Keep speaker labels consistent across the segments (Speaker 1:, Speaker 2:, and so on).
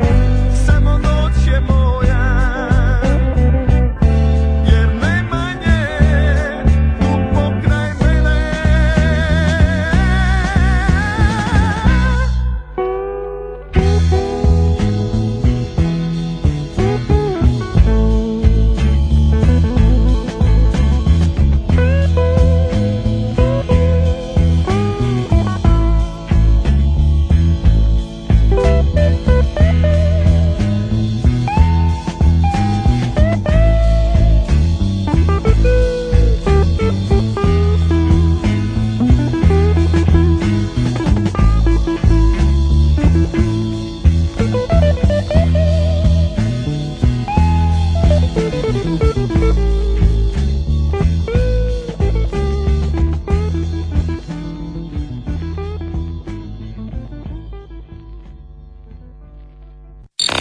Speaker 1: Y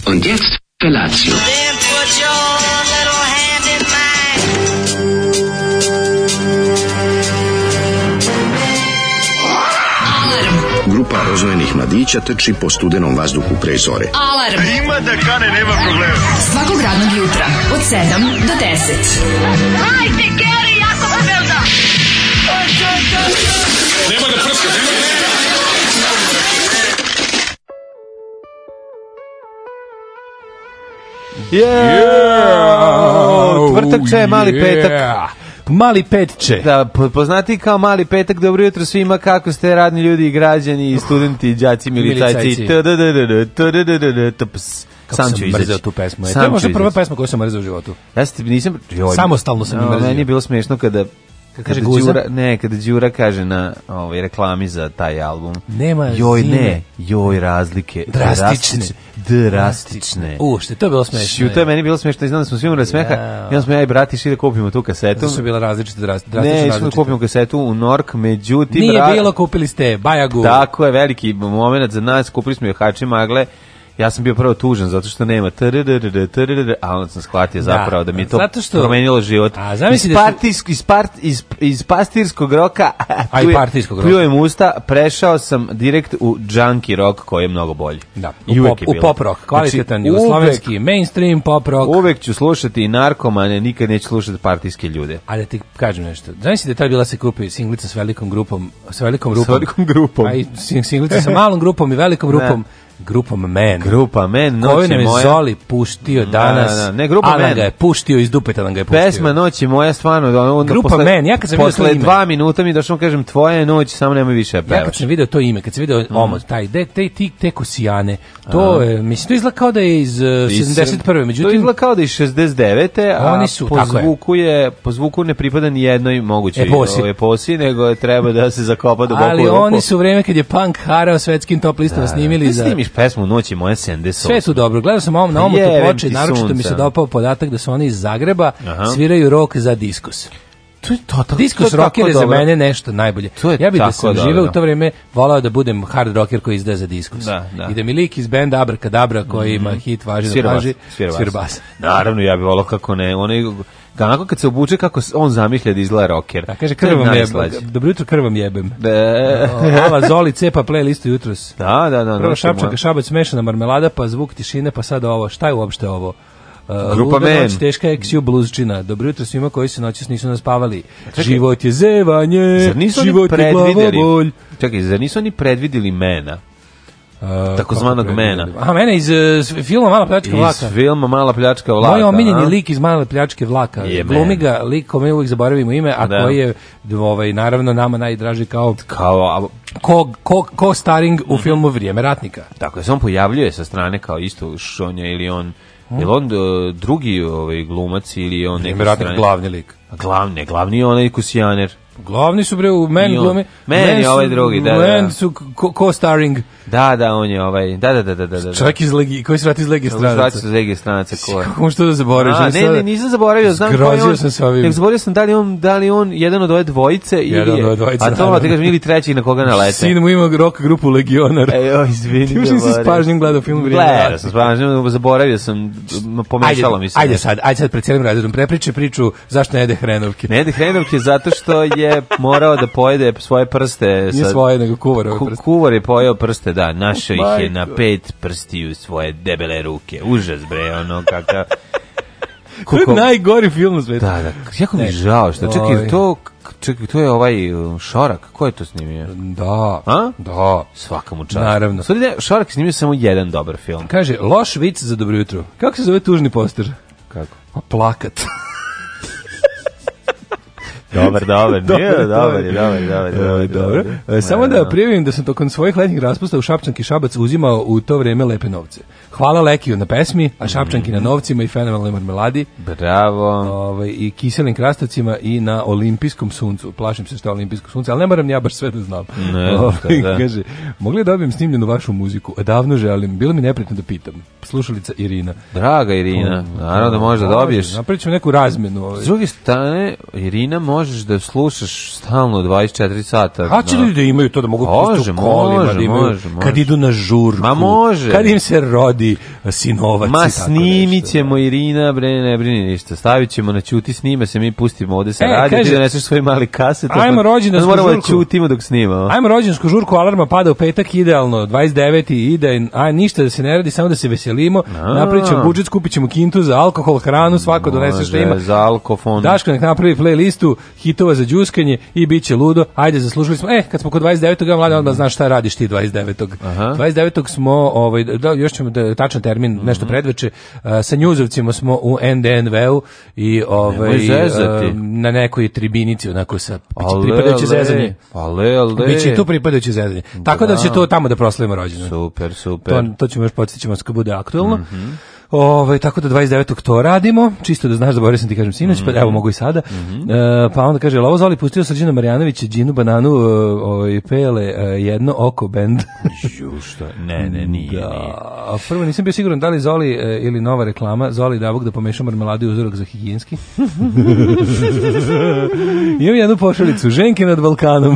Speaker 2: Und jetzt Felatio.
Speaker 3: Then put your little hand in mine.
Speaker 4: Grupa rozvojenih mladića trči po studenom vazduhu pre zore.
Speaker 5: Alarm
Speaker 6: Ima da kane, nema problema.
Speaker 5: svakog radnog jutra od 7 do 10.
Speaker 3: Hajde, Geri Jakobsfelda!
Speaker 7: Yeah!
Speaker 8: Tvrtak je mali petak.
Speaker 7: Mali petče.
Speaker 8: Da, po- poznati kao mali petak, dobro jutro svima, kako ste radni ljudi i građani i studenti, i đaci, milicajci.
Speaker 7: Milicajci.
Speaker 8: tdddd, tdddd, tps.
Speaker 7: Kako
Speaker 8: Sam ću
Speaker 7: mrzeo
Speaker 8: izaći.
Speaker 7: tu pesmu. E, to je
Speaker 8: Sam ću
Speaker 7: možda prva
Speaker 8: izaći.
Speaker 7: pesma koju sam mrzeo u životu.
Speaker 8: Ja se nisam... joj,
Speaker 7: Samostalno sam je
Speaker 8: no,
Speaker 7: mrzio.
Speaker 8: Meni je bilo smešno kada... Kada
Speaker 7: kaže Guza?
Speaker 8: Đura, ne, kada Đura kaže na ovaj, reklami za taj album.
Speaker 7: Nema
Speaker 8: Joj,
Speaker 7: zime.
Speaker 8: ne, joj, razlike.
Speaker 7: Drastične.
Speaker 8: Drastične. Drastične.
Speaker 7: U, što je to bilo smešno.
Speaker 8: Šu, to je meni bilo smešno, iznali smo svi umrli od smeha.
Speaker 7: Jao.
Speaker 8: I onda smo ja i brati šli da kupimo tu kasetu.
Speaker 7: To su bila različite drast- drastično
Speaker 8: Ne, išli smo da
Speaker 7: različite.
Speaker 8: kupimo kasetu u Nork, međutim...
Speaker 7: Nije
Speaker 8: ra-
Speaker 7: bilo, kupili ste Bajagu.
Speaker 8: Tako je, veliki moment za nas, kupili smo jahači magle, ja sam bio prvo tužan zato što nema trrrrrr, trrrrrr, a onda sam shvatio zapravo da mi je to
Speaker 7: zato što-
Speaker 8: promenilo život.
Speaker 7: A, zamisli
Speaker 8: iz,
Speaker 7: da su-
Speaker 8: partijsk, iz, part, iz, iz pastirskog roka
Speaker 7: A i
Speaker 8: plju-
Speaker 7: partijskog roka.
Speaker 8: pljujem usta, prešao sam direkt u junkie rock koji je mnogo bolji.
Speaker 7: Da,
Speaker 8: I
Speaker 7: u
Speaker 8: uvek
Speaker 7: pop,
Speaker 8: je
Speaker 7: u
Speaker 8: bilo.
Speaker 7: pop rock, kvalitetan
Speaker 8: Znači,
Speaker 7: jugoslovenski, mainstream pop rock.
Speaker 8: Uvek, uvek ću slušati i narkomane, nikad neću slušati partijske ljude.
Speaker 7: A da ti kažem nešto. Znaš si da je tad bila se kupi singlica s velikom grupom, s velikom grupom.
Speaker 8: velikom grupom.
Speaker 7: A i sin- singlica sa malom grupom i velikom grupom. Grupom Men.
Speaker 8: Grupa Men,
Speaker 7: Koju
Speaker 8: noć
Speaker 7: nam
Speaker 8: je
Speaker 7: je
Speaker 8: moja.
Speaker 7: Zoli puštio danas.
Speaker 8: da, da. Ne, grupa
Speaker 7: Alan
Speaker 8: Men.
Speaker 7: ga je puštio iz dupeta, nam ga je puštio.
Speaker 8: Pesma Noć je moja stvarno da ono
Speaker 7: Grupa
Speaker 8: posle,
Speaker 7: Men, ja kad sam vidio to
Speaker 8: posle
Speaker 7: ime.
Speaker 8: dva minuta mi došao kažem tvoja je noć samo nemoj više da
Speaker 7: Ja kad
Speaker 8: pevaš.
Speaker 7: sam video to ime, kad sam video
Speaker 8: Mm.
Speaker 7: omot, taj, de, te, ti, te kosijane, to je, mislim, to izgleda kao da je iz uh,
Speaker 8: Iz-
Speaker 7: 71.
Speaker 8: to
Speaker 7: Međutim,
Speaker 8: izgleda kao da je iz 69. a
Speaker 7: Oni su,
Speaker 8: po
Speaker 7: tako je.
Speaker 8: zvuku je po zvuku ne pripada ni jednoj mogućoj
Speaker 7: Eposi.
Speaker 8: ovaj, eposi, nego je treba da se zakopa duboko u
Speaker 7: ali
Speaker 8: rupu.
Speaker 7: oni su u vreme kad je punk harao svetskim top listama snimili
Speaker 8: Ti
Speaker 7: za...
Speaker 8: snimiš pesmu Noć je moja 78.
Speaker 7: Sve su dobro. Gledao sam ovom na omotu
Speaker 8: Jebem
Speaker 7: ploče,
Speaker 8: ti
Speaker 7: naročito mi se
Speaker 8: sunca.
Speaker 7: dopao podatak da su oni iz Zagreba,
Speaker 8: Aha.
Speaker 7: sviraju rok za diskus.
Speaker 8: To je totalno.
Speaker 7: Diskus
Speaker 8: to je
Speaker 7: rock je
Speaker 8: tako
Speaker 7: za
Speaker 8: dobro.
Speaker 7: mene nešto najbolje.
Speaker 8: To je
Speaker 7: ja bih da
Speaker 8: tako
Speaker 7: sam
Speaker 8: dobro.
Speaker 7: živeo u to vrijeme, volao da budem hard rocker koji izdaje za diskus.
Speaker 8: Da, da. Mhm.
Speaker 7: I da mi lik iz benda Abrakadabra koji ima hit važi
Speaker 8: Svira
Speaker 7: na
Speaker 8: bas,
Speaker 7: plaži,
Speaker 8: svira bas.
Speaker 7: svira bas.
Speaker 8: Naravno, ja bih volao kako ne. Onaj, onako kad se obuče kako s- on zamišlja da izgleda roker.
Speaker 7: Da, kaže
Speaker 8: To je
Speaker 7: krvam jebem.
Speaker 8: najslađe.
Speaker 7: Dobro jutro krvam jebem.
Speaker 8: Da.
Speaker 7: Ala Zoli cepa playlistu jutros.
Speaker 8: Da, da, da.
Speaker 7: Prvo
Speaker 8: noć je moja.
Speaker 7: šapčaka, šabac, smešana marmelada, pa zvuk tišine, pa sada ovo. Šta je uopšte ovo? Uh,
Speaker 8: Grupa
Speaker 7: luda
Speaker 8: Men.
Speaker 7: Noć, teška je XU bluzčina. Dobro jutro svima koji se noćas nisu naspavali. Život je zevanje,
Speaker 8: Zar nisu oni
Speaker 7: E,
Speaker 8: Uh,
Speaker 7: život je glavobolj.
Speaker 8: predvideli? Čekaj, zar nisu oni predvideli mena?
Speaker 7: Uh,
Speaker 8: Takozvanog
Speaker 7: kako
Speaker 8: mena.
Speaker 7: predvideli? Aha, mena iz uh, filma Mala pljačka vlaka.
Speaker 8: Iz filma Mala pljačka vlada.
Speaker 7: Moj omiljeni
Speaker 8: a?
Speaker 7: lik iz Male pljačke vlaka.
Speaker 8: Je
Speaker 7: Glumi
Speaker 8: men.
Speaker 7: ga lik kome uvijek zaboravimo ime, a
Speaker 8: Da.
Speaker 7: koji je d- ovaj, naravno nama najdraži kao
Speaker 8: Kao, a,
Speaker 7: ko, ko, ko staring u filmu Vrijeme ratnika.
Speaker 8: tako je, se on pojavljuje sa strane kao isto Šonja ili on...
Speaker 7: Hm?
Speaker 8: Je li on e, drugi ovaj, glumac ili je on neki
Speaker 7: Vrijeme ratnik
Speaker 8: strani-
Speaker 7: glavni lik.
Speaker 8: A Glavni, ne, glavni je onaj kusijaner.
Speaker 7: Glavni su bre u men
Speaker 8: I on.
Speaker 7: glumi.
Speaker 8: Man
Speaker 7: Men
Speaker 8: je
Speaker 7: su-
Speaker 8: ovaj drugi, da, da, da.
Speaker 7: Men su co- co-starring.
Speaker 8: Da, da, on je ovaj, da, da, da, da, da. da.
Speaker 7: Čovjek iz legi, koji se vrati iz legi
Speaker 8: Zvrati
Speaker 7: stranaca.
Speaker 8: su zege stranaca ko je.
Speaker 7: Kako mu što da zaboraviš?
Speaker 8: A,
Speaker 7: Ali
Speaker 8: ne,
Speaker 7: sad-
Speaker 8: ne, nisam zaboravio, znam ko je
Speaker 7: Zgrozio
Speaker 8: on.
Speaker 7: sam se ovim.
Speaker 8: Nek zaboravio sam da li on, da li on jedan od ove dvojice ili
Speaker 7: Jedan od ove dvojice,
Speaker 8: A to,
Speaker 7: naravno.
Speaker 8: ti kažem, ili treći na koga nalete.
Speaker 7: Sin mu ima rock grupu Legionar.
Speaker 8: E, o, izvini.
Speaker 7: Ti još nisi s pažnjom gledao film Vrijeme
Speaker 8: Gledao
Speaker 7: rata.
Speaker 8: sam s pažnjom, zaboravio sam, m, pomešalo mi se.
Speaker 7: Ajde sad, ajde sad pred cijelim razredom prepriče priču zašto ne jede hrenovke.
Speaker 8: Ne jede hrenovke zato što je morao da pojede svoje prste.
Speaker 7: Nije
Speaker 8: sa-
Speaker 7: svoje, nego kuvarove
Speaker 8: Ku,
Speaker 7: prste.
Speaker 8: kuvar je pojeo prste, da, našao ih je
Speaker 7: Majko.
Speaker 8: na pet prstiju svoje debele ruke. Užas bre, ono kakav...
Speaker 7: To je najgori film u svetu.
Speaker 8: Da, da, jako mi je
Speaker 7: Ne.
Speaker 8: žao što, čekaj,
Speaker 7: Ovaj.
Speaker 8: to, čekaj, to je ovaj uh, Šorak, ko je to snimio?
Speaker 7: Da.
Speaker 8: A?
Speaker 7: Da.
Speaker 8: Svaka mu čast.
Speaker 7: Naravno.
Speaker 8: Sudi ne, Šorak je snimio samo jedan dobar film.
Speaker 7: Kaže, loš vic za dobro jutro. Kako se zove tužni poster?
Speaker 8: Kako?
Speaker 7: Pa plakat.
Speaker 8: Dobar, dobar, nije,
Speaker 7: Dobar,
Speaker 8: dobar, je, dobar, je, dobar, je, dobar, je,
Speaker 7: Dobro.
Speaker 8: dobar.
Speaker 7: E, Samo
Speaker 8: Ne,
Speaker 7: da prijavim da sam tokom svojih letnjih raspusta u Šapčanki Šabac uzimao u to vreme lepe novce. Hvala Lekiju na pesmi, a Šapčanki
Speaker 8: Mhm.
Speaker 7: na novcima i fenomenalnoj marmeladi.
Speaker 8: Bravo.
Speaker 7: ovaj, i kiselim krastavcima i na olimpijskom suncu. Plašim se što je olimpijsko sunce, ali ne moram ja baš sve da znam.
Speaker 8: Ne,
Speaker 7: Ovaj,
Speaker 8: da, da.
Speaker 7: Kaže, mogli da dobijem snimljenu vašu muziku? Davno želim, bilo mi neprijatno da pitam. Slušalica Irina.
Speaker 8: Draga Irina, naravno da možeš da dobiješ.
Speaker 7: Napravit ćemo neku razmenu. Ovaj.
Speaker 8: S druge strane, Irina, možeš da slušaš stalno 24 sata.
Speaker 7: Hoće
Speaker 8: na-
Speaker 7: ljudi da imaju to da mogu
Speaker 8: Može,
Speaker 7: pusti u kolima,
Speaker 8: može,
Speaker 7: da imaju,
Speaker 8: može, može.
Speaker 7: kad idu na žurku,
Speaker 8: Ma može.
Speaker 7: kad im se rodi e, sinovac i
Speaker 8: Ma
Speaker 7: tako
Speaker 8: snimit
Speaker 7: nešto.
Speaker 8: ćemo Irina, bre, ne brini ništa. Stavit ćemo na ćuti snime se, mi pustimo ovde sa
Speaker 7: E,
Speaker 8: radija, ti
Speaker 7: kaže-
Speaker 8: doneseš svoj mali kaset.
Speaker 7: Ajmo
Speaker 8: onda-
Speaker 7: rođendansku
Speaker 8: onda Moramo da
Speaker 7: žurku.
Speaker 8: ćutimo dok snimamo.
Speaker 7: Ajmo rođensku žurku, alarma pada u petak, idealno, 29. ide, a ništa da se ne radi, samo da se veselimo, napravit ćemo budžet, skupit ćemo kintu za alkohol, hranu, svako donese što
Speaker 8: Može,
Speaker 7: ima.
Speaker 8: Za alkofon.
Speaker 7: Daško nek napravi playlistu hitova za đuskanje i bit će ludo. Ajde, zaslužili smo. E, kad smo kod 29. ja mlade, onda znaš šta radiš ti 29. 29. smo, ovaj, da, još ćemo da, tačan termin,
Speaker 8: Mhm.
Speaker 7: nešto predveče, a, sa njuzovcima smo u NDNV-u i ovaj,
Speaker 8: Nemoj zezati.
Speaker 7: a, na nekoj tribinici, onako sa
Speaker 8: Ale,
Speaker 7: pripadajuće
Speaker 8: ale,
Speaker 7: zezanje.
Speaker 8: Ale, ale.
Speaker 7: Biće i tu pripadajuće zezanje. Tako da će to tamo da proslavimo rođendan.
Speaker 8: Super, super.
Speaker 7: To, to ćemo još podsjećamo kad bude aktuelno. Ovaj, tako da 29. to radimo, čisto da znaš, zaboravio sam ti kažem sinoć, pa evo mogu i sada. E, pa onda kaže, Lavo Zoli pustio Srđana Marjanovića, Džinu Bananu, e, ovaj, Pele, e, jedno oko bend.
Speaker 8: Ju, što? Ne, ne, nije, nije.
Speaker 7: A, prvo nisam bio siguran da li Zoli e, ili nova reklama, Zoli Davog da pomešam marmeladu i uzorak za higijenski. Imam jednu pošalicu, ženke nad Balkanom.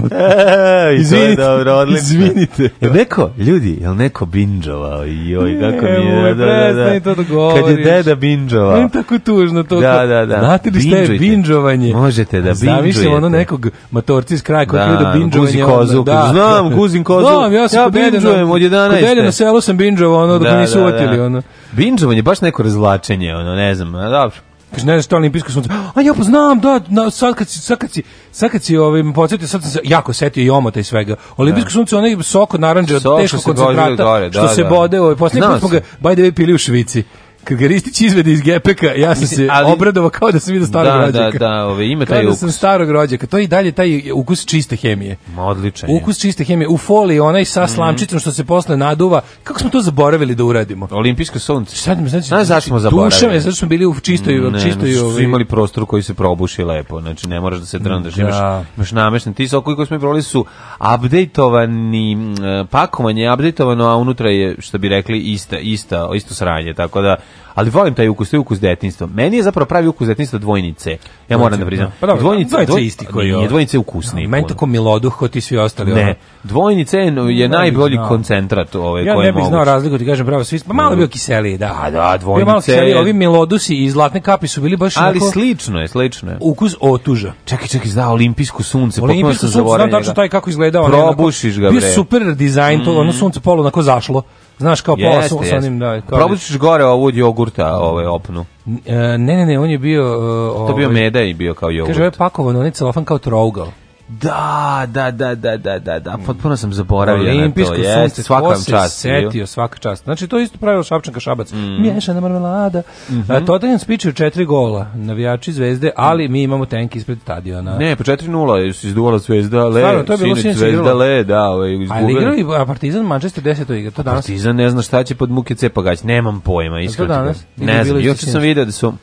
Speaker 8: Ej,
Speaker 7: Izvinite,
Speaker 8: E, to je dobro, odlično.
Speaker 7: izvinite.
Speaker 8: Jel neko, ljudi, jel neko binđovao? Joj, kako mi je,
Speaker 7: Nemoj,
Speaker 8: da, da, da.
Speaker 7: prestani to da
Speaker 8: Kad je
Speaker 7: govoriš.
Speaker 8: deda
Speaker 7: Meni
Speaker 8: binđovao.
Speaker 7: tako tužno to.
Speaker 8: Da,
Speaker 7: kao-
Speaker 8: da, da.
Speaker 7: Znate li šta je
Speaker 8: Binđujte.
Speaker 7: binđovanje?
Speaker 8: Možete da
Speaker 7: Zamišljam
Speaker 8: binđujete.
Speaker 7: ono nekog matorci iz kraja koji
Speaker 8: Da,
Speaker 7: da, binđovanje.
Speaker 8: guzi
Speaker 7: ono,
Speaker 8: kozu, kaže, "Znam, guzim kozu,
Speaker 7: Znam, ja sam
Speaker 8: ja
Speaker 7: kod dede na-
Speaker 8: binđujem od 11.
Speaker 7: Kod dede na selu sam binđovao, ono, dok da, nisu otili, ono.
Speaker 8: Binđovanje je baš neko razvlačenje, ono, ne znam, a dobro.
Speaker 7: Kaže, ne znaš što je olimpijsko sunce. A ja pa znam, da, na, sad kad si, sad kad si, sad kad si ovaj, podsjetio, sad sam se jako setio i omota i svega. Olimpijsko sunce, onaj sok od naranđe, od
Speaker 8: Sok
Speaker 7: teškog
Speaker 8: što se vozili
Speaker 7: koncentrata,
Speaker 8: gore, da,
Speaker 7: što se
Speaker 8: da.
Speaker 7: bode, ovaj, posljednji
Speaker 8: Znao
Speaker 7: put smo
Speaker 8: sam.
Speaker 7: ga, by the way, pili u Švici. Kad ga Ristić izvede iz gepeka, ja sam
Speaker 8: Mislim,
Speaker 7: se
Speaker 8: ali-
Speaker 7: obradovao kao da sam vidio starog
Speaker 8: Da, da,
Speaker 7: rođaka.
Speaker 8: da, ove, ima
Speaker 7: Kao
Speaker 8: taj
Speaker 7: da sam
Speaker 8: ukus.
Speaker 7: starog rođaka. To je i dalje taj ukus čiste hemije.
Speaker 8: Ma, odličan je. Mhm.
Speaker 7: Ukus čiste hemije. U foliji onaj sa slamčicom što se posle naduva. Kako smo to zaboravili da uradimo?
Speaker 8: Olimpijsko sunce.
Speaker 7: Sad mi znači,
Speaker 8: Znaš zašto smo zaboravili?
Speaker 7: Duša me, zato smo bili u čistoj,
Speaker 8: Ne,
Speaker 7: čistoj
Speaker 8: znači, su
Speaker 7: ovaj-
Speaker 8: imali prostor koji se probuši lepo, znači ne moraš da se drndaš,
Speaker 7: Da.
Speaker 8: imaš, imaš namešten. Ti sokovi koji smo provali su updateovani, m, e, pakovanje je updateovano, a unutra je, što bi rekli, ista, ista, isto sranje, tako da, ali volim taj ukus, to je ukus detinjstva. Meni je zapravo pravi ukus detinjstva dvojnice, ja moram da priznam.
Speaker 7: Pa dobro,
Speaker 8: dvojnice,
Speaker 7: dvojica je isti koji je
Speaker 8: Nije,
Speaker 7: ovo.
Speaker 8: dvojnice je ukusniji.
Speaker 7: Meni
Speaker 8: puno.
Speaker 7: tako miloduh, ko ti svi ostali. ono.
Speaker 8: Ne, dvojnice je, je
Speaker 7: bih
Speaker 8: najbolji
Speaker 7: znao.
Speaker 8: koncentrat ovaj ove
Speaker 7: Ja
Speaker 8: koje
Speaker 7: ne bih
Speaker 8: moguće.
Speaker 7: znao razliku, ti kažem, bravo, svi smo, pa malo je bio kiseliji, da.
Speaker 8: A da,
Speaker 7: Bio malo
Speaker 8: dvojnice
Speaker 7: kiseliji,
Speaker 8: je-
Speaker 7: ovi milodusi i zlatne kapi su bili baš
Speaker 8: Ali
Speaker 7: onako
Speaker 8: slično je, slično je.
Speaker 7: ukus otuža.
Speaker 8: Čekaj, čekaj, zna olimpijsko sunce, potpuno
Speaker 7: Olimpijsko
Speaker 8: sam
Speaker 7: sunce,
Speaker 8: zaboravio.
Speaker 7: znam tačno
Speaker 8: njega.
Speaker 7: taj kako izgledao. ono,
Speaker 8: Probušiš ga,
Speaker 7: onako,
Speaker 8: bre. Mm.
Speaker 7: Bio super dizajn, to ono sunce polo onako zašlo. Znaš, kao pola
Speaker 8: Jeste,
Speaker 7: su s
Speaker 8: jeste.
Speaker 7: onim, da. kao-
Speaker 8: Probušiš gore ovu od jogurta, ovaj opnu.
Speaker 7: E, Ne, ne, ne, on je bio... e,
Speaker 8: To bio
Speaker 7: ovaj,
Speaker 8: meda i bio kao jogurt.
Speaker 7: Kaže, ovo je pakovan, on je celofan kao trougal.
Speaker 8: da, da, da, da, da, da, da, potpuno sam zaboravio
Speaker 7: Olimpijsko
Speaker 8: na to.
Speaker 7: sunce,
Speaker 8: Jeste, svaka
Speaker 7: svaka
Speaker 8: vam
Speaker 7: se
Speaker 8: čast. Mm.
Speaker 7: setio, svaka čast. Znači, to je isto pravilo Šapčanka Šabac. Miješana marmelada.
Speaker 8: Mhm.
Speaker 7: A, Tottenham spičio četiri gola, navijači zvezde, ali mi imamo tank ispred stadiona.
Speaker 8: Ne, po 4-0 je izduvala Zvezda Le,
Speaker 7: Stvarno, to je bilo
Speaker 8: sinoć
Speaker 7: sinoć
Speaker 8: Zvezda
Speaker 7: igralo.
Speaker 8: Le, da, ovaj,
Speaker 7: Ali
Speaker 8: izgubila.
Speaker 7: igrali a Partizan Manchester 10 igra, to danas.
Speaker 8: Partizan ne zna šta će pod muke cepagać, nemam pojma, iskreno. ti
Speaker 7: danas?
Speaker 8: kažem.
Speaker 7: Ili
Speaker 8: Ne znam,
Speaker 7: bilo je
Speaker 8: juče sam
Speaker 7: sinoć?
Speaker 8: video da su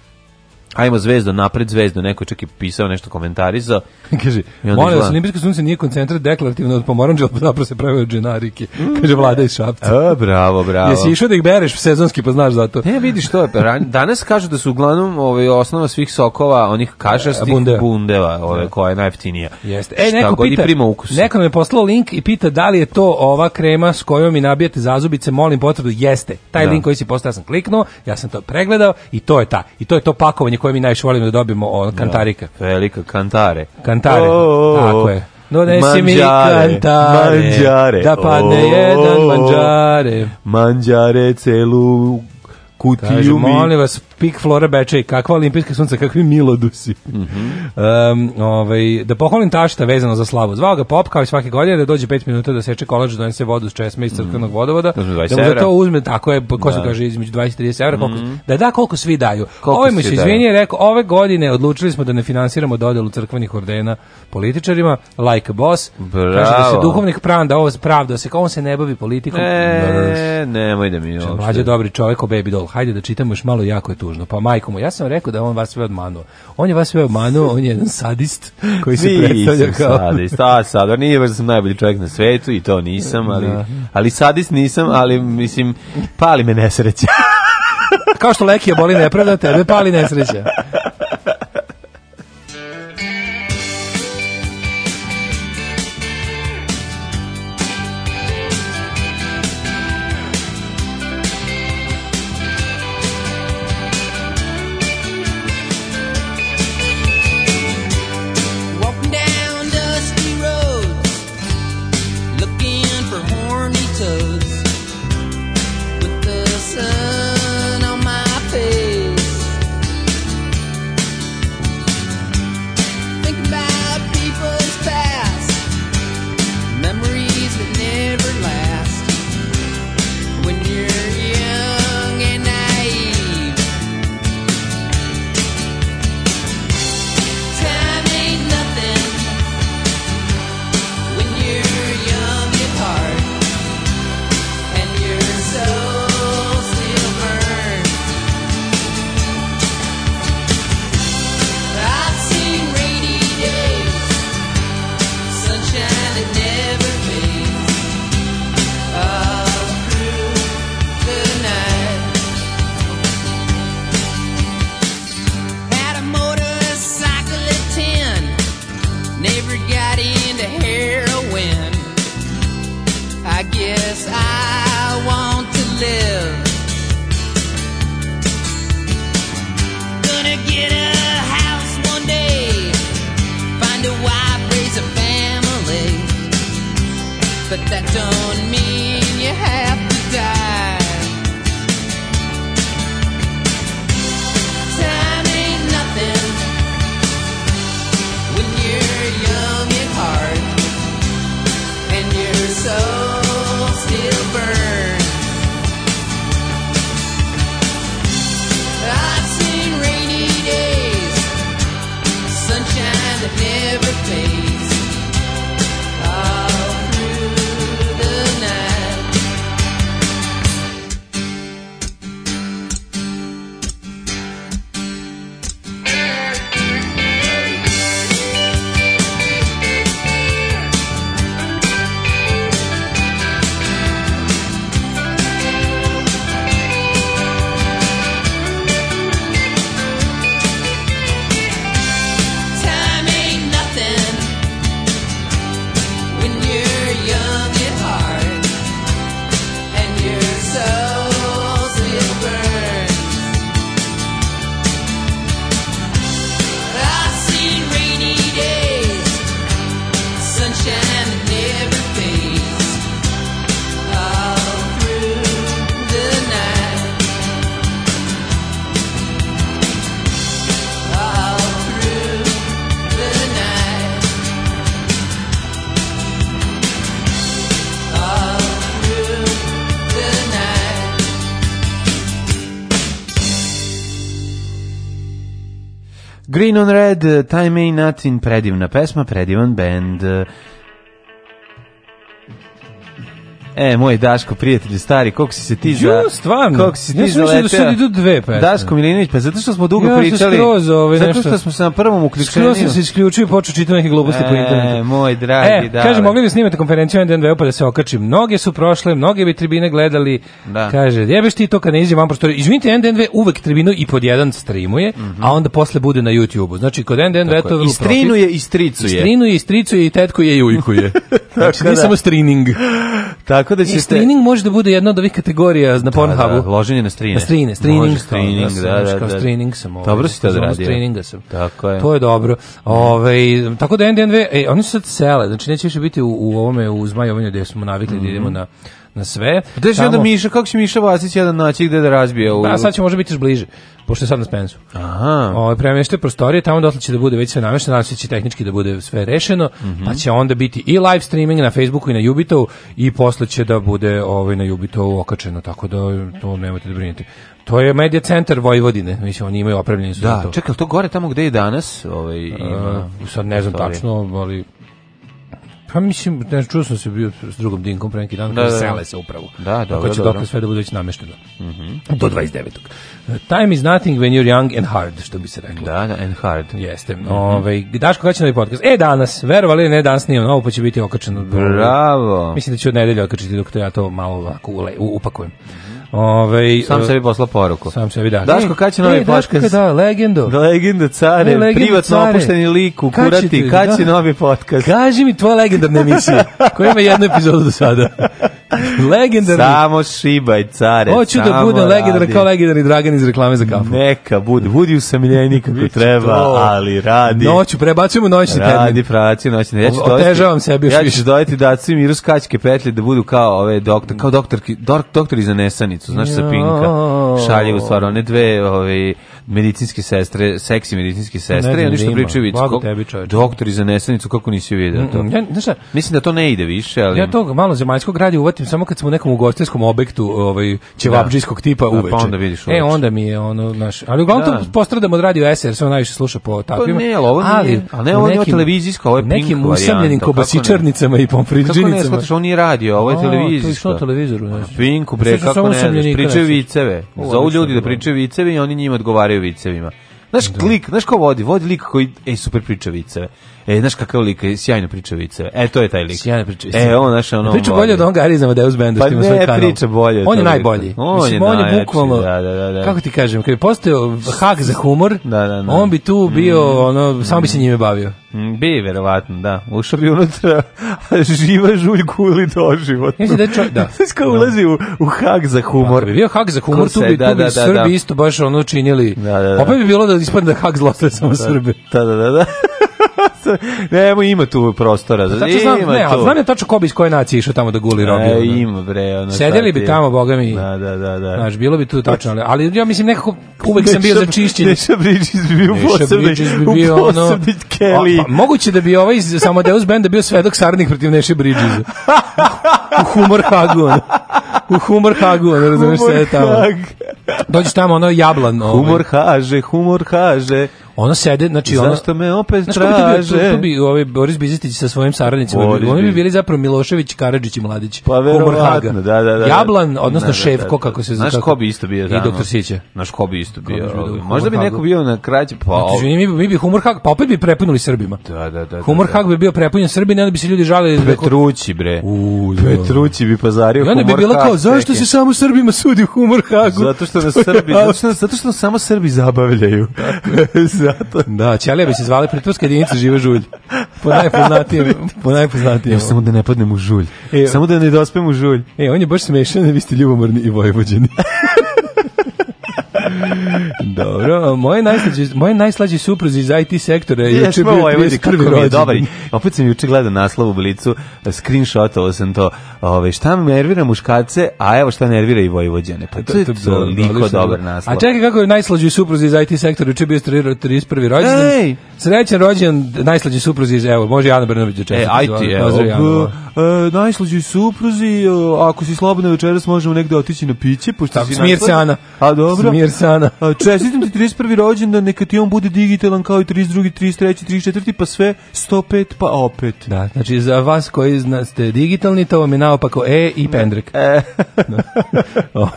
Speaker 8: Ajmo zvezdo, napred zvezdo, neko je čak i pisao nešto komentarizao.
Speaker 7: Kaže,
Speaker 8: I onda
Speaker 7: molim vas,
Speaker 8: izgleda-
Speaker 7: olimpijsko sunce nije koncentrat deklarativno od pomoranđa, ali zapravo se pravi od dženarike,
Speaker 8: Mm.
Speaker 7: kaže vlada iz Šapca.
Speaker 8: A, E, bravo, bravo.
Speaker 7: Jesi išao da ih bereš sezonski, pa znaš zato.
Speaker 8: Ne, E, vidiš to je. ran- Danas kažu da su uglavnom ovaj, osnova svih sokova, onih kažastih
Speaker 7: E, Bundeva.
Speaker 8: bundeva, ove, koja je najeftinija.
Speaker 7: Jeste.
Speaker 8: E,
Speaker 7: E, neko
Speaker 8: god i
Speaker 7: pita,
Speaker 8: prima ukus.
Speaker 7: neko nam je poslao link i pita da li je to ova krema s kojom mi nabijate zazubice, molim potvrdu, jeste. Taj
Speaker 8: Da.
Speaker 7: link koji si poslao, ja sam kliknuo, ja sam to pregledao i to je ta. I to je to pakovanje koje mi najviše volimo da dobijemo od kantarika.
Speaker 8: Velika kantare.
Speaker 7: Kantare, tako je. Donesi mi
Speaker 8: Manđare,
Speaker 7: kantare,
Speaker 8: manđare,
Speaker 7: da padne
Speaker 8: o,
Speaker 7: jedan manđare.
Speaker 8: Manđare celu kutiju
Speaker 7: Kaže,
Speaker 8: mi.
Speaker 7: molim vas, pik Flora Bečej, kakva olimpijska sunca, kakvi milodusi. um, ovaj, da pohvalim tašta vezano za slavu. Zvao ga Pop, kao i svake godine, da dođe 5 minuta da seče kolač, da donese vodu s česme iz crkvenog vodovoda.
Speaker 8: To su 20
Speaker 7: Da mu za
Speaker 8: Mhm. evra. Mhm.
Speaker 7: to uzme, tako je, ko se kaže, između 20 i 30 evra, koliko, da da koliko svi daju.
Speaker 8: Koliko
Speaker 7: Ovo mu
Speaker 8: svi
Speaker 7: se
Speaker 8: daju.
Speaker 7: izvinje i rekao, ove godine odlučili smo da ne finansiramo dodelu crkvenih ordena političarima, like a boss. Kaže da se
Speaker 8: Bravo.
Speaker 7: duhovnik pravda, ovo pravda se, kao on se ne bavi politikom.
Speaker 8: E, nemoj da mi uopšte.
Speaker 7: Mlađe dobri čovjek o baby doll. Hajde da čitamo još malo jako je tužno. Pa majko mu, ja sam rekao da on vas sve obmanuo. On je vas sve obmanuo, on je jedan sadist koji se predstavlja
Speaker 8: Nisam
Speaker 7: kao...
Speaker 8: sadist, a sadar nije baš da sam najbolji čovjek na svetu i to nisam, ali, ali sadist nisam, ali mislim, pali me nesreća.
Speaker 7: Kao što Lekija boli nepravda, tebe pali nesreća.
Speaker 9: Walking down dusty roads, looking for horny toads. With the sun on my face, think about people's past, memories that never last. When you're young and naive. Time ain't nothing when you're young at heart and your soul still burns. I've seen rainy days, sunshine that never fades, all through the night. Had a motorcycle at ten. Never got into heroin. I guess I want to live. Gonna get a house one day. Find a wife, raise a family. But that don't mean you have to die. Time ain't nothing when you're young at heart and your soul still burns. I've seen rainy days, sunshine that never fades, all through the night. Time ain't nothing when you're young at heart and your soul still burns. I've seen rainy days, sunshine that never fades, all through the night. All through the night. All through the night.
Speaker 8: Green on Red, eh, Time Ain't Nothing, predivna pesma, predivan band. eh. E, moj Daško, prijatelju stari, koliko si se ti za...
Speaker 7: Ju, stvarno?
Speaker 8: Koliko si ti
Speaker 7: Ja sam mislio da
Speaker 8: zaleteo.
Speaker 7: sad idu dve pesme.
Speaker 8: Daško Milinović, pa zato što smo dugo
Speaker 7: Ja sam
Speaker 8: pričali.
Speaker 7: skroz, ovaj,
Speaker 8: zato
Speaker 7: nešto-
Speaker 8: što smo se na prvom uključenju.
Speaker 7: Skroz sam se isključio i počeo čitati neke gluposti po internetu.
Speaker 8: E, moj dragi,
Speaker 7: E,
Speaker 8: da.
Speaker 7: kaže, mogli bi snimati konferenciju NDNV pa da se okači. Mnoge su prošle, mnoge bi tribine gledali.
Speaker 8: Da.
Speaker 7: Kaže, jebeš ti to kad ne izađe van prostorije. Izvinite, NDNV uvek tribinu i pod jedan streamuje, a onda posle bude na YouTube-u. Znači, kod NDNV to je
Speaker 8: Mhm. I
Speaker 7: vrlo profit.
Speaker 8: strinuje i stricuje.
Speaker 7: Strinuje, i stricuje, i tetkuje, i ujkuje. znači,
Speaker 8: da.
Speaker 7: nije samo streaming.
Speaker 8: Tako da
Speaker 7: I
Speaker 8: ćete... Pa
Speaker 7: streaming može da bude jedna od ovih kategorija na Pornhubu.
Speaker 8: Da, da, loženje na strine.
Speaker 7: Na strine, streaming,
Speaker 8: Može streaming,
Speaker 7: kao,
Speaker 8: da,
Speaker 7: znaš,
Speaker 8: da,
Speaker 7: kao
Speaker 8: da.
Speaker 7: streaming sam. ovaj,
Speaker 8: Dobro si to
Speaker 7: u zonu
Speaker 8: odradio.
Speaker 7: Streaminga sam.
Speaker 8: Tako je.
Speaker 7: To je dobro. Ove, tako da NDNV, e, oni su sad sele, znači neće više biti u, u ovome, u zmajovanju gde smo navikli da idemo na, na sve.
Speaker 8: Mhm. Gde će
Speaker 7: Tamo-
Speaker 8: onda Miša, kako će Miša Vasić jedan naći gde da razbije ovu...
Speaker 7: A sad će možda biti još bliže, pošto je sad na Spensu.
Speaker 8: Aha.
Speaker 7: Ovaj premeštaj prostorije, tamo dotle će da bude već sve namešteno, nadam se da će tehnički da bude sve rešeno,
Speaker 8: Mhm.
Speaker 7: pa će onda biti i live streaming na Facebooku i na Jubitovu i posle će da bude ovaj na Jubitovu okačeno, tako da to nemojte da brinete. To je Media Centar Vojvodine, mislim oni imaju opremljeni su za
Speaker 8: Da,
Speaker 7: to.
Speaker 8: čekaj, ali to gore tamo gde je danas? Ovaj, ima...
Speaker 7: E, sad ne znam
Speaker 8: prostorije.
Speaker 7: tačno, ali Pa mislim, ne, čuo sam se bio s drugom Dinkom pre neki dan, da,
Speaker 8: da, da.
Speaker 7: sele se upravo.
Speaker 8: Da, Mhm. dobro,
Speaker 7: Tako će
Speaker 8: dobro.
Speaker 7: dokle sve da bude već namešteno. Do 29. Time is nothing when you're young and hard, što bi se reklo.
Speaker 8: Da, da, and hard.
Speaker 7: Jeste.
Speaker 8: Mhm.
Speaker 7: Ovaj Daško kada će novi podcast? E danas, verovali ili ne, danas nije novo, pa će biti okačeno.
Speaker 8: Bravo.
Speaker 7: Mislim da ću od nedelje okačiti dok to ja to malo ovako ule- u- upakujem. Ovaj
Speaker 8: Mhm. Sam
Speaker 7: e,
Speaker 8: sebi posla poruku.
Speaker 7: sam sebi da.
Speaker 8: Daško, kada će novi
Speaker 7: e,
Speaker 8: podcast?
Speaker 7: Daško, da, legendo.
Speaker 8: Legenda care,
Speaker 7: E, legenda
Speaker 8: privatno
Speaker 7: care.
Speaker 8: opušteni lik u
Speaker 7: Kad će
Speaker 8: kurati,
Speaker 7: ti-
Speaker 8: kad će
Speaker 7: da.
Speaker 8: novi podcast?
Speaker 7: Kaži mi tvoja legendarna emisija, koja ima jednu epizodu do sada. Legendarna.
Speaker 8: Samo šibaj care,
Speaker 7: Hoću da
Speaker 8: samo
Speaker 7: budem legendaran
Speaker 8: radi.
Speaker 7: kao legendarni Dragan iz reklame za kafu.
Speaker 8: Neka bude, budi usamljeni kako treba,
Speaker 7: to.
Speaker 8: ali radi.
Speaker 7: Noću, prebacujemo noćni
Speaker 8: Radi
Speaker 7: termin.
Speaker 8: praci noćni. Ja ću
Speaker 7: O- otežavam sebi još
Speaker 8: ja
Speaker 7: više.
Speaker 8: ću dodati da svi miru skačke petlje da budu kao ove doktor, kao doktorki, dok, doktori za nesanicu, znaš sa Pinka.
Speaker 7: Jao.
Speaker 8: Šalje u stvar, one dve ove, medicinske sestre, seksi medicinske
Speaker 7: Ne
Speaker 8: sestre,
Speaker 7: znam
Speaker 8: ja ništa
Speaker 7: da ima.
Speaker 8: pričaju vic.
Speaker 7: Blago
Speaker 8: kako-
Speaker 7: tebi, čoveče.
Speaker 8: Doktori za nesanicu, kako nisi vidio to?
Speaker 7: Mm, Ja, znaš šta,
Speaker 8: Mislim da to ne ide više, ali...
Speaker 7: Ja tog malo zemaljskog radija uvatim samo kad smo u nekom ugostiteljskom objektu, ovaj ćevabdžijskog tipa
Speaker 8: pa
Speaker 7: uveče.
Speaker 8: onda vidiš
Speaker 7: E
Speaker 8: uveče.
Speaker 7: onda mi je ono naš, ali uglavnom
Speaker 8: Da. Pa
Speaker 7: to postradam od radio SR, se on najviše sluša po takvima.
Speaker 8: ne, ali ovo nije- ali ne,
Speaker 7: u
Speaker 8: ovo nije
Speaker 7: nekim-
Speaker 8: televizijsko, ovo je
Speaker 7: u
Speaker 8: Pink
Speaker 7: nekim
Speaker 8: varijanta,
Speaker 7: usamljenim
Speaker 8: kako ne?
Speaker 7: kobasičarnicama i
Speaker 8: Kako ne,
Speaker 7: pomfriđinicama.
Speaker 8: shvataš, on nije radio, ovo je
Speaker 7: A, to je
Speaker 8: televizijsko.
Speaker 7: išlo na televizoru, znaš.
Speaker 8: Pinku, bre,
Speaker 7: Sad su
Speaker 8: kako
Speaker 7: samo
Speaker 8: ne, znaš,
Speaker 7: usamljenika
Speaker 8: pričaju
Speaker 7: nešto.
Speaker 8: viceve.
Speaker 7: O,
Speaker 8: Zovu
Speaker 7: odlično,
Speaker 8: ljudi da
Speaker 7: dobro.
Speaker 8: pričaju viceve i oni njima odgovaraju vicevima. Znaš, lik, znaš ko vodi? Vodi lik koji, ej, super priča viceve. E, znaš kakav lik, e, sjajno priča viceve. E, to je taj lik.
Speaker 7: Sjajno priča viceve.
Speaker 8: E, on, znaš, ono...
Speaker 7: Priča
Speaker 8: vodi.
Speaker 7: bolje od onoga Arizama Deus Benda
Speaker 8: Pa
Speaker 7: što ima
Speaker 8: ne,
Speaker 7: svoj kanal.
Speaker 8: priča bolje od
Speaker 7: On je
Speaker 8: toga.
Speaker 7: najbolji.
Speaker 8: On
Speaker 7: Mislim,
Speaker 8: je
Speaker 7: on je
Speaker 8: najjači,
Speaker 7: bukvalno,
Speaker 8: da, da, da, da.
Speaker 7: kako ti kažem, kad je postao hak za humor,
Speaker 8: Da, da, Mm. da.
Speaker 7: on bi tu bio, ono, samo bi se njime bavio.
Speaker 8: Mm, Bi, verovatno, da. Ušao bi unutra, a živa žulj kuli doživotno.
Speaker 7: Mislim da je čo- da.
Speaker 8: Znaš, kao ulazi u, u hak za humor.
Speaker 7: Ako bi bio hak za humor,
Speaker 8: Ko
Speaker 7: tu
Speaker 8: se-
Speaker 7: bi,
Speaker 8: da,
Speaker 7: tu bi
Speaker 8: da, da,
Speaker 7: Srbi
Speaker 8: da.
Speaker 7: isto baš ono činili.
Speaker 8: Da, da, da.
Speaker 7: Opet bi bilo da ispadne da hak zlostavlja samo Srbe.
Speaker 8: Da, da, da, da. Nemo, ima tu prostora. za-
Speaker 7: Tačno Pa znam,
Speaker 8: ima
Speaker 7: ne, ali
Speaker 8: tu.
Speaker 7: znam je tačno ko bi iz koje nacije išao tamo da guli robi.
Speaker 8: E,
Speaker 7: ono.
Speaker 8: ima bre, ono,
Speaker 7: Sedeli
Speaker 8: sad
Speaker 7: bi
Speaker 8: je-
Speaker 7: tamo, boga mi.
Speaker 8: Da, da, da, da.
Speaker 7: Znaš, bilo bi tu tačno, ali, ali ja mislim nekako uvek sam bio za čišćenje.
Speaker 8: Neša Bridges bi bio u
Speaker 7: Neša
Speaker 8: posebnoj,
Speaker 7: Bridges bi
Speaker 8: u
Speaker 7: bio ono...
Speaker 8: posebnoj Kelly.
Speaker 7: A, pa, moguće da bi ovaj iz Samodeus benda bio svedok Sarnih protiv Neše Bridgesa. U humor hagu, ono. U humor hagu, ono, razumeš sve tamo. Ovaj-
Speaker 8: Hag.
Speaker 7: Dođeš tamo, ono, jablan, ovaj.
Speaker 8: Humor haže, humor haže.
Speaker 7: Ono sede, znači, ono...
Speaker 8: Zašto me opet
Speaker 7: Znaš ko bi tu bio?
Speaker 8: traže?
Speaker 7: Tu, tu bi ovaj Boris Bizetić sa svojim saradnicima.
Speaker 8: Boris
Speaker 7: bili. Oni bi
Speaker 8: Bizetić.
Speaker 7: bili zapravo Milošević, Karadžić i Mladić.
Speaker 8: Pa
Speaker 7: Humor Haga.
Speaker 8: verovatno, da, da, da, da.
Speaker 7: Jablan, odnosno
Speaker 8: Da, da,
Speaker 7: Šefko,
Speaker 8: da,
Speaker 7: kako se
Speaker 8: Znaš
Speaker 7: kako-
Speaker 8: ko bi isto bio
Speaker 7: I
Speaker 8: tamo?
Speaker 7: doktor Sića.
Speaker 8: Znaš ko bi isto bio?
Speaker 7: bi bio
Speaker 8: ovaj?
Speaker 7: u
Speaker 8: Možda bi
Speaker 7: Humor
Speaker 8: neko
Speaker 7: Hagu?
Speaker 8: bio na krađe, pa...
Speaker 7: Znači,
Speaker 8: ovo-
Speaker 7: Izvini, mi, bi- mi bi Humor Hag, pa opet bi prepunili Srbima.
Speaker 8: Da, da, da.
Speaker 7: Humor
Speaker 8: da, da.
Speaker 7: Hag bi bio prepunjen Srbima i onda bi se ljudi žalili. da-
Speaker 8: Petrući, bre.
Speaker 7: U, da.
Speaker 8: Petrući bi pazario
Speaker 7: I
Speaker 8: humor
Speaker 7: onda bi bilo
Speaker 8: Hag,
Speaker 7: kao, zašto
Speaker 8: čekaj.
Speaker 7: se samo Srbima sudi u Humor Hagu?
Speaker 8: Zato što nas
Speaker 7: To je
Speaker 8: Srbi,
Speaker 7: apsurd.
Speaker 8: zato što, nas- zato što nas samo Srbi zabavljaju. zato.
Speaker 7: Da, Ćelija bi se zvala Pritvorska jedinica Živa žulj. Po najpoznatijem. po najpoznatijem.
Speaker 8: Evo samo da ne padnem u žulj.
Speaker 7: E,
Speaker 8: samo da ne dospem u žulj.
Speaker 7: E, on je baš smešan, vi ste ljubomorni i vojvođeni. Dobro, moje najslađi, moje najslađi supruzi iz IT sektora je E, juče
Speaker 8: Jesmo
Speaker 7: bio
Speaker 8: Vojvodi,
Speaker 7: 31.
Speaker 8: kako mi je
Speaker 7: rođendan.
Speaker 8: dobar. Opet sam juče gledao naslov u blicu, screenshotovao sam to. Ove, šta me nervira muškarce, a evo šta nervira i Vojvođane.
Speaker 7: E,
Speaker 8: Pa to je toliko
Speaker 7: odlično.
Speaker 8: dobar naslov.
Speaker 7: A čekaj kako je najslađi supruzi iz IT sektora, juče je bio 31. rođendan.
Speaker 8: Ej!
Speaker 7: Srećan rođendan, najslađi supruzi iz, evo, može i Ana Brnović da
Speaker 8: E,
Speaker 7: čestiti.
Speaker 8: aj ti, evo,
Speaker 7: Pozdrav, Ana.
Speaker 8: e, e, najslađi supruzi, e, ako si slobodna večeras možemo negde otići na piće, pošto
Speaker 7: Tako,
Speaker 8: si
Speaker 7: smir se,
Speaker 8: naslada.
Speaker 7: Ana.
Speaker 8: A dobro,
Speaker 7: Smir Sana.
Speaker 8: A, Čestitam ti 31. rođendan, neka ti on bude digitalan kao i 32., 33., 34., pa sve 105, pa opet.
Speaker 7: Da, znači za vas koji zna, ste digitalni, to vam je naopako E i pendrek. Ovaj,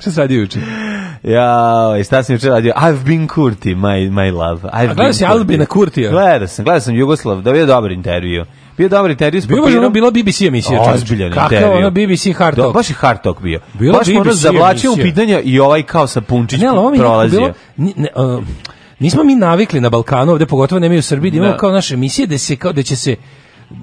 Speaker 7: Šta sad juče?
Speaker 8: Ja, i šta sam juče radio? I've been Kurti, my, my love. I've
Speaker 7: A gledao
Speaker 8: been
Speaker 7: si
Speaker 8: Kurti.
Speaker 7: Albina Kurtija?
Speaker 8: Gledao sam, gledao sam Jugoslav, da bio je dobar intervju. Bio je dobar intervju s
Speaker 7: Bio baš
Speaker 8: papirom.
Speaker 7: ono bila BBC emisija. čovječe.
Speaker 8: Ozbiljan
Speaker 7: Kakav
Speaker 8: intervju.
Speaker 7: ono BBC hard
Speaker 8: Da,
Speaker 7: talk.
Speaker 8: baš je hard talk bio.
Speaker 7: Bila
Speaker 8: baš ono
Speaker 7: BBC
Speaker 8: zavlačio u
Speaker 7: emisija.
Speaker 8: pitanja i ovaj kao sa punčić
Speaker 7: Ne, ali ovo mi je nekako
Speaker 8: prolazio.
Speaker 7: bilo... ni- ne, a, nismo mi navikli na Balkanu, ovde pogotovo ne mi u Srbiji, da imamo
Speaker 8: Da.
Speaker 7: kao naše emisije da se kao da će se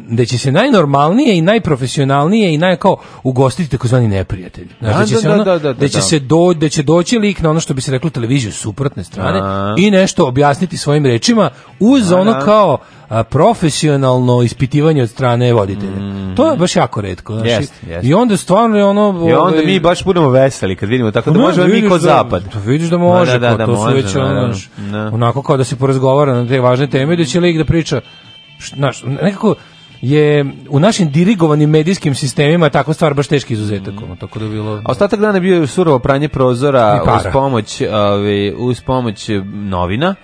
Speaker 7: da će se najnormalnije i najprofesionalnije i naj kao ugostiti takozvani neprijatelj. Znaš,
Speaker 8: Da,
Speaker 7: da, će
Speaker 8: da,
Speaker 7: se
Speaker 8: da,
Speaker 7: ono,
Speaker 8: da, da,
Speaker 7: da će
Speaker 8: da.
Speaker 7: se do, da će doći lik na ono što bi se reklo u televiziju s suprotne strane
Speaker 8: A.
Speaker 7: i nešto objasniti svojim rečima uz ono kao a, profesionalno ispitivanje od strane voditelja. To je baš jako redko. Znaš,
Speaker 8: Mm. Jest,
Speaker 7: i-
Speaker 8: jest.
Speaker 7: I onda stvarno je ono...
Speaker 8: I onda
Speaker 7: ovaj, Pa
Speaker 8: mi baš budemo veseli kad vidimo, tako Pa da
Speaker 7: ne,
Speaker 8: možemo mi
Speaker 7: vidiš
Speaker 8: ko
Speaker 7: da-
Speaker 8: zapad.
Speaker 7: Da, vidiš da
Speaker 8: Ma
Speaker 7: može,
Speaker 8: da, da,
Speaker 7: pa
Speaker 8: da,
Speaker 7: to su
Speaker 8: može,
Speaker 7: već ono,
Speaker 8: naravno.
Speaker 7: znaš,
Speaker 8: Da.
Speaker 7: onako kao da se porazgovara na te važne teme i da će lik da priča, š- znaš, nekako je u našim dirigovanim medijskim sistemima takva stvar baš teški izuzetak, ono, tako da je bilo...
Speaker 8: A Ostatak dana bio je surovo pranje prozora
Speaker 7: I para.
Speaker 8: uz pomoć, ovaj, uz pomoć eh, novina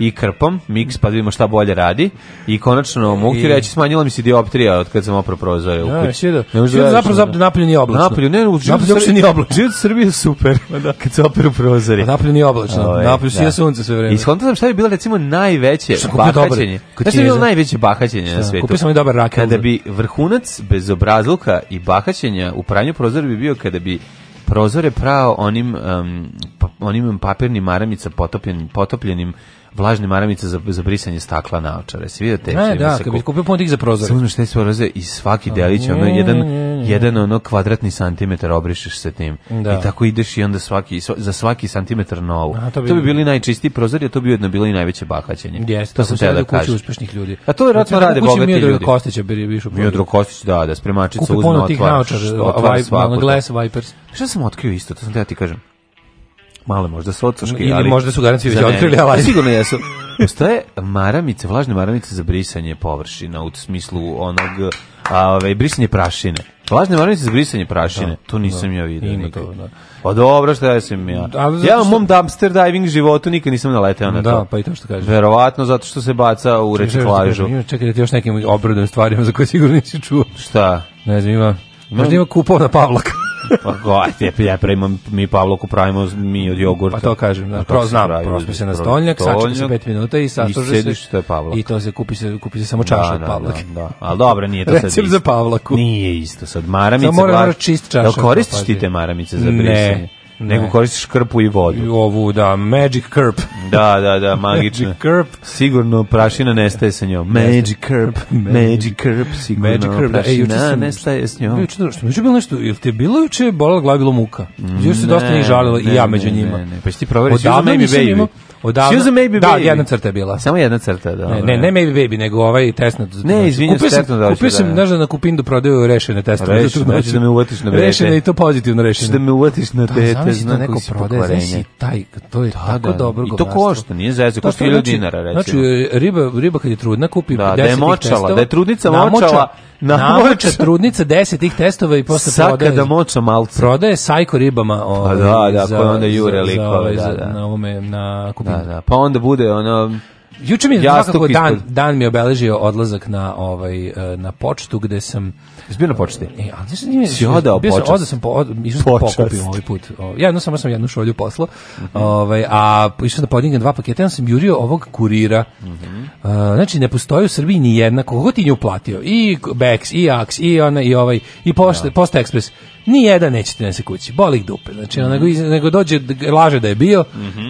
Speaker 8: i krpom, miks, pa da vidimo šta bolje radi. I konačno mogu ti
Speaker 7: I-
Speaker 8: reći, smanjila mi se dioptrija od kad sam opro prozore u
Speaker 7: Da,
Speaker 8: kući.
Speaker 7: svuda.
Speaker 8: Ne možeš da
Speaker 7: Svuda
Speaker 8: veruješ,
Speaker 7: zapravo
Speaker 8: ono.
Speaker 7: zap- napolju nije oblačno.
Speaker 8: Napolju, ne, u životu
Speaker 7: Napolju uopšte
Speaker 8: Srbije-
Speaker 7: nije oblačno.
Speaker 8: Život Srbije je super, kad se operu prozori.
Speaker 7: A napolje nije oblačno,
Speaker 8: Ovaj,
Speaker 7: napolju sija sunce sve vreme.
Speaker 8: I skontao sam šta bi bilo recimo najveće
Speaker 7: Šta kupio dobar
Speaker 8: bahaćenje. Šta bi
Speaker 7: kutijeza?
Speaker 8: bilo najveće bahaćenje na
Speaker 7: Šta,
Speaker 8: svetu?
Speaker 7: kupio sam ovaj i dobar rakel.
Speaker 8: Kada bi vrhunac bez obrazluka i bahaćenja u pranju prozora bi bio kada bi prozore prao onim, um, pa- onim papirnim maramica potopljenim, potopljenim vlažnim maramica za, za brisanje stakla naočare. Si vidio te?
Speaker 7: Ne,
Speaker 8: Ima
Speaker 7: E, da,
Speaker 8: se
Speaker 7: kad
Speaker 8: ku-
Speaker 7: bi kupio puno tih za prozor.
Speaker 8: samo ono što je sve oraze i svaki delić, ono, jedan, jedan ono kvadratni santimetar obrišeš sa tim.
Speaker 7: Da.
Speaker 8: I tako ideš i onda svaki, sva- za svaki santimetar novu. to,
Speaker 7: A, to
Speaker 8: bi...
Speaker 7: bi-
Speaker 8: bili najčistiji prozori, a to bi ujedno bilo i najveće bahaćenje.
Speaker 7: Jeste,
Speaker 8: to
Speaker 7: tako
Speaker 8: sam
Speaker 7: se
Speaker 8: teo
Speaker 7: radi
Speaker 8: da
Speaker 7: u kući
Speaker 8: kažem.
Speaker 7: uspešnih ljudi.
Speaker 8: A to vjerojatno
Speaker 7: Recimo,
Speaker 8: rade
Speaker 7: u kući
Speaker 8: bogati
Speaker 7: Miodraga
Speaker 8: ljudi.
Speaker 7: Kostića bi više u prozoru.
Speaker 8: Miodrag Kostić, da, da, spremačica
Speaker 7: Kupi
Speaker 8: uzme
Speaker 7: puno tih
Speaker 8: otvara-
Speaker 7: naočara,
Speaker 8: što- otvara
Speaker 7: vi-
Speaker 8: svako
Speaker 7: ono,
Speaker 8: to.
Speaker 7: Glass Vipers.
Speaker 8: Šta sam otkrio isto, to sam teo ti kažem. Malo je možda su ocoški,
Speaker 7: Ili
Speaker 8: ali...
Speaker 7: možda su garanti već
Speaker 8: Za mene.
Speaker 7: otkrili, ali-
Speaker 8: Pa Sigurno jesu. Postoje maramice, vlažne maramice za brisanje površina, u smislu onog, a, ovaj, brisanje prašine. Vlažne maramice za brisanje prašine. to nisam ja vidio.
Speaker 7: Ima
Speaker 8: nikad.
Speaker 7: to, da.
Speaker 8: Pa dobro, šta ja sam ja.
Speaker 7: Ali zato
Speaker 8: Ja u
Speaker 7: što-
Speaker 8: mom dumpster diving životu nikad nisam naleteo na
Speaker 7: Da,
Speaker 8: to.
Speaker 7: pa i to što kažeš.
Speaker 8: Verovatno zato što se baca u reciklažu.
Speaker 7: Ima- Čekaj da ti još nekim obradom stvarima za koje sigurno nisi čuo.
Speaker 8: Šta?
Speaker 7: Ne znam, ima... Možda ima kupovna Pavlaka.
Speaker 8: Pa gledajte, ja pravimo, mi Pavloku pravimo mi od jogurta.
Speaker 7: Pa to kažem, da,
Speaker 8: Pa
Speaker 7: pro,
Speaker 8: kako se
Speaker 7: znam,
Speaker 8: pravi
Speaker 7: prospe
Speaker 8: od-
Speaker 7: se na
Speaker 8: pro-
Speaker 7: stolnjak, sačeka se
Speaker 8: stolnjak,
Speaker 7: 5 minuta i
Speaker 8: I
Speaker 7: sasluže se.
Speaker 8: sediš, to je Pavlak.
Speaker 7: I to se kupi se, kupi se samo čaša
Speaker 8: Da,
Speaker 7: od
Speaker 8: da, da,
Speaker 7: Pavlaka.
Speaker 8: da, ali dobro, nije to sad
Speaker 7: Recept
Speaker 8: isto.
Speaker 7: za Pavlaku.
Speaker 8: Nije isto sad, maramice.
Speaker 7: Samo mora-
Speaker 8: vlaž-
Speaker 7: mora čist čaša,
Speaker 8: Jel koristiš
Speaker 7: pazi.
Speaker 8: ti te maramice za
Speaker 7: Ne,
Speaker 8: brisanje?
Speaker 7: ne.
Speaker 8: Nego koristiš krpu i vodu.
Speaker 7: I ovu, da, Magic Curp.
Speaker 8: Da, da, da, magična.
Speaker 7: Magic Curp.
Speaker 8: Sigurno prašina nestaje sa njom. Magic Curp, Magic Curp, sigurno
Speaker 7: Magic Curp, da. E,
Speaker 8: prašina
Speaker 7: juče sam-
Speaker 8: nestaje s
Speaker 7: Bio
Speaker 8: njom.
Speaker 7: juče dobro, što mi je juče bilo nešto, jel ti je bilo juče bolala glava, bilo muka? Juče se dosta njih žalilo i
Speaker 8: ne,
Speaker 7: ja među
Speaker 8: ne,
Speaker 7: njima.
Speaker 8: ne, ne. Pa ćeš ti proveriti.
Speaker 7: Odavno
Speaker 8: Maybe
Speaker 7: nisam
Speaker 8: Baby.
Speaker 7: imao- odavno-
Speaker 8: She was a Maybe
Speaker 7: Da,
Speaker 8: Baby.
Speaker 7: jedna crta je bila.
Speaker 8: Samo jedna crta, da. ono,
Speaker 7: Ne, ne, ne Maybe Baby, nego ovaj test na
Speaker 8: Ne, izvinjam se,
Speaker 7: kupio sam,
Speaker 8: testno da hoću,
Speaker 7: kupio sam,
Speaker 8: da, da.
Speaker 7: znaš da na Kupindu prodaju rešene testove. za tu
Speaker 8: Rešene,
Speaker 7: noć.
Speaker 8: hoćeš da me uvatiš na vrete.
Speaker 7: Rešene i to pozitivno rešene.
Speaker 8: Hoćeš da me uvatiš na dete,
Speaker 7: da, zamisli to
Speaker 8: znam
Speaker 7: neko
Speaker 8: koji si
Speaker 7: prodaje,
Speaker 8: pokvarenje.
Speaker 7: znaš i taj, to je tako
Speaker 8: da.
Speaker 7: dobro
Speaker 8: I to
Speaker 7: govnarstvo.
Speaker 8: košta, nije zezno,
Speaker 7: To
Speaker 8: košta
Speaker 7: što,
Speaker 8: 1000
Speaker 7: znači-
Speaker 8: dinara, recimo.
Speaker 7: Znači, riba, riba kad je trudna, kupi
Speaker 8: Da, da je
Speaker 7: 10 tih
Speaker 8: močala,
Speaker 7: testova,
Speaker 8: da je trudnica
Speaker 7: namoča-
Speaker 8: močala, namoča.
Speaker 7: namoča trudnica 10 tih testova i posle
Speaker 8: Sad
Speaker 7: prodaje.
Speaker 8: kada moča malce.
Speaker 7: Prodaje sajko ribama ovaj,
Speaker 8: Pa da, da, koje onda jure likove,
Speaker 7: ovaj,
Speaker 8: da,
Speaker 7: za-
Speaker 8: da.
Speaker 7: na ovome na kupinu.
Speaker 8: Da, da. Pa onda bude ono...
Speaker 7: Juče mi je
Speaker 8: Jastuk
Speaker 7: svakako
Speaker 8: ispod.
Speaker 7: dan, dan mi je obeležio odlazak na ovaj eh, na počtu gde sam
Speaker 8: Jesi bio na početi?
Speaker 7: E, ali znaš, nije,
Speaker 8: Si odao
Speaker 7: bio sam-
Speaker 8: počast?
Speaker 7: Odao sam, po, od, išao sam
Speaker 8: Počast.
Speaker 7: pokupim ovaj put. O, ja jedno, samo sam jednu šolju poslo, ovaj, a išao sam da podignem dva paketa, ja sam jurio ovog kurira.
Speaker 8: Mhm.
Speaker 7: A, znači, ne postoji u Srbiji ni jedna, koliko god ti nju platio, i Bex, i Ax, i ona, i ovaj, i Posta, Posta Express, ni jedan nećete nese kući, boli ih dupe. Znači, ono, nego, iz- nego dođe, d- laže da je bio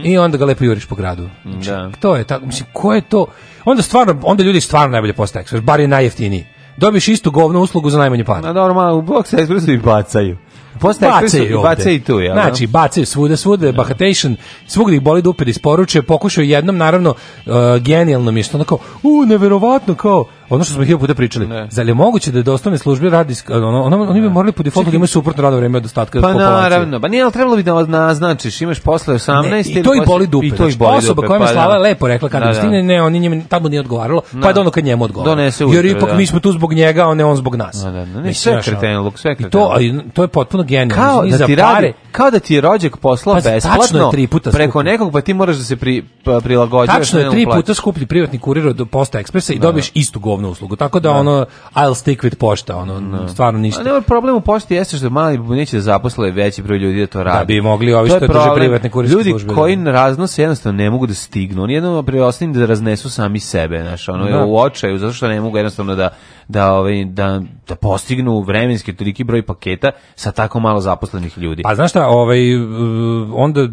Speaker 7: i onda ga lepo juriš po gradu. Znači,
Speaker 8: Mhm. Da.
Speaker 7: To je tako, mislim, ko je to? Onda stvarno, onda ljudi stvarno najbolje Posta Express, bar je najjeftiniji. Dobiješ istu govnu uslugu za najmanje para.
Speaker 8: Na dobro, malo, u Box Expressu i bacaju. Posle
Speaker 7: Bacaju
Speaker 8: Expressu i
Speaker 7: ovde.
Speaker 8: bacaju i tu, jel? da?
Speaker 7: Znači, bacaju svuda, svuda je bahatation, svugdje ih boli dupe da isporuče, pokušaju jednom, naravno, uh, genijalno mi je što ono kao, u, neverovatno, kao, Ono što smo hiljadu puta pričali.
Speaker 8: Ne.
Speaker 7: Zar je moguće da dostavne službe radi sk- ono, ono, oni bi morali po defaultu da imaju suprotno radno vreme od ostatka
Speaker 8: Pa
Speaker 7: populacije.
Speaker 8: naravno, pa nije, ali trebalo bi da vas naznačiš, imaš posle 18
Speaker 7: Ne,
Speaker 8: ili
Speaker 7: I to i
Speaker 8: posle-
Speaker 7: boli dupe.
Speaker 8: I to i
Speaker 7: Znači,
Speaker 8: boli
Speaker 7: osoba
Speaker 8: dupe,
Speaker 7: koja mi
Speaker 8: pa
Speaker 7: Slava
Speaker 8: da.
Speaker 7: je lepo rekla kad
Speaker 8: Da,
Speaker 7: mi
Speaker 8: da.
Speaker 7: stigne, ne, on njemu tamo nije odgovaralo, pa da ono kad njemu odgovara.
Speaker 8: Donese
Speaker 7: Jer
Speaker 8: ujutro,
Speaker 7: ipak
Speaker 8: da.
Speaker 7: mi smo tu zbog njega, a ne on zbog nas.
Speaker 8: Da, da, ne,
Speaker 7: Mislim,
Speaker 8: sve
Speaker 7: znaš, ono,
Speaker 8: kretenluk, sve
Speaker 7: I to,
Speaker 8: kretenluk.
Speaker 7: a i to je potpuno genijalno.
Speaker 8: kao
Speaker 7: Ni
Speaker 8: da
Speaker 7: za
Speaker 8: ti
Speaker 7: pare-
Speaker 8: radi, kao da ti je rođak poslao
Speaker 7: Pazi, tačno je
Speaker 8: besplatno
Speaker 7: tri puta
Speaker 8: preko
Speaker 7: skuplje.
Speaker 8: nekog, pa ti moraš da se pri, pa, prilagođavaš.
Speaker 7: Tačno
Speaker 8: ne
Speaker 7: je
Speaker 8: da
Speaker 7: tri
Speaker 8: mu plaćaš.
Speaker 7: puta skuplji privatni kurir od Posta Ekspresa i dobiješ istu govnu uslugu. Tako da ono I'll stick with pošta, ono stvarno
Speaker 8: A
Speaker 7: ništa.
Speaker 8: ne, problem u pošti jeste što mali neće da zaposle veći broj ljudi da to radi.
Speaker 7: bi mogli ovi
Speaker 8: To je
Speaker 7: što drže
Speaker 8: problem.
Speaker 7: privatne kurirske
Speaker 8: Ljudi
Speaker 7: službe,
Speaker 8: koji
Speaker 7: da.
Speaker 8: raznose jednostavno ne mogu da stignu. Oni jednostavno preostani da raznesu sami sebe, znaš, ono,
Speaker 7: Da.
Speaker 8: u očaju, zato što ne mogu jednostavno da, da, ovaj, da, da postignu vremenski toliki broj paketa sa tako malo zaposlenih ljudi.
Speaker 7: Pa znaš šta, ovaj, uh, onda,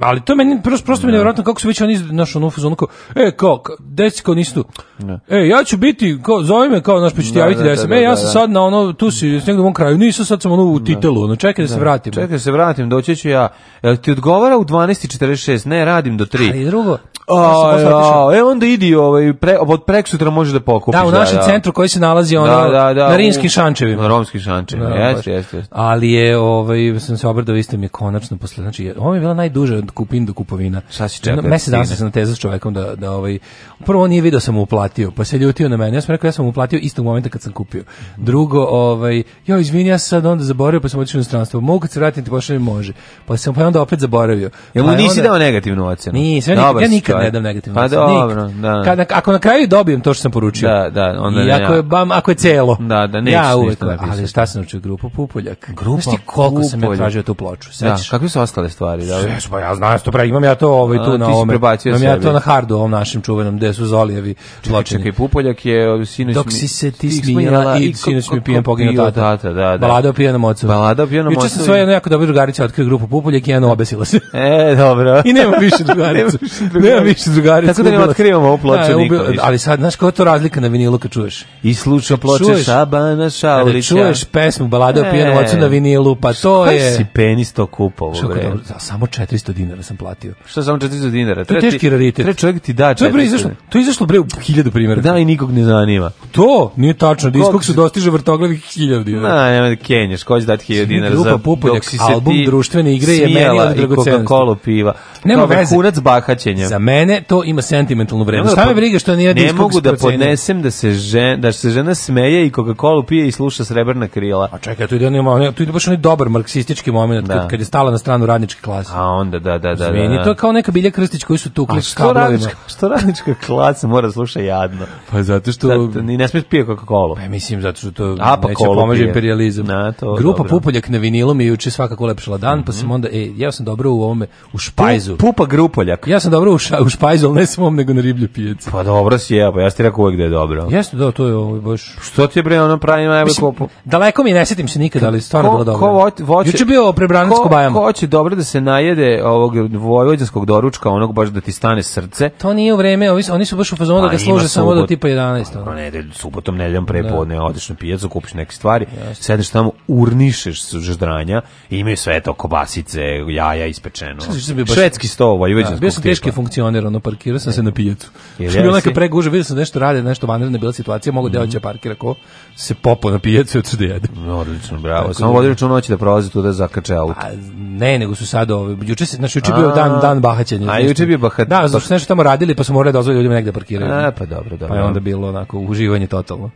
Speaker 7: ali to je meni, prosto, prosto mi je nevjerojatno kako su već oni, znaš, ono, u fazonu kao, e, kao, ka- deci kao nisu tu. E, ja ću biti, kao, zove me, kao, znaš, pa ću ti
Speaker 8: Da,
Speaker 7: javiti
Speaker 8: da,
Speaker 7: da, sam,
Speaker 8: da,
Speaker 7: e,
Speaker 8: da,
Speaker 7: ja
Speaker 8: da,
Speaker 7: sam
Speaker 8: da.
Speaker 7: sad na ono, tu si, s negdje u mom kraju, nisam, sad sam ono u titelu, ono, čekaj da, se vratim.
Speaker 8: Čekaj da se vratim, doći ću ja. Jel ti odgovara u 12.46? Ne, radim do 3.
Speaker 7: Ali drugo,
Speaker 8: A,
Speaker 7: znaš, sam posle otišao-
Speaker 8: ja, e, onda idi, ovaj, pre, od preksutra može da pokupiš.
Speaker 7: da, u našem centru koji se nalazi ono, na rimskim šančevima.
Speaker 8: Na romskim šančevima,
Speaker 7: Da,
Speaker 8: jeste,
Speaker 7: baš.
Speaker 8: jeste. jeste.
Speaker 7: Ali je, ovaj, sam se obradao, isto mi je konačno posle, znači, ovo mi je bila najduže od kupin do kupovina.
Speaker 8: Sad si čekao
Speaker 7: Jedno
Speaker 8: da
Speaker 7: Mesec dana
Speaker 8: stigne.
Speaker 7: sam se natezao s čovekom da, da ovaj, prvo on nije video sam mu uplatio, pa se ljutio na mene. Ja sam rekao, ja sam mu uplatio istog momenta kad sam kupio. Drugo, ovaj, jo, izvini, ja sam sad onda zaboravio, pa sam otišao u inostranstvo. Mogu kad se vratim, ti pošaljem, može. Pa sam pa je onda opet zaboravio.
Speaker 8: Jel mu
Speaker 7: Pa je
Speaker 8: nisi
Speaker 7: onda-
Speaker 8: dao negativnu ocenu?
Speaker 7: Nisam, ja, Pa nikad,
Speaker 8: Dobar
Speaker 7: ja
Speaker 8: si
Speaker 7: nikad
Speaker 8: čovjek.
Speaker 7: ne dam negativno.
Speaker 8: Pa
Speaker 7: ocenu, nikad.
Speaker 8: dobro, da.
Speaker 7: Kad, ako na kraju dobijem to što sam poručio.
Speaker 8: Da, da, onda
Speaker 7: I
Speaker 8: ne,
Speaker 7: ako je,
Speaker 8: ja.
Speaker 7: bam, ako je celo.
Speaker 8: Da, da, nećeš
Speaker 7: ja
Speaker 8: ništa
Speaker 7: uvek,
Speaker 8: napisati.
Speaker 7: ali šta sam naučio, grupa Pupoljak.
Speaker 8: Grupa
Speaker 7: Znaš ti koliko sam ja
Speaker 8: Pupoljak.
Speaker 7: tražio tu ploču,
Speaker 8: Da,
Speaker 7: sećaš?
Speaker 8: kakve su ostale stvari? Da,
Speaker 7: Sve su, pa ja znam to pravi, imam ja to ovaj, tu
Speaker 8: A,
Speaker 7: na
Speaker 8: ti si
Speaker 7: ovome,
Speaker 8: prebacio
Speaker 7: imam ja
Speaker 8: sebi.
Speaker 7: to na hardu ovom našem čuvenom, gde su Zolijevi zločini.
Speaker 8: Čekaj, Pupoljak je ovaj, sinoć...
Speaker 7: Dok
Speaker 8: mi-
Speaker 7: si se ti
Speaker 8: stig
Speaker 7: smijela i
Speaker 8: ko-
Speaker 7: sinoć
Speaker 8: ko-
Speaker 7: mi
Speaker 8: ko
Speaker 7: pijen poginuo
Speaker 8: pio
Speaker 7: tata.
Speaker 8: da, da.
Speaker 7: Balada o pijenom ocu.
Speaker 8: Balada o pijenom
Speaker 7: Juče sam
Speaker 8: ocu.
Speaker 7: svoje jedno jako dobro drugarice otkrio grupu Pupoljak i jedna obesila se.
Speaker 8: E, dobro.
Speaker 7: I nema više drugaricu.
Speaker 8: Nema više drugaricu.
Speaker 7: nema više drugaricu.
Speaker 8: Tako da ne
Speaker 7: Ubila-
Speaker 8: otkrivamo ovu ploču
Speaker 7: Da,
Speaker 8: nikad
Speaker 7: ubila-
Speaker 8: više.
Speaker 7: Ali sad, znaš koja je to razlika na vinilu kad čuješ?
Speaker 8: I sluša ploče
Speaker 7: Čuješ?
Speaker 8: Šabana
Speaker 7: Kada
Speaker 8: Šaulića.
Speaker 7: čuješ pesmu balade o pijenom
Speaker 8: E.
Speaker 7: ocu na vinilu, pa to
Speaker 8: Koji
Speaker 7: je...
Speaker 8: si penis to kupovo,
Speaker 7: Što
Speaker 8: bre?
Speaker 7: kao dobro, za- Samo 400 dinara sam platio.
Speaker 8: Što samo 400 dinara?
Speaker 7: To je
Speaker 8: Treba
Speaker 7: teški
Speaker 8: ti-
Speaker 7: raritet.
Speaker 8: Treba čovjek ti da
Speaker 7: To je bre izašlo,
Speaker 8: 400.
Speaker 7: to je izašlo bre u hiljadu primjera.
Speaker 8: Da, i nikog ne zanima.
Speaker 7: To nije tačno, diskog su
Speaker 8: se-
Speaker 7: dostiže vrtoglavih hiljadu dinara.
Speaker 8: Na, nema da kenješ, ko će dati 1000 dinara
Speaker 7: Grupa
Speaker 8: za
Speaker 7: Pupoljak,
Speaker 8: dok si se
Speaker 7: album
Speaker 8: ti
Speaker 7: društvene igre je meni
Speaker 8: smijala
Speaker 7: od
Speaker 8: i
Speaker 7: dragocenosti.
Speaker 8: Coca-Cola piva.
Speaker 7: Nema
Speaker 8: Nema Kao
Speaker 7: veze.
Speaker 8: vrhunac bahaćenja.
Speaker 7: Za mene to ima sentimentalnu
Speaker 8: Ne
Speaker 7: vrednost.
Speaker 8: mogu
Speaker 7: Šta
Speaker 8: da
Speaker 7: me
Speaker 8: pod-
Speaker 7: briga što nije
Speaker 8: Ne
Speaker 7: diskog
Speaker 8: mogu da
Speaker 7: procenio?
Speaker 8: podnesem da se, žen, da se žena smeje i Coca-Cola pije i sluša srebrna krila.
Speaker 7: A Pa čekaj, tu ide, on, on, tu ide baš onaj dobar marksistički moment
Speaker 8: Da.
Speaker 7: kad, kad je stala na stranu radničke klase.
Speaker 8: A onda, da, da, da. da,
Speaker 7: Izvini,
Speaker 8: da.
Speaker 7: to je kao neka Bilja Krstić koju su
Speaker 8: A
Speaker 7: tukli s
Speaker 8: što
Speaker 7: kablovima.
Speaker 8: radnička, što radnička klasa mora da sluša jadno?
Speaker 7: Pa zato što...
Speaker 8: Da, ni ne smiješ pije Coca-Cola.
Speaker 7: Pa mislim zato što to
Speaker 8: A, pa
Speaker 7: neće
Speaker 8: kolo
Speaker 7: pomaže
Speaker 8: pije.
Speaker 7: imperializam.
Speaker 8: Na, to,
Speaker 7: Grupa
Speaker 8: dobro. Mhm.
Speaker 7: Pupoljak na vinilu mi je juče svakako lepšala dan, pa sam onda, e, ja sam dobro u ovome, u špajzu.
Speaker 8: Pupa grupoljak.
Speaker 7: Ja sam dobro u, ša, u špajzu, ali ne svom, nego na riblju pijacu.
Speaker 8: Pa dobro si jeo, pa ja sam ti rekao uvek da je dobro.
Speaker 7: Jeste, da, to je ovo baš...
Speaker 8: Što ti je bre ono pravi najbolj
Speaker 7: Mislim,
Speaker 8: kopu?
Speaker 7: daleko mi je, ne sjetim se nikada, ali stvarno bilo dobro.
Speaker 8: voće- voće-
Speaker 7: Juče bio prebranac
Speaker 8: ko-
Speaker 7: Kobajama.
Speaker 8: Ko hoće dobro da se najede ovog vojvođanskog doručka, onog baš da ti stane srce,
Speaker 7: To nije u vreme, ovi su- oni su baš u fazonu da
Speaker 8: A,
Speaker 7: ga
Speaker 8: Pa ima
Speaker 7: služe samo do
Speaker 8: subot-
Speaker 7: tipa 11. ono.
Speaker 8: Dobro, nedelju, subotom, nedeljom prepodne, odeš na pijacu, kupiš neke stvari, sedneš tamo, urnišeš s ždranja, i imaju sve to, kobasice, jaja ispečeno.
Speaker 7: Šta si, što bi baš-
Speaker 8: Švedski sto, vojvođanskog
Speaker 7: Da, bio sam
Speaker 8: tipa. E.
Speaker 7: teški funkcioner, ono, parkirao sam se na pijacu.
Speaker 8: Jel
Speaker 7: Što je bila
Speaker 8: jesi?
Speaker 7: neka preguža, vidio sam nešto rade, nešto vanredna bila situacija, mogu mm -hmm.
Speaker 8: Mhm.
Speaker 7: parkira ko se popo na pijacu i otišao da jede.
Speaker 8: No, Odlično, bravo.
Speaker 7: Tako
Speaker 8: Samo
Speaker 7: da-
Speaker 8: vodi računa hoće da prolazi tu da zakače auto.
Speaker 7: A, ne, nego su sad ove, juče se, znači juče je bio
Speaker 8: A.
Speaker 7: dan dan bahaćenja.
Speaker 8: A,
Speaker 7: znači.
Speaker 8: juče je bio bahat-
Speaker 7: Da, zato što su nešto tamo radili, pa su morali da dozvole ljudima negde da parkiraju.
Speaker 8: A, pa dobro, dobro.
Speaker 7: Pa je onda bilo onako uživanje totalno.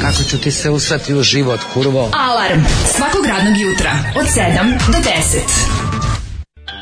Speaker 10: Kako ću ti se usrati u život, kurvo?
Speaker 5: Alarm svakog radnog jutra od 7 do 10.
Speaker 11: Oh,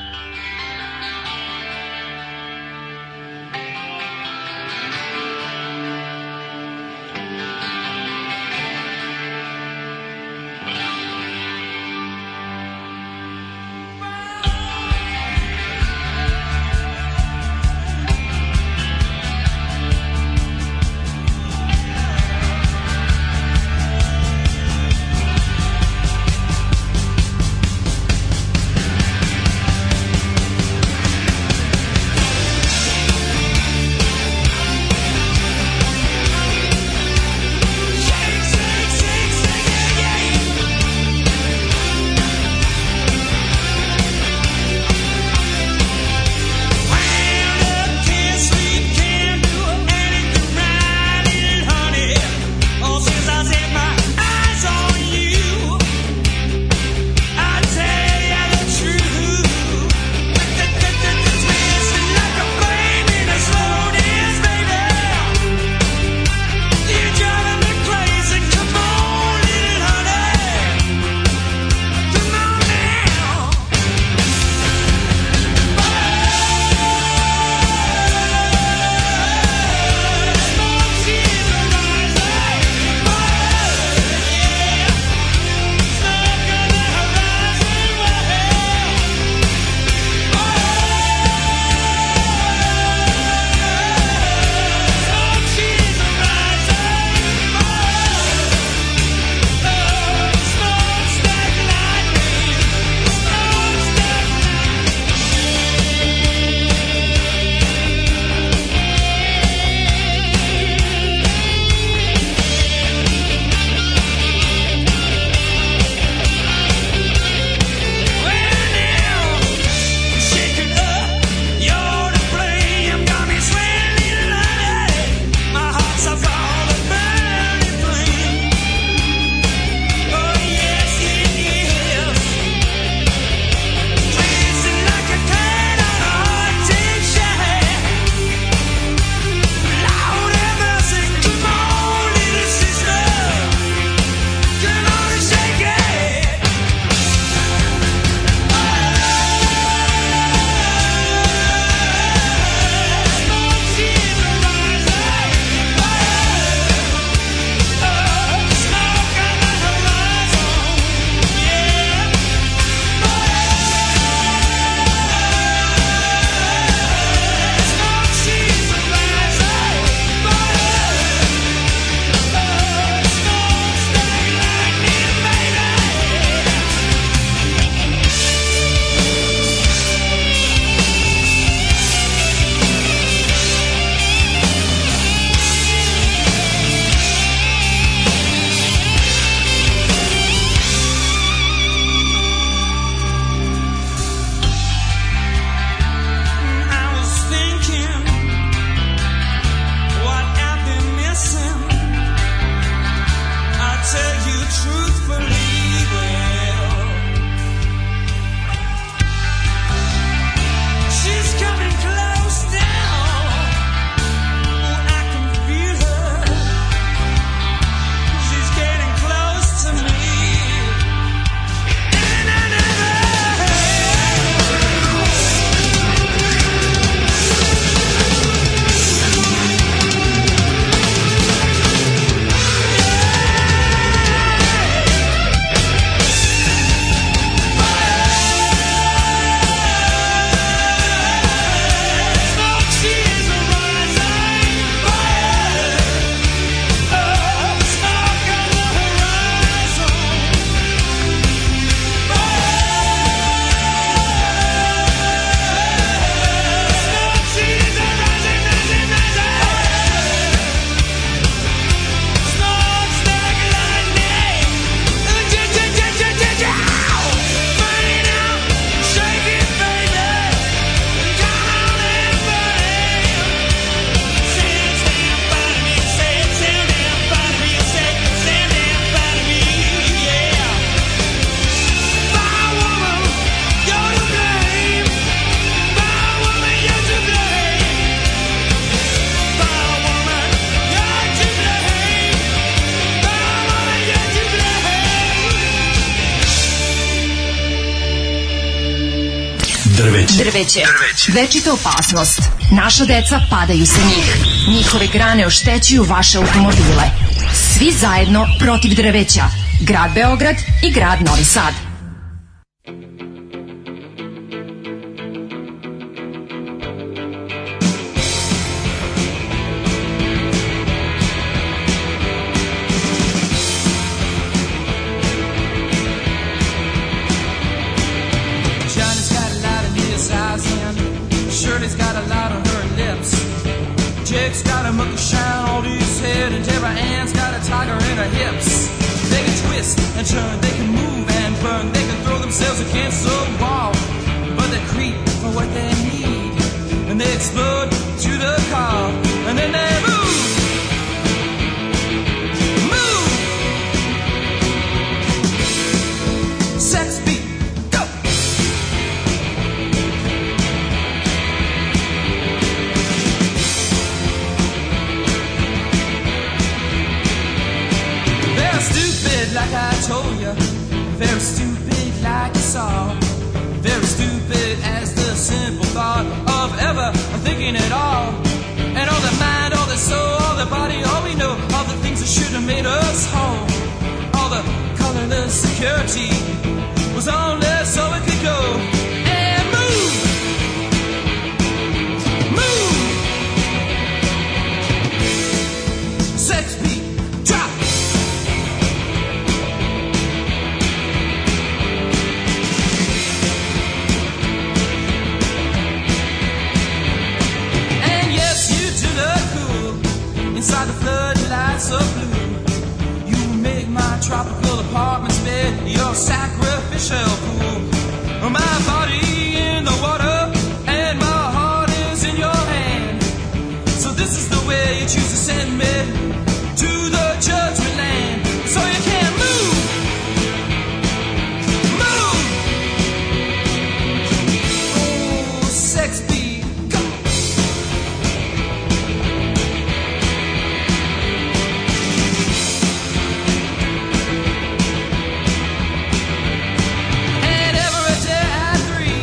Speaker 11: Oh,
Speaker 5: Drveće. Večita opasnost. Naša deca padaju sa njih. Njihove grane oštećuju vaše automobile. Svi zajedno protiv drveća. Grad Beograd i grad Novi Sad.
Speaker 9: Johnny's got a lot in his eyes and Shirley's got a lot on her lips. Jake's got a monkey shine on his head and Deborah Ann's got a tiger in her hips. They can twist and turn, they can move and burn, they can throw themselves against the wall. But they creep for what they need and they explode to the car and then they move. Move! Sex beat, go! They're stupid like I told you. They're stupid like you saw. They're stupid as the simple thought of ever thinking at all. And all the mind, all the soul, all the body, all we know, all the things that should have made us whole. All the colorless security was on there so it could go. And move, move. Sex beat, drop. And yes, you do look cool inside the floodlights of blue. You make my tropical apartment's bed your sacrificial pool. Oh, My body in the water and my heart is in your hand. So this is the way you choose to send me to the judgment land. So you can't move, move. Oh, sex be gone. And every day at three,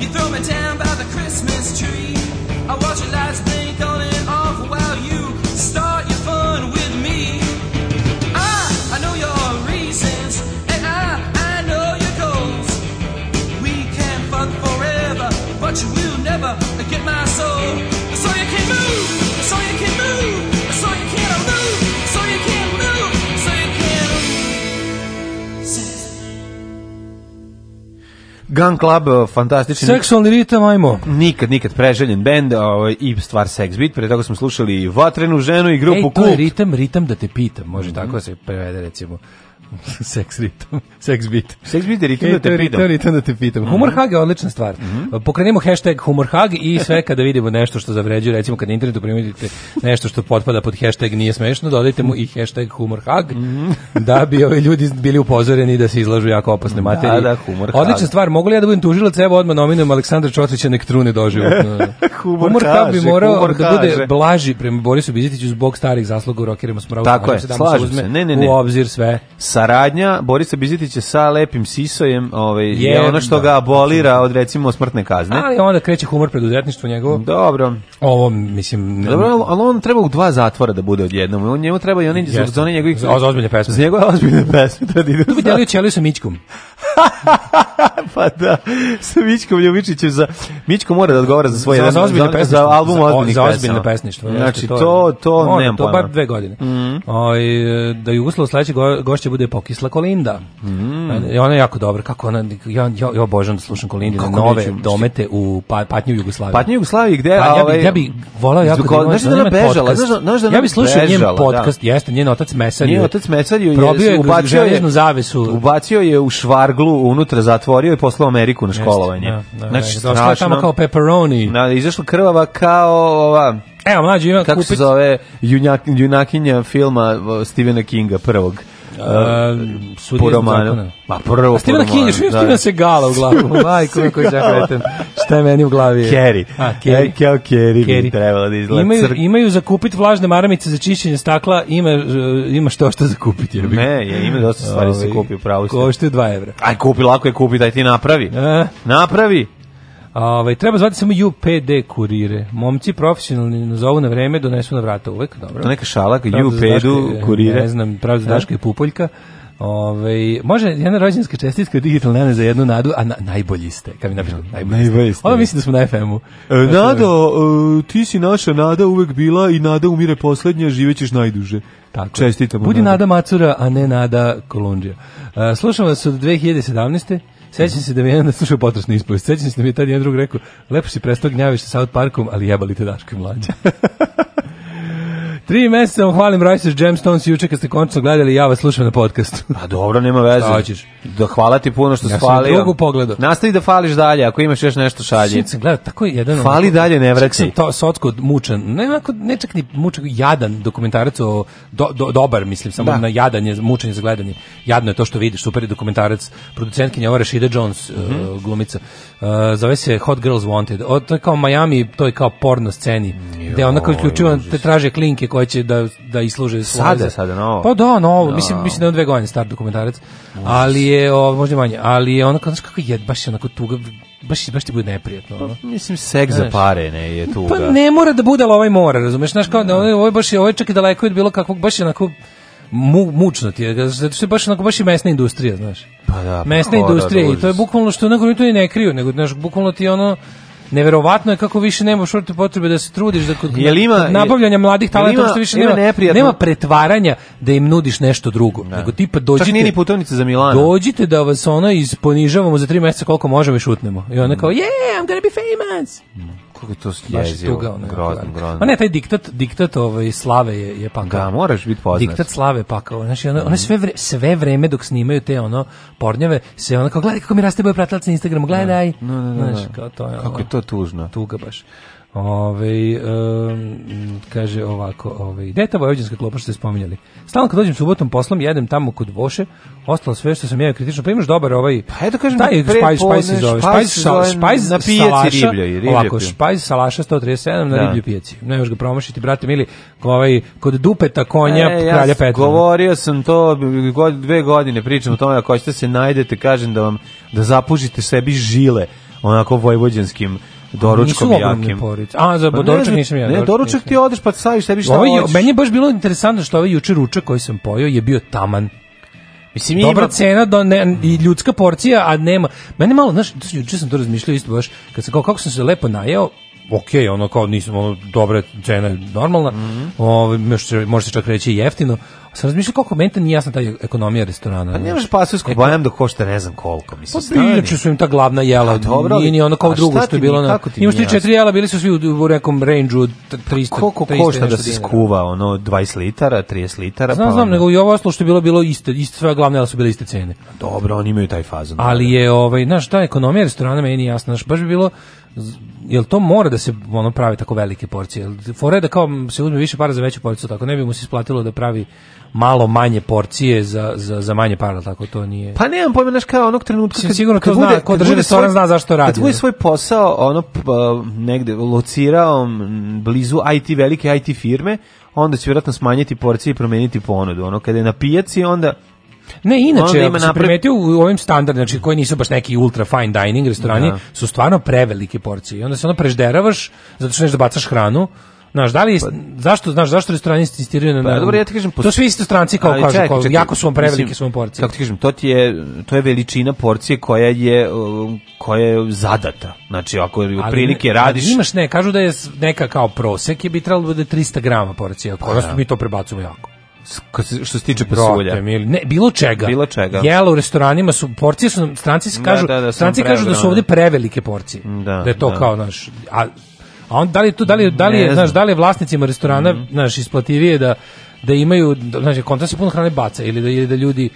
Speaker 9: you throw me down by the Christmas tree. I watch your lights blink on and off while you start your fun with me. I, I know your reasons, and I, I know your goals. We can fuck forever, but you will never get my soul. So you can move, so you can move, so you can move, so you can move, so you can move.
Speaker 8: Gun Club, e, fantastični.
Speaker 7: Seksualni ritam, ajmo.
Speaker 8: Nikad, nikad preželjen bend ovaj, i stvar Sex Beat. Pre toga smo slušali i Vatrenu ženu i grupu
Speaker 7: Ej, to je
Speaker 8: Kult.
Speaker 7: ritam, ritam da te pitam. Može
Speaker 8: Mhm.
Speaker 7: tako da se prevede, recimo. Seks ritam, seks bit.
Speaker 8: Sex Beat je ritam
Speaker 7: Ej,
Speaker 8: da
Speaker 7: to
Speaker 8: te
Speaker 7: je ritam,
Speaker 8: pitam. Mhm.
Speaker 7: ritam da te pitam. Humor Hag je odlična stvar. Uh, Pokrenimo hashtag Humor Hag i sve kada vidimo nešto što zavređuje, recimo kad na internetu primetite nešto što potpada pod hashtag nije smešno, dodajte mu i hashtag Humor Hag
Speaker 8: Mhm.
Speaker 7: da bi ovi ljudi bili upozoreni da se izlažu jako opasne materije.
Speaker 8: da, humor hag.
Speaker 7: Odlična stvar, mogu li ja da budem tužilac, evo odmah nominujem Aleksandra Čotrića nek trune doživotno.
Speaker 8: Humor
Speaker 7: Hag bi
Speaker 8: kaže,
Speaker 7: morao
Speaker 8: humor
Speaker 7: da bude
Speaker 8: kaže.
Speaker 7: blaži prema Borisu Bizitiću zbog starih zasluga u rokerima s mravom.
Speaker 8: Tako je,
Speaker 7: Slažem se da mu
Speaker 8: slažem
Speaker 7: uzme
Speaker 8: se. Ne, ne, ne.
Speaker 7: U obzir sve.
Speaker 8: Saradnja Borisa Bizitića sa Lepim Sisojem ovaj, je,
Speaker 7: Je,
Speaker 8: ono što
Speaker 7: da.
Speaker 8: ga abolira od recimo smrtne kazne.
Speaker 7: Ali onda kreće humor preduzetništvo
Speaker 8: Mhm.
Speaker 7: njegovo.
Speaker 8: Dobro.
Speaker 7: Ovo, mislim... ne-
Speaker 8: Dobro, ali- ali on treba u dva zatvora da bude odjednom. On njemu treba i oni
Speaker 7: Jeste.
Speaker 8: za one njegovih...
Speaker 7: Za- za ozbiljne pesme.
Speaker 8: Za njegove ozbiljne pesme. Treba da idu
Speaker 7: Tu bi delio ćeliju sa Mićkom.
Speaker 8: pa da, sa Mićkom Ljubičićem za... Mićko mora da odgovara za svoje...
Speaker 7: Za, za ozbiljne
Speaker 8: za,
Speaker 7: pesništvo.
Speaker 8: za album
Speaker 7: Za-
Speaker 8: ozbiljnih
Speaker 7: Za ozbiljne
Speaker 8: pesama.
Speaker 7: pesništvo. jeste,
Speaker 8: Znači,
Speaker 7: je-
Speaker 8: to, to
Speaker 7: Može,
Speaker 8: nemam
Speaker 7: To
Speaker 8: pojma. Mhm.
Speaker 7: bar dve godine. Oj, e, da Jugoslav sledeće go, gošće bude pokisla Kolinda.
Speaker 8: Mhm.
Speaker 7: E, Ona je jako dobra. Kako ona, ja, ja, ja obožavam da slušam Kolindine
Speaker 8: Kako
Speaker 7: nove
Speaker 8: neću, mislim.
Speaker 7: domete u pa, patnju u Jugoslaviji.
Speaker 8: Patnje Jugoslavije gde...
Speaker 7: Pa,
Speaker 8: a
Speaker 7: ja
Speaker 8: ovaj-
Speaker 7: bi, ja bi volao jako
Speaker 8: Zbog-
Speaker 7: ima-
Speaker 8: Znaš da ona
Speaker 7: ima
Speaker 8: bežala?
Speaker 7: podcast.
Speaker 8: Znaš da- znaš da ona
Speaker 7: ja bi slušao njen
Speaker 8: bežala, da.
Speaker 7: podcast, jeste, njen otac Mesar.
Speaker 8: Nije
Speaker 7: je-
Speaker 8: otac Mecarju je
Speaker 7: Probio je kroz
Speaker 8: ubacio je
Speaker 7: železnu zavesu.
Speaker 8: Ubacio je u švarglu unutra, zatvorio i poslao u Ameriku na školovanje.
Speaker 7: Da, da,
Speaker 8: znači,
Speaker 7: da, ostala je tamo
Speaker 8: strašno.
Speaker 7: kao pepperoni.
Speaker 8: Na, izašla krvava kao ova,
Speaker 7: Evo, mlađi, imam
Speaker 8: kako
Speaker 7: kupit.
Speaker 8: se zove, junak, junakinja filma o, Stephena Kinga prvog.
Speaker 7: Uh,
Speaker 8: po romanu. Ma prvo po
Speaker 7: Stivena
Speaker 8: romanu,
Speaker 7: Kinja, što
Speaker 8: da.
Speaker 7: Stivena se gala u glavu. Majko, mi koji zakretem. Šta je meni u glavi? je?
Speaker 8: Kerry.
Speaker 7: A, Kerry.
Speaker 8: E, kao Kerry bi
Speaker 7: Kerry.
Speaker 8: trebala da izgleda
Speaker 7: Imaju,
Speaker 8: crk-
Speaker 7: imaju za kupit vlažne maramice za čišćenje stakla, ima, e, ima što što za kupit. Je.
Speaker 8: Ne, je, ima dosta stvari da se kupi u pravu. ste.
Speaker 7: Košta je 2 evra.
Speaker 8: Aj, kupi, lako je kupi, daj ti napravi.
Speaker 7: E.
Speaker 8: Napravi.
Speaker 7: Ovaj, treba zvati samo UPD kurire. Momci profesionalni nazovu na vreme, donesu na vrata uvek, dobro.
Speaker 8: To neka šala, kad
Speaker 7: Pravda za
Speaker 8: UPD-u
Speaker 7: Daške,
Speaker 8: kurire.
Speaker 7: Ne znam, pravda za Daška i Pupoljka. Ove, može jedna rođenska čestitka digitalna Ana za jednu nadu, a na, najbolji ste. Kad mi napišu, najbolji,
Speaker 8: Najbolji ste.
Speaker 7: ste. Ovo mislim da smo na Znači, FM-u.
Speaker 8: E, Nado, e, ti si naša Nada uvek bila i Nada umire poslednja, živećeš najduže.
Speaker 7: Tako.
Speaker 8: Čestitamo.
Speaker 7: Budi
Speaker 8: Nada.
Speaker 7: Nada Macura, a ne Nada Kolundžija. E, slušam vas od 2017. Sećam se da mi je jedan slušao potresnu ispovest. Sećam se da mi je tad jedan drug rekao, lepo si prestao gnjaviš sa South Parkom, ali jebali te Daško i mlađa. Tri meseca vam hvalim Rice's Gemstones juče kad ste končno gledali ja vas slušam na podcastu.
Speaker 8: Pa dobro, nema veze.
Speaker 7: Šta hoćeš?
Speaker 8: Da hvala ti puno što
Speaker 7: Ja
Speaker 8: si
Speaker 7: sam
Speaker 8: falio.
Speaker 7: drugu pogledao.
Speaker 8: Nastavi da fališ dalje, ako imaš još nešto šalje.
Speaker 7: Sinoć sam gledao, tako je jedan...
Speaker 8: Fali
Speaker 7: onako-
Speaker 8: dalje, ne vraćaj.
Speaker 7: Čak sam to sotko mučan, ne, onako, ne čak ni mučan, jadan dokumentarac o, do, do, dobar, mislim, samo
Speaker 8: Da.
Speaker 7: na jadan je, mučan je za gledanje. Jadno je to što vidiš, super je dokumentarac, producentkinja ova Rashida Jones,
Speaker 8: Mhm.
Speaker 7: uh, glumica, uh, zove se Hot Girls Wanted. O, to je kao Miami, to je kao porno sceni, gde ona kao isključivo te traže klinke koje će da, da isluže svoje
Speaker 8: Sada,
Speaker 7: za-
Speaker 8: sada, novo?
Speaker 7: Pa da, novo, mislim, mislim da je on dve godine star dokumentarac, ali je, o, možda i manje, ali je ono kao, znaš kako je, baš je onako tuga, baš, baš ti bude neprijatno. Ono.
Speaker 8: Mislim, seks za pare, ne, je tuga.
Speaker 7: Pa ne mora da bude, ali ovaj mora, razumeš? Znaš, kao, da. ovo je baš, ovo je ovaj čak i daleko od bilo kakvog, baš je onako mu, mučno ti je, zato što je baš, onako, baš i mesna industrija, znaš.
Speaker 8: Pa da, pa
Speaker 7: mesna
Speaker 8: horor,
Speaker 7: industrija i to je
Speaker 8: užas.
Speaker 7: bukvalno što, onako, oni to i ne kriju, nego, znaš, bukvalno ti je ono, Neverovatno je kako više nema šorte potrebe da se trudiš da kod,
Speaker 8: Jel ima-
Speaker 7: kod nabavljanja mladih
Speaker 8: jel ima-
Speaker 7: talenta što više
Speaker 8: ima
Speaker 7: nema
Speaker 8: neprijatno-
Speaker 7: nema pretvaranja da im nudiš nešto drugo nego tipa dođite
Speaker 8: Čak nije ni putovnica za Milano.
Speaker 7: dođite da vas ono isponižavamo za tri meseca koliko možemo i šutnemo i ona kao yeah I'm gonna be famous
Speaker 8: Kako je to
Speaker 7: baš je
Speaker 8: jezivo,
Speaker 7: tuga ono
Speaker 8: grozno, grozno.
Speaker 7: Ma ne taj diktat diktat ovaj slave je je pakao.
Speaker 8: Da, moraš biti poznat.
Speaker 7: Diktat slave je pakao. Znači ona, ona sve vre, sve vreme dok snimaju te ono pornjave se ona kao gledaj kako mi raste broj pratilaca na Instagramu, gledaj. No, no, no, Znaš, kao to je.
Speaker 8: Kako je to tužno.
Speaker 7: tuga baš. Ove, um, kaže ovako, ove, gde je ta vojvođanska klopa što ste spominjali? Stalno kad dođem subotom poslom, jedem tamo kod Voše, ostalo sve što sam jeo je kritično, pa imaš dobar ovaj,
Speaker 8: Pa eto kažem,
Speaker 7: taj
Speaker 8: pre
Speaker 7: špajz, špajz se
Speaker 8: podne
Speaker 7: zove,
Speaker 8: špajz
Speaker 7: špajz,
Speaker 8: se
Speaker 7: šal-
Speaker 8: zove
Speaker 7: špajz
Speaker 8: na pijaci
Speaker 7: salaša,
Speaker 8: ribljoj, ribljoj
Speaker 7: ovako,
Speaker 8: pijaci.
Speaker 7: špajz salaša 137 na
Speaker 8: Da.
Speaker 7: riblju pijaci, ne možeš ga promašiti, brate mili, ko ovaj, kod dupeta konja,
Speaker 8: E, ja
Speaker 7: kralja
Speaker 8: s-
Speaker 7: Petra.
Speaker 8: Govorio sam to god, dve godine, pričam o tome, ako hoćete se najdete, kažem da vam da zapužite sebi žile onako vojvođanskim doručkom
Speaker 7: Nisu ogromne
Speaker 8: jakim.
Speaker 7: porice. A, za
Speaker 8: Pa ne
Speaker 7: doručak
Speaker 8: znam,
Speaker 7: nisam ja,
Speaker 8: Ne,
Speaker 7: doručak
Speaker 8: doručak
Speaker 7: nisam
Speaker 8: ti odeš pa staviš sebi šta
Speaker 7: Ovo je,
Speaker 8: hoćeš.
Speaker 7: meni je baš bilo interesantno što ovaj juče ručak koji sam pojeo je bio taman.
Speaker 8: Mislim,
Speaker 7: Dobra
Speaker 8: ima-
Speaker 7: cena do ne, i ljudska porcija, a nema. Mene malo, znaš, to sam- juče sam to razmišljao isto baš, kad sam kao, kako sam se lepo najeo, ok, ono kao nisam, ono, dobra cena je normalna,
Speaker 8: Mhm.
Speaker 7: mm može se čak reći i jeftino, a sam razmišljao koliko meni to nije jasna ta ekonomija restorana.
Speaker 8: Pa
Speaker 7: znaš.
Speaker 8: ne možeš pasulsku bajam da košta ne znam koliko, mislim,
Speaker 7: E, Pa bi, inače su im ta glavna jela,
Speaker 8: A dobro, ali-
Speaker 7: nije ni ono kao
Speaker 8: a
Speaker 7: drugo
Speaker 8: šta
Speaker 7: što
Speaker 8: ti
Speaker 7: je
Speaker 8: mi-
Speaker 7: bilo. Na,
Speaker 8: kako ti
Speaker 7: imaš
Speaker 8: nije Pa
Speaker 7: ti četiri jela, bili su svi u, u nekom range od 300,
Speaker 8: Koliko
Speaker 7: 300 i
Speaker 8: košta da
Speaker 7: nešto
Speaker 8: se
Speaker 7: dinara.
Speaker 8: skuva, ono, 20 litara, 30 litara?
Speaker 7: Znam,
Speaker 8: pa
Speaker 7: znam,
Speaker 8: onda-
Speaker 7: nego i ovo ostalo što je bilo, bilo iste, iste sve glavne jela su bile iste cene.
Speaker 8: Dobro, oni imaju taj fazon.
Speaker 7: ali je ovaj znaš ta ekonomija restorana meni nije jasna znaš baš bi bilo z- jel to mora da se ono pravi tako velike porcije jel fore da kao se uzme više para za veću porciju tako ne bi mu se isplatilo da pravi malo manje porcije za, za, za manje para tako to nije
Speaker 8: Pa nemam pojma, znaš, kao onog trenutka...
Speaker 7: Mislim, sigurno to zna, ko drži
Speaker 8: bude
Speaker 7: restoran
Speaker 8: svoj-
Speaker 7: zna zašto radi,
Speaker 8: Kad bude
Speaker 7: da.
Speaker 8: svoj posao, ono, p- a, negde locirao m, blizu IT, velike IT firme, onda će vjerojatno smanjiti porcije i promeniti ponudu. Ono, kada je na pijaci, onda...
Speaker 7: Ne,
Speaker 8: Onda
Speaker 7: inače,
Speaker 8: ima
Speaker 7: ako si
Speaker 8: napred-
Speaker 7: primetio u ovim standardima, znači koji nisu baš neki ultra fine dining restorani, su stvarno prevelike porcije. I onda se ono prežderavaš, zato što neš da bacaš hranu. Znaš, da li, zašto, znaš, zašto restorani insistiraju na...
Speaker 8: Pa, dobro, ja ti kažem...
Speaker 7: To svi isto stranci kao
Speaker 8: Ali
Speaker 7: kažu,
Speaker 8: čekaj,
Speaker 7: kao,
Speaker 8: čekaj,
Speaker 7: jako su vam prevelike
Speaker 8: mislim,
Speaker 7: su vam porcije.
Speaker 8: Kako ti kažem, to, ti je, to je veličina porcije koja je, um, koja je zadata. Znači, ako
Speaker 7: Ali
Speaker 8: prilike
Speaker 7: ne-
Speaker 8: radiš...
Speaker 7: ali Imaš ne, kažu da je s- neka kao prosek je bi trebalo da bude 300 grama porcija,
Speaker 8: Pa
Speaker 7: kod nas mi to prebacujemo jako.
Speaker 8: s- kad se- Što se tiče
Speaker 7: Brate
Speaker 8: pasulja.
Speaker 7: mili, ne, bilo čega.
Speaker 8: Bilo čega.
Speaker 7: Jela u restoranima su porcije su nam- stranci se
Speaker 8: Da,
Speaker 7: kažu,
Speaker 8: da, da, su
Speaker 7: stranci
Speaker 8: nam
Speaker 7: kažu da su
Speaker 8: preogromne.
Speaker 7: ovde prevelike porcije.
Speaker 8: Da,
Speaker 7: je to
Speaker 8: da.
Speaker 7: kao naš a a on da li je to da li je- da li
Speaker 8: Ne
Speaker 7: je, znaš,
Speaker 8: znam. Mhm.
Speaker 7: da li je vlasnicima restorana naš isplativije da da imaju da, znači kontra se puno hrane baca ili da ili da ljudi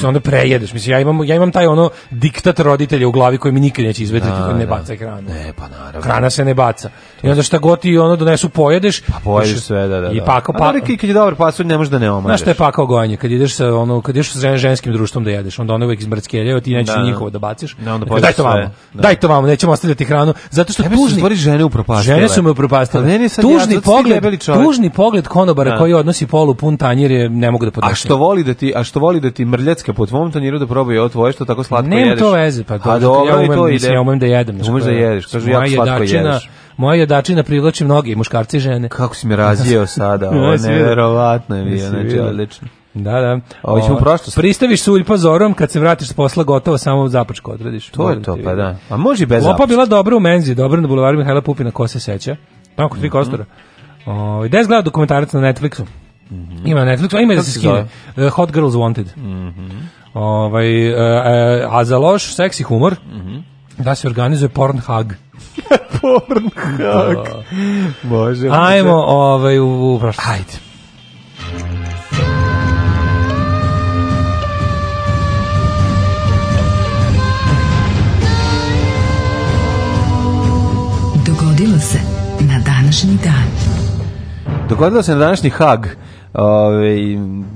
Speaker 7: se onda prejedeš mislim ja imam ja imam taj ono diktat roditelja u glavi koji mi nikad neće izvedeti da, ne baca hranu
Speaker 8: E, pa naravno.
Speaker 7: hrana se ne baca. I onda šta god ti ono donesu pojedeš, pa
Speaker 8: Pojedeš sve, da, da.
Speaker 7: I
Speaker 8: da.
Speaker 7: pako,
Speaker 8: A
Speaker 7: pa,
Speaker 8: dobro, kad kad je dobar pasulj, ne možeš da ne omažeš.
Speaker 7: Znaš šta je pakao gojanje, kad ideš sa ono, kad ideš sa žen- ženskim društvom da jedeš, onda ono uvek izbrckeljao, ti nećeš
Speaker 8: Da, da.
Speaker 7: njihovo da baciš.
Speaker 8: Da, onda
Speaker 7: Rekao,
Speaker 8: pojedeš
Speaker 7: daj to
Speaker 8: sve,
Speaker 7: vamo.
Speaker 8: da.
Speaker 7: Daj to vamo, nećemo ostavljati hranu, zato što
Speaker 8: Tebe su u
Speaker 7: tužni
Speaker 8: stvari žene upropastile.
Speaker 7: Žene su me upropastile.
Speaker 8: A meni je sad
Speaker 7: tužni
Speaker 8: jadno, ti si
Speaker 7: pogled,
Speaker 8: debeli čovek.
Speaker 7: tužni pogled konobara
Speaker 8: Da.
Speaker 7: koji odnosi polu polupun tanjir je ne mogu da podnesem.
Speaker 8: A što voli da ti, a što voli da ti mrljacka po tvom tanjiru da probaju ovo tvoje što tako slatko
Speaker 7: Nema
Speaker 8: jedeš?
Speaker 7: to veze, pa
Speaker 8: A
Speaker 7: dobro,
Speaker 8: dobro,
Speaker 7: ja
Speaker 8: i
Speaker 7: umem,
Speaker 8: to
Speaker 7: mislim,
Speaker 8: ide.
Speaker 7: ja umem da jedem. znaš,
Speaker 8: Umeš
Speaker 7: pa
Speaker 8: da jedeš, kažu
Speaker 7: moja
Speaker 8: jako slatko
Speaker 7: jedačina-
Speaker 8: jedeš.
Speaker 7: Moja jedačina privlači mnoge, i muškarce i žene.
Speaker 8: Kako si mi razjeo sada, ovo je
Speaker 7: Jesi vidio?
Speaker 8: nevjerovatno je bio,
Speaker 7: Jesi
Speaker 8: znači
Speaker 7: vidio?
Speaker 8: odlično.
Speaker 7: Da, da.
Speaker 8: A hoćemo
Speaker 7: O,
Speaker 8: prošlost?
Speaker 7: Pristaviš sulj pozorom, kad se vratiš s posla, gotovo samo zapačku odradiš.
Speaker 8: To je to, pa da. A može i bez
Speaker 7: Lopa
Speaker 8: zapušta.
Speaker 7: bila dobra u menzi, dobra na bulevaru Mihajla Pupina, ko se seća. Pa Tamo kod tri
Speaker 8: Mhm.
Speaker 7: kostora. Ovaj, Des gleda dokumentarac na Netflixu. Ima na Netflixu, a ima i
Speaker 8: Mhm.
Speaker 7: da
Speaker 8: Kako
Speaker 7: se
Speaker 8: se Mhm.
Speaker 7: skine. Eh, Hot Girls Wanted. Ovaj, eh, eh, a za loš seksi humor,
Speaker 8: Mhm.
Speaker 7: da se organizuje Pornhag.
Speaker 8: Može.
Speaker 7: Ajmo ovaj, u, u prošlost. Ajde.
Speaker 5: Dogodilo se na današnji dan.
Speaker 8: Dogodilo se na današnji Hag. Ove,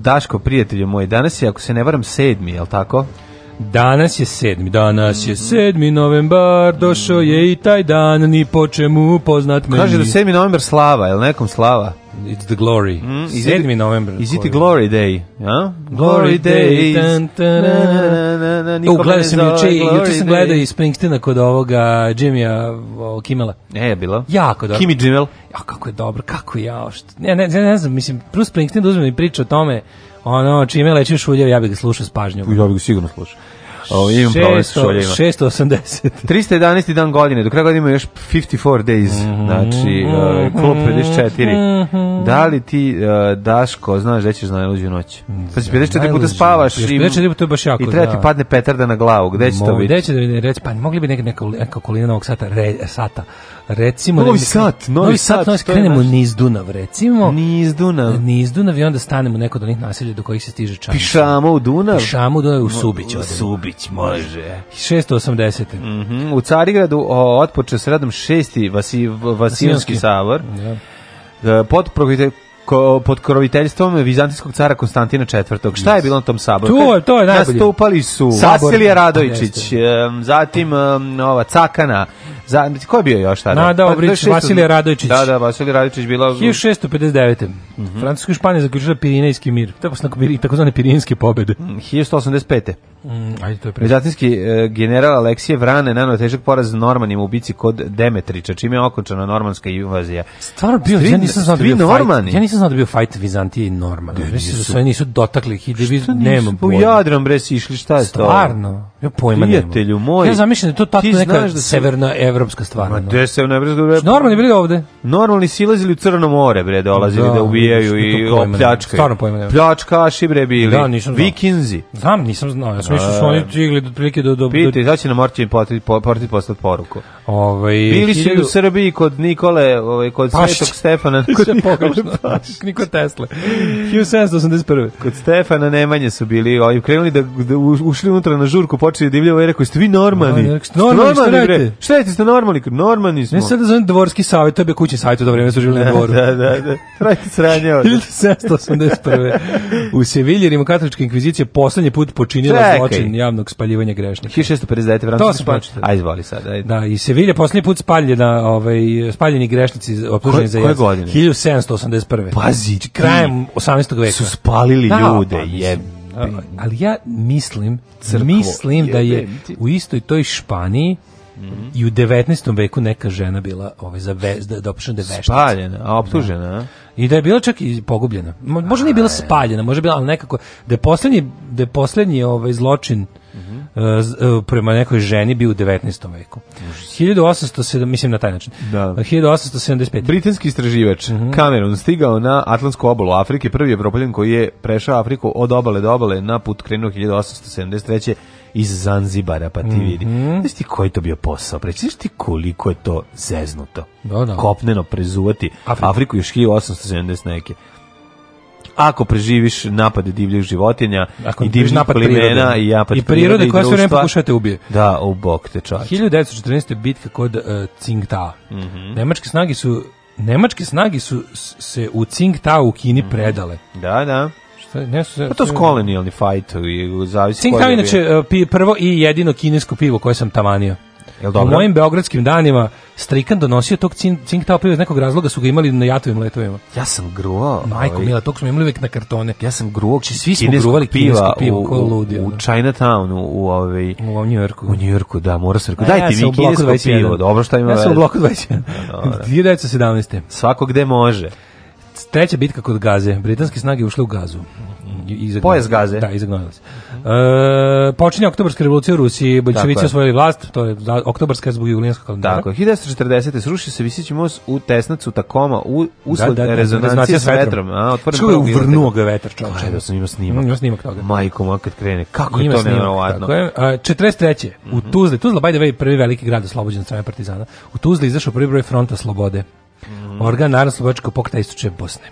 Speaker 8: Daško, prijatelju moj, danas je, ako se ne varam, sedmi, jel tako?
Speaker 7: Danas je sedmi, danas je sedmi novembar, došao je i taj dan, ni po čemu poznat meni.
Speaker 8: Kaže da 7. novembar slava, jel nekom slava?
Speaker 7: It's the glory.
Speaker 8: is it-
Speaker 7: sedmi novembar.
Speaker 8: Is it Glory Day? Ja?
Speaker 7: Glory Day, tan, tan, U, gledao sam juče, juče sam gledao i Springsteena kod ovoga Jimmya o, Kimela.
Speaker 8: Ne, je bilo.
Speaker 7: Jako dobro.
Speaker 8: Kimi Jimel.
Speaker 7: Ja, kako je dobro, kako ja, što... Ne, ne, ne, ne znam, mislim, Bruce Springsteen da uzme i priča o tome, ono, čime lečim šuljev, ja bih ga slušao s pažnjom.
Speaker 8: Ja bih sigurno slušao. Ovo, imam problem sa
Speaker 7: 600,
Speaker 8: šoljima.
Speaker 7: 680.
Speaker 8: 311. dan godine, do kraja godine ima još 54 days,
Speaker 7: Mhm.
Speaker 8: znači uh, klub 54. Da li ti, uh, Daško, znaš da ćeš na najluđu noć? Pa si 54 puta
Speaker 7: najluđu.
Speaker 8: spavaš i,
Speaker 7: Još 54 puta je baš jako,
Speaker 8: i treba ti
Speaker 7: da.
Speaker 8: padne petarda na glavu, gde će to
Speaker 7: Mogu,
Speaker 8: biti?
Speaker 7: gde će da vidim, reci, pa mogli bi neka, neka, neka okolina novog sata, re, sata. Recimo,
Speaker 8: Novi
Speaker 7: negde-
Speaker 8: Sad, Novi
Speaker 7: novi sat,
Speaker 8: Sad, to
Speaker 7: novi sat,
Speaker 8: je
Speaker 7: krenemo
Speaker 8: naš-
Speaker 7: niz Dunav, recimo.
Speaker 8: Niz Dunav.
Speaker 7: niz Dunav i onda stanemo u neko od onih naselja do kojih se stiže čanica.
Speaker 8: Pišamo u Dunav.
Speaker 7: Pišamu do u Subić.
Speaker 8: U
Speaker 7: odemo.
Speaker 8: Subić, može.
Speaker 7: 680.
Speaker 8: Mhm, U Carigradu o, otpoče s radom šesti Vasi, Vasiljonski
Speaker 7: Vasiljonski.
Speaker 8: savor. E, Pod provite- ko- pod kroviteljstvom vizantijskog cara Konstantina IV. Šta je bilo na tom saboru?
Speaker 7: To je- to je najbolje.
Speaker 8: Nastupali su
Speaker 7: Sabor.
Speaker 8: Vasilije Radojičić,
Speaker 7: Jeste.
Speaker 8: em, zatim em, ova Cakana, za, ko je bio još tada?
Speaker 7: Nada
Speaker 8: Pa,
Speaker 7: Obrić,
Speaker 8: to je šesto-
Speaker 7: Vasilije Radojičić.
Speaker 8: Da, da, Vasilije Radojičić bila...
Speaker 7: 1659.
Speaker 8: Mhm.
Speaker 7: Francuska i Španija zaključila Pirinejski mir. To je posle Piri- takozvane Pirinejske pobede.
Speaker 8: Mhm. 1185.
Speaker 7: Ajde, to je pre.
Speaker 8: Vizantinski e, general Aleksije Vrane nanao težak poraz Normanima u bici kod Demetrića, čime je okončana normanska invazija.
Speaker 7: Stvarno bio,
Speaker 8: Ste vi-
Speaker 7: ja nisam znao da
Speaker 8: ste vi
Speaker 7: bio
Speaker 8: normani?
Speaker 7: fight. Ja nisam znao da bio fight Vizantije i Normana. Mislim da su oni nisu dotakli ih i da vi nemam
Speaker 8: U
Speaker 7: pojma.
Speaker 8: Jadran bre si išli, šta je to?
Speaker 7: Stvarno, ja pojma nemam.
Speaker 8: Prijatelju moj,
Speaker 7: Ja zamišljam da je to tako
Speaker 8: ti
Speaker 7: neka
Speaker 8: znaš da su-
Speaker 7: severnoevropska stvar.
Speaker 8: Ma
Speaker 7: ono.
Speaker 8: gde se ne brez
Speaker 7: Normani bili ovde.
Speaker 8: Normalni silazili u Crno more bre, dolazili da,
Speaker 7: Da,
Speaker 8: ubijaju
Speaker 7: što
Speaker 8: i
Speaker 7: to pojma nemam.
Speaker 8: opljačkaju.
Speaker 7: Stvarno pojma nemam.
Speaker 8: Pljačkaši bre bili.
Speaker 7: Da, nisam znao.
Speaker 8: Vikinzi.
Speaker 7: Znam, nisam znao. Ja sam mislio da su oni igli do prilike do... do, do
Speaker 8: Pitaj, sad će nam Orčin potrati poslati poruku.
Speaker 7: ovaj,
Speaker 8: Bili su i u
Speaker 7: hiljadu-
Speaker 8: Srbiji kod Nikole, ovaj, kod
Speaker 7: Pašić.
Speaker 8: Svetog Stefana.
Speaker 7: Sve pogrešno. Niko Tesle. 1781.
Speaker 8: Kod Stefana Nemanje su bili, ovi krenuli da, da u- ušli unutra na žurku, počeli da divljaju i rekao, jeste vi normani?
Speaker 7: Normani, rekao, "Ste normani, šta radite?"
Speaker 8: Šta radite, ste normani? Kao, Normani smo.
Speaker 7: Ne sad da zovem dvorski savjet, to je bio kućni savjet u to vreme su živjeli na dvoru.
Speaker 8: da, da, da. Radite sranje ovaj." ovdje.
Speaker 7: 1781. U Sevilji rimokatolička inkvizicija poslednji put počinila
Speaker 8: Čekaj.
Speaker 7: zločin javnog spaljivanja grešnika.
Speaker 8: 1659.
Speaker 7: To
Speaker 8: Francuski španč.
Speaker 7: sam pročitao.
Speaker 8: Ajde, izvoli sad. Ajde.
Speaker 7: Da, i Sevilja poslednji put spaljena, ovaj, spaljeni grešnici optuženi
Speaker 8: Koje-
Speaker 7: za
Speaker 8: koje
Speaker 7: jaz.
Speaker 8: godine?
Speaker 7: 1781.
Speaker 8: Pazi,
Speaker 7: Znači, Krajem 18. veka.
Speaker 8: Su spalili
Speaker 7: Da,
Speaker 8: ljude,
Speaker 7: pa mislim,
Speaker 8: jeb.
Speaker 7: da, ali ja mislim, mislim da je
Speaker 8: jebem ti.
Speaker 7: u istoj toj Španiji
Speaker 8: Mhm.
Speaker 7: i u 19. veku neka žena bila ovaj, za vez, da, da opšne da je veštica.
Speaker 8: Spaljena, a optužena, a?
Speaker 7: I da je bila čak i pogubljena. Mo- Možda nije bila spaljena, možda je bila, ali nekako da je poslednji, da je poslednji ovaj zločin
Speaker 8: Mhm.
Speaker 7: e, z- e, prema nekoj ženi bio u 19. veku. 1807, mislim na taj način.
Speaker 8: Da.
Speaker 7: 1875.
Speaker 8: Britanski istraživač
Speaker 7: Mhm.
Speaker 8: Cameron stigao na Atlantsku obalu Afrike, prvi evropljan koji je prešao Afriku od obale do obale na put krenuo 1873 iz Zanzibara, pa ti vidi.
Speaker 7: Mhm.
Speaker 8: Znaš ti koji je to bio posao? Preći, znaš ti koliko je to zeznuto?
Speaker 7: Da, da.
Speaker 8: Kopneno prezuvati Afriku,
Speaker 7: Afriku.
Speaker 8: još 1870 neke. Ako preživiš napade divljih životinja
Speaker 7: Ako
Speaker 8: i
Speaker 7: ne preživiš
Speaker 8: divljih
Speaker 7: napad
Speaker 8: plimena
Speaker 7: prirode.
Speaker 8: i napad
Speaker 7: I prirode
Speaker 8: i
Speaker 7: koja sve vreme
Speaker 8: društva.
Speaker 7: pokušava te ubije.
Speaker 8: Da, u bok te čovječe.
Speaker 7: 1914. bitka kod uh, Tsingtao.
Speaker 8: Mhm.
Speaker 7: Nemačke snage su Nemačke snage su s- se u Tsingtao u Kini predale.
Speaker 8: Da, da.
Speaker 7: Šta, je, ne su,
Speaker 8: Mhm. Pa to je kolonijalni fajt i zavisi
Speaker 7: Tsingtao e,
Speaker 8: koji je
Speaker 7: inače uh, pi- prvo i jedino kinesko pivo koje sam tamanio.
Speaker 8: Jel dobro?
Speaker 7: U mojim beogradskim danima Strikan donosio tog cin- cink topio iz nekog razloga su ga imali na jatovim letovima.
Speaker 8: Ja sam gruvao.
Speaker 7: Majko
Speaker 8: ovaj,
Speaker 7: Mila, tog smo imali uvek na kartone.
Speaker 8: Ja sam gruvao,
Speaker 7: Znači, svi smo
Speaker 8: kineskog
Speaker 7: gruvali kinesko pivo,
Speaker 8: u,
Speaker 7: ko ludi,
Speaker 8: u, u
Speaker 7: ono.
Speaker 8: Chinatownu, u ovaj...
Speaker 7: U ovom New Yorku.
Speaker 8: U New Yorku, da, mora se rekao.
Speaker 7: A ja
Speaker 8: Dajte
Speaker 7: sam u
Speaker 8: mi
Speaker 7: bloku
Speaker 8: kinesko
Speaker 7: 21.
Speaker 8: pivo, dobro šta ima
Speaker 7: Ja sam u
Speaker 8: veze.
Speaker 7: bloku 21. 1917.
Speaker 8: Svako gde može.
Speaker 7: Treća bitka kod Gaze. Britanske snage ušle u Gazu. I- izagnale-
Speaker 8: Pojas Gaze.
Speaker 7: Da, izagnojile se. E, počinje oktobarska revolucija u Rusiji.
Speaker 8: Tako
Speaker 7: Bolševici
Speaker 8: je.
Speaker 7: osvojili vlast. To je za- oktobarska zbog julijanskog kalendara.
Speaker 8: Tako, je. 1940. srušio se visići most u Tesnacu, Takoma, u, usled
Speaker 7: Da, da, da,
Speaker 8: rezonancije s vetrom. A, otvoren
Speaker 7: Što je
Speaker 8: prvi
Speaker 7: uvrnuo ga vetar, čovječe.
Speaker 8: Gledao sam, ima snimak.
Speaker 7: Ima snimak toga.
Speaker 8: Majko, moja kad krene, kako je
Speaker 7: Ima
Speaker 8: to Mhm.
Speaker 7: snimak,
Speaker 8: nevjerovatno.
Speaker 7: Tako je. A, 43. U Tuzli, Tuzla, by the way, prvi veliki grad oslobođen od strane partizana. U Tuzli izašao prvi broj fronta slobode.
Speaker 8: Mhm.
Speaker 7: Organ narodno-slobodačkog pokreta istočne Bosne.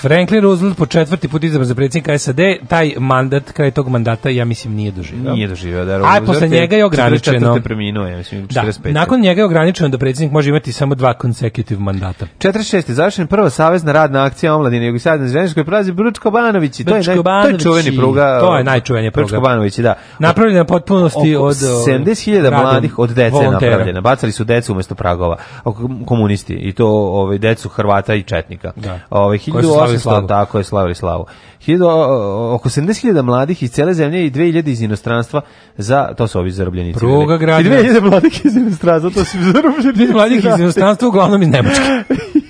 Speaker 7: Franklin Roosevelt po četvrti put izabran za predsjednika SAD, taj mandat, kraj tog mandata, ja mislim, nije doživio.
Speaker 8: Nije doživio da
Speaker 7: A posle njega je ograničeno.
Speaker 8: 44. preminuo, ja mislim,
Speaker 7: Da,
Speaker 8: 45.
Speaker 7: nakon njega je ograničeno da predsjednik može imati samo dva consecutive mandata.
Speaker 8: 46. je završena prva savezna radna akcija omladine Jugoslavije na Zrenjaninskoj prazi Brčko Banovići. To je, naj, to je
Speaker 7: Brčko-Banovići.
Speaker 8: čuveni pruga.
Speaker 7: To je najčuvenija pruga.
Speaker 8: Brčko Banovići, da.
Speaker 7: Napravljena je potpunosti
Speaker 8: Oko
Speaker 7: od... ovaj,
Speaker 8: 70.000
Speaker 7: radom
Speaker 8: mladih od dece je
Speaker 7: volontera.
Speaker 8: napravljena. Bacali su decu umesto pragova. Oko- Komunisti. I to ovaj, decu Hrvata i Četnika.
Speaker 7: Da.
Speaker 8: Ovaj,
Speaker 7: Koji su
Speaker 8: 1800,
Speaker 7: slavili slavu.
Speaker 8: tako je, slavili slavu. 1000, o- oko 70.000 mladih iz cele zemlje i 2000 iz inostranstva za, to su ovi zarobljenici.
Speaker 7: Pruga
Speaker 8: I
Speaker 7: gradnja.
Speaker 8: 2000 mladih iz inostranstva, to su zarobljenici.
Speaker 7: Mladih iz inostranstva, uglavnom iz Nemačke.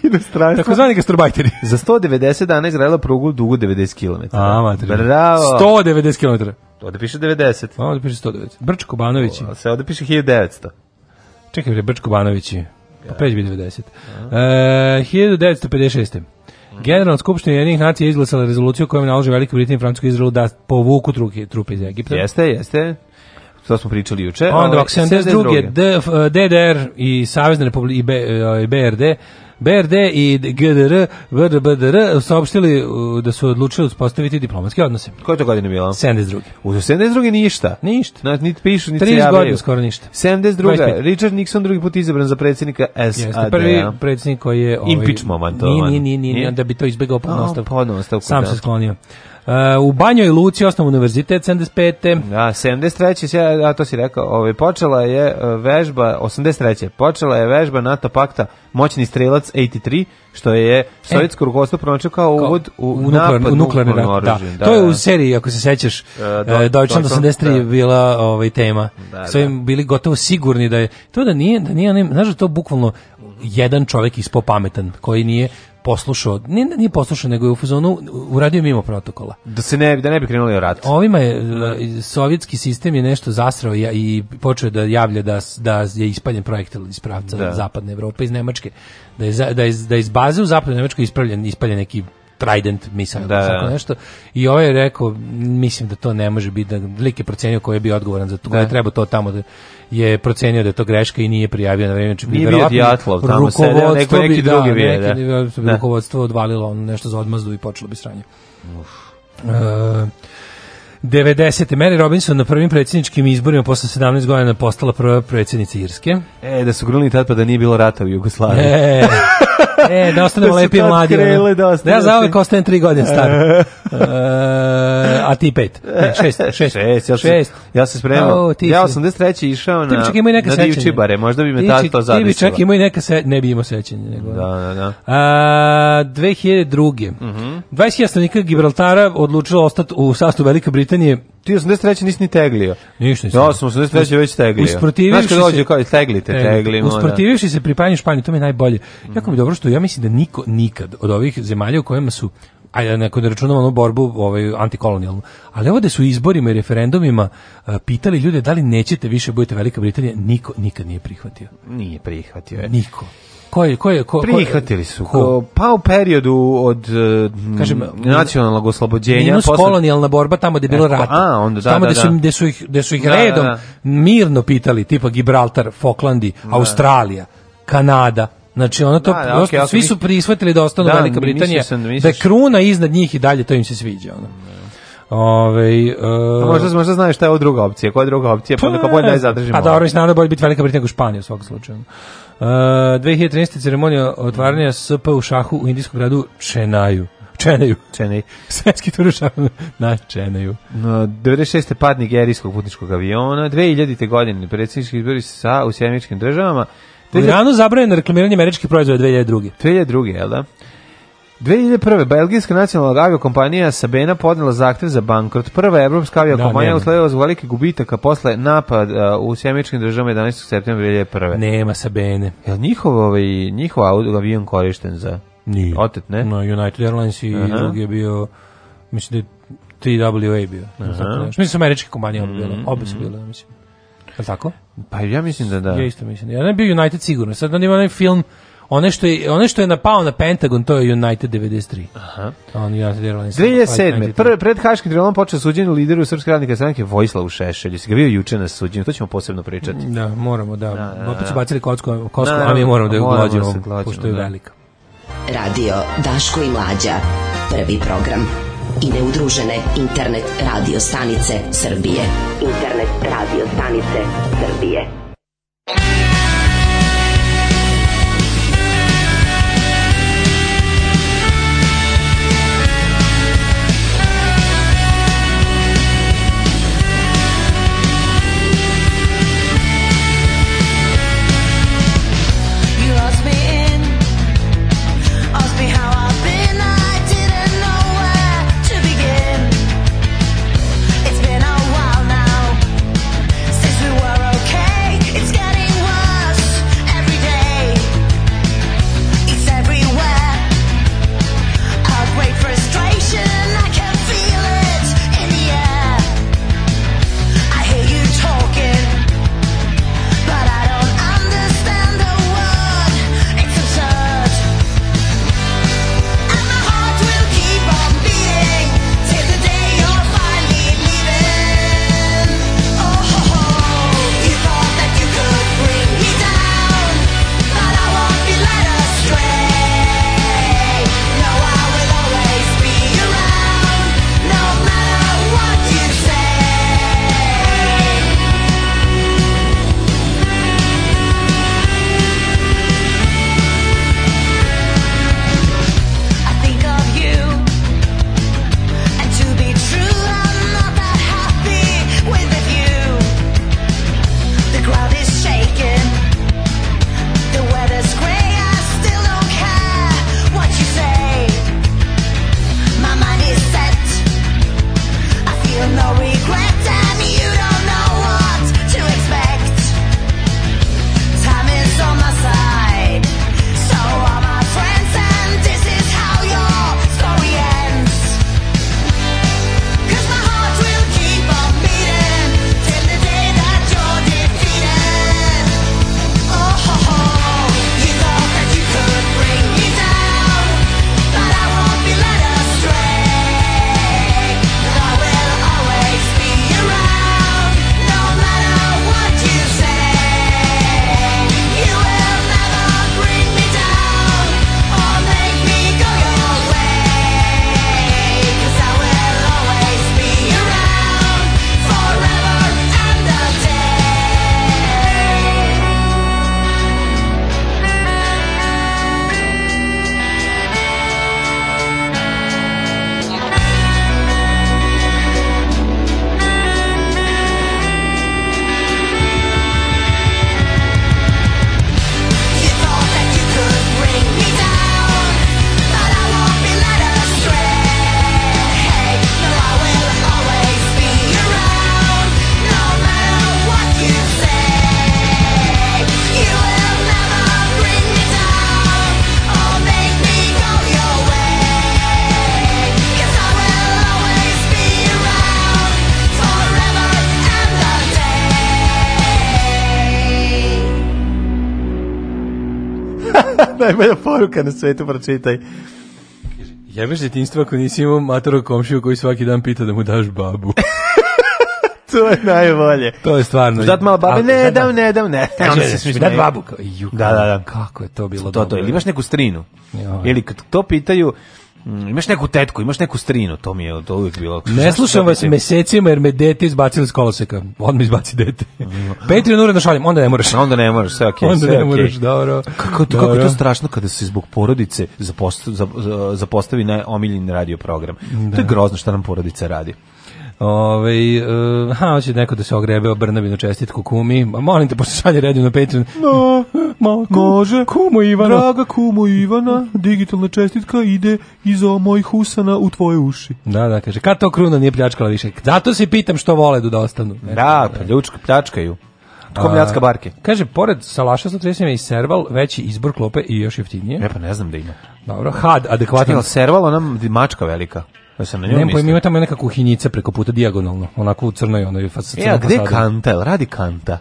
Speaker 8: inostranstva.
Speaker 7: Takozvani gastrobajteri.
Speaker 8: Za 190 dana izgradila prugu dugu 90 km.
Speaker 7: A, mater.
Speaker 8: Bravo.
Speaker 7: 190 km.
Speaker 8: Ovde piše 90.
Speaker 7: Ovdje piše 190. Brčko Banovići.
Speaker 8: A se ovde piše 1900.
Speaker 7: Čekaj, bre, Brčko Banovići. Pa preć bi 90. E, 1956. Generalna skupština jednih nacija je izglasala rezoluciju kojom naloži Velikoj Britaniji i Francuskoj i Izraelu da povuku truke, trupe iz Egipta.
Speaker 8: Jeste, jeste. To smo pričali juče.
Speaker 7: Onda
Speaker 8: Ovaj,
Speaker 7: ovako,
Speaker 8: 72..
Speaker 7: 72. D- F- DDR i Savezna republika i B- e, BRD BRD i GDR VRBDR saopštili uh, da su odlučili uspostaviti diplomatske odnose.
Speaker 8: Koje to godine bilo?
Speaker 7: 72.
Speaker 8: U 72. ništa.
Speaker 7: Ništa.
Speaker 8: Znači, niti pišu, niti se
Speaker 7: 30
Speaker 8: javljaju.
Speaker 7: godina skoro ništa.
Speaker 8: 72.
Speaker 7: 25.
Speaker 8: Richard Nixon drugi put izabran za predsjednika
Speaker 7: Jeste
Speaker 8: SAD-a.
Speaker 7: prvi predsjednik koji je ovaj
Speaker 8: Impeachment, to
Speaker 7: Nije,
Speaker 8: ono.
Speaker 7: nije, nije, nije,
Speaker 8: Nije?
Speaker 7: da bi to izbegao
Speaker 8: A,
Speaker 7: ponovno ostavku.
Speaker 8: ponovno ostavku,
Speaker 7: Sam
Speaker 8: da.
Speaker 7: se sklonio. Uh, u Banjoj Luci osnovu univerzitet 75.
Speaker 8: Da, 73. se, a to si rekao, ovaj, počela je e, vežba, 83. počela je vežba NATO pakta Moćni strelac 83, što je sovjetsko rukovodstvo pronačio kao
Speaker 7: E. Kao-
Speaker 8: uvod u,
Speaker 7: nuklear-
Speaker 8: napad
Speaker 7: u nuklearni
Speaker 8: nuklearnim
Speaker 7: rat, da.
Speaker 8: oružjem.
Speaker 7: To je u seriji, ako se sećaš,
Speaker 8: Do-
Speaker 7: e, Deutschland
Speaker 8: Deutschland,
Speaker 7: 83 je
Speaker 8: da.
Speaker 7: bila ovaj, tema.
Speaker 8: Da,
Speaker 7: Sve im bili gotovo sigurni da je... To da nije, da nije, onim- znaš da to bukvalno jedan čovjek ispo pametan, koji nije poslušao, nije, nije poslušao, nego je u fazonu uradio mimo protokola.
Speaker 8: Da se ne, bi- da ne bi krenuli u rat.
Speaker 7: Ovima je e, sovjetski sistem je nešto zasrao i, i počeo da javlja da, s- da je ispaljen projektil iz pravca
Speaker 8: Da.
Speaker 7: zapadne Evrope iz Nemačke. Da je, za- da je, da je iz baze u zapadnoj Nemačkoj ispaljen, ispaljen neki Trident misal
Speaker 8: Da,
Speaker 7: da,
Speaker 8: da.
Speaker 7: nešto i ovaj je rekao mislim da to ne može biti da lik je procenio ko je bio odgovoran za to ko je trebao to tamo da je procenio da je to greška i nije prijavio na vrijeme znači
Speaker 8: Nije bio
Speaker 7: verovatno
Speaker 8: Dijatlov tamo sedeo, nego
Speaker 7: rukovodstvo bi-
Speaker 8: neki
Speaker 7: da,
Speaker 8: drugi bio,
Speaker 7: neki-
Speaker 8: da. Da.
Speaker 7: rukovodstvo odvalilo ono nešto za odmazdu i počelo bi sranje E, 90. Mary Robinson na prvim predsjedničkim izborima posle 17 godina postala prva predsjednica Irske.
Speaker 8: E, da su grunili tad pa da nije bilo rata u Jugoslaviji.
Speaker 7: E, e da ostanemo
Speaker 8: Da su
Speaker 7: lepi i
Speaker 8: tad
Speaker 7: mladi. ono.
Speaker 8: krenule da
Speaker 7: da
Speaker 8: ostanemo
Speaker 7: ja zauvek
Speaker 8: svi.
Speaker 7: ostajem 3 godine star. E, a ti pet. Ne, šest, šest.
Speaker 8: E, Šest, ja sam, ja sam spremao.
Speaker 7: O, ti
Speaker 8: ja
Speaker 7: si-
Speaker 8: 83. išao
Speaker 7: Ti bi
Speaker 8: na,
Speaker 7: čak imao i neka
Speaker 8: na
Speaker 7: sećanja.
Speaker 8: Divčibare, možda bi me
Speaker 7: Ti
Speaker 8: tad
Speaker 7: čak-
Speaker 8: to
Speaker 7: Ti bi
Speaker 8: zadesilo.
Speaker 7: čak imao i neka se, ne bi imao sećanje. Nego,
Speaker 8: Da, da, da.
Speaker 7: A, 2002. Mm 20.000 stanovnika Gibraltara odlučilo ostati u sastavu Velike Britanije.
Speaker 8: Ti 83. nisi ni teglio.
Speaker 7: Ništa nisam.
Speaker 8: Ja sam 83. već teglio.
Speaker 7: Usprotivivši
Speaker 8: Znaš kad dođe kao i teglite, teglimo. da.
Speaker 7: Usprotivivši se pripajanju Španiji, to mi je najbolje. Jako mi je dobro što ja mislim da niko nikad od ovih zemalja u kojima su ajde neko da računamo onu borbu ovaj antikolonijalnu. Ali ovde su izborima i referendumima e, pitali ljude da li nećete više budete Velika Britanija, niko nikad nije prihvatio.
Speaker 8: Nije prihvatio je.
Speaker 7: Niko. Ko je, ko je, ko, ko-
Speaker 8: E. Prihvatili su.
Speaker 7: Ko?
Speaker 8: Ko? Pa u periodu od e, m,
Speaker 7: Kažem,
Speaker 8: nacionalnog oslobođenja.
Speaker 7: Minus
Speaker 8: posle-
Speaker 7: kolonijalna borba tamo gde je bilo
Speaker 8: E, ko-
Speaker 7: rata.
Speaker 8: a, onda da,
Speaker 7: tamo
Speaker 8: da,
Speaker 7: gde su,
Speaker 8: da.
Speaker 7: gde su ih, gde su ih
Speaker 8: Da, da,
Speaker 7: redom
Speaker 8: da.
Speaker 7: mirno pitali, tipa Gibraltar, Falklandi, Australija, Kanada. Znači ono to
Speaker 8: Da, da,
Speaker 7: prosto,
Speaker 8: okej, ako
Speaker 7: svi
Speaker 8: mis-
Speaker 7: su prihvatili da ostanu
Speaker 8: Da,
Speaker 7: Velika
Speaker 8: mi- mislio
Speaker 7: Britanija,
Speaker 8: sam da misliš-
Speaker 7: da je kruna iznad njih i dalje to im se sviđa. Ono. Ovaj, e,
Speaker 8: A Možda, možda znaju šta je ovo druga opcija. Koja je druga opcija? Pa onda kao bolje da je zadržimo.
Speaker 7: a dobro, mislim, naravno bolje biti Velika Britanija u Španiji u svakom slučaju. E, Uh, 2013. ceremonija otvaranja SP u šahu u indijskom gradu Čenaju. Čeneju.
Speaker 8: Čenej.
Speaker 7: Svetski tur šampiona na Čeneju.
Speaker 8: No, 96. pad nigerijskog putničkog aviona, 2000. godine predsjednički izbori sa u sjemeničkim državama,
Speaker 7: U Iranu zabranjeno reklamiranje američkih proizvoda 2002.
Speaker 8: 2002. jel da? 2001. Belgijska nacionalna aviokompanija Sabena podnela zahtev za bankrot. Prva evropska aviokompanija
Speaker 7: nema.
Speaker 8: usledila zbog velikih gubitaka posle napada e, u sjemeničkim državama 11. septembra 2001.
Speaker 7: Nema Sabene.
Speaker 8: Jel njihov, ovaj, njihov au- avion korišten za...
Speaker 7: Nije.
Speaker 8: Otet, ne?
Speaker 7: No, United Airlines i
Speaker 8: Aha.
Speaker 7: drugi je bio, mislim da je TWA bio. ne znam tako nešto. Mislim da su američke kompanije obe
Speaker 8: Mhm.
Speaker 7: bile. Obe su bile, ja mislim. Je li tako?
Speaker 8: Pa ja mislim da da.
Speaker 7: Ja isto mislim. Ja ne bio United sigurno. Sad on ima onaj film, one što je, one što je napao na Pentagon, to je United 93. Aha. On United Airlines.
Speaker 8: 2007.
Speaker 7: 93.
Speaker 8: Prve, pred Haškim tribunalom počeo suđenje lideru Srpske radnike stranke Vojislavu Šešelju. Si ga bio juče na suđenju, to ćemo posebno pričati.
Speaker 7: Da, moramo, da.
Speaker 8: da,
Speaker 7: Opet su
Speaker 8: da.
Speaker 7: bacili kocku, kosku,
Speaker 8: Da,
Speaker 7: a mi moramo da je
Speaker 8: moramo da se
Speaker 7: uglađujemo,
Speaker 8: glađemo,
Speaker 7: pošto je
Speaker 8: da.
Speaker 7: velika.
Speaker 12: Radio Daško i Mlađa. Prvi program. I neudružene internet radio stanice Srbije. Internet radio stanice Srbije.
Speaker 13: You lost me in, asked me how I've been. I didn't know where to begin. It's been a while now since we were okay. It's getting worse every day. It's everywhere. Outbreak frustration. I can feel it in the air. I hear you talking. But I don't understand the word. It's absurd. And my heart will keep on beating till the day you're finally leaving. Oh, you thought that you could bring me down, but I won't be led astray. No, I will always be around, no matter what you say. I think of you, and to be true, I'm not that happy with the view. The ground is shaking, the weather's grey. I still don't care what you say. My mind is set. I feel no regret, and you don't know what to expect. Time is on my side. So are my friends, and this is how your story ends. 'Cause my heart will keep on beating till the day that you're defeated. Oh, you thought that you could bring me down, but I won't be led astray. I will always be around, no matter what you say. You will never bring me down or make me go your way. 'Cause I will always be around forever and a day. You thought that you could bring me down, but I won't be led astray. No, I will always be around, no matter what you say. You will never bring me down or make me go your way. 'Cause I will always be around forever and a day.
Speaker 8: Najbolja poruka na svetu, pročitaj.
Speaker 7: Jebeš detinjstvo ako nisi imao matorog komšiju koji svaki dan pita da mu daš babu.
Speaker 8: To je najbolje.
Speaker 7: To je stvarno.
Speaker 8: Dat malo babe,
Speaker 7: Ako-
Speaker 8: ne
Speaker 7: sad
Speaker 8: dam, ne dam, ne. Onda se svi
Speaker 7: da
Speaker 8: smeju.
Speaker 7: babu. Kao, ju,
Speaker 8: Da, da, da.
Speaker 7: Kako je to bilo
Speaker 8: To, to, ili imaš neku strinu.
Speaker 7: Joj.
Speaker 8: Ili kad to pitaju, Mm, imaš neku tetku, imaš neku strinu, to mi je to uvijek bilo.
Speaker 7: Ne slušam vas mesecima jer me dete izbacili iz koloseka. On mi izbaci dete. Patreon uredno šaljem, onda ne moraš.
Speaker 8: Onda ne moraš, sve okej,
Speaker 7: Onda
Speaker 8: sve
Speaker 7: ne moraš,
Speaker 8: okej.
Speaker 7: dobro.
Speaker 8: Kako, to,
Speaker 7: Dobro.
Speaker 8: kako je to strašno kada se zbog porodice zapost, za- za- zapostavi na omiljen radio program. To je grozno što nam porodica radi.
Speaker 7: Ove, uh, ha, hoće neko da se ogrebe o Brnabinu čestitku kumi. Ma, Molim te, pošto šalje redom na Patreon.
Speaker 8: No,
Speaker 7: Malo, kum- Kumu Ivano.
Speaker 8: kumo Ivana, digitalna čestitka ide iz mojih husana u tvoje uši.
Speaker 7: Da, da, kaže, kad to kruna nije pljačkala više? Zato se pitam što vole da ostanu. E,
Speaker 8: Da, pljučka, pljačkaju. Tko mljacka barke?
Speaker 7: Kaže, pored Salaša 130 ima i Serval, veći izbor klope i još jeftinije.
Speaker 8: Ne, pa ne znam da ima.
Speaker 7: Dobro, had,
Speaker 8: Čekaj,
Speaker 7: adekvatan.
Speaker 8: ali serval ona m- mačka velika? Da sam na njom
Speaker 7: Pa Nemam pojma,
Speaker 8: mislio.
Speaker 7: ima tamo neka kuhinjica preko puta dijagonalno, onako u crnoj onoj fas,
Speaker 8: E, a
Speaker 7: crnom
Speaker 8: gde je
Speaker 7: fasadi.
Speaker 8: kanta? Jel radi kanta?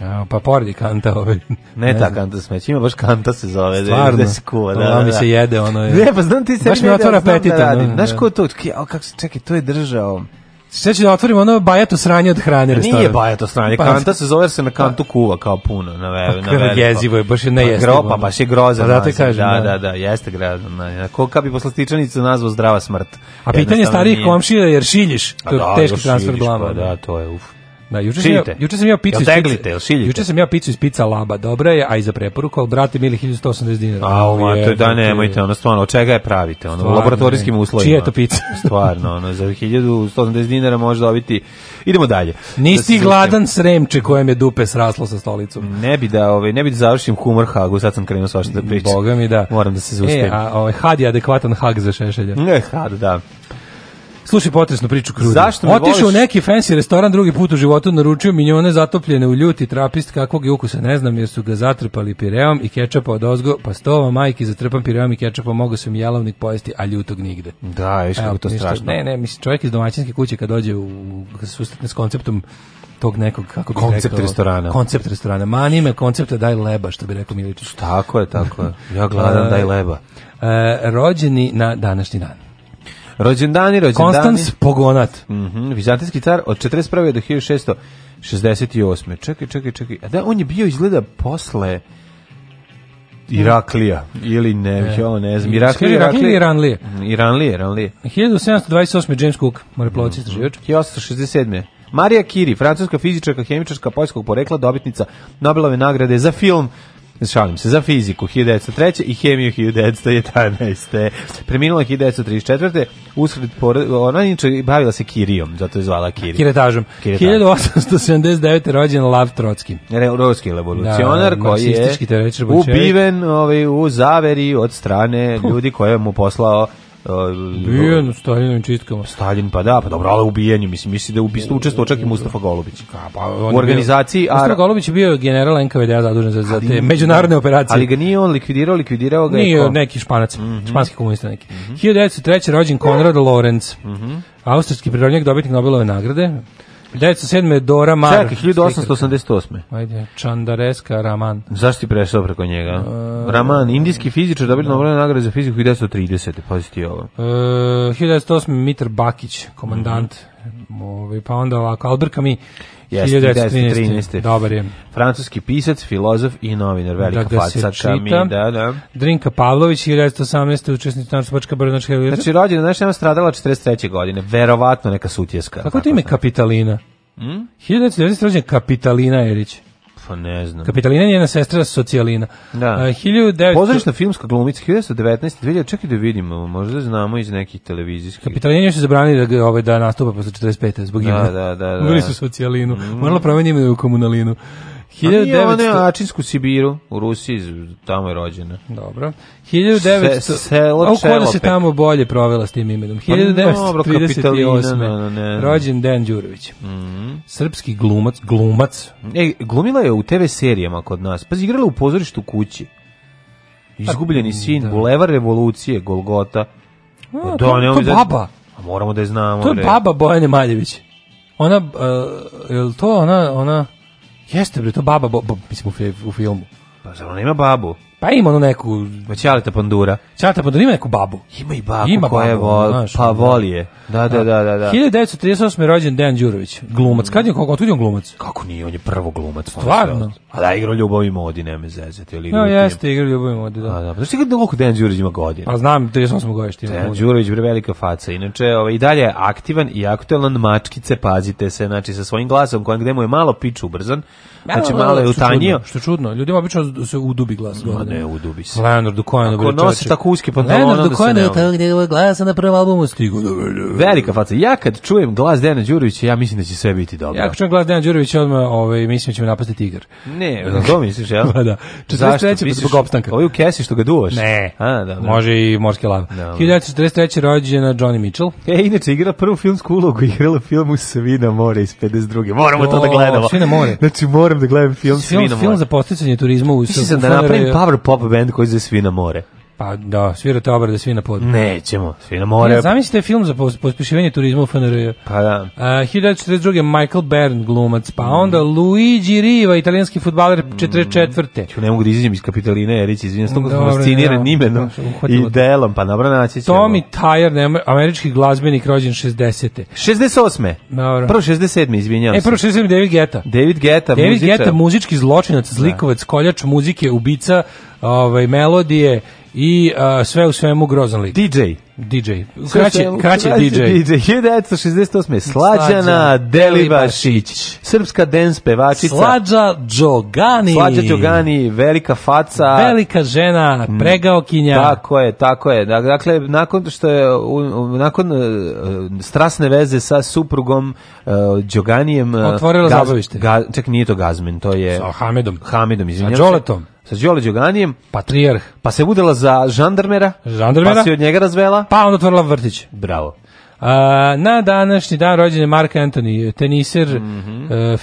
Speaker 7: A, pa pored je kanta ovaj.
Speaker 8: Ne, ta
Speaker 7: znam.
Speaker 8: kanta smeća, ima baš kanta se zove.
Speaker 7: Stvarno. Pa
Speaker 8: Da se kuva, da,
Speaker 7: Ona
Speaker 8: da,
Speaker 7: mi
Speaker 8: da.
Speaker 7: se jede, ono je.
Speaker 8: Ne, pa znam ti se
Speaker 7: Baš mi otvara apetit, ono,
Speaker 8: Znaš
Speaker 7: da.
Speaker 8: ko je to? Čekaj, a kako se- Čekaj, to je držao.
Speaker 7: Sve ću da otvorim ono bajato sranje od hrane restoran.
Speaker 8: Nije baja to stranje,
Speaker 7: Pa-
Speaker 8: kanta se zove jer se na kantu kuva kao puno, na ve, na veliko.
Speaker 7: jezivo je, baš je
Speaker 8: Pa
Speaker 7: nejestivo.
Speaker 8: gro- pa baš je grozan.
Speaker 7: Pa zato
Speaker 8: naziv,
Speaker 7: kažem,
Speaker 8: Da,
Speaker 7: da.
Speaker 8: da, da, jeste grozan. naziv. Ko kad bi poslastičanicu nazvao zdrava smrt.
Speaker 7: A pitanje
Speaker 8: Jednostavno
Speaker 7: starijih
Speaker 8: nije.
Speaker 7: komšija jer šiljiš,
Speaker 8: A
Speaker 7: to je
Speaker 8: da,
Speaker 7: teški
Speaker 8: još
Speaker 7: transfer
Speaker 8: vidiš,
Speaker 7: blama.
Speaker 8: pa Da, to je uf.
Speaker 7: Da, juče sam, ja,
Speaker 8: Šiljite?
Speaker 7: juče sam ja picu
Speaker 8: Jel
Speaker 7: iz pice-
Speaker 8: teglite, jel šiljite?
Speaker 7: Juče sam ja picu iz pica laba, dobra je, a i za preporuku, ali brate mili 1180 dinara.
Speaker 8: A, ma, to je, da,
Speaker 7: Jebote.
Speaker 8: nemojte, ono, stvarno, od čega je pravite, ono, u
Speaker 7: Stvarno,
Speaker 8: laboratorijskim
Speaker 7: ne.
Speaker 8: uslovima.
Speaker 7: Čija je to pizza?
Speaker 8: stvarno, ono, za 1180 dinara može dobiti, idemo dalje. Da se
Speaker 7: Nisi ti
Speaker 8: zvučem.
Speaker 7: gladan sremče kojem je dupe sraslo sa stolicom.
Speaker 8: Ne bi da, ovaj, ne bi da završim humor hagu, sad sam krenuo svašta da pričam.
Speaker 7: Boga mi da.
Speaker 8: Moram da se
Speaker 7: E,
Speaker 8: zaustavim. Mm,
Speaker 7: a ovaj, had je adekvatan hak za šešelja.
Speaker 8: Ne, hada, da.
Speaker 7: Slušaj potresnu priču krudi.
Speaker 8: Zašto me
Speaker 7: Otišao
Speaker 8: voliš?
Speaker 7: u neki fancy restoran drugi put u životu, naručio minjone zatopljene u ljuti trapist kakvog je ukusa, ne znam, jer su ga zatrpali pireom i kečapa od ozgo, pa stova majki zatrpan pireom i kečapom, mogao sam jelovnik pojesti, a ljutog nigde.
Speaker 8: Da, viš kako
Speaker 7: Evo,
Speaker 8: je to
Speaker 7: ništa.
Speaker 8: strašno.
Speaker 7: Ne, ne, mislim, čovjek iz domaćinske kuće kad dođe u, kad se susretne s konceptom tog nekog, kako bih
Speaker 8: Koncept
Speaker 7: rekao,
Speaker 8: restorana.
Speaker 7: Koncept restorana. Mani me koncepta daj leba, što bi rekao Miličić.
Speaker 8: Tako je, tako je. Ja gladan, daj leba.
Speaker 7: E, rođeni na današnji dan.
Speaker 8: Rođendani, rođendani.
Speaker 7: Konstans Pogonat.
Speaker 8: Mhm, vizantijski car od 41. do 1668. Čekaj, čekaj, čekaj. A da, on je bio izgleda posle Iraklija ili ne, ja ono ne znam. Iraklija,
Speaker 7: Iraklija ili Iranlije?
Speaker 8: Mm, Iranlije, Iranlije.
Speaker 7: 1728. James Cook, moreplovac i istraživač.
Speaker 8: Mhm. 1867. Marija Kiri, francuska fizičarka, hemičarka poljskog porekla, dobitnica Nobelove nagrade za film Šalim se, za fiziku 1903. i hemiju 1911. Preminula je 1934. Usred, pore- ona inače bavila se Kirijom, zato je zvala Kiri.
Speaker 7: Kiretažom.
Speaker 8: Kiretažom.
Speaker 7: 1879. rođen Lav Trotski.
Speaker 8: Re- ruski revolucionar
Speaker 7: Da,
Speaker 8: koji je
Speaker 7: marksistički teoretičar, bolševik.
Speaker 8: ubiven ovaj, u zaveri od strane ljudi koje mu poslao ovaj,
Speaker 7: Bijen u Stalinovim čistkama.
Speaker 8: Stalin, pa da, pa dobro, ali ubijenju, mislim, misli da je ubistvu učestvovao čak i Mustafa Golubić.
Speaker 7: Pa, on je
Speaker 8: u organizaciji
Speaker 7: bio, Mustafa
Speaker 8: Ara-
Speaker 7: Golubić je bio general NKVD-a zadužen za, za te međunarodne operacije.
Speaker 8: Ali ga Mhm. nije on likvidirao, likvidirao ga je
Speaker 7: Nije
Speaker 8: ko?
Speaker 7: neki španac, španski komunista neki.
Speaker 8: Mhm.
Speaker 7: 1903. rođen Konrad Lorenz, austrijski prirodnjak, dobitnik Nobelove nagrade. 1907. je Dora Mar.
Speaker 8: Čekaj, 1888.
Speaker 7: Ajde, Čandareska Raman.
Speaker 8: Zašto ti prešao preko njega? Raman, indijski fizičar, dobili Nobelove nagrade za fiziku 1930. Pazi ti ovo.
Speaker 7: E, 1908. Mitar Bakić, komandant. Ovaj, pa onda ovako, Albert Camus,
Speaker 8: Mhm. Jeste,
Speaker 7: 1913. Dobar je.
Speaker 8: Francuski pisac, filozof i novinar, velika
Speaker 7: Da ga se
Speaker 8: faca,
Speaker 7: čita.
Speaker 8: Camus, da, da.
Speaker 7: Drinka Pavlović, 1918. učesnik Tančupačka Brnačka.
Speaker 8: Znači, rođena znaš, nema stradala 43. godine. Verovatno neka sutjeska.
Speaker 7: Pa Kako ti ime
Speaker 8: Tako Mm?
Speaker 7: Kapitalina? 1990. rođen Kapitalina Erić.
Speaker 8: sam. Pa ne znam.
Speaker 7: Kapitalina je njena sestra Socijalina. E,
Speaker 8: Da.
Speaker 7: A, 1900...
Speaker 8: Pozorišna filmska glumica 1919. 2000, čekaj da vidimo, možda znamo iz nekih televizijskih.
Speaker 7: Kapitalina još je zabranili da, ga, ovaj, da nastupa posle 45. zbog
Speaker 8: Da,
Speaker 7: imena.
Speaker 8: da, da, da.
Speaker 7: Uveli su Socijalinu. Morala promeni ime u Komunalinu.
Speaker 8: A nije ona
Speaker 7: 1900...
Speaker 8: Ačinsku Sibiru, u Rusiji, z- tamo je rođena.
Speaker 7: Dobro. 1900...
Speaker 8: Se- selo
Speaker 7: A u koda se
Speaker 8: Čelopek.
Speaker 7: tamo bolje provela s tim imenom?
Speaker 8: Pa dobro, Kapitalina,
Speaker 7: 1938.
Speaker 8: ne, ne, ne.
Speaker 7: Rođen Dejan Đurović.
Speaker 8: Mhm.
Speaker 7: Srpski glumac, glumac.
Speaker 8: E, glumila je u TV serijama kod nas. Pazi, igrala u pozorištu kući.
Speaker 7: Pa,
Speaker 8: Izgubljeni sin, Bulevar revolucije, Golgota.
Speaker 7: A,
Speaker 8: Pa
Speaker 7: to-
Speaker 8: nemoj
Speaker 7: to
Speaker 8: da-
Speaker 7: baba.
Speaker 8: A moramo da je znamo.
Speaker 7: To je
Speaker 8: bre.
Speaker 7: baba Bojane Maljević. Ona, uh, je li to ona, ona... Jeste bre, to baba, bo, bo- mislim u, fi- u filmu.
Speaker 8: Pa zar ona ima babu?
Speaker 7: Pa ima onu neku,
Speaker 8: Ćaleta Pandura.
Speaker 7: Ćata Pandora ima neku babu.
Speaker 8: Ima i baku
Speaker 7: Ima
Speaker 8: koja je
Speaker 7: babu,
Speaker 8: vo-
Speaker 7: znaš,
Speaker 8: pa
Speaker 7: da.
Speaker 8: voli je. Da, da, da, da. da.
Speaker 7: 1938. je rođen Dejan Đurović, glumac. Kad je, od je on glumac?
Speaker 8: Kako nije, on je ono prvo glumac.
Speaker 7: Stvarno?
Speaker 8: A da, igrao ljubav i modi, ne me zezati. Ili
Speaker 7: No,
Speaker 8: Ljutim.
Speaker 7: jeste, igra ljubavim ode,
Speaker 8: A,
Speaker 7: da.
Speaker 8: da, pa znaš ti kada koliko Dejan Đurić ima godina?
Speaker 7: Pa znam, 38. godište. ima
Speaker 8: Dejan
Speaker 7: glumac.
Speaker 8: Đurović bre velika faca. Inače, ovaj, i dalje je aktivan i aktuelan mačkice, pazite se, znači sa svojim glasom, kojem gde mu je malo pič ubrzan, znači malo je
Speaker 7: Što
Speaker 8: utanjio.
Speaker 7: čudno, Što je čudno, ljudima obično se udubi glas.
Speaker 8: Ma
Speaker 7: godine.
Speaker 8: ne, udubi se.
Speaker 7: Leonard Dukojan.
Speaker 8: Ako
Speaker 7: bre,
Speaker 8: nosi
Speaker 7: čoveče.
Speaker 8: tako uske pantalone,
Speaker 7: Leonard
Speaker 8: onda se
Speaker 7: Dukojan
Speaker 8: ne
Speaker 7: je
Speaker 8: voli.
Speaker 7: tako gde je glasa na prvom albumu stigu.
Speaker 8: Velika faca. Ja kad čujem glas Dejana Đurovića, ja mislim da će sve biti dobro.
Speaker 7: Ja E, ako čujem glas Dejan Đurović, odmah ovaj, mislim da će me napasti tigar.
Speaker 8: Ne, na to misliš, jel?
Speaker 7: Pa da. 43. pa
Speaker 8: Misliš,
Speaker 7: zbog opstanka.
Speaker 8: Ovi u kesi što ga duvaš?
Speaker 7: Ne,
Speaker 8: A, da,
Speaker 7: može i morske lave.
Speaker 8: Dobro.
Speaker 7: 1943. rođena Johnny Mitchell.
Speaker 8: E, inače, igra prvu filmsku ulogu, igrala film u Svina more iz 52. Moramo to da
Speaker 7: O,
Speaker 8: gledamo.
Speaker 7: Svi na more.
Speaker 8: Znači, moram da gledam film
Speaker 7: Film,
Speaker 8: Svina
Speaker 7: film
Speaker 8: more.
Speaker 7: za posticanje turizma u
Speaker 8: Mislim
Speaker 7: u
Speaker 8: sam da
Speaker 7: Foneru
Speaker 8: napravim pa-
Speaker 7: je-
Speaker 8: power pop band koji za Svina more.
Speaker 7: Pa da, svirate obrade svi na pod.
Speaker 8: Mm. Nećemo, Svina more.
Speaker 7: Ja, zamislite film za pos- pospešivanje turizma u FNR.
Speaker 8: Pa da.
Speaker 7: Uh, 1942. Michael Bern glumac,
Speaker 8: Mm.
Speaker 7: pa onda Luigi Riva, italijanski futbaler 44.
Speaker 8: Ću, ne mogu da izađem iz Kapitaline Erić, izvinjam, stoga sam
Speaker 7: Dobro,
Speaker 8: fasciniran
Speaker 7: ja,
Speaker 8: imenom
Speaker 7: znači, uhvatilo
Speaker 8: i
Speaker 7: te.
Speaker 8: delom, pa dobro naći ćemo.
Speaker 7: Tommy Tyre, nema- američki glazbenik rođen E, 60.
Speaker 8: 68.
Speaker 7: Dobro.
Speaker 8: Prvo 67. izvinjam
Speaker 7: E, prvo
Speaker 8: se.
Speaker 7: 60 David Geta.
Speaker 8: David Geta,
Speaker 7: David
Speaker 8: muzičar.
Speaker 7: Geta, muzički zločinac, zlikovac, koljač muzike, ubica, ovaj, melodije i uh, sve u svemu grozan lik.
Speaker 8: DJ.
Speaker 7: DJ. Kraće, kraće DJ.
Speaker 8: DJ. 1968. Slađana
Speaker 7: Slađana
Speaker 8: Delibašić. Srpska dance pevačica.
Speaker 7: Slađa Đogani.
Speaker 8: Slađa Đogani, Mm. velika faca.
Speaker 7: Velika žena, pregaokinja.
Speaker 8: Tako je, tako je. Dak- Dakle, nakon što je u- u- nakon e, e, strasne veze sa suprugom e, Đoganijem e,
Speaker 7: Otvorila
Speaker 8: Gaz-
Speaker 7: zabavište.
Speaker 8: Ga- čak nije to Gazmin, to je
Speaker 7: Sa Hamedom.
Speaker 8: Hamidom, izvinjavam
Speaker 7: Sa Đoletom.
Speaker 8: Se. Sa Đole Đoganijem,
Speaker 7: Patrijarh.
Speaker 8: pa se udala za žandarmera.
Speaker 7: Žandarmera.
Speaker 8: Pa se od njega razvela.
Speaker 7: Pa onda otvorila vrtić.
Speaker 8: Bravo.
Speaker 7: A, na današnji dan rođen je Mark Anthony, teniser
Speaker 8: Mhm.
Speaker 7: e,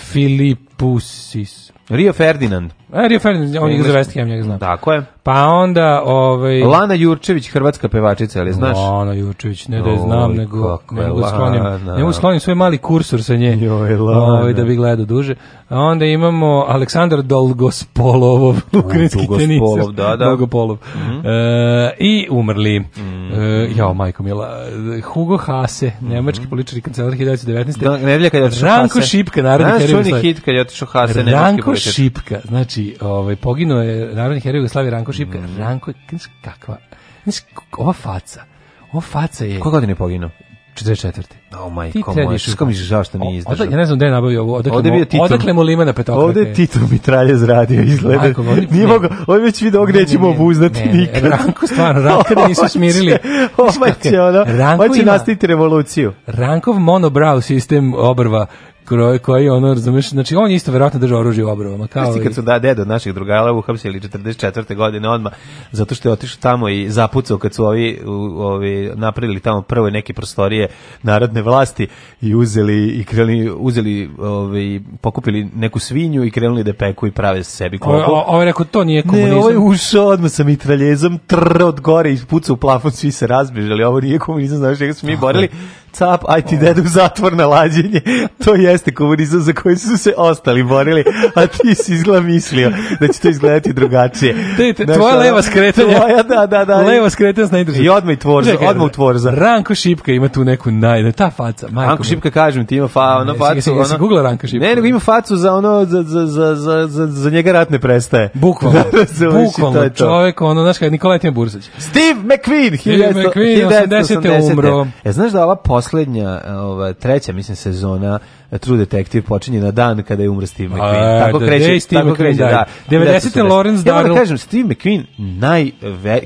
Speaker 7: Filipusis.
Speaker 8: Rio Ferdinand.
Speaker 7: A, Rio Ferdinand, on igra za West Ham, njega znam.
Speaker 8: Tako je.
Speaker 7: Pa onda, ovaj...
Speaker 8: Lana Jurčević, hrvatska pevačica, ali znaš?
Speaker 7: Lana Jučević, ne da
Speaker 8: Oj,
Speaker 7: je znam, nego
Speaker 8: kako
Speaker 7: ne
Speaker 8: je
Speaker 7: mogu da sklonim,
Speaker 8: Lana.
Speaker 7: ne mogu da sklonim svoj mali kursor sa nje,
Speaker 8: Joj, Lana.
Speaker 7: ovaj, da bi gledao duže. A onda imamo Aleksandar Dolgospolovov, ukrajinski
Speaker 8: Dolgospolov,
Speaker 7: teniser.
Speaker 8: da, Mhm. da.
Speaker 7: Dolgopolov. E, I umrli.
Speaker 8: Mhm.
Speaker 7: E, jao, majko mila. e, Hugo Hase, nemački političar i kancelar 1919.
Speaker 8: Mhm. Da, nedelja kad je otišao
Speaker 7: Ranko
Speaker 8: Hase.
Speaker 7: Šipka, narodni
Speaker 8: Znaš
Speaker 7: heroj
Speaker 8: čuveni
Speaker 7: Jugoslavije.
Speaker 8: hit kad je otišao Hase, nemački
Speaker 7: Ranko
Speaker 8: političar.
Speaker 7: Šipka, znači, ovaj, poginuo je narodni heroj Jugoslavije Ranko Šipka.
Speaker 8: Mhm.
Speaker 7: Ranko, je- znaš kakva, znaš, ova faca, ova faca je...
Speaker 8: Koje godine je poginuo?
Speaker 7: 44.
Speaker 8: O majko
Speaker 7: Ti
Speaker 8: moja,
Speaker 7: treba
Speaker 8: kako mi je žao što nije izdržao.
Speaker 7: Ja ne znam gde je nabavio ovo. Odakle,
Speaker 8: Ovde je
Speaker 7: mu,
Speaker 8: bio Tito.
Speaker 7: odakle mu limena petokrake?
Speaker 8: Ovde je Tito mitralje zradio izgleda.
Speaker 7: Majko, ovdje-
Speaker 8: Nije
Speaker 7: ne.
Speaker 8: mogao, on je već video gde
Speaker 7: Ne, ne,
Speaker 8: ćemo
Speaker 7: ne,
Speaker 8: obuzdati
Speaker 7: ne, ne,
Speaker 8: nikad.
Speaker 7: Ranko, stvarno, Ranka nisu smirili.
Speaker 8: Oma će ono,
Speaker 7: Ranko
Speaker 8: on će
Speaker 7: ima-
Speaker 8: nastaviti revoluciju.
Speaker 7: Rankov monobrow sistem obrva koji, koji ono, razumeš, znači on je isto verovatno držao oružje u obrovama. Kao
Speaker 8: Znaš ti
Speaker 7: i-
Speaker 8: kad su da dede od naših drugara uhapsili 44. godine odmah, zato što je otišao tamo i zapucao kad su ovi, u- ovi napravili tamo prve neke prostorije narodne vlasti i uzeli i krenuli, uzeli ovi, pokupili neku svinju i krenuli da peku i prave sebi
Speaker 7: Ovo-
Speaker 8: klopu.
Speaker 7: ovo- Ovo ovaj je rekao, to nije komunizam.
Speaker 8: Ne, ovo je ušao odmah sa mitraljezom, trr od gore i pucao u plafon, svi se razbježali, ovo nije komunizam, znaš čega smo mi borili, cap, aj ti dede u zatvor na lađenje, to jeste komunizam za koji su se ostali borili, a ti si izgleda mislio da će to izgledati drugačije.
Speaker 7: Te- te-
Speaker 8: Znaš,
Speaker 7: tvoja
Speaker 8: ono,
Speaker 7: leva skretanja.
Speaker 8: Tvoja, da, da, da.
Speaker 7: Leva skretanja na internetu.
Speaker 8: I odmah i tvorza,
Speaker 7: Čekaj,
Speaker 8: odmah u tvorza.
Speaker 7: Ranko Šipka ima tu neku naj, ta faca, majko.
Speaker 8: Ranko
Speaker 7: mi.
Speaker 8: Šipka kažem ti ima fa, ono
Speaker 7: Ne,
Speaker 8: facu.
Speaker 7: jesi- jesi
Speaker 8: ono-
Speaker 7: googlao Ranka Šipka?
Speaker 8: Ne, nego ima facu za ono, za, za, za, za, za, za njega rat ne prestaje.
Speaker 7: Bukvalno,
Speaker 8: Razumeš, i to
Speaker 7: bukvalno
Speaker 8: je to.
Speaker 7: čovjek, ono, znaš, kada Nikola Etim Bursać.
Speaker 8: Steve McQueen,
Speaker 7: Steve
Speaker 8: 1900
Speaker 7: McQueen,
Speaker 8: 1980.
Speaker 7: 80. umro.
Speaker 8: E, znaš da ova poslednja, ova, treća, mislim, sezona e, True Detective počinje na dan kada je umro Steve McQueen.
Speaker 7: A,
Speaker 8: tako
Speaker 7: the
Speaker 8: kreće,
Speaker 7: day Steve
Speaker 8: tako
Speaker 7: McQueen
Speaker 8: kreće,
Speaker 7: died.
Speaker 8: da.
Speaker 7: 90. Lawrence
Speaker 8: Ja moram da
Speaker 7: Darrell.
Speaker 8: kažem, Steve McQueen, naj,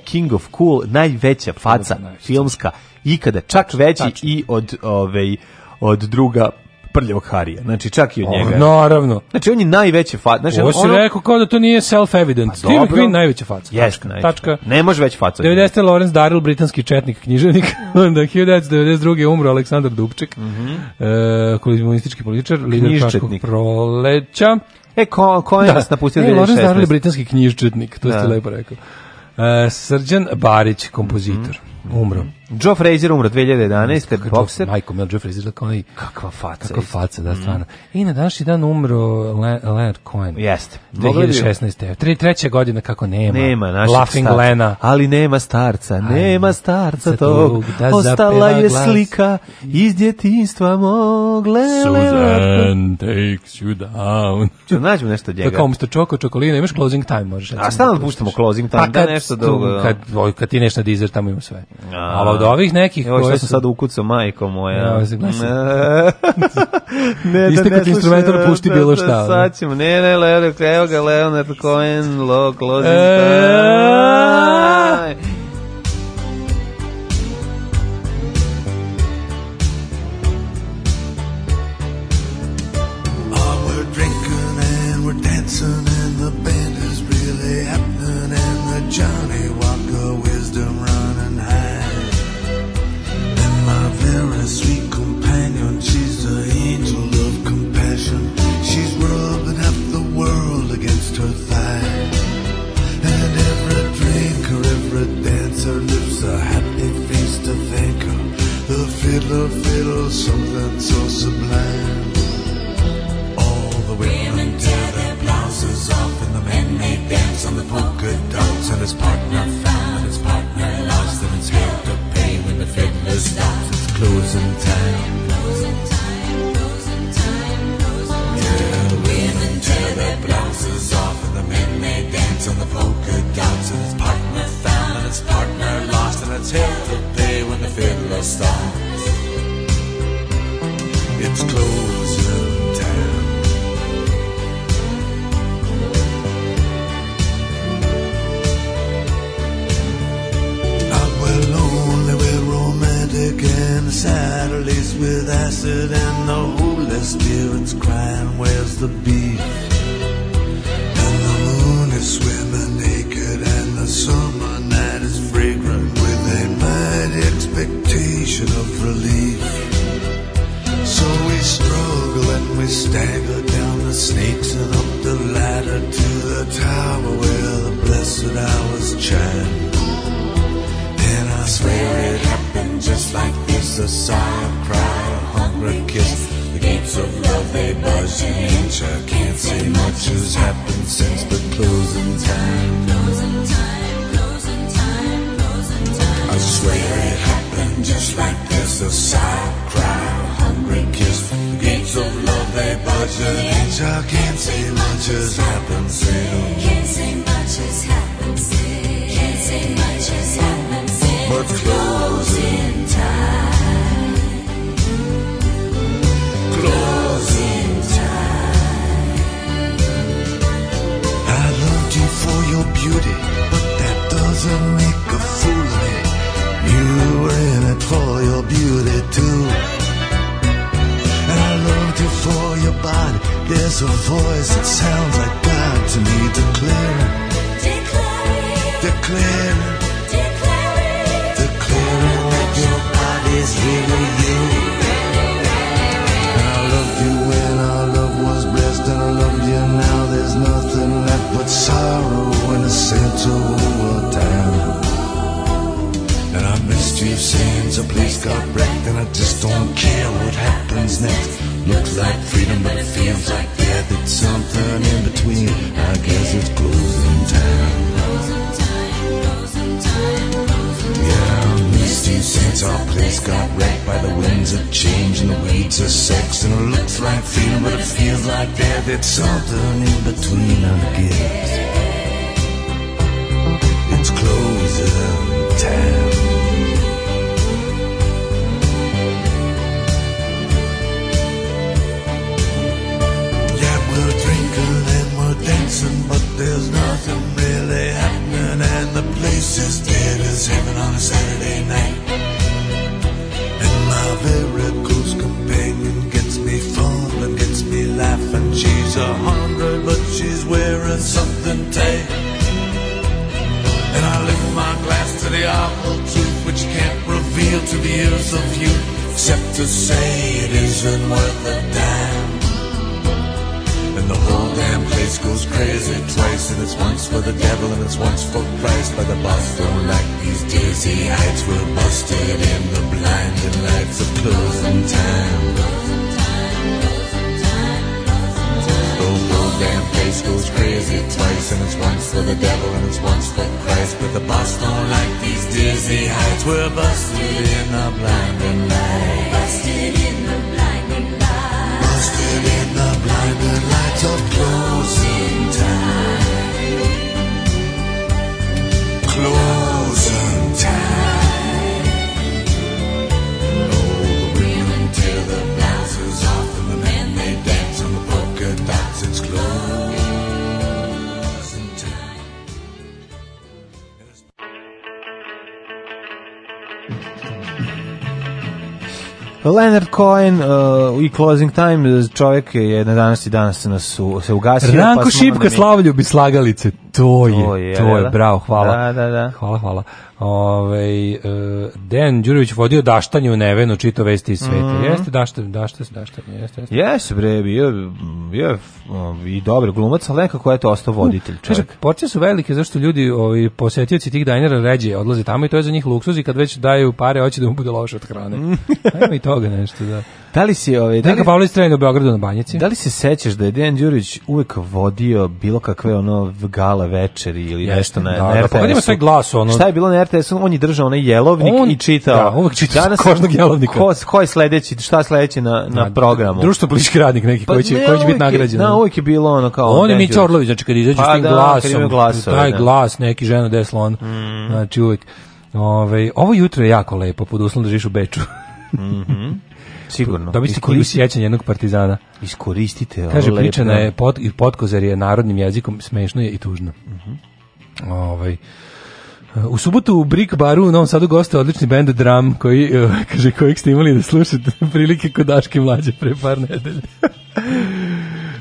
Speaker 8: king of cool, najveća faca filmska ikada, čak veći i od, ovaj, od druga prljavog Harija. Znači, čak i od njega.
Speaker 7: Naravno.
Speaker 8: Znači, on je najveće faca. Znači,
Speaker 7: Pa, Ovo si
Speaker 8: ono-
Speaker 7: rekao kao da to nije self-evident. Steve
Speaker 8: dobro.
Speaker 7: McQueen Pa najveća faca.
Speaker 8: Jeste,
Speaker 7: tačka.
Speaker 8: najveća.
Speaker 7: tačka.
Speaker 8: Ne može već faca.
Speaker 7: 90. Lawrence Darrell, britanski četnik, književnik. Onda 1992. je umro Aleksandar Dubček, mm komunistički političar, lider Praškog
Speaker 8: Knjižčetnik.
Speaker 7: proleća.
Speaker 8: E, ko, ko je nas napustio
Speaker 7: E, Lawrence Darrell je
Speaker 8: 2016?
Speaker 7: britanski knjižčetnik, to ste lepo rekao. E, Srđan Barić, kompozitor, umro.
Speaker 8: Joe Frazier umro 2011. Mhm. Bokser.
Speaker 7: Michael Mel Jeffries izgleda kao onaj
Speaker 8: Kakva faca. Mhm.
Speaker 7: Kako faca, da, stvarno. I na današnji dan umro Le- Leonard Cohen.
Speaker 8: Jeste. Mogli bi-
Speaker 7: 2016. Tri, treća godina kako nema.
Speaker 8: Nema našeg
Speaker 7: Laughing
Speaker 8: starca.
Speaker 7: Lena.
Speaker 8: Ali nema starca, nema starca
Speaker 7: Za
Speaker 8: tog.
Speaker 7: tog da
Speaker 8: Ostala
Speaker 7: zapeva
Speaker 8: je
Speaker 7: glas.
Speaker 8: slika iz djetinstva mog. Le, le, le.
Speaker 7: Susan takes you down.
Speaker 8: Ću nađemo nešto od
Speaker 7: To je kao
Speaker 8: njega.
Speaker 7: umjesto čoko, čokolina, imaš closing time, možeš. recimo,
Speaker 8: A stalno
Speaker 7: da
Speaker 8: puštamo
Speaker 7: puštaš.
Speaker 8: closing time, da nešto ono.
Speaker 7: tu-
Speaker 8: dugo, da.
Speaker 7: Pa Kad, oj, kad ti nešto dizer, tamo ima sve.
Speaker 8: A.
Speaker 7: Ali od ovih nekih
Speaker 8: Evo što
Speaker 7: koje ovaj,
Speaker 8: sam sad ukucao, majko moja.
Speaker 7: Ja, ovo se glasi.
Speaker 8: ne,
Speaker 7: Istekao ti
Speaker 8: slušaj,
Speaker 7: instrumentar, pušti
Speaker 8: da,
Speaker 7: bilo
Speaker 8: da,
Speaker 7: šta, ono.
Speaker 8: Sad ćemo, ne, ne, Leonard, evo ga, Leonard Cohen, lo, closing
Speaker 7: E.
Speaker 8: time.
Speaker 1: We're drinking and we're dancing and the band is really happening and the Johnny Walker wisdom running high. And my very sweet companion, she's the angel of compassion. She's rubbing half the world against her thigh. And every drinker, every dancer lifts a happy face to thank her. The fiddler fiddles something so sublime. All the women tear their blouses off and the men they dance on the polka dots and his partner found and his partner lost and it's hell to pay when the fiddler stops. It's closing time. Yeah, the women tear their blouses off and the men they dance on the polka dots and his partner found and his partner lost and it's hell to pay when the fiddler stops. It's closing time. I'm well lonely, we're romantic and Saturdays with acid and the Holy Spirit's crying, where's the beef? And the moon is swimming naked and the summer night is fragrant with a mighty expectation of relief. So we struggle and we stagger down the snakes and up the ladder to the tower where the blessed hours chime. And I swear it happened just like this A sigh, a cry, a hungry kiss The gates of love, they budge an inch I can't say much has happened since the closing time I swear it happened just like this A sigh, a cry, a hungry kiss The gates of love, they budge an inch I can't say much has happened since But closing time. Closing time. I loved you for your beauty, but that doesn't make a fool of me. You were in it for your beauty too. And I loved you for your body. There's a voice that sounds like God to me, declaring, declaring. Declaring that your body's really you. I loved you when our love was blessed, and I love you now. There's nothing left but sorrow and a sense of overtime. And I missed you since a place got wrecked, and I just don't care what happens next. Looks like freedom, but it feels like death. It's something in between. I guess it's closing time. Yeah, I missed you since our place got wrecked by the winds of change and the weeds of sex. And it looks like freedom, but it feels like death. It's something in between, I guess. It's closing time. Yeah, we're drinking and we're dancing, but there's nothing really happening. And the place is dead as heaven on a Saturday night. And my very close companion gets me fun and gets me laughing. She's a hundred, but she's wearing something tight. And I lift my glass to the awful truth, which can't reveal to the ears of you, except to say it isn't worth a dime. And the whole damn place goes goes crazy twice, and it's once for the devil, and it's once for Christ. By the boss don't like these dizzy heights. We're busted, and the blinding lights of closing time. The whole damn place goes crazy twice, and it's once for the devil, and it's once for Christ. But the boss don't like these dizzy heights. We're busted in the blinding lights. Busted in the blinding lights. Busted in the blinding lights of closing time. Closing time. Oh, the women tear their blouses off, and the men they dance on the polka dots. It's closing time.
Speaker 8: Leonard Cohen uh, i Closing Time, čovjek je na danas i danas nas su, se ugasio. pa
Speaker 7: Ranko
Speaker 8: smo ono
Speaker 7: Šipka,
Speaker 8: nam je-
Speaker 7: slavljubi slagalice. To je, to je,
Speaker 8: jel da?
Speaker 7: bravo, hvala.
Speaker 8: Da, da, da.
Speaker 7: Hvala, hvala. Ove, e, Dejan Đurović vodio daštanje u Nevenu, čito vesti iz sveta.
Speaker 8: Mhm.
Speaker 7: Jeste daštanje, daštanje, daštanje, jeste, jeste.
Speaker 8: Jes, bre, bio, bio je um, i dobar glumac, ali nekako je to ostao voditelj
Speaker 7: Hm. Kaže,
Speaker 8: čovjek.
Speaker 7: porcije su velike zašto ljudi, ovi posetioci tih dajnera ređe odlaze tamo i to je za njih luksuz i kad već daju pare, hoće da mu bude loše od hrane. Ajmo i toga nešto, da.
Speaker 8: Mhm. Da li si, ovaj, da, li,
Speaker 7: Neka pa- Pavlović trenira u Beogradu na banjici.
Speaker 8: da li se sećaš da je Dejan Đurić uvek vodio bilo kakve ono gala večeri ili
Speaker 7: Jeste,
Speaker 8: nešto na,
Speaker 7: da,
Speaker 8: na
Speaker 7: da,
Speaker 8: RTS-u?
Speaker 7: pa kad ima taj glas, ono-
Speaker 8: Šta je bilo na RTS-u? On je držao onaj jelovnik
Speaker 7: On-
Speaker 8: i čitao.
Speaker 7: da, uvek čita s kožnog jelovnika.
Speaker 8: Ko, ko je sledeći, šta je sledeći na, na, programu? Pa
Speaker 7: Društvo politički radnik neki Pa koji će,
Speaker 8: ne,
Speaker 7: koji će
Speaker 8: uvek je-
Speaker 7: biti nagrađen.
Speaker 8: Da, uvijek je bilo ono kao...
Speaker 7: On i
Speaker 8: Dejan
Speaker 7: Mića
Speaker 8: Đurić.
Speaker 7: Orlović, znači kad izađu
Speaker 8: Pa
Speaker 7: s tim
Speaker 8: da, kad
Speaker 7: glasom,
Speaker 8: imaju glasove,
Speaker 7: taj
Speaker 8: da. Mm.
Speaker 7: glas, neki žena deslo on, znači uvek. Ove, ovo jutro je jako lepo, pod uslovom da živiš u Beču.
Speaker 8: Sigurno.
Speaker 7: Dobiste knjigu
Speaker 8: Iskoristi-
Speaker 7: sjećanja jednog partizana.
Speaker 8: Iskoristite ovo
Speaker 7: Kaže,
Speaker 8: lepo.
Speaker 7: pričana je pot, i potkozar je narodnim jezikom, smešno je i tužno.
Speaker 8: Mhm.
Speaker 7: Ovaj, u subotu u Brick baru u Novom Sadu goste odlični bend Dram koji, eh, kaže, kojeg ste imali da slušate prilike kod Daške mlađe pre par nedelja.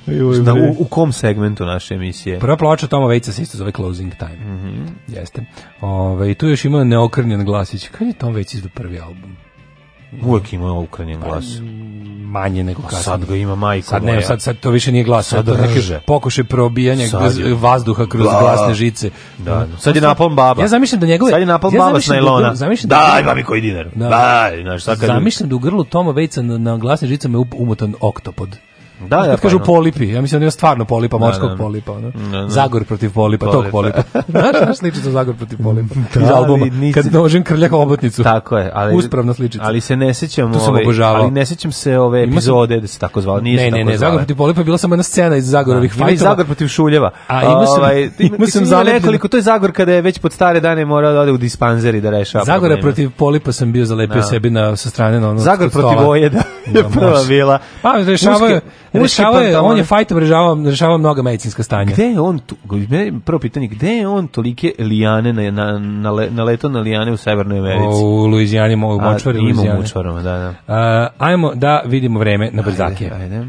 Speaker 7: Joj,
Speaker 8: Na,
Speaker 7: bre.
Speaker 8: u, u kom segmentu naše emisije?
Speaker 7: Prva ploča Toma Vejca se isto zove Closing Time.
Speaker 8: Mhm.
Speaker 7: Jeste. Ove, i tu još ima neokrnjen glasić. Kad je Tom Vejc izdao prvi album?
Speaker 8: Uvijek ima ukranjen glas.
Speaker 7: Manje nego kasnije.
Speaker 8: Pa Sad ga ima majko
Speaker 7: Pa, Sad
Speaker 8: moja.
Speaker 7: ne, sad, sad to više nije glas, sad
Speaker 8: Sad
Speaker 7: to neke
Speaker 8: drže.
Speaker 7: pokušaj probijanja
Speaker 8: Sad
Speaker 7: kroz,
Speaker 8: je.
Speaker 7: vazduha kroz
Speaker 8: Da.
Speaker 7: glasne žice.
Speaker 8: Da, da. Sad je napalm baba.
Speaker 7: Ja zamišljam da njegove-
Speaker 8: Sad je napalm
Speaker 7: ja
Speaker 8: baba s
Speaker 7: zamišljam da-
Speaker 8: najlona.
Speaker 7: da- zamišljam da-
Speaker 8: Daj, babi, koji dinar.
Speaker 7: Da.
Speaker 8: Daj, znaš, sad kad...
Speaker 7: Zamišljam da u grlu Toma Vejca na, na glasnim žicama je up- umotan oktopod.
Speaker 8: Da, da,
Speaker 7: Kad
Speaker 8: pa
Speaker 7: kažu
Speaker 8: ono.
Speaker 7: polipi, ja mislim da je stvarno polipa, morskog
Speaker 8: da.
Speaker 7: polipa. Ono.
Speaker 8: Da, da.
Speaker 7: Zagor protiv polipa, tog polipa.
Speaker 8: Polipa.
Speaker 7: Znaš, znaš sličicu Zagor protiv polipa.
Speaker 8: Da,
Speaker 7: Iz albuma,
Speaker 8: ali nisi-
Speaker 7: kad nožem krljak obotnicu.
Speaker 8: Tako je, ali
Speaker 7: Uspravna sličica.
Speaker 8: Ali se ne sećam,
Speaker 7: To sam
Speaker 8: ovaj,
Speaker 7: obožavao.
Speaker 8: ali ne sećam se ove
Speaker 7: sam-
Speaker 8: epizode da se tako zvalo, nije
Speaker 7: Ne,
Speaker 8: se
Speaker 7: ne,
Speaker 8: tako
Speaker 7: ne,
Speaker 8: zvala.
Speaker 7: Zagor protiv Polipa je bila samo jedna scena iz Zagorovih
Speaker 8: Ima i
Speaker 7: fajtova.
Speaker 8: Zagor protiv Šuljeva.
Speaker 7: A, ima sam-
Speaker 8: Ovaj, ti-
Speaker 7: ima
Speaker 8: ti
Speaker 7: sam
Speaker 8: si imao
Speaker 7: zalepljen-
Speaker 8: nekoliko, to je Zagor kada je već pod stare dane morao da ode u dispanzer i da rešava
Speaker 7: Zagora
Speaker 8: probleme.
Speaker 7: protiv Polipa sam bio zalepio
Speaker 8: Da.
Speaker 7: sebi na, sa strane na ono
Speaker 8: Zagor
Speaker 7: stola.
Speaker 8: protiv Oje, da, je
Speaker 7: Da,
Speaker 8: prva
Speaker 7: može.
Speaker 8: bila.
Speaker 7: Pa rešavao je,
Speaker 8: Uske- uske
Speaker 7: rešavao je, on
Speaker 8: pantalone.
Speaker 7: je fajtom rešavao, rešavao mnoga medicinska stanja.
Speaker 8: Gde je on, tu, meni prvo pitanje, gde je on tolike lijane, na, na, na, le- na leto na lijane u Severnoj Americi?
Speaker 7: U Luizijani, mo- u
Speaker 8: A,
Speaker 7: močvari
Speaker 8: ima u
Speaker 7: Luizijane.
Speaker 8: mučvarama, da, da.
Speaker 7: A, ajmo da vidimo vreme na brzake.
Speaker 8: Ajde, ajde.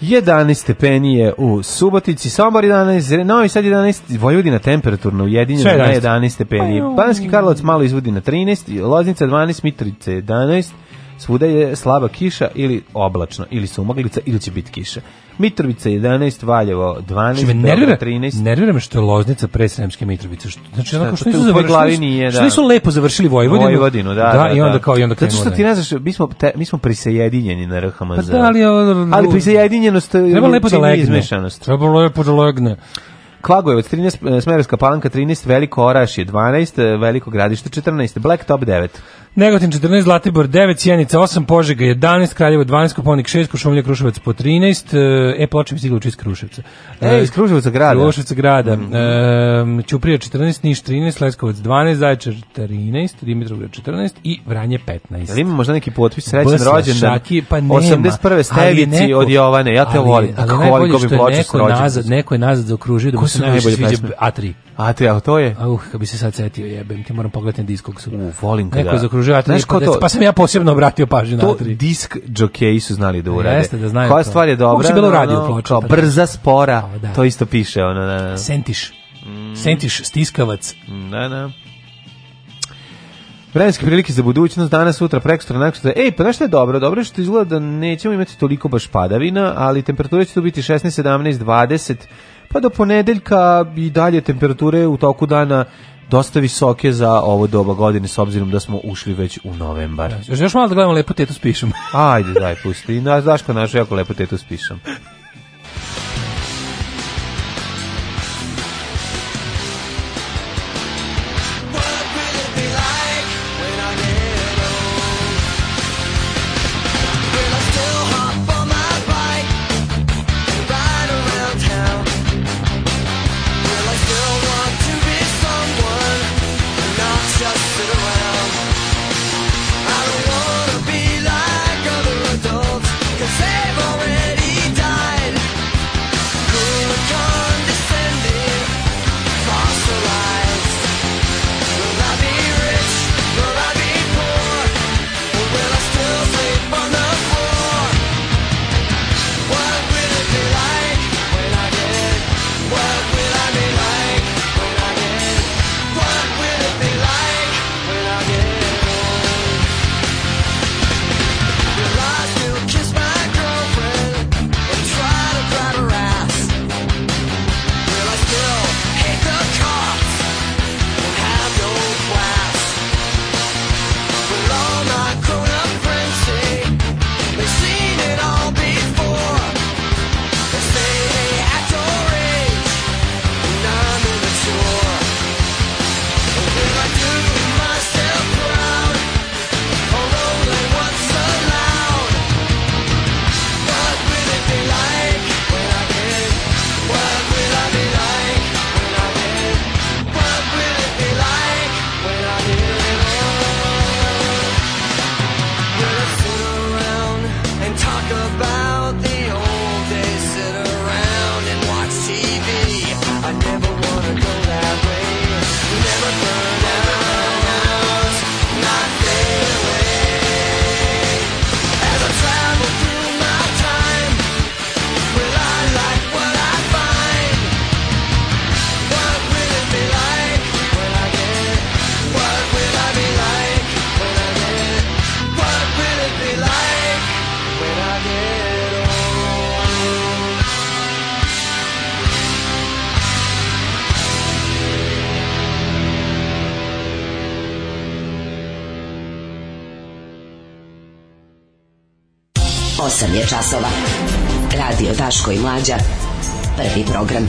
Speaker 8: Jedanaest stepeni je u Subotici, Sombor 11, Novi Sad 11, Vojvodina temperaturno
Speaker 7: Sve
Speaker 8: ujedinjena
Speaker 7: 11.
Speaker 8: na 11 stepeni. Banski Karlovac malo izvodi na 13, Loznica 12, Mitrovica 11, svuda je slaba kiša ili oblačno, ili sumaglica, ili će biti kiša. Mitrovica 11, Valjevo 12,
Speaker 7: Znači me
Speaker 8: Beograd
Speaker 7: nervira,
Speaker 8: 13.
Speaker 7: nervira me što je Loznica pre Sremske Mitrovice. Što, znači, onako,
Speaker 8: to
Speaker 7: što
Speaker 8: te
Speaker 7: nisu,
Speaker 8: u tvojoj
Speaker 7: završili,
Speaker 8: glavi nije,
Speaker 7: što
Speaker 8: da.
Speaker 7: nisu lepo završili Vojvodinu.
Speaker 8: Vojvodinu, Ovaj da, da,
Speaker 7: E, i onda
Speaker 8: da.
Speaker 7: kao, i onda
Speaker 8: Zato
Speaker 7: krenulo
Speaker 8: što ti
Speaker 7: dalje.
Speaker 8: ne znaš, mi smo, te, mi smo prisajedinjeni na RHMZ.
Speaker 7: Pa da, ali... ovo-
Speaker 8: ali prisajedinjenost
Speaker 7: Treba lepo da
Speaker 8: čini
Speaker 7: legne.
Speaker 8: izmešanost.
Speaker 7: Treba lepo da legne.
Speaker 8: Kragujevac 13, eh, Smerovska palanka 13, Veliko Oraš je 12, eh, Veliko gradište 14, Black Top 9.
Speaker 7: Negotin 14, Zlatibor 9, Sjenica 8, Požega 11, Kraljevo 12, Koponik 6, Košumlja Kruševac po 13, e, ploče mi stigla uči iz Kruševca.
Speaker 8: E, iz Kruševca grada.
Speaker 7: Kruševca grada. Mm Ćuprija 14, Niš 13, Leskovac 12, Zaječar 14, Dimitrovgrad 14 i Vranje 15.
Speaker 8: Jel ima možda neki potpis srećan
Speaker 7: Bs,
Speaker 8: rođendan?
Speaker 7: Šaki, pa nema.
Speaker 8: 81.
Speaker 7: Ali je
Speaker 8: Stevici
Speaker 7: neko-
Speaker 8: od Jovane. Ja te
Speaker 7: ali je-
Speaker 8: volim.
Speaker 7: ali
Speaker 8: Kako
Speaker 7: najbolje
Speaker 8: volim ko bi
Speaker 7: što je
Speaker 8: ploče s
Speaker 7: neko nazad,
Speaker 8: rođendan.
Speaker 7: neko je nazad zaokružio da mu
Speaker 8: Ko
Speaker 7: se
Speaker 8: su
Speaker 7: najviše
Speaker 8: najbolje
Speaker 7: sviđa
Speaker 8: pesme?
Speaker 7: A3.
Speaker 8: A te, a to je?
Speaker 7: Auh, kad bi se sad setio, jebem, ti moram pogledati na diskoksu.
Speaker 8: U, volim kada.
Speaker 7: Neko je zaokružio A3,
Speaker 8: Znaš ko
Speaker 7: pa,
Speaker 8: to?
Speaker 7: pa sam ja posebno obratio pažnju na
Speaker 8: to
Speaker 7: A3.
Speaker 8: disk džokeji su znali da urade.
Speaker 7: Jeste, da znaju
Speaker 8: Koja
Speaker 7: to.
Speaker 8: stvar je dobra?
Speaker 7: Uopšte bilo
Speaker 8: ono,
Speaker 7: radio ploče,
Speaker 8: kao
Speaker 7: pa da.
Speaker 8: brza, spora,
Speaker 7: O, da.
Speaker 8: to isto piše. Ono, da, da.
Speaker 7: Sentiš. Sentiš stiskavac.
Speaker 8: Da, da. Vremenske prilike za budućnost danas, sutra, prekstra, nakon ej, pa znaš šta je dobro? Dobro je što izgleda da nećemo imati toliko baš padavina, ali temperature će tu biti 16, 17, 20, pa do ponedeljka i dalje temperature u toku dana dosta visoke za ovo doba godine s obzirom da smo ušli već u novembar.
Speaker 7: Još, još malo da gledamo lepo tetu spišem.
Speaker 8: Ajde, daj, pusti. Na, znaš ko našu jako lepo tetu spišem.
Speaker 9: Osam je časova. Radio Daško i Mlađa. Prvi program.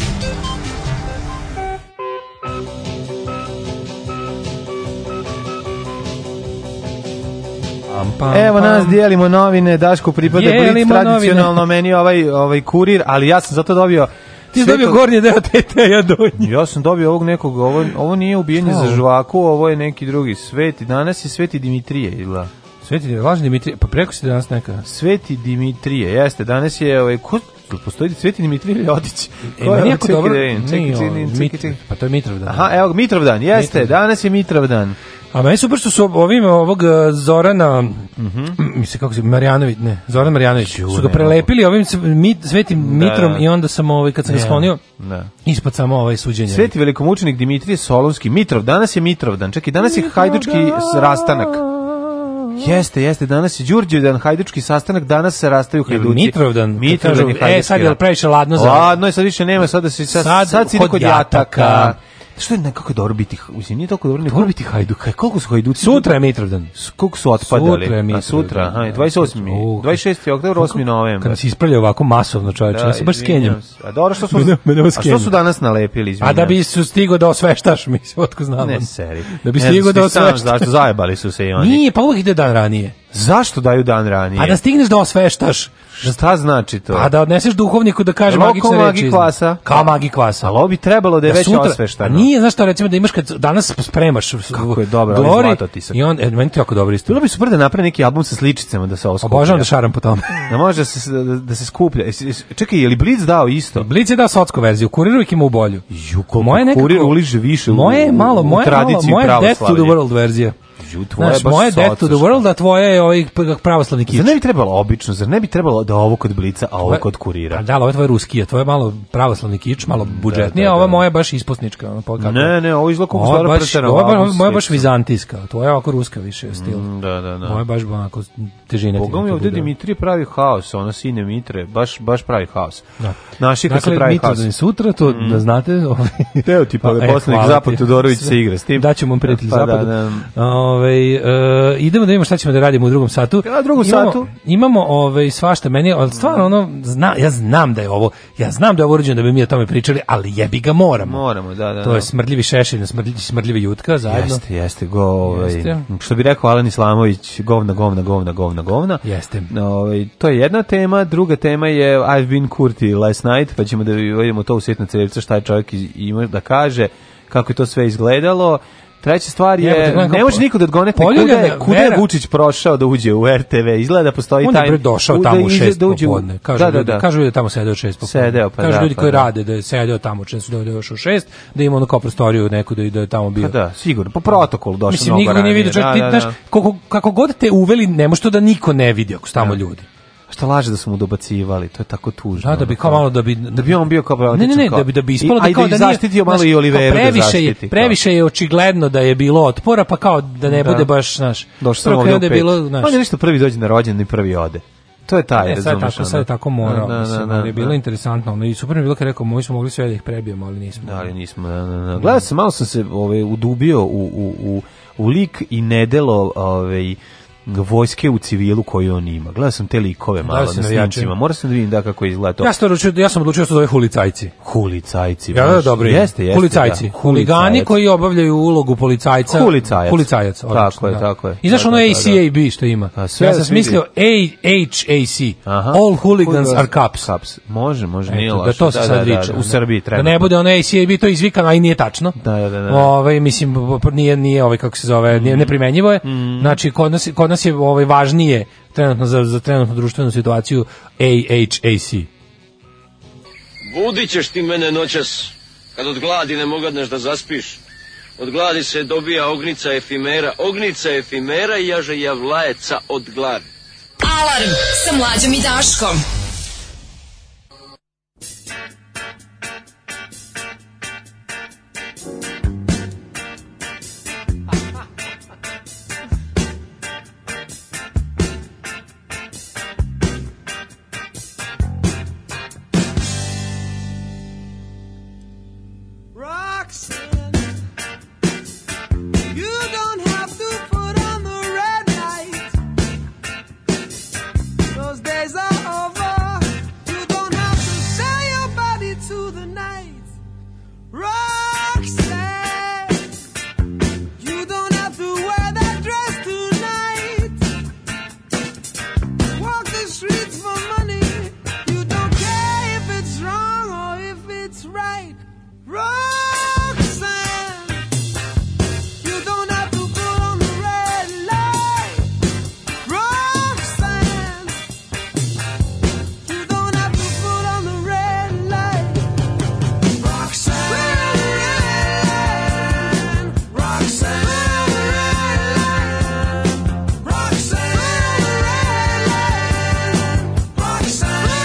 Speaker 8: Evo nas dijelimo novine, Daško pripada Blitz,
Speaker 7: Dijelimo
Speaker 8: tradicionalno
Speaker 7: novine.
Speaker 8: meni ovaj ovaj kurir, ali ja sam zato dobio
Speaker 7: Ti si
Speaker 8: sve
Speaker 7: dobio
Speaker 8: to-
Speaker 7: gornji deo tete, a ja donji.
Speaker 8: Ja sam dobio ovog nekog, ovo, ovo nije ubijenje
Speaker 7: Šta je
Speaker 8: za
Speaker 7: ovo?
Speaker 8: žvaku, ovo je neki drugi sveti. Danas je sveti Dimitrije, izgleda.
Speaker 7: Sveti Dimitrije, lažni Dimitrije, pa preko si danas neka.
Speaker 8: Sveti Dimitrije, jeste, danas je, ovaj, ko, jel postoji Sveti Dimitrije ili Otić?
Speaker 7: E, meni jako dobro.
Speaker 8: Čekaj,
Speaker 7: Nije ovo,
Speaker 8: čekaj, čekaj,
Speaker 7: Mit-
Speaker 8: čekaj.
Speaker 7: Pa to je Mitrov dan.
Speaker 8: Aha, evo, Mitrovdan, jeste,
Speaker 7: Mitrovdan.
Speaker 8: danas je Mitrovdan.
Speaker 7: A meni super što su ovim ovog eh, Zorana, mislim kako se, Marjanović, ne, Zoran Marjanović, su ga
Speaker 8: ne
Speaker 7: prelepili ovim s- mit, svetim mitrom
Speaker 8: da.
Speaker 7: i onda sam ovaj, kad sam ga
Speaker 8: Da,
Speaker 7: sklonio,
Speaker 8: da.
Speaker 7: ispod samo ovaj suđenje.
Speaker 8: Sveti velikomučenik Dimitrije Solonski, Mitrov, danas je Mitrovdan, čekaj, danas je hajdučki s- rastanak. Jeste, jeste, danas je Đurđevdan, hajdučki sastanak, danas se rastaju
Speaker 7: Jel
Speaker 8: hajduci.
Speaker 7: Mitrovdan? Kad
Speaker 8: Mitrovdan
Speaker 7: kažu,
Speaker 8: je
Speaker 7: e,
Speaker 8: hajdučki
Speaker 7: sad je
Speaker 8: dan.
Speaker 7: previše ladno za-
Speaker 8: Ladno je, sad više nema, sad, da se, sad, sad,
Speaker 7: Sad
Speaker 8: si
Speaker 7: kod
Speaker 8: kod
Speaker 7: jataka.
Speaker 8: jataka. Što je nekako dobro biti, mislim, nije toliko dobro, nego dobro biti hajduka. Koliko su hajduci?
Speaker 7: Sutra je Mitrovdan.
Speaker 8: S- Koliko su otpadali?
Speaker 7: Sutra je
Speaker 8: A,
Speaker 7: Mitrovdan.
Speaker 8: sutra, aha, 28.
Speaker 7: Uh,
Speaker 8: 26. oktober, 8. novembar.
Speaker 7: Kad se ispravlja ovako masovno čovječe, ja se Znači, baš
Speaker 8: izvinjam
Speaker 7: skenjam.
Speaker 8: se. A dobro, što su,
Speaker 7: Mene- mene ovo
Speaker 8: a što su
Speaker 7: skenjam.
Speaker 8: danas nalepili, izvinjam
Speaker 7: A da bi
Speaker 8: se.
Speaker 7: su stigo da osveštaš, mislim, otko znam.
Speaker 8: Ne, seri.
Speaker 7: Da bi
Speaker 8: Ne,
Speaker 7: stigo da
Speaker 8: ti sam
Speaker 7: osveštaš.
Speaker 8: Zašto zajebali su se i oni?
Speaker 7: Nije, pa uvijek ide dan ranije.
Speaker 8: Zašto daju dan ranije?
Speaker 7: A da stigneš da osveštaš,
Speaker 8: Šta znači to?
Speaker 7: a Pa da odneseš duhovniku da kaže
Speaker 8: Jel ovo kao
Speaker 7: magične reči.
Speaker 8: magi
Speaker 7: iz-
Speaker 8: kvasa?
Speaker 7: Kao magi kvasa.
Speaker 8: Ali ovo bi trebalo da je
Speaker 7: Da
Speaker 8: već
Speaker 7: sutra-
Speaker 8: osveštano.
Speaker 7: A Nije, znaš šta, recimo da imaš kad danas spremaš s-
Speaker 8: Kako je dobro, ali
Speaker 7: Glory
Speaker 8: zlato ti se.
Speaker 7: I on, e, meni to jako dobro isto.
Speaker 8: Bilo bi super da napravi neki album sa sličicama da se ovo skuplja.
Speaker 7: Obožavam da šaram po tome.
Speaker 8: Da može da se, da, da se skuplja. Jesi- jesi- Čekaj, je li Blitz dao isto?
Speaker 7: Blic je dao sotsku verziju, kuriru uvijek ima u bolju.
Speaker 8: Ju, koliko kurir uliže više u-
Speaker 7: moje je malo,
Speaker 8: u
Speaker 7: moje je malo,
Speaker 8: tradiciju
Speaker 7: moje je Death to
Speaker 8: pravoslavlja.
Speaker 7: the World verzija.
Speaker 8: ju, tvoja
Speaker 7: Znaš,
Speaker 8: baš
Speaker 7: moje
Speaker 8: soca,
Speaker 7: Death to the
Speaker 8: šta?
Speaker 7: World, a tvoje je ovaj p- pravoslavni kič.
Speaker 8: Zar ne bi trebalo obično, zar ne bi trebalo da ovo kod Blica, a ovo kod kurira?
Speaker 7: Pa da, ali ovo je tvoj ruski, a tvoje malo pravoslavni kič, malo budžetnije,
Speaker 8: da,
Speaker 7: a ova
Speaker 8: da.
Speaker 7: moja baš ispostnička. Ono, pa kako?
Speaker 8: Ne, ne, ovo izgleda kako
Speaker 7: Ovo je
Speaker 8: stvarno
Speaker 7: baš-
Speaker 8: pretjerano,
Speaker 7: Ovo je
Speaker 8: album
Speaker 7: baš- moja baš
Speaker 8: slično.
Speaker 7: vizantijska, a tvoja je ovako ruska više stil.
Speaker 8: Mm, Da, da, da.
Speaker 7: Moja je baš onako težina.
Speaker 8: Boga mi ovde Dimitrije pravi haos, ona sine Mitre, baš, baš pravi haos. Da. Naši kad
Speaker 7: Dakle,
Speaker 8: se pravi haos. Mm.
Speaker 7: Mitrovdan je sutra, to da znate. ovaj.
Speaker 8: Teo ti pa da
Speaker 7: E,
Speaker 8: poslanik
Speaker 7: hvala
Speaker 8: Zapad
Speaker 7: ti.
Speaker 8: Todorović se igra s tim.
Speaker 7: Daćemo vam prijatelj
Speaker 8: Pa da,
Speaker 7: Zapadu.
Speaker 8: da.
Speaker 7: Ovaj, e, idemo da vidimo šta ćemo da radimo u drugom satu.
Speaker 8: A, drugom
Speaker 7: imamo,
Speaker 8: satu?
Speaker 7: Imamo ovaj, svašta meni, ali stvarno ono, zna, ja znam da je ovo, ja znam da je ovo urađeno da bi mi o tome pričali, ali jebi ga moramo.
Speaker 8: Moramo, da, da.
Speaker 7: To
Speaker 8: da.
Speaker 7: je smrdljivi šešelj, smrdljivi, smrdljivi jutka zajedno.
Speaker 8: Jeste, jeste, go, ovaj,
Speaker 7: Jeste.
Speaker 8: što bi rekao Alan Islamović, govna, govna, govna, govna, govna.
Speaker 7: Jeste.
Speaker 8: Ovaj, to je jedna tema, druga tema je I've been Kurti last night, pa ćemo da vidimo to u sitna cevca, šta je čovjek iz- ima da kaže, kako je to sve izgledalo. Treća stvar je,
Speaker 7: Jebote, gledam
Speaker 8: ne
Speaker 7: kako-
Speaker 8: može niko da odgonete kuda
Speaker 7: Poljuljana
Speaker 8: je, kuda je
Speaker 7: Vera-
Speaker 8: Vučić prošao da uđe u RTV, izgleda da postoji
Speaker 7: On
Speaker 8: taj...
Speaker 7: je bre došao
Speaker 8: da
Speaker 7: tamo u
Speaker 8: ide-
Speaker 7: šest
Speaker 8: da uđe u-
Speaker 7: popodne. Kažu,
Speaker 8: da, da,
Speaker 7: ljudi-
Speaker 8: da.
Speaker 7: kažu ljudi da tamo sedeo od šest popodne.
Speaker 8: Sedeo, pa
Speaker 7: kažu
Speaker 8: da,
Speaker 7: ljudi
Speaker 8: pa
Speaker 7: koji
Speaker 8: da.
Speaker 7: rade da je sedeo tamo, čim su dođe još u šest, da ima ono kao prostoriju neku da, da je tamo
Speaker 8: Pa
Speaker 7: bio.
Speaker 8: da, sigurno, po protokolu došao
Speaker 7: Mislim,
Speaker 8: mnogo
Speaker 7: niko nije
Speaker 8: ranije,
Speaker 7: vidio, čak
Speaker 8: da,
Speaker 7: ti,
Speaker 8: da, da.
Speaker 7: znaš, koliko, kako god te uveli, ne može to da niko ne vidi ako su tamo ljudi.
Speaker 8: Šta laže da su mu dobacivali, to je tako tužno. Ono,
Speaker 7: Da, da bi kao malo da bi... Da
Speaker 8: bi on bio kao
Speaker 7: Ne, ne, ne,
Speaker 8: praktično kao-
Speaker 7: da bi, da bi
Speaker 8: I-
Speaker 7: ispalo
Speaker 8: a i da
Speaker 7: da kao
Speaker 8: ih
Speaker 7: da nije...
Speaker 8: zaštiti Omala
Speaker 7: znaš,
Speaker 8: i Oliveru
Speaker 7: kao
Speaker 8: da
Speaker 7: previše je,
Speaker 8: zaštiti, kao.
Speaker 7: previše je očigledno da je bilo otpora, pa kao da ne
Speaker 8: Da.
Speaker 7: bude baš, znaš...
Speaker 8: Došao sam
Speaker 7: prvo
Speaker 8: ovdje
Speaker 7: krenuo
Speaker 8: u
Speaker 7: da je
Speaker 8: pet.
Speaker 7: bilo, znaš...
Speaker 8: On je nešto prvi dođe na rođendan i prvi ode. To je taj,
Speaker 7: Ne,
Speaker 8: razumeš.
Speaker 7: E, sad je tako,
Speaker 8: ono.
Speaker 7: sad je tako morao,
Speaker 8: Da, da,
Speaker 7: mislim,
Speaker 8: da,
Speaker 7: ali je bilo
Speaker 8: da.
Speaker 7: interesantno, ono, i super mi je bilo kad je rekao, moji smo mogli sve da ih prebijemo, ali nismo.
Speaker 8: Da, ali nismo, da, da, da. Gledao sam, malo sam se ove, udubio u, u, u, u lik i nedelo ove, vojske u civilu koju on ima. Gledao sam te likove malo
Speaker 7: si
Speaker 8: na
Speaker 7: navijačima.
Speaker 8: snimcima. Morao sam da vidim da kako izgleda to.
Speaker 7: Ja sam, odlučio, ja sam odlučio da se zove hulicajci.
Speaker 8: Hulicajci.
Speaker 7: Ja, da,
Speaker 8: baš.
Speaker 7: dobro. ime.
Speaker 8: Jeste, jeste.
Speaker 7: Hulicajci.
Speaker 8: da.
Speaker 7: Huligani
Speaker 8: Hulicajac.
Speaker 7: koji obavljaju ulogu policajca.
Speaker 8: Hulicajac.
Speaker 7: Hulicajac, odlično,
Speaker 8: Tako je,
Speaker 7: da.
Speaker 8: tako je.
Speaker 7: I znaš
Speaker 8: Da,
Speaker 7: ono
Speaker 8: da, da,
Speaker 7: ACAB što ima?
Speaker 8: A, sve
Speaker 7: ja
Speaker 8: da
Speaker 7: sam
Speaker 8: se
Speaker 7: smislio AHAC. All hooligans are cops.
Speaker 8: Može, može, nije
Speaker 7: Eto,
Speaker 8: loše.
Speaker 7: da to se sad viče.
Speaker 8: U Srbiji treba.
Speaker 7: Da ne bude ono ACAB, to je izvikano, a i nije tačno.
Speaker 8: Da, da, da, Mhm. da.
Speaker 7: Ovaj, mislim, nije, nije ovaj, kako se zove, nije, neprimenjivo je.
Speaker 8: Mhm.
Speaker 7: Znači, kod nas, kod nas je ovaj, važnije trenutno za, za trenutnu društvenu situaciju AHAC.
Speaker 14: Budit ćeš ti mene noćas, kad od gladi ne mogadneš da zaspiš. Od gladi se dobija ognica efimera, ognica efimera i jaže javlajeca od gladi.
Speaker 5: Alarm sa mlađom i Daškom.
Speaker 9: Roxanne, you don't have to put on the red light. Those days are over. You don't have to sell your body to the night. Roxanne, you don't have to wear that dress tonight. Walk the streets for money. You don't care if it's wrong or if it's right. Roxanne, you don't have to put on the red light. Roxanne, you don't have to put on the red light. Roxanne, Roxanne, Roxanne, Roxanne, Roxanne.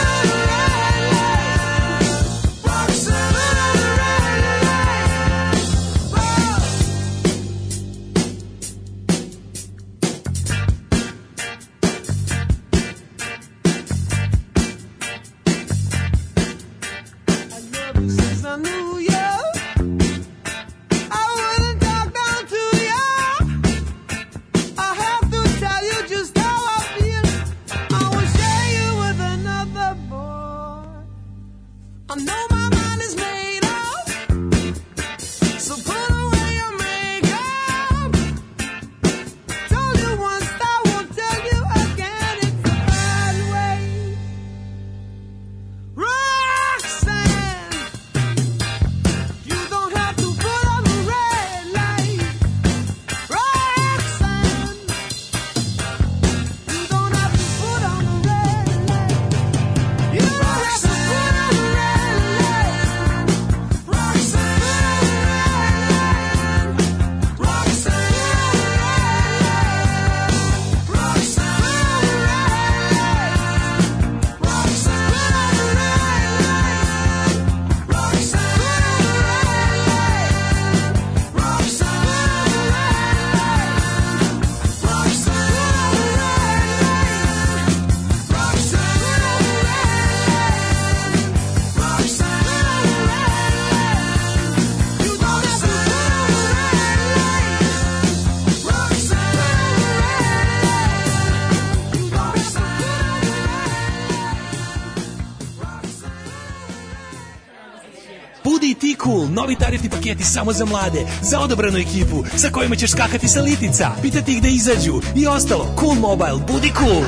Speaker 15: cool, novi tarifni paketi samo za mlade, za odobranu ekipu, sa kojima ćeš skakati sa litica, pitati ih da izađu i ostalo. Cool Mobile, budi cool!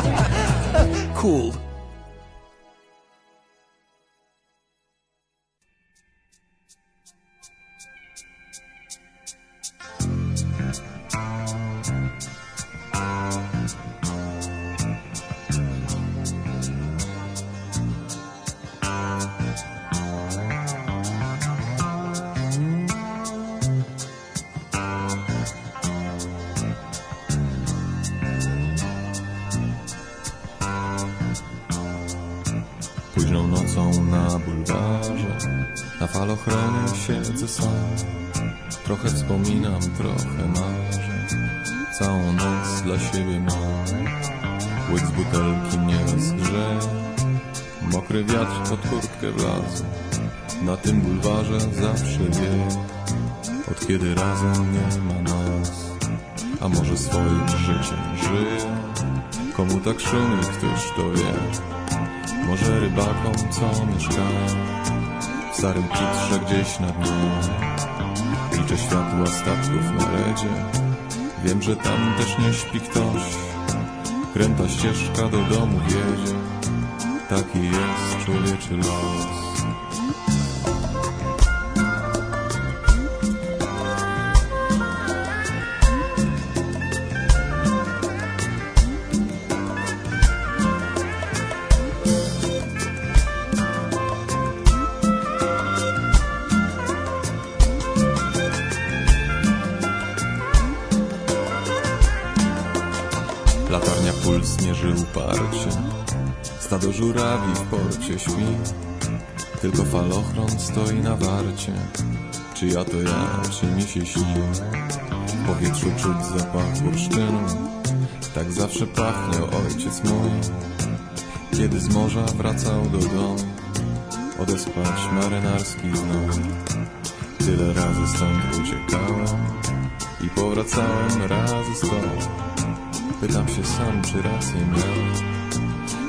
Speaker 15: cool.
Speaker 1: Późną nocą na bulwarze Na falochroniu siedzę sam Trochę wspominam, trochę marzę Całą noc dla siebie mam Łyk z butelki nieraz grze Mokry wiatr pod kurtkę wlazł Na tym bulwarze zawsze wie Od kiedy razem nie ma nas A może swoim życiem żyje Komu tak szumi, któż to wie może rybakom, co mieszkają w starym kitrze gdzieś na dnie. Liczę światła statków na redzie, wiem, że tam też nie śpi ktoś. Kręta ścieżka do domu wiedzie, taki jest człowieczy los. Latarnia puls nie żył parcie Stado żurawi w porcie śpi Tylko falochron stoi na warcie Czy ja to ja, czy mi się śni W powietrzu czuć zapach bursztynu Tak zawsze pachniał ojciec mój Kiedy z morza wracał do domu Odespać marynarski znów Tyle razy stąd uciekałem I powracałem razy stąd Pytam się sam, czy rację miał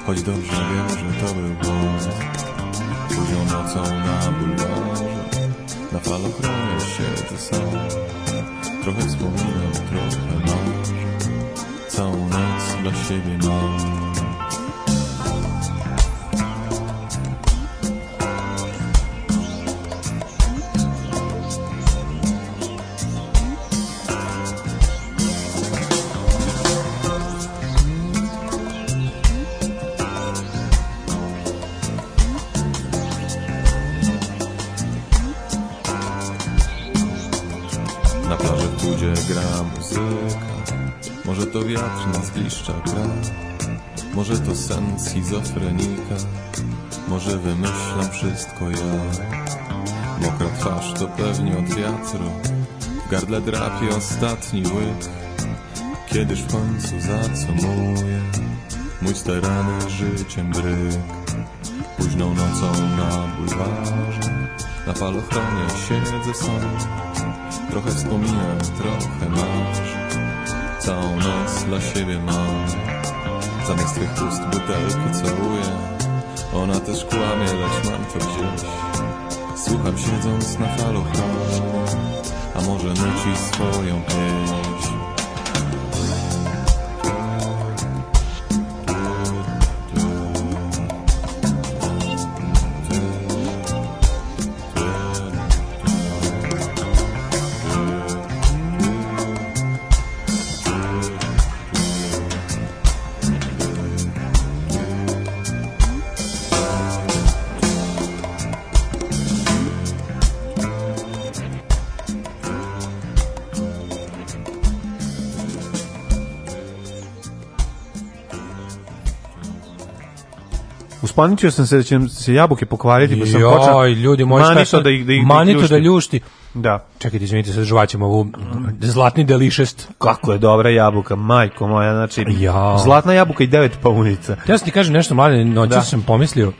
Speaker 1: Choć dobrze wiem, że to był błąd Późną nocą na bulwarze Na falochronie siedzę sam Trochę wspominam, trochę masz Całą noc dla siebie mam Na plaży w budzie gra muzyka Może to wiatr nas bliszcza gra Może to sen schizofrenika Może wymyślam wszystko ja Mokra twarz to pewnie od wiatru W gardle drapie ostatni łyk Kiedyż w końcu zacomuję Mój starany życiem dryk Późną nocą na bulwarze Na falochronie siedzę sam Trochę wspominam, trochę masz Całą noc dla siebie mam Zamiast twych ust butelkę całuję Ona też kłamie, lecz mam to gdzieś Słucham siedząc na falu halo, A może nuci swoją pieśń
Speaker 8: Uspaničio sam se da će se jabuke pokvariti, pa sam
Speaker 7: Joj,
Speaker 8: počeo
Speaker 7: ljudi moji, šta
Speaker 8: manito
Speaker 7: sad-
Speaker 8: da ih, da ih
Speaker 7: manito da ljušti.
Speaker 8: Da.
Speaker 7: Čekajte, izvinite, sad žvaćemo ovu
Speaker 8: Mhm.
Speaker 7: mm, zlatni delišest.
Speaker 8: Kako je dobra jabuka, majko moja, znači zlatna jabuka i devet paunica.
Speaker 7: Ja sam ti kažem nešto, mlade, noćas
Speaker 8: Da.
Speaker 7: sam pomislio,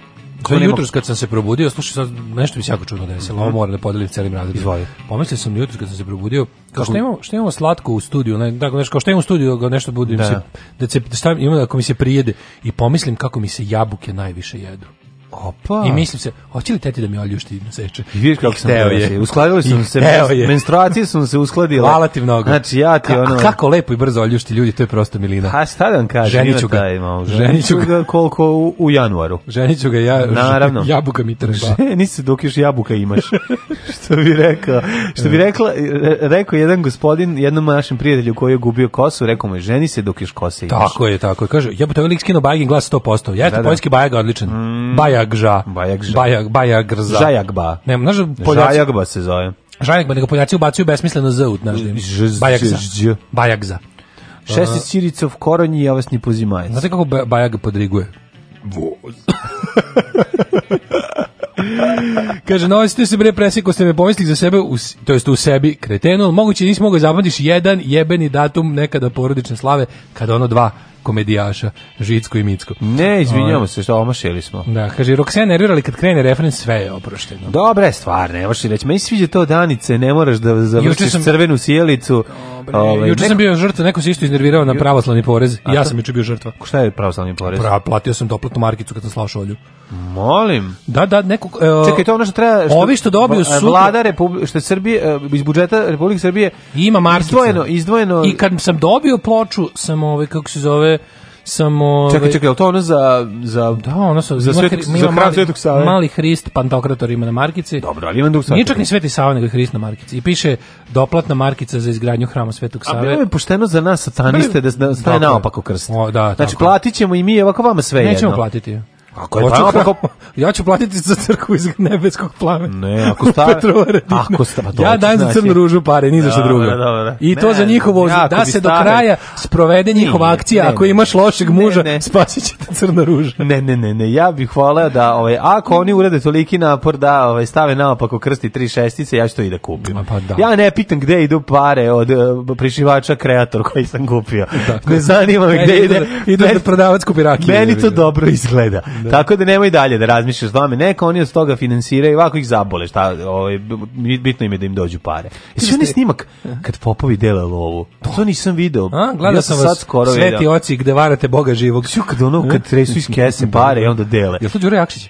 Speaker 8: Ko
Speaker 7: To je
Speaker 8: nema-
Speaker 7: jutros kad sam se probudio, slušaj sad, nešto mi se jako čudno desilo,
Speaker 8: Mhm.
Speaker 7: ovo moram da podelim celim razredom. Izvoli. Pomislio sam jutros kad sam se probudio, kao
Speaker 8: Kako?
Speaker 7: što imamo, što imamo slatko u studiju, ne, tako nešto, kao što imamo u studiju, kao nešto bude mi
Speaker 8: Da.
Speaker 7: se, da se, da stavim, ima, ako mi se prijede, i pomislim kako mi se jabuke najviše jedu.
Speaker 8: Opa.
Speaker 7: I mislim se, hoće li teti da mi oljušti naseče?
Speaker 8: I vidiš kako sam
Speaker 7: Hteo
Speaker 8: hteo je.
Speaker 7: je.
Speaker 8: Uskladili
Speaker 7: I
Speaker 8: sam se,
Speaker 7: hteo
Speaker 8: men-
Speaker 7: je.
Speaker 8: menstruacije sam se uskladile.
Speaker 7: Hvala ti mnogo.
Speaker 8: Znači ja ti
Speaker 7: Ka-
Speaker 8: ono...
Speaker 7: a kako lepo i brzo oljušti ljudi, to je prosto milina.
Speaker 8: A šta da vam kažem?
Speaker 7: Ženiću
Speaker 8: ima
Speaker 7: ga.
Speaker 8: taj malo,
Speaker 7: Ženiću
Speaker 8: Ženiću ga koliko u, u januaru.
Speaker 7: Ženiću ga ja,
Speaker 8: Naravno.
Speaker 7: jabuka mi treba.
Speaker 8: Ženi se dok još jabuka imaš. što bi rekao, što bi
Speaker 7: E.
Speaker 8: rekla, re- rekao jedan gospodin, jednom našem prijatelju koji je gubio kosu, rekao mu je, ženi se dok još kose imaš.
Speaker 7: Tako je, tako je. Kaže, ja to je lik skinuo Bajagin glas 100%. Jeste,
Speaker 8: Da, Mm. da.
Speaker 7: poljski Bajaga odličan. Bajagža.
Speaker 8: Bajagža.
Speaker 7: Bajag, Bajagrza.
Speaker 8: Žajagba.
Speaker 7: Ne, znaš, Poljaci, Žajag...
Speaker 8: Žajagba se zove.
Speaker 7: Žajagba, nego Poljaci ubacuju besmisleno Z u, znaš, da im-
Speaker 8: Ž-
Speaker 7: Bajagza.
Speaker 8: ž- ž-
Speaker 7: Bajagza.
Speaker 8: Šesti Ciricov koronji, ja vas ni pozimajec.
Speaker 7: Znate kako Ba- Bajag podriguje? Voz. Kaže, nosite se bre presjeko ste me pomislili za sebe, u, s- to jest u sebi kretenu, ali moguće nisi mogao zapamtiš jedan jebeni datum nekada porodične slave, kada ono dva komedijaša, Žicko i Micko.
Speaker 8: Ne, izvinjamo se, što omašili smo.
Speaker 7: Da, kaže, Roxana nervira, ali kad krene refren, sve je oprošteno.
Speaker 8: Dobra je stvar, ne možeš reći. Meni se sviđa to Danice, ne moraš da završiš
Speaker 7: Juče sam-
Speaker 8: crvenu sjelicu. Ovaj,
Speaker 7: Pa Juče sam
Speaker 8: neko-
Speaker 7: bio žrtva, neko se isto iznervirao na pravoslavni porez. Ja sam juče bio žrtva.
Speaker 8: Šta je pravoslavni porez?
Speaker 7: Pra, platio sam doplatnu markicu kad sam slao šolju.
Speaker 8: Molim.
Speaker 7: Da, da, neko... e,
Speaker 8: Čekaj, to je ono što treba... Što,
Speaker 7: Ovi što dobiju
Speaker 8: Va-
Speaker 7: sutra-
Speaker 8: Vlada Republike, što je Srbije, e, iz budžeta Republike Srbije...
Speaker 7: Ima markica.
Speaker 8: Izdvojeno, izdvojeno...
Speaker 7: I kad sam dobio ploču, sam ovaj, kako se zove, sam ovaj...
Speaker 8: Čekaj, čekaj, je li to ono za... za...
Speaker 7: Da, ono su,
Speaker 8: Za
Speaker 7: ima
Speaker 8: Svetog-
Speaker 7: hri- ima
Speaker 8: za hram
Speaker 7: mali-
Speaker 8: Svetog Save.
Speaker 7: Mali Hrist, pantokrator ima na markici.
Speaker 8: Dobro, ali imam drug
Speaker 7: Nije čak ni Sveti Sava, nego je Hrist na markici. I piše doplatna markica za izgradnju hrama Svetog
Speaker 8: A
Speaker 7: Save.
Speaker 8: bilo je pošteno za nas sataniste da, da
Speaker 7: Tako
Speaker 8: staje
Speaker 7: je.
Speaker 8: naopako krst.
Speaker 7: O, da,
Speaker 8: znači,
Speaker 7: tako je.
Speaker 8: platit ćemo i mi, ovako vama sve jedno.
Speaker 7: Nećemo platiti.
Speaker 8: Ako je
Speaker 7: Hoću
Speaker 8: pa-
Speaker 7: hram- ja ću platiti za crkvu iz nebeskog plamena.
Speaker 8: Ne, ako sta-
Speaker 7: U Petrovaradinu.
Speaker 8: ako sta- pa to
Speaker 7: ja
Speaker 8: hoću,
Speaker 7: dajem za
Speaker 8: znači-
Speaker 7: crnu ružu pare, ni za što
Speaker 8: Dobro,
Speaker 7: drugo.
Speaker 8: dobro.
Speaker 7: I to
Speaker 8: Ne,
Speaker 7: za njihovo,
Speaker 8: jako
Speaker 7: da
Speaker 8: bi
Speaker 7: se do
Speaker 8: stare-
Speaker 7: kraja sprovede njihova
Speaker 8: Nije,
Speaker 7: akcija.
Speaker 8: ne,
Speaker 7: Ako
Speaker 8: ne.
Speaker 7: imaš lošeg muža,
Speaker 8: Ne, ne.
Speaker 7: spasit ćete crna ruža.
Speaker 8: Ne, ne, ne, ne, ja bih voleo da, ovaj, ako oni urede toliki napor da ovaj, stave naopako krsti tri šestice, ja ću to i da kupim.
Speaker 7: Ma pa da.
Speaker 8: Ja ne pitam gde idu pare od eh, prišivača kreator koji sam kupio. Ne zanima me gde
Speaker 7: Meni
Speaker 8: ide.
Speaker 7: da- E, idu da
Speaker 8: Meni-
Speaker 7: prodavac kupi rakiju.
Speaker 8: Meni to dobro izgleda. Tako da nemoj dalje da razmišljaš o tome. Neka oni od toga finansiraju, ovako ih zabole, šta, ovaj, b- bitno im je da im dođu pare. Jesi onaj snimak kad popovi dele lovu? To nisam video.
Speaker 7: A, gledao
Speaker 8: Ja
Speaker 7: sam
Speaker 8: sad
Speaker 7: vas,
Speaker 8: skoro
Speaker 7: sveti
Speaker 8: video.
Speaker 7: oci gde varate Boga živog.
Speaker 8: Sju kad ono, kad tresu iz kese pare i onda dele.
Speaker 7: Jel to Đure Jakšić?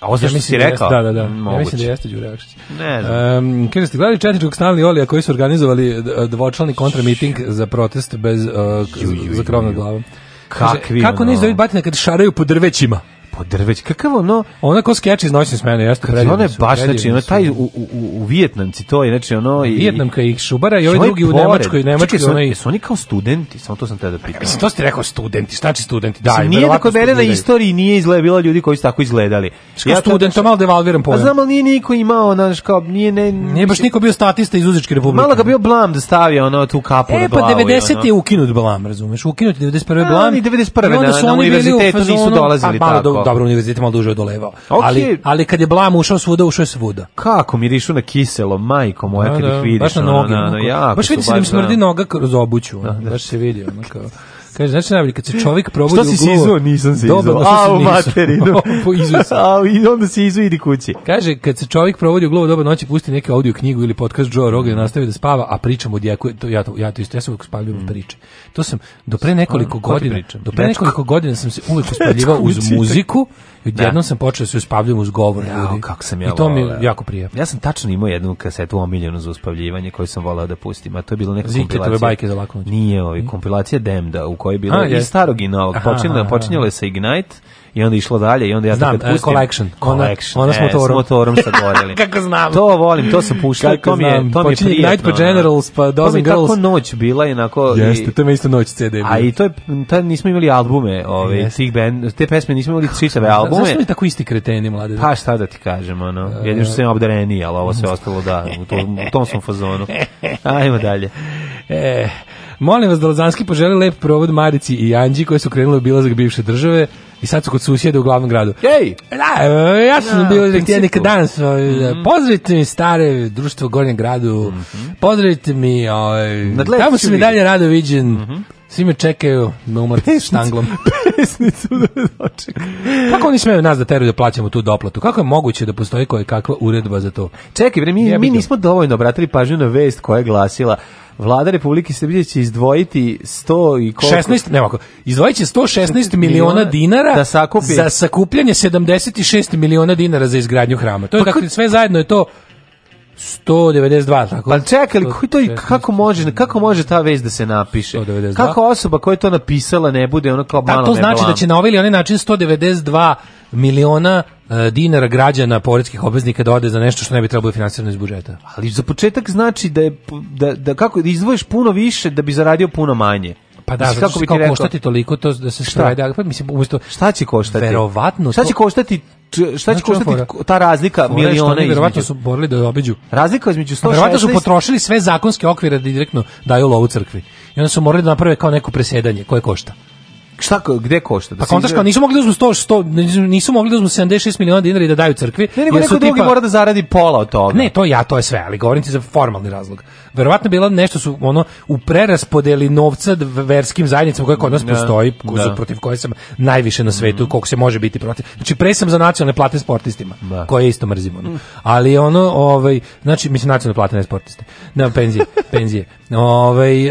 Speaker 8: A ovo
Speaker 7: Ja
Speaker 8: znaš što si
Speaker 7: mislim da jeste,
Speaker 8: rekao?
Speaker 7: Da, da, da. Ja
Speaker 8: Moguće.
Speaker 7: mislim da jeste Đure Jakšić.
Speaker 8: Ne znam.
Speaker 7: Um, kaže, ste gledali četničkog stalni Olija koji su organizovali d- dvočlani kontramiting za protest bez, uh, k- za krov nad glavom. Kaže,
Speaker 8: Kakvi
Speaker 7: Kako
Speaker 8: ono-
Speaker 7: ne izdaviti batina kad šaraju po drvećima?
Speaker 8: Pa drveć, kakav ono...
Speaker 7: Ona ko skeč iz noćne smene, jeste
Speaker 8: Kad
Speaker 7: predivni
Speaker 8: ono je
Speaker 7: su,
Speaker 8: baš,
Speaker 7: predivni
Speaker 8: znači, ono,
Speaker 7: su.
Speaker 8: taj u, u, u- u Vijetnamci, to je, znači, ono... I,
Speaker 7: Vijetnamka ih šubara i ovaj
Speaker 8: Što je
Speaker 7: drugi u
Speaker 8: Znači, pored?
Speaker 7: Nemačkoj, Nemačkoj,
Speaker 8: Čekaj, su,
Speaker 7: onaj...
Speaker 8: oni, su oni kao studenti? Samo to sam te da pitam.
Speaker 7: Mislim, to ste rekao studenti, šta će studenti? Da,
Speaker 8: Da, nije da
Speaker 7: verovatno
Speaker 8: kod mene na
Speaker 7: studiraju.
Speaker 8: istoriji nije izgleda bilo ljudi koji su tako izgledali.
Speaker 7: Kao
Speaker 8: tad-
Speaker 7: student, to malo devalviram
Speaker 8: A
Speaker 7: pojam.
Speaker 8: znam, ali nije niko imao, ono, znaš, kao, nije, ne...
Speaker 7: Nije baš niko bio statista iz Uzičke republike.
Speaker 8: Malo ga bio blam da stavio, ono, tu kapu na
Speaker 7: E, pa
Speaker 8: glavu i
Speaker 7: 90. je
Speaker 8: ono.
Speaker 7: ukinut blam, razumeš? Ukinut je 91.
Speaker 8: A,
Speaker 7: blam.
Speaker 8: oni 91.
Speaker 7: I onda
Speaker 8: na-
Speaker 7: su
Speaker 8: na
Speaker 7: oni bili u
Speaker 8: univerzitetu nisu
Speaker 7: fazonu-
Speaker 8: dolazili
Speaker 7: pa, malo
Speaker 8: tako.
Speaker 7: do- dobro, univerzitet malo duže odolevao.
Speaker 8: Okej.
Speaker 7: Ali, ali kad je blam ušao svuda, ušao je svuda.
Speaker 8: Kako mirišu na kiselo, majko moja, kad ih vidiš.
Speaker 7: baš na
Speaker 8: ono,
Speaker 7: noge.
Speaker 8: ono,
Speaker 7: onako.
Speaker 8: jako
Speaker 7: baš
Speaker 8: su ono.
Speaker 7: vidi se da im smrdi
Speaker 8: da.
Speaker 7: noga kroz obuću. ono, Baš se vidi. Ono, kao. Kaže, znači najbolje, kad se čovjek probudi
Speaker 8: Što
Speaker 7: u
Speaker 8: si
Speaker 7: gluvo-
Speaker 8: sizuo? Nisam sizuo.
Speaker 7: Dobar, no, što
Speaker 8: A, u
Speaker 7: si nisam.
Speaker 8: materinu.
Speaker 7: Po, izuo sam.
Speaker 8: A, i onda si izu, idi kući.
Speaker 7: Kaže, kad se čovjek provodi u glavu doba noći, pusti neke audio knjigu ili podcast Joe Rogan i nastavi da spava, a pričam o djeku, to, ja, to, ja to isto, ja sam uvijek
Speaker 8: Mm.
Speaker 7: uspavljivo priče. To sam, do pre nekoliko
Speaker 8: A, ko ti
Speaker 7: godina,
Speaker 8: priča?
Speaker 7: do pre
Speaker 8: Dečko.
Speaker 7: nekoliko godina sam se uvijek uspaljivao
Speaker 8: mi
Speaker 7: uz
Speaker 8: citak.
Speaker 7: muziku i odjednom sam počeo da se uspavljivam uz govor ljudi.
Speaker 8: Jao, kako sam ja
Speaker 7: I to mi je
Speaker 8: voleo.
Speaker 7: jako prije.
Speaker 8: Ja sam tačno imao jednu kasetu omiljenu za uspavljivanje koju sam volao da pustim, a to je bilo neka
Speaker 7: Ziketove
Speaker 8: kompilacija.
Speaker 7: bajke za laku noć. Mhm.
Speaker 8: Nije, ovi, kompilacija Demda u kojoj je bilo
Speaker 7: A,
Speaker 8: i
Speaker 7: jest.
Speaker 8: starog i novog.
Speaker 7: Aha,
Speaker 8: Počinjelo,
Speaker 7: aha,
Speaker 8: počinjelo je sa Ignite i onda je išlo dalje i onda ja to
Speaker 7: Znam,
Speaker 8: kad
Speaker 7: e,
Speaker 8: pustim...
Speaker 7: Collection. Ona-
Speaker 8: Collection,
Speaker 7: ona s
Speaker 8: e,
Speaker 7: motorom.
Speaker 8: S motorom sa gorelim.
Speaker 7: Kako znam.
Speaker 8: To volim, to sam puštao,
Speaker 7: Kako
Speaker 8: to mi je,
Speaker 7: znam.
Speaker 8: to mi je
Speaker 7: Počinje Ignite,
Speaker 8: prijetno,
Speaker 7: pa Generals,
Speaker 8: ono.
Speaker 7: pa Dolls and
Speaker 8: To mi je
Speaker 7: Girls.
Speaker 8: tako noć bila i onako... i-
Speaker 7: Jeste, to me isto noć CD. bio.
Speaker 8: A i to je, tad nismo imali albume, ove,
Speaker 7: Jeste.
Speaker 8: tih band, te pesme nismo imali čitave
Speaker 7: Zna-
Speaker 8: albume.
Speaker 7: Zašto mi tako isti kreteni, mlade?
Speaker 8: Pa šta da ti kažem, ono, jedino što sam ja obdareniji, ali ovo sve ostalo da, u tom, u tom sam fazonu. Ajmo dalje.
Speaker 7: E, molim vas da Lazanski poželi lep provod Marici i Anđi koje su krenule u bilazak bivše države i sad su kod susjeda u glavnom gradu.
Speaker 8: Ej!
Speaker 7: Da, e, ja sam
Speaker 8: Da, u
Speaker 7: bio
Speaker 8: principu. Mhm.
Speaker 7: rektijenik danas. ovaj, Pozdravite mi stare društvo u Gornjem gradu. Pozdravite mi, ovaj,
Speaker 8: Nadleću
Speaker 7: tamo sam i
Speaker 8: vidi. Mhm.
Speaker 7: dalje rado viđen. Svi me čekaju na umor štanglom.
Speaker 8: Pesnicu da dočekam.
Speaker 7: Kako oni smeju nas da teruju da plaćamo tu doplatu? Kako je moguće da postoji koje kakva uredba za to?
Speaker 8: Čekaj, bre, mi,
Speaker 7: Jebi
Speaker 8: mi
Speaker 7: ga.
Speaker 8: nismo dovoljno obratili pažnju na vest koja je glasila Vlada Republike Srbije će izdvojiti 100 i koliko...
Speaker 7: 16, ne ovako, izdvojit će 116 miliona dinara
Speaker 8: Da sakupi.
Speaker 7: za sakupljanje 76 miliona dinara za izgradnju hrama.
Speaker 8: Pa
Speaker 7: To je, dakle, sve zajedno je to 192, tako?
Speaker 8: Pa čekaj, ali koji to, i kako može, kako može ta vest da se napiše?
Speaker 7: 192.
Speaker 8: Kako osoba koja je to napisala ne bude ono kao malo
Speaker 7: Da, to znači
Speaker 8: neblam?
Speaker 7: da će na ovaj ili onaj način 192 miliona e, dinara građana poreskih obveznika da ode za nešto što ne bi trebalo da bude finansirano iz budžeta.
Speaker 8: Ali za početak znači da je p- da, da kako da izdvojiš puno više da bi zaradio puno manje.
Speaker 7: Pa da,
Speaker 8: Mislim,
Speaker 7: zato što će kao
Speaker 8: rekao?
Speaker 7: koštati toliko to da se
Speaker 8: Šta?
Speaker 7: šta? Pa mislim, umjesto
Speaker 8: Šta će koštati?
Speaker 7: Verovatno
Speaker 8: Šta
Speaker 7: to-
Speaker 8: će koštati č- šta će
Speaker 7: Znaš čemu
Speaker 8: koštati
Speaker 7: fora?
Speaker 8: ko- ta razlika
Speaker 7: Fore što
Speaker 8: miliona
Speaker 7: oni verovatno
Speaker 8: između?
Speaker 7: su borili da obiđu.
Speaker 8: Razlika između 116
Speaker 7: Verovatno su potrošili sve zakonske okvire da direktno daju lovu crkvi. I onda su morali da naprave kao neko presedanje koje košta.
Speaker 8: Šta ko- gde košta? Da
Speaker 7: Pa
Speaker 8: se
Speaker 7: kontaš kao
Speaker 8: izgra-
Speaker 7: nisu mogli da uzmu 100, 100 nisu- nisu mogli da uzmu 76 miliona dinara i da daju crkvi.
Speaker 8: Ne, nego
Speaker 7: jer su
Speaker 8: neko drugi
Speaker 7: tipa-
Speaker 8: mora da zaradi pola od toga.
Speaker 7: Ne, to ja, to je sve, ali govorim ti za formalni razlog. Verovatno bilo nešto su ono u preraspodeli novca d- verskim zajednicama koje kod nas
Speaker 8: Da,
Speaker 7: postoji,
Speaker 8: da. Mhm.
Speaker 7: za- protiv koje sam najviše na svetu, koliko se može biti protiv. Znači pre sam za nacionalne plate sportistima,
Speaker 8: Da. Mhm.
Speaker 7: koje isto mrzim ono. Ali ono, ovaj, znači mislim nacionalne plate ne sportiste. Ne, penzije, penzije. Ovaj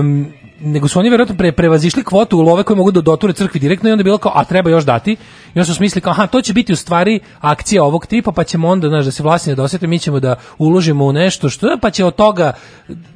Speaker 7: em, nego su oni verovatno pre, prevazišli kvotu love koje mogu da doture crkvi direktno i onda je bilo kao, a treba još dati. I onda su smislili kao, aha, to će biti u stvari akcija ovog tipa, pa ćemo onda, znaš, da se vlasni ne dosete, mi ćemo da uložimo u nešto što, pa će od toga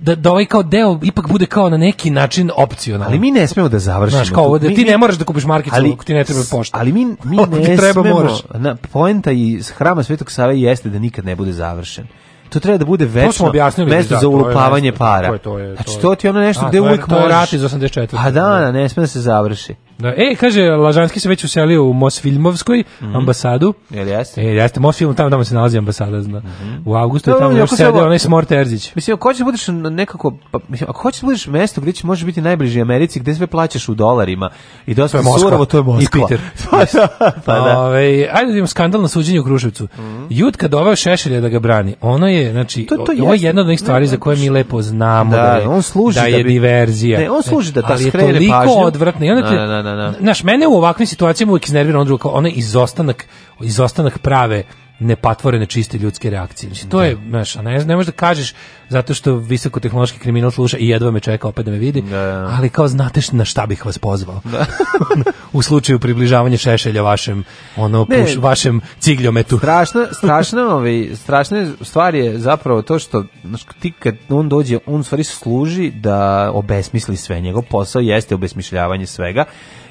Speaker 7: da, da ovaj kao deo ipak bude kao na neki način opcionalan.
Speaker 8: Ali mi ne smemo da završimo.
Speaker 7: Znaš, kao ovo da
Speaker 8: Mi-
Speaker 7: ti
Speaker 8: mi-
Speaker 7: ne moraš da kupiš markicu ako ti ne treba pošta.
Speaker 8: Ali mi, mi
Speaker 7: Ako ti
Speaker 8: ne
Speaker 7: treba,
Speaker 8: smemo.
Speaker 7: moraš.
Speaker 8: Na, poenta i hrama Svetog Save jeste da nikad ne bude završen. To treba da bude večno
Speaker 7: objasnili,
Speaker 8: mesto
Speaker 7: da,
Speaker 8: za
Speaker 7: to je
Speaker 8: ulupavanje
Speaker 7: mesto,
Speaker 8: para.
Speaker 7: to je- to je- to
Speaker 8: znači,
Speaker 7: je-
Speaker 8: to ti je ono nešto
Speaker 7: A,
Speaker 8: gde
Speaker 7: to je-
Speaker 8: uvek
Speaker 7: to je
Speaker 8: možeš...
Speaker 7: rat iz 84..
Speaker 8: A da, da, ne sme da se završi.
Speaker 7: Da, e, kaže, Lažanski se već uselio u Mosfilmovskoj ambasadu.
Speaker 8: Mhm. Jel jeste?
Speaker 7: E, jeste, Mosfilm, tamo, tamo se nalazi ambasada, zna. U augustu je
Speaker 8: Da,
Speaker 7: tamo
Speaker 8: ali
Speaker 7: još
Speaker 8: ako se
Speaker 7: sede
Speaker 8: ovo-
Speaker 7: onaj Smor Terzić.
Speaker 8: Mislim, ako hoćeš da budeš nekako, pa, mislim, ako hoćeš da budeš mesto gdje će možeš biti najbliži Americi, gdje sve plaćaš u dolarima i dosta
Speaker 7: To je Moskva.
Speaker 8: surovo, to je Moskva.
Speaker 7: I Peter.
Speaker 8: pa da, pa da. Mhm.
Speaker 7: Ovaj, ajde da vidimo skandal na suđenju u Kruševcu. Jutka doveo Šešelja da ga brani. Ono je, znači,
Speaker 8: To- to
Speaker 7: ovo je
Speaker 8: jeste.
Speaker 7: jedna od onih stvari
Speaker 8: Ne,
Speaker 7: za koje mi lepo znamo da,
Speaker 8: Da,
Speaker 7: je,
Speaker 8: on služi
Speaker 7: da je
Speaker 8: da bi-
Speaker 7: diverzija.
Speaker 8: Ne, on služi da ta
Speaker 7: Ali je
Speaker 8: skrene
Speaker 7: toliko
Speaker 8: pažnju.
Speaker 7: odvratno. I onda te-
Speaker 8: Da, da, da, da.
Speaker 7: Znaš, mene u ovakvim situacijama uvijek iznervira ono drugo, kao onaj izostanak, izostanak prave nepatvorene čiste ljudske reakcije. Znači, to je, znaš, a ne, ne možeš da kažeš zato što visokotehnološki kriminal sluša i jedva me čeka opet da me vidi, ali kao znate š- na šta bih vas pozvao. u slučaju približavanja šešelja vašem, ono,
Speaker 8: Ne.
Speaker 7: puš, vašem cigljometu.
Speaker 8: strašna, strašna, ovaj, strašna stvar je zapravo to što znaš, ti kad on dođe, on u stvari služi da obesmisli sve. Njegov posao jeste obesmišljavanje svega,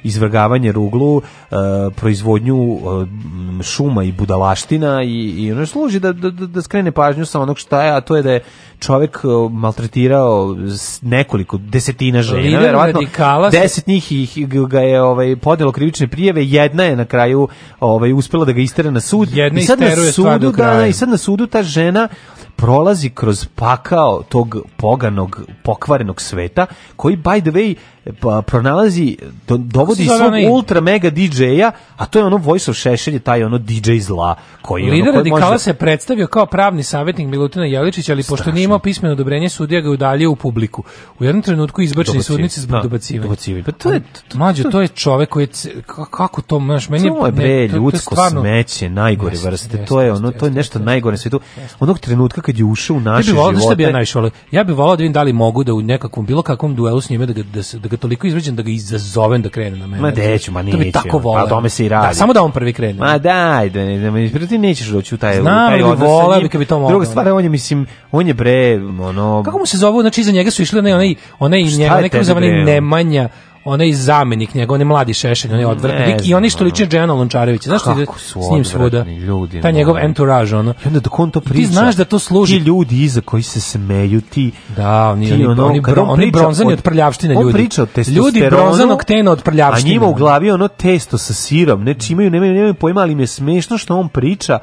Speaker 8: izvrgavanje ruglu, eh, proizvodnju eh, m, šuma i budalaština i, i ono služi da, da, da skrene pažnju sa onog šta je, a to je da je čovjek eh, maltretirao s- nekoliko desetina žena,
Speaker 7: Lider
Speaker 8: verovatno
Speaker 7: radikala se-
Speaker 8: deset njih ih ga je ovaj podelo krivične prijave, jedna je na kraju ovaj uspela da ga istera na sud
Speaker 7: Jedna
Speaker 8: i sad na
Speaker 7: isteruje stvar do
Speaker 8: sudu da,
Speaker 7: kraja.
Speaker 8: da, i sad na sudu ta žena prolazi kroz pakao tog poganog pokvarenog sveta koji by the way pa, pronalazi do, dovodi
Speaker 7: Kako se zove
Speaker 8: svog
Speaker 7: onaj?
Speaker 8: ultra mega DJ-a a to je ono Voice of Šešelj je taj ono DJ zla koji je ono,
Speaker 7: Lider
Speaker 8: koji može-
Speaker 7: radikala se predstavio kao pravni savjetnik Milutina Jeličića, ali pošto nije imao pismeno odobrenje, sudija ga je udaljio u publiku. U jednom trenutku izbačeni
Speaker 8: Dobacivanje.
Speaker 7: sudnici zbog
Speaker 8: Da,
Speaker 7: dobacivanja.
Speaker 8: dobacivanje. Pa to je- to-
Speaker 7: Mlađo, to je čovek koji je c- ka- kako to, znaš, meni
Speaker 8: To je bre
Speaker 7: ne, to- to je
Speaker 8: ljudsko
Speaker 7: stvarno-
Speaker 8: smeće najgore
Speaker 7: Jeste,
Speaker 8: vrste.
Speaker 7: jeste,
Speaker 8: to je
Speaker 7: jeste,
Speaker 8: ono, to je
Speaker 7: jeste,
Speaker 8: nešto
Speaker 7: jeste.
Speaker 8: najgore na svetu. Onog trenutka kad je ušao u
Speaker 7: Ja
Speaker 8: naše
Speaker 7: bih volao, znaš šta bi ja
Speaker 8: živote.
Speaker 7: najviše volao? Ja bih volao da vidim da li mogu da u nekakvom, bilo kakvom duelu s njime, da ga, da, se- da ga toliko izveđem, da ga izazovem da krene na mene.
Speaker 8: Ma deću, ma
Speaker 7: To bi
Speaker 8: neću,
Speaker 7: tako
Speaker 8: ma,
Speaker 7: volao.
Speaker 8: o tome se i
Speaker 7: Da,
Speaker 8: radi.
Speaker 7: samo da on prvi krene.
Speaker 8: Ma daj, da ne, ne, ne, ti nećeš doći u taj, u
Speaker 7: Znam, ali
Speaker 8: taj
Speaker 7: bi
Speaker 8: odnos. sa
Speaker 7: voleo
Speaker 8: njim.
Speaker 7: bi kad bi to mogao,
Speaker 8: Druga stvar,
Speaker 7: da.
Speaker 8: on je, mislim, on je bre, ono...
Speaker 7: Kako mu se zove, znači iza njega su išli onaj onaj onaj
Speaker 8: Šta
Speaker 7: njega,
Speaker 8: je
Speaker 7: onaj kako se zove,
Speaker 8: tebi,
Speaker 7: onaj
Speaker 8: bre? ono?
Speaker 7: Nemanja, onaj zamenik njegov, onaj mladi šešelj, onaj odvrtni
Speaker 8: Ne
Speaker 7: lik i
Speaker 8: znam, ono.
Speaker 7: onaj što liči na Dejana Lončarevića. Znaš što ide
Speaker 8: Kako su
Speaker 7: s njim svuda?
Speaker 8: odvratni ljudi,
Speaker 7: Taj
Speaker 8: moji.
Speaker 7: njegov entourage, ono.
Speaker 8: I onda dok on to
Speaker 7: ti
Speaker 8: priča...
Speaker 7: znaš da to služi-
Speaker 8: Ti ljudi iza koji se smeju, ti...
Speaker 7: Da, oni,
Speaker 8: ti
Speaker 7: oni,
Speaker 8: ono,
Speaker 7: oni,
Speaker 8: kad
Speaker 7: bro-
Speaker 8: on
Speaker 7: oni
Speaker 8: priča
Speaker 7: bronzani od prljavštine ljudi.
Speaker 8: On priča o testosteronu.
Speaker 7: Ljudi bronzanog tena od prljavštine.
Speaker 8: A njima u glavi je ono testo sa sirom. Neči imaju, nemaju, nemaju pojma, ali im je smešno što on priča.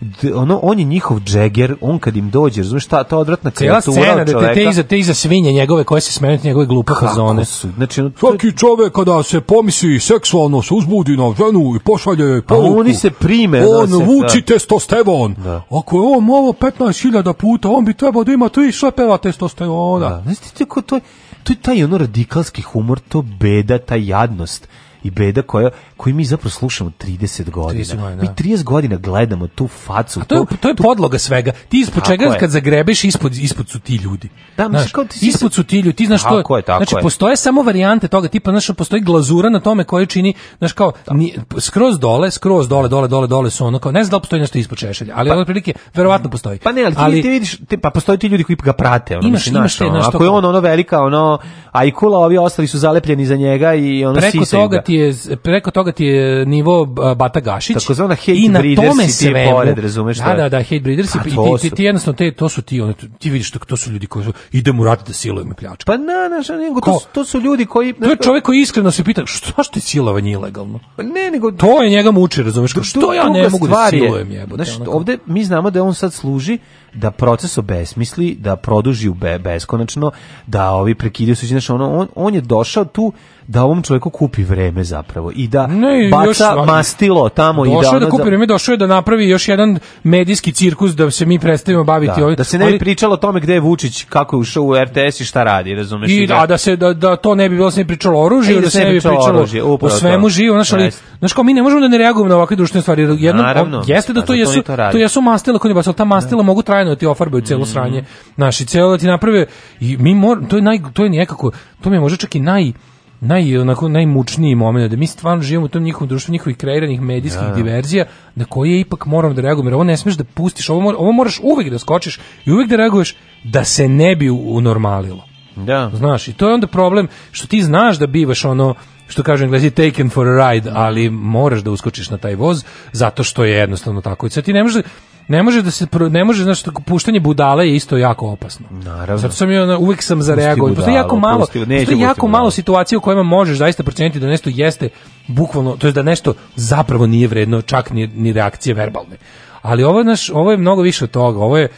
Speaker 8: D- ono, on je njihov džeger, on kad im dođe, razumiješ, ta, ta odvratna
Speaker 7: Cijela
Speaker 8: kreatura od
Speaker 7: scena da te, te,
Speaker 8: čoveka.
Speaker 7: iza, te iza svinje njegove koje se smenuti njegove glupe
Speaker 8: Kako
Speaker 7: fazone.
Speaker 8: su, znači, ono, to je-
Speaker 16: Svaki čovek kada se pomisli seksualno se uzbudi na ženu i pošalje joj poruku.
Speaker 8: oni se prime, da
Speaker 16: On
Speaker 8: se-
Speaker 16: vuči
Speaker 8: da.
Speaker 16: testosteron. Ako je on ovo 15.000 puta, on bi trebao da ima tri šlepeva testosterona.
Speaker 8: Znaš ti, ti ko to je- to je taj ono radikalski humor, to beda, ta jadnost i beda koja, koju mi zapravo slušamo 30 godina.
Speaker 7: 30 godina,
Speaker 8: Mi
Speaker 7: da.
Speaker 8: 30 godina gledamo tu facu.
Speaker 7: A Pa to, je, to je podloga svega. Ti ispod
Speaker 8: Tako
Speaker 7: čega
Speaker 8: je.
Speaker 7: kad zagrebeš ispod ispod su ti ljudi.
Speaker 8: Da, mislim,
Speaker 7: Znaš,
Speaker 8: kao ti si-
Speaker 7: ispod su ti ljudi. Ti znaš
Speaker 8: Tako
Speaker 7: to.
Speaker 8: je, tako
Speaker 7: znači
Speaker 8: je.
Speaker 7: postoje samo varijante toga, tipa znaš postoji glazura na tome koja čini, znaš kao ni, skroz dole, skroz dole, dole, dole, dole su ono kao ne znam da li postoji nešto ispod češelja, ali pa, otprilike verovatno postoji.
Speaker 8: Pa ne, ali ti, ti vidiš, ti, pa postoje ti ljudi koji ga prate. Ono,
Speaker 7: Imaš-
Speaker 8: mislim,
Speaker 7: imaš
Speaker 8: znaš,
Speaker 7: te,
Speaker 8: ono,
Speaker 7: znaš, to
Speaker 8: ako je
Speaker 7: kao-
Speaker 8: on ono velika, ono, a i kula, ovi ostali su zalepljeni za njega i ono
Speaker 7: preko
Speaker 8: sisaju
Speaker 7: toga
Speaker 8: ga.
Speaker 7: ti je preko toga ti je nivo a, Bata Gašić
Speaker 8: Takozvana hate
Speaker 7: i na
Speaker 8: breeders
Speaker 7: tome
Speaker 8: i ti
Speaker 7: svemu
Speaker 8: pored, razumeš šta
Speaker 7: da
Speaker 8: je?
Speaker 7: da da hate breeders i
Speaker 8: Pa
Speaker 7: ti,
Speaker 8: to
Speaker 7: ti,
Speaker 8: su.
Speaker 7: ti, ti jednostavno te to su ti ono ti vidiš to, to su ljudi koji su idemo u rat da silujemo i
Speaker 8: Pa
Speaker 7: pljačkamo
Speaker 8: na, na, nego to,
Speaker 7: Ko?
Speaker 8: su- to su ljudi koji...
Speaker 7: To je čovjek koji iskreno se pita, što zašto je silovanje ilegalno?
Speaker 8: Pa ne, nego
Speaker 7: To je njega muči, razumiješ?
Speaker 8: Pa
Speaker 7: Što ja ne
Speaker 8: druga
Speaker 7: mogu da
Speaker 8: stvar je,
Speaker 7: silujem jebote?
Speaker 8: Znaš,
Speaker 7: ono kao-
Speaker 8: ovde mi znamo da on sad služi da proces obesmisli, da produži u be, beskonačno, da ovi prekidaju suđenje. Znaš, ono, on, on je došao tu da ovom čovjeku kupi vreme zapravo i da
Speaker 7: Ne,
Speaker 8: baca
Speaker 7: još stvar-
Speaker 8: mastilo tamo i da...
Speaker 7: Došao je da
Speaker 8: ono za-
Speaker 7: kupi vreme, došao je da napravi još jedan medijski cirkus da se mi prestavimo baviti
Speaker 8: Da,
Speaker 7: ovim.
Speaker 8: da se ne bi
Speaker 7: ali-
Speaker 8: pričalo o tome gde je Vučić, kako je ušao u RTS i šta radi, razumeš?
Speaker 7: I da, da se da, da to ne bi bilo se ne bi pričalo o
Speaker 8: E, i
Speaker 7: oružju,
Speaker 8: da
Speaker 7: da se ne bi pričalo
Speaker 8: oružju,
Speaker 7: o
Speaker 8: upravo to.
Speaker 7: svemu živo, znaš, ali
Speaker 8: Jeste.
Speaker 7: znaš kao mi ne možemo da ne reagujemo na ovakve društvene stvari. jer Jedno
Speaker 8: Naravno.
Speaker 7: on- jeste
Speaker 8: Pa
Speaker 7: da to
Speaker 8: zato oni
Speaker 7: jesu
Speaker 8: to rade. Mhm.
Speaker 7: to jesu mastila koje baš ta mastila mogu trajno da ti ofarbaju celo sranje. Naši celo da ti naprave i mi mor, to je naj to je nekako to mi je možda čak i naj naj onako najmučniji momenat da mi stvarno živimo u tom njihovom društvu njihovih kreiranih medijskih diverzija na koje ipak moramo da reagujemo jer ovo ne smeš da pustiš ovo, mora- ovo moraš uvek da skočiš i uvek da reaguješ da se ne bi u- unormalilo
Speaker 8: Da.
Speaker 7: Znaš, i to je onda problem što ti znaš da bivaš ono što kažu englezi taken for a ride, ali moraš da uskočiš na taj voz zato što je jednostavno tako. I sad ti ne možeš ne može da se pro- ne može znači puštanje budale je isto jako opasno.
Speaker 8: Naravno.
Speaker 7: Zato sam ja ona, uvek sam za reagovanje. Postoji
Speaker 8: budalu,
Speaker 7: jako malo,
Speaker 8: pusti- neću
Speaker 7: postoji
Speaker 8: pusti
Speaker 7: jako
Speaker 8: budalu.
Speaker 7: malo situacija u kojima možeš zaista proceniti da nešto jeste bukvalno, to jest da nešto zapravo nije vredno čak ni, ni reakcije verbalne. Ali ovo je naš, ovo je mnogo više od toga. Ovo je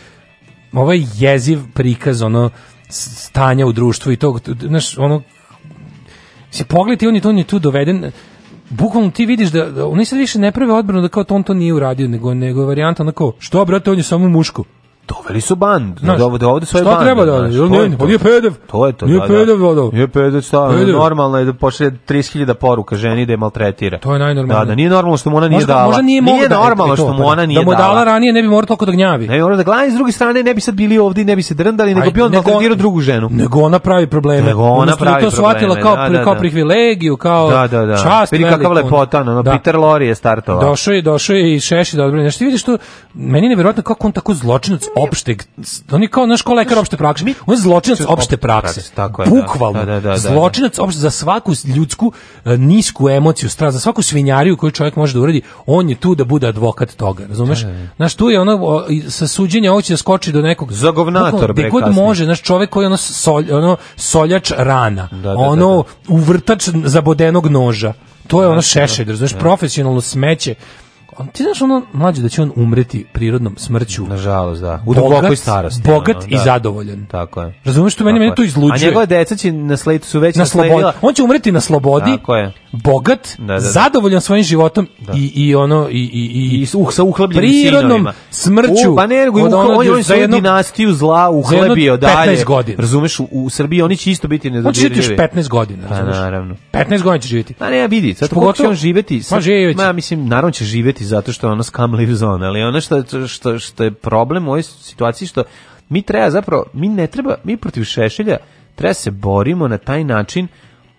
Speaker 7: ovo je jeziv prikaz ono s- stanja u društvu i tog t- znaš ono se pogledaj on je tu on je tu doveden bukvalno ti vidiš da, da oni sad više ne prave odbranu da kao to on to nije uradio nego nego je varijanta onako što brate on je samo muško
Speaker 8: Doveli su band,
Speaker 7: Znaš,
Speaker 8: dovode ovde svoje
Speaker 7: šta
Speaker 8: bande.
Speaker 7: treba da-
Speaker 8: znaš,
Speaker 7: jel
Speaker 8: to je
Speaker 7: nije-
Speaker 8: to.
Speaker 7: on je pedev.
Speaker 8: To je to,
Speaker 7: Nije
Speaker 8: da,
Speaker 7: pedev,
Speaker 8: da.
Speaker 7: ono.
Speaker 8: Nije pedev, šta, ono,
Speaker 7: Pedev.
Speaker 8: normalno je da pošalje 30.000 poruka ženi da je maltretira.
Speaker 7: To je najnormalnije.
Speaker 8: Da, da, nije normalno što mu ona nije
Speaker 7: možda,
Speaker 8: dala.
Speaker 7: možda nije, mogao da-
Speaker 8: normalno
Speaker 7: e, to,
Speaker 8: što mu
Speaker 7: pa da.
Speaker 8: ona nije
Speaker 7: da mu je
Speaker 8: dala.
Speaker 7: dala ranije ne bi morao toliko da gnjavi
Speaker 8: Ne, ona da gleda, s druge strane ne bi sad bili ovdje, i ne bi se drndali, nego
Speaker 7: Ajde,
Speaker 8: bi on
Speaker 7: nego-
Speaker 8: maltretirao drugu ženu.
Speaker 7: nego ona pravi probleme
Speaker 8: Nego ona
Speaker 7: Umjesto da
Speaker 8: pravi
Speaker 7: to shvatila
Speaker 8: probleme,
Speaker 7: kao
Speaker 8: da,
Speaker 7: pri-
Speaker 8: da,
Speaker 7: kao
Speaker 8: da.
Speaker 7: privilegiju kao
Speaker 8: Da, da, da.
Speaker 7: čast
Speaker 8: Vidi kakav
Speaker 7: veliku, ono.
Speaker 8: lepotan, ono,
Speaker 7: Da.
Speaker 8: Peter Lorre je startovao.
Speaker 7: Došao je, došao je i Šeši da odbrani. Znaš, ti vidiš to, meni je nevjerojatno kako on tako zločinac opšteg, on je kao naš kao lekar opšte prakse. On je zločinac opšte prakse.
Speaker 8: tako je, da.
Speaker 7: Bukvalno.
Speaker 8: Da, da, da, da, da.
Speaker 7: Zločinac opšte, za svaku ljudsku e, nisku emociju, stra, za svaku svinjariju koju čovjek može da uradi, on je tu da bude advokat toga, razumeš? Znaš, tu je ono, o, i sa suđenja ovo će da skoči do nekog...
Speaker 8: Za govnator,
Speaker 7: Bukvalno,
Speaker 8: bre,
Speaker 7: Gde god
Speaker 8: kasnije.
Speaker 7: može, znaš, čovjek koji je ono, solj, ono soljač rana,
Speaker 8: da,
Speaker 7: ono uvrtač zabodenog noža. To je ono šešelj, razumeš, profesionalno smeće. On, ti znaš ono, mlađe, da će on umreti prirodnom smrću.
Speaker 8: Nažalost, da. U
Speaker 7: Bogat,
Speaker 8: dubokoj starosti.
Speaker 7: bogat
Speaker 8: ono,
Speaker 7: i
Speaker 8: da.
Speaker 7: zadovoljan.
Speaker 8: Tako je.
Speaker 7: Razumeš što meni,
Speaker 8: Tako
Speaker 7: mene
Speaker 8: je.
Speaker 7: to izluđuje.
Speaker 8: A njegova deca će na sledu su već
Speaker 7: na slobodi.
Speaker 8: nasledila-
Speaker 7: On će umreti na slobodi,
Speaker 8: Tako je.
Speaker 7: bogat,
Speaker 8: Da, da, da.
Speaker 7: zadovoljan svojim životom i, i ono i i i,
Speaker 8: i s- uh, sa uhlebljenim
Speaker 7: prirodnom
Speaker 8: sinovima.
Speaker 7: smrću.
Speaker 8: U, pa ne, nego
Speaker 7: od
Speaker 8: on,
Speaker 7: ono
Speaker 8: on, je- on je
Speaker 7: za
Speaker 8: svoju
Speaker 7: jedno-
Speaker 8: dinastiju zla uhlebio
Speaker 7: za jedno
Speaker 8: dalje.
Speaker 7: 15 godina.
Speaker 8: Razumeš, u, u Srbiji oni će isto biti
Speaker 7: On će
Speaker 8: nedodirljivi.
Speaker 7: živjeti još 15 godina,
Speaker 8: Pa
Speaker 7: razumeš?
Speaker 8: naravno.
Speaker 7: 15 godina će živjeti.
Speaker 8: Pa ne, vidi, sad
Speaker 7: Pogotovo-
Speaker 8: kako će on živeti? Sad,
Speaker 7: Ma, Pa živjet će.
Speaker 8: Ma, mislim, naravno će živeti zato što je ono scam lives on, ali ono što, što, što je problem u ovoj situaciji što mi treba zapravo, mi ne treba, mi protiv Šešelja treba se borimo na taj način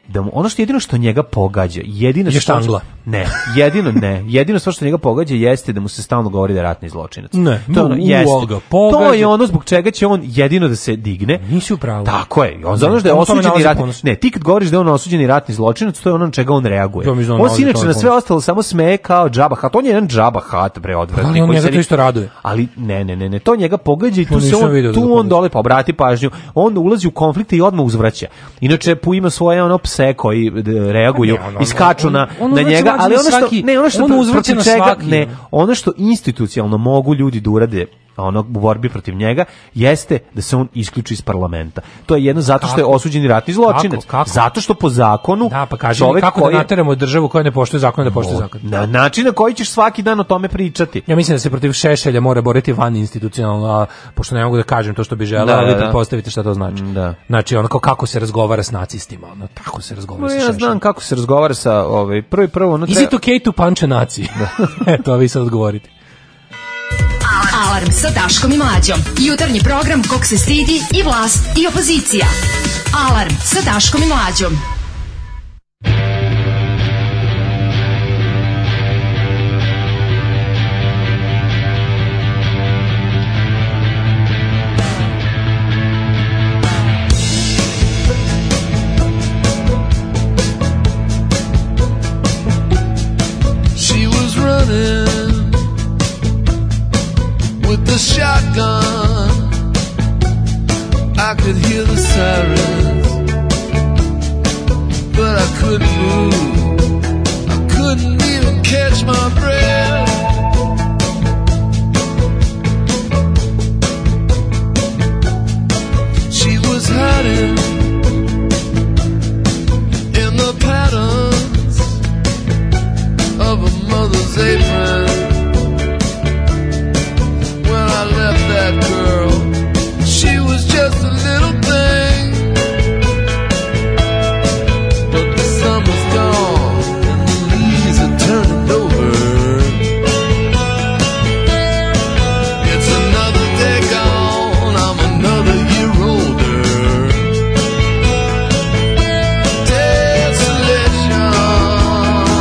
Speaker 8: da mu, ono što jedino što njega pogađa, jedino
Speaker 7: Je
Speaker 8: što on-
Speaker 7: štangla.
Speaker 8: ne, jedino ne. Jedino stvar što njega pogađa jeste da mu se stalno govori da je ratni zločinac.
Speaker 7: Ne,
Speaker 8: to je ono,
Speaker 7: u-
Speaker 8: jeste.
Speaker 7: uoga,
Speaker 8: To
Speaker 7: pogađa.
Speaker 8: je ono zbog čega će on jedino da se digne.
Speaker 7: Nisi u pravu.
Speaker 8: Tako je. On zato
Speaker 7: Ne,
Speaker 8: što je
Speaker 7: on tome
Speaker 8: osuđeni
Speaker 7: nalazi
Speaker 8: ratni.
Speaker 7: ponos.
Speaker 8: Ne, ti kad govoriš da je on osuđeni ratni zločinac, to je ono na čega on reaguje.
Speaker 7: Ja mislim da on
Speaker 8: on se
Speaker 7: nalazi
Speaker 8: inače
Speaker 7: tome
Speaker 8: na sve
Speaker 7: ponos.
Speaker 8: ostalo samo smeje kao džaba hat. On je jedan džaba hat, bre, odvratni.
Speaker 7: Ali Pa on
Speaker 8: koji
Speaker 7: njega
Speaker 8: se
Speaker 7: to
Speaker 8: ni-
Speaker 7: isto raduje.
Speaker 8: Ali ne, ne, ne, ne, to njega pogađa i
Speaker 7: Ja
Speaker 8: tu se
Speaker 7: nisam
Speaker 8: on,
Speaker 7: video da ga
Speaker 8: tu on
Speaker 7: pogađa.
Speaker 8: dole pa obrati pažnju. On ulazi u konflikte i odmah uzvraća. Inače pu ima svoje ono pse koji d- reaguju,
Speaker 7: Ne, on- on-
Speaker 8: iskaču na
Speaker 7: on- on
Speaker 8: na
Speaker 7: uzvraća
Speaker 8: njega,
Speaker 7: mlađe
Speaker 8: ali
Speaker 7: na
Speaker 8: ono što
Speaker 7: svaki-
Speaker 8: ne, ono što
Speaker 7: on
Speaker 8: pro-
Speaker 7: uzvraća
Speaker 8: protiv
Speaker 7: na
Speaker 8: čega-
Speaker 7: svaki.
Speaker 8: ne, ono što institucionalno mogu ljudi da urade ono u borbi protiv njega jeste da se on isključi iz parlamenta. To je jedno zato što je osuđeni ratni zločinac.
Speaker 7: Kako? Kako?
Speaker 8: Zato što po zakonu
Speaker 7: Da, pa kaži mi
Speaker 8: čovek
Speaker 7: kako
Speaker 8: koji
Speaker 7: da
Speaker 8: je-
Speaker 7: nateramo državu koja ne poštuje zakon, da poštuje zakon.
Speaker 8: na način na koji ćeš svaki dan o tome pričati.
Speaker 7: Ja mislim da se protiv Šešelja mora boriti van institucionalno, a pošto ne mogu da kažem to što bi želeo,
Speaker 8: Da,
Speaker 7: ali
Speaker 8: da,
Speaker 7: vi
Speaker 8: da.
Speaker 7: pretpostavite šta to znači. Znači, ono kao kako se razgovara s nacistima, ono, tako se razgovara
Speaker 8: Ma
Speaker 7: sa
Speaker 8: ja
Speaker 7: Šešeljem.
Speaker 8: znam kako se razgovara sa ovaj prvi prvo ono
Speaker 7: Is it okay to punch a nazi? Eto, a vi sad odgovorite.
Speaker 5: Alarm. Alarm sa Daškom i Mlađom. Jutarnji program kog se stidi i vlast i opozicija. Alarm sa Daškom i Mlađom.
Speaker 13: She was running with the shotgun. I could hear the sirens, but I couldn't move. I couldn't even catch my breath. She was hiding in the patterns of a mother's apron. When I left that girl, she was just a little thing. But the summer's gone and the leaves are turning over. It's another day gone, I'm another year older.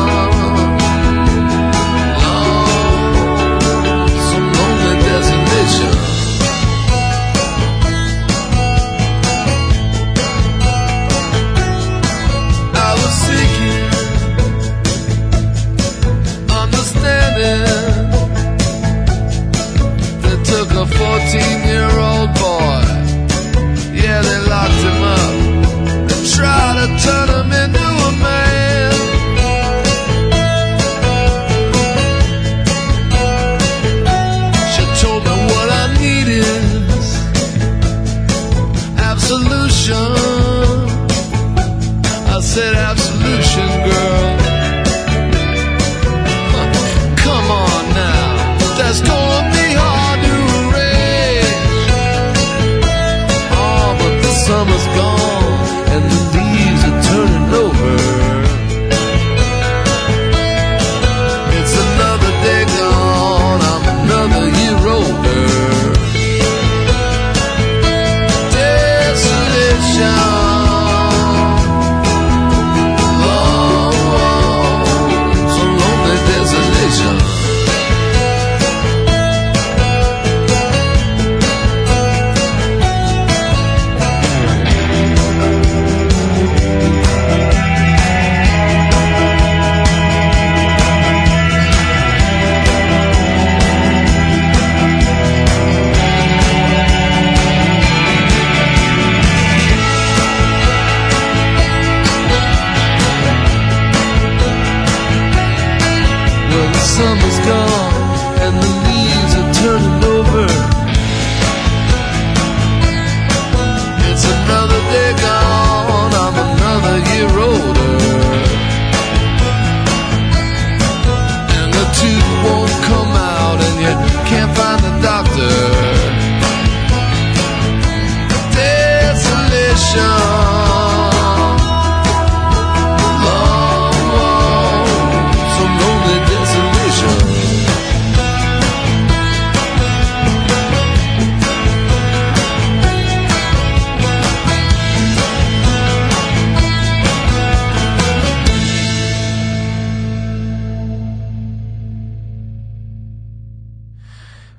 Speaker 13: Desolation. Oh. Some lonely desolation. I was seeking understanding that took a 14 year old boy. Yeah, they locked him up. They tried to turn him into a man. She told me what I need is absolution. I said, absolution, girl. Huh, Come on now, that's gonna be hard to arrange. Oh, but the summer's gone and the leaves are turning over. It's another day gone. I'm another year older. Desolation. Oh, oh, so lonely desolation. Well, the summer's gone and the leaves are turning over. It's another day gone. I'm another year older. And the tooth won't come out and you can't find a doctor. Desolation. Oh, oh some lonely desolation.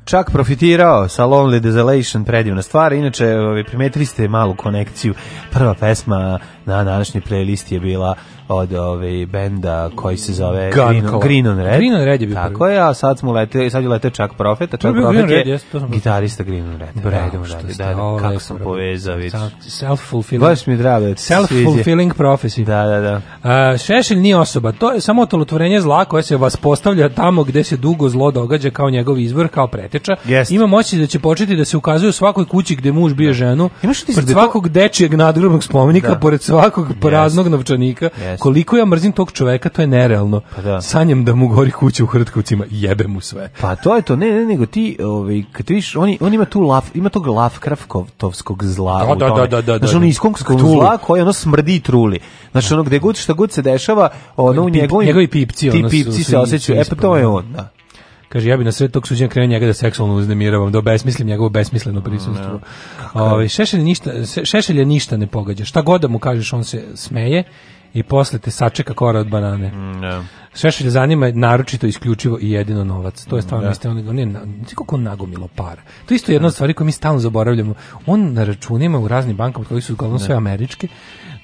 Speaker 8: Čak profitirao sa Lonely Desolation, predivna stvar. Inače, ovaj, primetili ste malu konekciju. Prva pesma na današnjoj playlisti je bila od ove benda koji se zove
Speaker 7: Gun
Speaker 8: Green, on-
Speaker 7: Color.
Speaker 8: Green on Red.
Speaker 7: Green on Red je bio
Speaker 8: Tako je, a sad smo lete, sad je leteo Čak Profet, a
Speaker 7: To je
Speaker 8: Čak
Speaker 7: bio
Speaker 8: Profet
Speaker 7: Green
Speaker 8: je
Speaker 7: Red, jes, to sam-
Speaker 8: gitarista Green on Red.
Speaker 7: Bravo,
Speaker 8: Idemo
Speaker 7: što
Speaker 8: dalje,
Speaker 7: ste,
Speaker 8: da, da,
Speaker 7: ovo
Speaker 8: kako
Speaker 7: lepo
Speaker 8: sam
Speaker 7: uradili.
Speaker 8: povezao, vidiš.
Speaker 7: Self-fulfilling.
Speaker 8: Baš mi je drago da ti se sviđa.
Speaker 7: Self-fulfilling prophecy.
Speaker 8: Da, da, da.
Speaker 7: A, E, šešelj nije osoba, to je samo otolotvorenje zla koje se vas postavlja tamo gde se dugo zlo događa kao njegov izvor, kao preteča pokretača, ima moći da će početi da se ukazuje u svakoj kući gde muž bije ženu, pored svakog dečijeg nadgrobnog spomenika,
Speaker 8: Da.
Speaker 7: pored svakog praznog novčanika, koliko ja mrzim tog čoveka, to je nerealno. Sanjam da mu gori kuća u Hrtkovcima, jebe mu sve.
Speaker 8: Pa to je to, ne, ne, nego ti, ovaj, kad ti vidiš, oni, on ima tu laf, ima tog lafkrafkovtovskog zla
Speaker 7: Da,
Speaker 8: u
Speaker 7: da,
Speaker 8: tome.
Speaker 7: da, da, da,
Speaker 8: Znaš,
Speaker 7: da.
Speaker 8: ono iskonskog
Speaker 7: Cthulhu.
Speaker 8: zla koje ono smrdi i truli. Znaš, ono gde god, šta god se dešava, ono u
Speaker 7: Pip-
Speaker 8: njegovim...
Speaker 7: njegovi pipci,
Speaker 8: ti
Speaker 7: ono, su-
Speaker 8: pipci
Speaker 7: su
Speaker 8: se osjećaju, e pa to je
Speaker 7: ispravni.
Speaker 8: on, da.
Speaker 7: Kaže, ja bi na sred tog suđenja krenuo njega da seksualno uznemiravam, da obesmislim njegovo besmisleno
Speaker 8: Mm,
Speaker 7: prisustvo. Ovaj šešelj, ništa, Se- šešelja ništa ne pogađa. Šta god da mu kažeš, on se smeje i posle te sačeka kora od banane.
Speaker 8: Mm.
Speaker 7: Šešelj zanima je naročito isključivo i jedino novac. To je stvarno
Speaker 8: Mm, Da.
Speaker 7: isto on on je na- znaš koliko on nagomilo para. To je isto jedna od stvari koju mi stalno zaboravljamo. On na računima u raznim bankama od kojih su uglavnom
Speaker 8: Da.
Speaker 7: sve američke,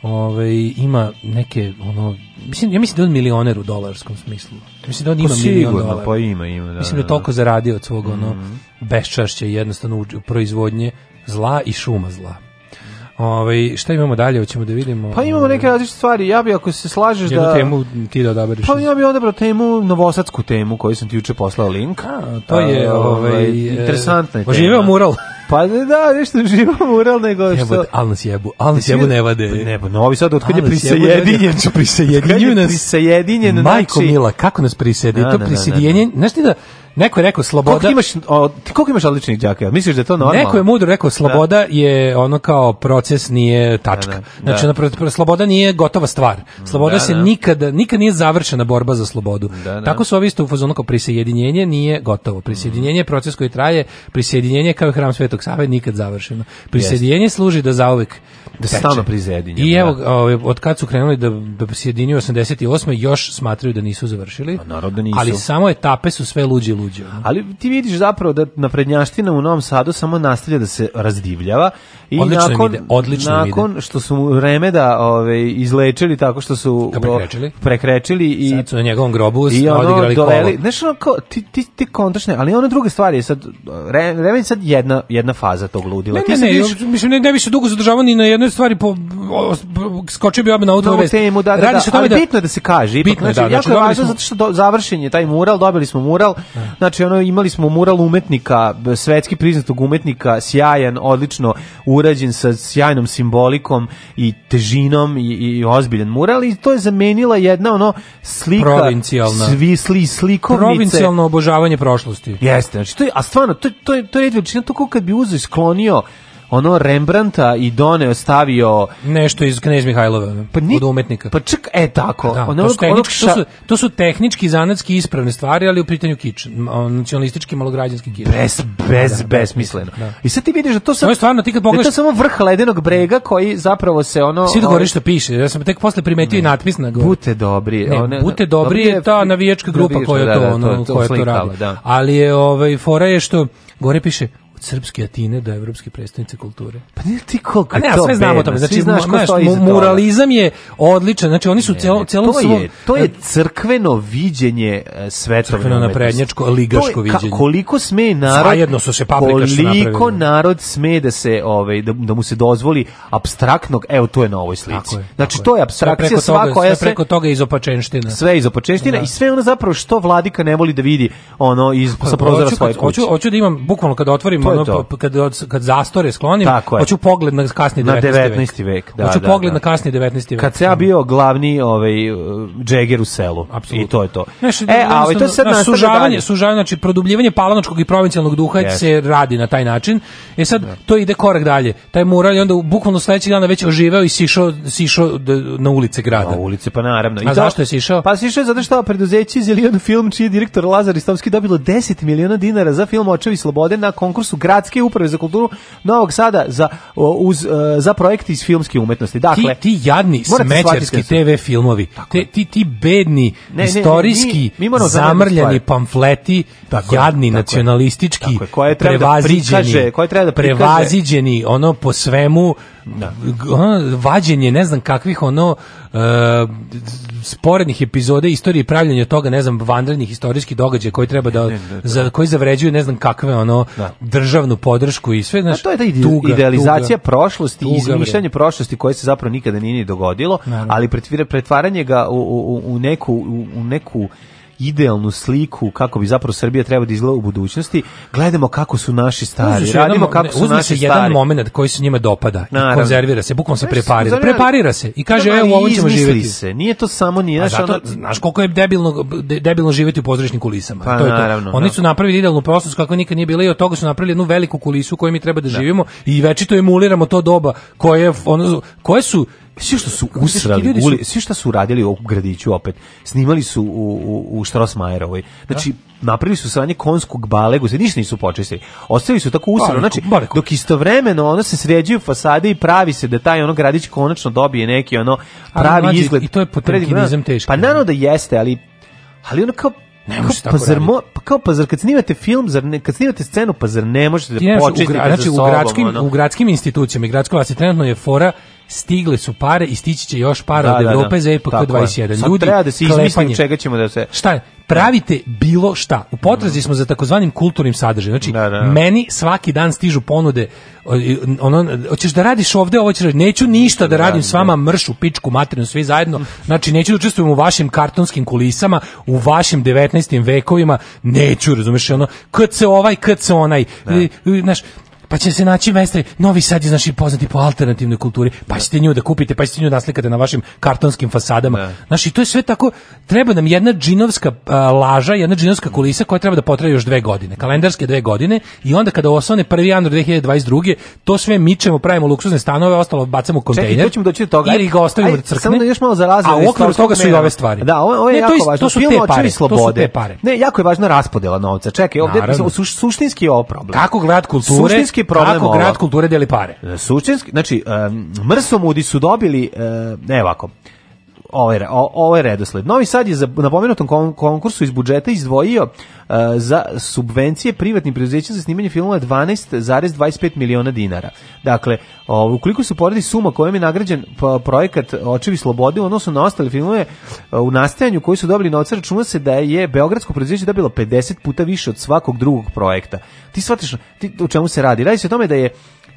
Speaker 7: ovaj ima neke ono mislim ja mislim da je on milioner u dolarskom smislu. Mislim da on
Speaker 8: Pa
Speaker 7: ima milion
Speaker 8: sigurno,
Speaker 7: dolara.
Speaker 8: pa ima, ima, da,
Speaker 7: Mislim da je
Speaker 8: da, Mhm.
Speaker 7: toliko
Speaker 8: da.
Speaker 7: zaradio od svog ono beščašća i jednostavno uđe u proizvodnje zla i šuma zla. Ovaj šta imamo dalje? Hoćemo da vidimo. ovaj,
Speaker 8: Pa imamo neke različite stvari, ja bi ako se slažeš
Speaker 7: jednu
Speaker 8: da...
Speaker 7: temu ti da odabereš.
Speaker 8: Pa ja bih odabrao temu, novosadsku temu koju sam ti juče poslao link.
Speaker 7: to je,
Speaker 8: A,
Speaker 7: ovaj,
Speaker 8: interesantna je
Speaker 7: e, oživeo mural.
Speaker 8: Pa ne, da, nešto živeo mural, nego što...
Speaker 7: Jebote, al nas jebu, al nas jebu ne vade.
Speaker 8: Ne, pa novi sad, otkad je
Speaker 7: Al nas jebu ne vade,
Speaker 8: prisajedinjen.
Speaker 7: kako su Prisajedinjuju
Speaker 8: Otkad je
Speaker 7: nas.
Speaker 8: prisajedinjen,
Speaker 7: Majko
Speaker 8: znači-
Speaker 7: Mila, kako nas prisjedinje?
Speaker 8: Da,
Speaker 7: To
Speaker 8: da, da,
Speaker 7: prisjedinjenje, znaš ti da, neko je rekao sloboda...
Speaker 8: Koliko ti imaš, o, ti koliko imaš odličnih džaka? Misliš da je to normalno?
Speaker 7: Neko je mudro rekao, sloboda je ono kao proces, nije tačka.
Speaker 8: Da, da,
Speaker 7: znači,
Speaker 8: da.
Speaker 7: ono, pro- pro- sloboda nije gotova stvar. Sloboda
Speaker 8: Da,
Speaker 7: se
Speaker 8: da.
Speaker 7: nikada, nikad nije završena borba za slobodu.
Speaker 8: da. Mhm.
Speaker 7: Tako su ovi isto u fazonu kao prisjedinjenje nije gotovo. Prisjedinjenje je proces koji traje, prisjedinjenje je kao i hram Svetog Save nikad završeno. Prisjedinjenje služi da zauvek
Speaker 8: Da se
Speaker 7: teče.
Speaker 8: stalno prisjedinjamo,
Speaker 7: I evo,
Speaker 8: da.
Speaker 7: ovaj, od kad su krenuli da, da prisjedinjuju 88. još smatraju da nisu završili.
Speaker 8: Narod da nisu.
Speaker 7: Ali samo etape su sve luđe i luđe. ono.
Speaker 8: Ali ti vidiš zapravo da naprednjaština u Novom Sadu samo nastavlja da se razdivljava i
Speaker 7: Odlično im
Speaker 8: nakon
Speaker 7: ide, odlično im
Speaker 8: nakon što su mu Remeda ovaj izlečili tako što su
Speaker 7: Ga prekrečili.
Speaker 8: prekrečili i
Speaker 7: Sad su na njegovom grobu
Speaker 8: i ono
Speaker 7: odigrali kolo.
Speaker 8: doleli, znaš ono kao, ti, ti, ti kontračne, ali ono druga stvar je sad, re, Remen je sad jedna, jedna faza tog ludila.
Speaker 7: Ne,
Speaker 8: Ti
Speaker 7: ne,
Speaker 8: sad
Speaker 7: ne,
Speaker 8: vidiš-
Speaker 7: ja mislim, ne, ne bi se dugo zadržavao ni na jednoj stvari, po, o, s- b- skočio bi odmah na
Speaker 8: na
Speaker 7: ovu
Speaker 8: ovu
Speaker 7: vest.
Speaker 8: temu, da, da,
Speaker 7: Radi
Speaker 8: da,
Speaker 7: se o tome
Speaker 8: ali bitno je da se kaže. Ipak,
Speaker 7: Bitno je,
Speaker 8: znači,
Speaker 7: da,
Speaker 8: jako
Speaker 7: znači,
Speaker 8: je
Speaker 7: dobili
Speaker 8: važno
Speaker 7: smo-
Speaker 8: zato što do, završen je taj mural, dobili smo mural, znači ono, imali smo mural umetnika, b- svetski priznatog umetnika, sjajan, odlično urađen sa sjajnom simbolikom i težinom i, i ozbiljan mural i to je zamenila jedna ono slika,
Speaker 7: Provincijalna.
Speaker 8: svi sli, slikovnice.
Speaker 7: Provincijalno obožavanje prošlosti.
Speaker 8: Jeste, znači to je, a stvarno, to, je- to, je- to je red veličina, to kao kad bi uzeo i sklonio ono Rembrandta i doneo, stavio
Speaker 7: Nešto iz Knez Mihajlova, ono, od umetnika.
Speaker 8: pa čak, e tako,
Speaker 7: Da,
Speaker 8: ono-
Speaker 7: to, su
Speaker 8: onog
Speaker 7: tehnički, to,
Speaker 8: ša-
Speaker 7: su, to su tehnički, zanatski ispravne stvari, ali u pitanju kič, m, o, nacionalistički, malograđanski kič.
Speaker 8: bez, bez, besmisleno.
Speaker 7: Da.
Speaker 8: I sad ti vidiš da to sam,
Speaker 7: To je stvarno, ti kad
Speaker 8: da je to
Speaker 7: pogledaš-
Speaker 8: samo vrh ledenog brega koji zapravo se ono...
Speaker 7: Svi da
Speaker 8: ovaj,
Speaker 7: govori što piše, ja sam tek posle primetio i natpis na gore.
Speaker 8: Bute Ono, dobri.
Speaker 7: Ne,
Speaker 8: one-
Speaker 7: Bute E, dobri je ta navijačka grupa koja
Speaker 8: da,
Speaker 7: to,
Speaker 8: da,
Speaker 7: ono, koja to
Speaker 8: slikala,
Speaker 7: radi.
Speaker 8: Da.
Speaker 7: Ali je, ovaj, fora je što, gore piše, od srpske Atine do evropske predstavnice kulture.
Speaker 8: Pa nije ti koliko
Speaker 7: A ne,
Speaker 8: je
Speaker 7: a
Speaker 8: to
Speaker 7: sve znamo o tome.
Speaker 8: bedno,
Speaker 7: Znači,
Speaker 8: svi znaš
Speaker 7: mu-
Speaker 8: ko
Speaker 7: znaš,
Speaker 8: stoji
Speaker 7: mu-
Speaker 8: iza toga.
Speaker 7: muralizam je odličan. Znači, oni su
Speaker 8: Ne,
Speaker 7: celo,
Speaker 8: ne,
Speaker 7: celom
Speaker 8: to
Speaker 7: svom...
Speaker 8: je, to je crkveno viđenje e, svetovne
Speaker 7: Crkveno
Speaker 8: umetnosti.
Speaker 7: naprednjačko, ligaško
Speaker 8: To je
Speaker 7: viđenje.
Speaker 8: koliko sme narod...
Speaker 7: Zajedno su se paprikaši
Speaker 8: Koliko
Speaker 7: napravili.
Speaker 8: narod sme da se, ovaj, da, da mu se dozvoli abstraktnog, evo, to je na ovoj slici.
Speaker 7: Tako je,
Speaker 8: znači,
Speaker 7: tako
Speaker 8: to je
Speaker 7: Sve preko
Speaker 8: abstrakcija
Speaker 7: toga-
Speaker 8: sva koja
Speaker 7: sve
Speaker 8: se...
Speaker 7: preko toga je izopačenština.
Speaker 8: sve iz opočeština
Speaker 7: Da.
Speaker 8: i sve ono zapravo što vladika ne voli da vidi ono iz sa prozora
Speaker 7: Pa, Hoću
Speaker 8: svoje
Speaker 7: kad-
Speaker 8: kuće.
Speaker 7: Hoću, hoću da imam, bukvalno kad otvorim,
Speaker 8: To je
Speaker 7: ono,
Speaker 8: to.
Speaker 7: pa- kad, od- kad zastore sklonim,
Speaker 8: Tako je.
Speaker 7: hoću pogled na kasni
Speaker 8: Na
Speaker 7: 19.
Speaker 8: 19. vek, da,
Speaker 7: hoću
Speaker 8: da,
Speaker 7: pogled
Speaker 8: da.
Speaker 7: na kasni 19. vek.
Speaker 8: Kad se ja bio glavni ovaj uh, džeger u selu.
Speaker 7: Apsolutno.
Speaker 8: I to je to.
Speaker 7: Znaš,
Speaker 8: e, a ovaj to
Speaker 7: jednostavno,
Speaker 8: sad
Speaker 7: znaš,
Speaker 8: nastavlja
Speaker 7: sužavanje,
Speaker 8: dalje.
Speaker 7: sužavanje, znači produbljivanje palanačkog i provincijalnog duha
Speaker 8: Jeste.
Speaker 7: se radi na taj način. E sad, to ide korak dalje. Taj mural je onda u- bukvalno sledećeg dana već oživeo i sišao, sišao d- na ulice grada.
Speaker 8: Na ulici, pa naravno.
Speaker 7: A zašto je sišao?
Speaker 8: Pa sišao je zato što preduzeće Zelion film, čiji je direktor Lazar Istovski dobilo 10 miliona dinara za film Očevi slobode na konkursu Gradske uprave za kulturu Novog Sada za, o, uz, e, za projekte iz filmske umetnosti. Dakle,
Speaker 7: ti, ti jadni
Speaker 8: morate
Speaker 7: smećarski
Speaker 8: shvatiti da
Speaker 7: TV filmovi, te, ti, ti bedni,
Speaker 8: ne, ne,
Speaker 7: istorijski,
Speaker 8: mi- mi moramo znati
Speaker 7: zamrljani
Speaker 8: stvari.
Speaker 7: pamfleti,
Speaker 8: Tako je,
Speaker 7: jadni,
Speaker 8: tako je.
Speaker 7: nacionalistički,
Speaker 8: Tako je, koje treba da
Speaker 7: prevaziđeni,
Speaker 8: prikaže, koje treba da prikaže.
Speaker 7: prevaziđeni, ono po svemu, g- ono, vađenje, ne znam kakvih, ono, e, sporednih epizode istorije i pravljanje toga, ne znam, vanrednih istorijskih događaja koji treba da, za, koji zavređuju ne znam kakve, ono,
Speaker 8: Da.
Speaker 7: državnu podršku i sve, znaš,
Speaker 8: A to je ta ide-
Speaker 7: tuga,
Speaker 8: idealizacija
Speaker 7: tuga.
Speaker 8: prošlosti i
Speaker 7: Tuga, bre.
Speaker 8: izmišljanje prošlosti koje se zapravo nikada nije ni dogodilo,
Speaker 7: Naravno.
Speaker 8: ali pretvira- pretvaranje ga u, u, u- u neku, u, u neku idealnu sliku kako bi zapravo Srbija treba da izgleda u budućnosti, gledamo kako su naši stari,
Speaker 7: Uzme se jedan
Speaker 8: radimo
Speaker 7: mo-
Speaker 8: kako
Speaker 7: ne,
Speaker 8: su
Speaker 7: uzme
Speaker 8: naši
Speaker 7: se jedan
Speaker 8: stari.
Speaker 7: moment koji se njima dopada i
Speaker 8: Naravno.
Speaker 7: konzervira se, bukvalno se
Speaker 8: Znaš,
Speaker 7: preparira.
Speaker 8: zareal-
Speaker 7: Preparira se i kaže,
Speaker 8: Znam, ali
Speaker 7: evo, ovo ćemo
Speaker 8: izmisli
Speaker 7: živjeti.
Speaker 8: se, nije to samo nije,
Speaker 7: A
Speaker 8: znaš,
Speaker 7: zato,
Speaker 8: ono-
Speaker 7: znaš koliko je debilno, de- debilno živjeti u pozorišnim kulisama.
Speaker 8: Pa,
Speaker 7: to je to.
Speaker 8: naravno,
Speaker 7: Oni
Speaker 8: da.
Speaker 7: su napravili idealnu prostost kako nikad nije bila i od toga su napravili jednu veliku kulisu u kojoj mi treba da, živimo i večito emuliramo to doba koje, je, ono, koje su
Speaker 8: svi što su usrali,
Speaker 7: ljudi su-
Speaker 8: uli, svi što su radili u gradiću opet, snimali su u, u, u Štrosmajerovoj. Znači, napravili su sranje konskog balegu, se ništa nisu počestili. Ostavili su tako usrano,
Speaker 7: Baleku,
Speaker 8: znači,
Speaker 7: baleku.
Speaker 8: dok istovremeno ono se sređuju fasade i pravi se da taj ono gradić konačno dobije neki ono
Speaker 7: Ali,
Speaker 8: pravi
Speaker 7: mlađe,
Speaker 8: izgled.
Speaker 7: i to je potemkinizam teški.
Speaker 8: Pa naravno da jeste, ali ali ono kao
Speaker 7: Ne
Speaker 8: kao,
Speaker 7: može
Speaker 8: pa
Speaker 7: tako
Speaker 8: zar mo- pa kao pa zar kad snimate film, zar ne, kad snimate scenu, pa zar ne možete da
Speaker 7: Ti znaš, u
Speaker 8: početite
Speaker 7: gra-
Speaker 8: za
Speaker 7: znači, u
Speaker 8: sobom,
Speaker 7: gradskim,
Speaker 8: ono?
Speaker 7: u gradskim institucijama i gradskoj vlasti trenutno je fora stigle su pare i stići će još para
Speaker 8: Da,
Speaker 7: od
Speaker 8: da, da.
Speaker 7: Evrope za E EPK
Speaker 8: Tako je.
Speaker 7: 21.
Speaker 8: Sad
Speaker 7: Ljudi,
Speaker 8: treba da se izmisli
Speaker 7: klepanje.
Speaker 8: od čega ćemo da se...
Speaker 7: Šta je? Pravite bilo šta. U potrazi smo za takozvanim kulturnim sadržajem. Znači, meni svaki dan stižu ponude o, i, ono, hoćeš da radiš ovde, ovo ćeš raditi. Neću ništa da radim s vama, mršu, pičku, materinu, svi zajedno. Znači, neću da učestvujem u vašim kartonskim kulisama, u vašim 19. vekovima. Neću, razumeš, ono, kad se ovaj, kad se onaj. I, i, Znaš, pa će se naći mestre, Novi Sad je znači poznati po alternativnoj kulturi, pa ćete nju da kupite, pa ćete nju naslikate na vašim kartonskim fasadama. Znaš, i to je sve tako, treba nam jedna džinovska a, laža, jedna džinovska kulisa koja treba da potraje još dve godine, kalendarske dve godine, i onda kada osvane 1. januar 2022. to sve mičemo, pravimo luksuzne stanove, ostalo bacamo u kontejner.
Speaker 8: Čekaj, to ćemo doći do toga.
Speaker 7: Ili ga ostavimo
Speaker 8: Ajde,
Speaker 7: da crkne.
Speaker 8: Samo da još malo zarazimo.
Speaker 7: A u okviru toga su i ove stvari.
Speaker 8: Da, ovo, ovo je
Speaker 7: Ne,
Speaker 8: jako
Speaker 7: to is-
Speaker 8: važno.
Speaker 7: To su
Speaker 8: Film
Speaker 7: te
Speaker 8: Očevi
Speaker 7: pare.
Speaker 8: slobode.
Speaker 7: To su te pare.
Speaker 8: Ne, jako je važna raspodela novca. Čekaj, ovde
Speaker 7: Naravno.
Speaker 8: su- su, suštinski je ovo problem.
Speaker 7: Kako grad kulture,
Speaker 8: Suštinski je problem
Speaker 7: kako
Speaker 8: ovo.
Speaker 7: grad kulture deli pare.
Speaker 8: Suštinski, znači, um, mrsomudi su dobili, um, ne ovako, ovo je, re- o- ovo je redosled. Novi Sad je za, na pomenutom kon- konkursu iz budžeta izdvojio uh, za subvencije privatnim preduzećima za snimanje filmova 12,25 miliona dinara. Dakle, ovo, ukoliko se poredi suma kojom je nagrađen p- projekat Očevi slobode u odnosu na ostale filmove uh, u nastajanju koji su dobili novca, računa se da je Beogradsko preduzeće dobilo 50 puta više od svakog drugog projekta. Ti shvatiš ti, o čemu se radi? Radi se o tome da je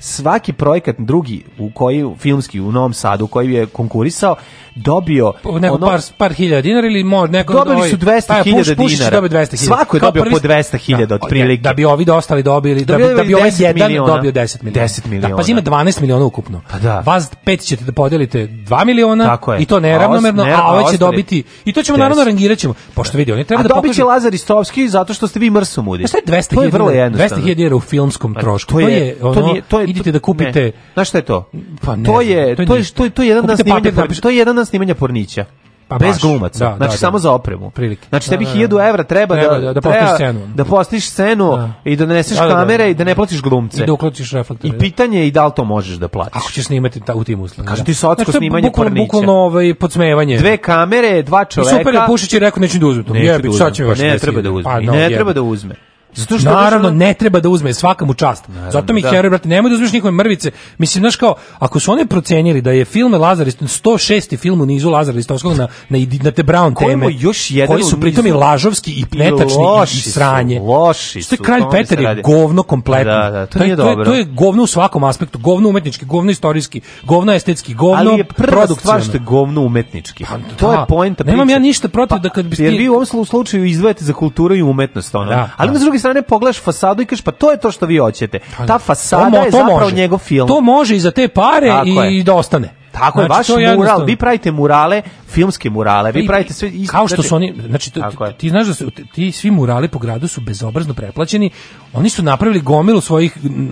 Speaker 8: svaki projekat drugi u koji filmski u Novom Sadu u koji je konkurisao dobio
Speaker 7: neko par, par hiljada dinara ili možda neko...
Speaker 8: Ono- dobili su
Speaker 7: ovaj,
Speaker 8: 200.000
Speaker 7: taj
Speaker 8: dinara.
Speaker 7: Puš- Pušić je dobio 200.000.
Speaker 8: Svako je
Speaker 7: Kao
Speaker 8: dobio
Speaker 7: prvi-
Speaker 8: po 200.000
Speaker 7: Da,
Speaker 8: otprilike.
Speaker 7: Da, da bi ovi ostali dobili, da bi,
Speaker 8: Dobio
Speaker 7: da bi ovaj
Speaker 8: 10
Speaker 7: jedan
Speaker 8: miliona.
Speaker 7: dobio 10 miliona.
Speaker 8: 10 miliona.
Speaker 7: Da, pa ima 12 miliona ukupno. Pa
Speaker 8: da.
Speaker 7: Vas pet ćete da podelite 2 miliona
Speaker 8: Tako je.
Speaker 7: i to neravnomerno,
Speaker 8: A
Speaker 7: a,
Speaker 8: os- ne- a
Speaker 7: ove će
Speaker 8: ostali-
Speaker 7: dobiti... I to ćemo
Speaker 8: 10.
Speaker 7: naravno rangirat ćemo. Pošto vidi, oni treba
Speaker 8: A
Speaker 7: da
Speaker 8: dobit će
Speaker 7: pokažu...
Speaker 8: Lazar Istovski zato što ste vi mrsomudi.
Speaker 7: Znaš šta je 200
Speaker 8: To je vrlo jednostavno.
Speaker 7: 200.000 dinara u filmskom
Speaker 8: Pa,
Speaker 7: trošku. To je, ono, idite da
Speaker 8: ne.
Speaker 7: kupite...
Speaker 8: Znaš šta je to?
Speaker 7: Pa ne
Speaker 8: to
Speaker 7: znam,
Speaker 8: je
Speaker 7: to je
Speaker 8: to je
Speaker 7: ništa.
Speaker 8: to je to je jedan dan
Speaker 7: Kupite
Speaker 8: snimanja
Speaker 7: papir,
Speaker 8: por-
Speaker 7: napiš-
Speaker 8: to je jedan dan snimanja pornića.
Speaker 7: Pa
Speaker 8: bez
Speaker 7: baš.
Speaker 8: glumaca.
Speaker 7: Da, da,
Speaker 8: znači
Speaker 7: da.
Speaker 8: samo za opremu.
Speaker 7: Prilike.
Speaker 8: Znači
Speaker 7: Da,
Speaker 8: tebi
Speaker 7: da,
Speaker 8: 1000 evra treba da
Speaker 7: Treba da- da postaviš scenu.
Speaker 8: Da postiš scenu i da doneseš
Speaker 7: Da, da, da.
Speaker 8: kamere i da ne platiš glumce.
Speaker 7: I da uključiš reflektore.
Speaker 8: I pitanje je i da li to možeš da platiš.
Speaker 7: Ako ćeš snimati ta, u tim uslovima.
Speaker 8: Kaže
Speaker 7: da.
Speaker 8: ti socko
Speaker 7: Znači, to je
Speaker 8: snimanje
Speaker 7: bukvalno-
Speaker 8: pornića.
Speaker 7: Bukvalno ovaj, podsmevanje.
Speaker 8: Dve kamere, dva
Speaker 7: I
Speaker 8: čoveka.
Speaker 7: super je Pušić je rekao neću da uzmem to.
Speaker 8: Neću
Speaker 7: Jebi,
Speaker 8: da
Speaker 7: sad
Speaker 8: uzme.
Speaker 7: će
Speaker 8: Pa
Speaker 7: mi vaš
Speaker 8: ne
Speaker 7: 10.000.
Speaker 8: treba da uzme.
Speaker 7: Pa, no,
Speaker 8: ne
Speaker 7: jebi.
Speaker 8: treba da uzme. Zato što
Speaker 7: Naravno, ne treba da uzme, svaka mu čast. Zato mi
Speaker 8: da.
Speaker 7: heroj, brate, nemoj da uzmeš nikome mrvice. Mislim, znaš kao, ako su oni procenili da je film Lazar, Ist- 106. film u nizu Lazara Listovskog na, na, Idi- na te Brown
Speaker 8: Koji mu
Speaker 7: teme,
Speaker 8: još jedan
Speaker 7: koji
Speaker 8: u
Speaker 7: su
Speaker 8: nizu.
Speaker 7: pritom i lažovski i netačni i,
Speaker 8: loši
Speaker 7: i
Speaker 8: su,
Speaker 7: sranje.
Speaker 8: loši
Speaker 7: Što je
Speaker 8: su,
Speaker 7: kralj
Speaker 8: o tome
Speaker 7: Peter
Speaker 8: se
Speaker 7: je
Speaker 8: radi.
Speaker 7: govno kompletno.
Speaker 8: Da, da, to
Speaker 7: Taj-
Speaker 8: nije
Speaker 7: je-
Speaker 8: dobro.
Speaker 7: To je govno u svakom aspektu, govno umetnički, govno istorijski, govno estetski, govno
Speaker 8: ali je prva stvar
Speaker 7: produkcionalno.
Speaker 8: što je govno umetnički. to je
Speaker 7: Pa, da.
Speaker 8: poenta priče. Pa,
Speaker 7: Nemam ja ništa protiv da kad bi
Speaker 8: Jer
Speaker 7: ti-
Speaker 8: vi u ovom slu- slučaju izdvajate za kulturu i umetnost. Ono.
Speaker 7: Da,
Speaker 8: ali
Speaker 7: da.
Speaker 8: s druge strane pogledaš fasadu i kažeš pa to je to što vi hoćete. Ta fasada
Speaker 7: Pa mo-
Speaker 8: je zapravo
Speaker 7: može.
Speaker 8: njegov film.
Speaker 7: To može i za te pare
Speaker 8: Tako
Speaker 7: i,
Speaker 8: je.
Speaker 7: da ostane.
Speaker 8: Tako je,
Speaker 7: Znači,
Speaker 8: vaš
Speaker 7: to
Speaker 8: mural,
Speaker 7: jednostavno. Pa
Speaker 8: vi pravite murale, filmske murale, vi
Speaker 7: I-
Speaker 8: pravite sve isto.
Speaker 7: Kao što
Speaker 8: znači-
Speaker 7: su oni, znači to-
Speaker 8: Tako je.
Speaker 7: ti znaš da su ti- ti svi murali po gradu su bezobrazno preplaćeni. Oni su napravili gomilu svojih m,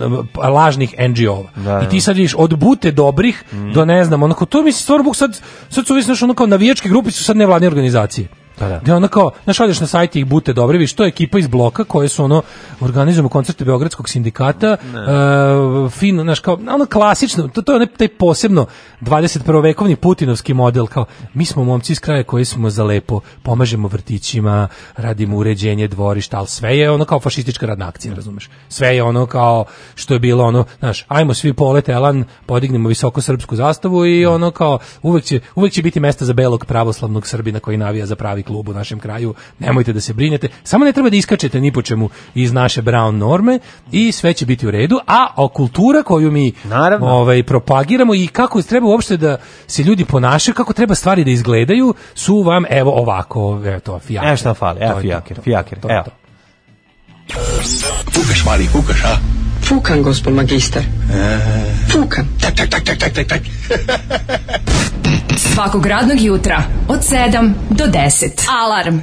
Speaker 7: lažnih NGO-ova.
Speaker 8: Da, Mm.
Speaker 7: I ti sad vidiš od bute dobrih do ne znam, onako to mi se stvarno buk sad sad su visnaš ono kao navijačke grupe su sad nevladine organizacije.
Speaker 8: Pa da.
Speaker 7: Gde ono kao, znaš, odeš na sajt i bute dobri, viš, to je ekipa iz bloka koje su ono, organizujemo koncerte Beogradskog sindikata, e, fino, znaš, kao, ono klasično, to, to je onaj taj posebno 21. vekovni putinovski model, kao, mi smo momci iz kraja koji smo za lepo, pomažemo vrtićima, radimo uređenje dvorišta, ali sve je ono kao fašistička radna akcija, razumeš? Sve je ono kao što je bilo ono, znaš, ajmo svi polet elan, podignemo visoko srpsku zastavu i ono kao, uvek će, uvek će biti mesta za belog pravoslavnog Srbina koji navija za pravi klub u našem kraju, nemojte da se brinete, samo ne treba da iskačete ni po čemu iz naše brown norme i sve će biti u redu, a o kultura koju mi ovaj, propagiramo i kako treba uopšte da se ljudi ponašaju, kako treba stvari da izgledaju, su vam evo ovako, evo to, fijaker.
Speaker 8: Evo E, šta fali, evo
Speaker 7: To je to,
Speaker 8: fijaker,
Speaker 7: to,
Speaker 8: fijaker,
Speaker 7: to,
Speaker 8: evo.
Speaker 7: to.
Speaker 17: Fukaš, mali, fukaš, a?
Speaker 18: Fukan, gospod magistar.
Speaker 17: Fukan. Tak, tak, tak, tak, tak, tak, tak.
Speaker 5: Svakog radnog jutra od 7 do 10. Alarm.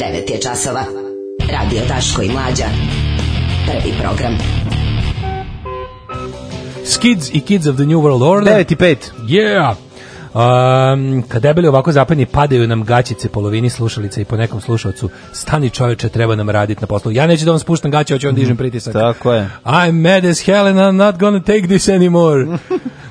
Speaker 19: Devet je časova. Radio Daško i Mlađa. Prvi program.
Speaker 7: Skids i Kids of the New World Order. 9 i 5. Yeah! Um, kad debeli ovako zapadni padaju nam gaćice polovini slušalice i po nekom slušalcu stani čoveče treba nam raditi na poslu ja neću da vam spuštam
Speaker 8: Mhm.
Speaker 7: gaće hoću vam dižem pritisak
Speaker 8: Tako je.
Speaker 7: I'm mad as hell and I'm not gonna take this anymore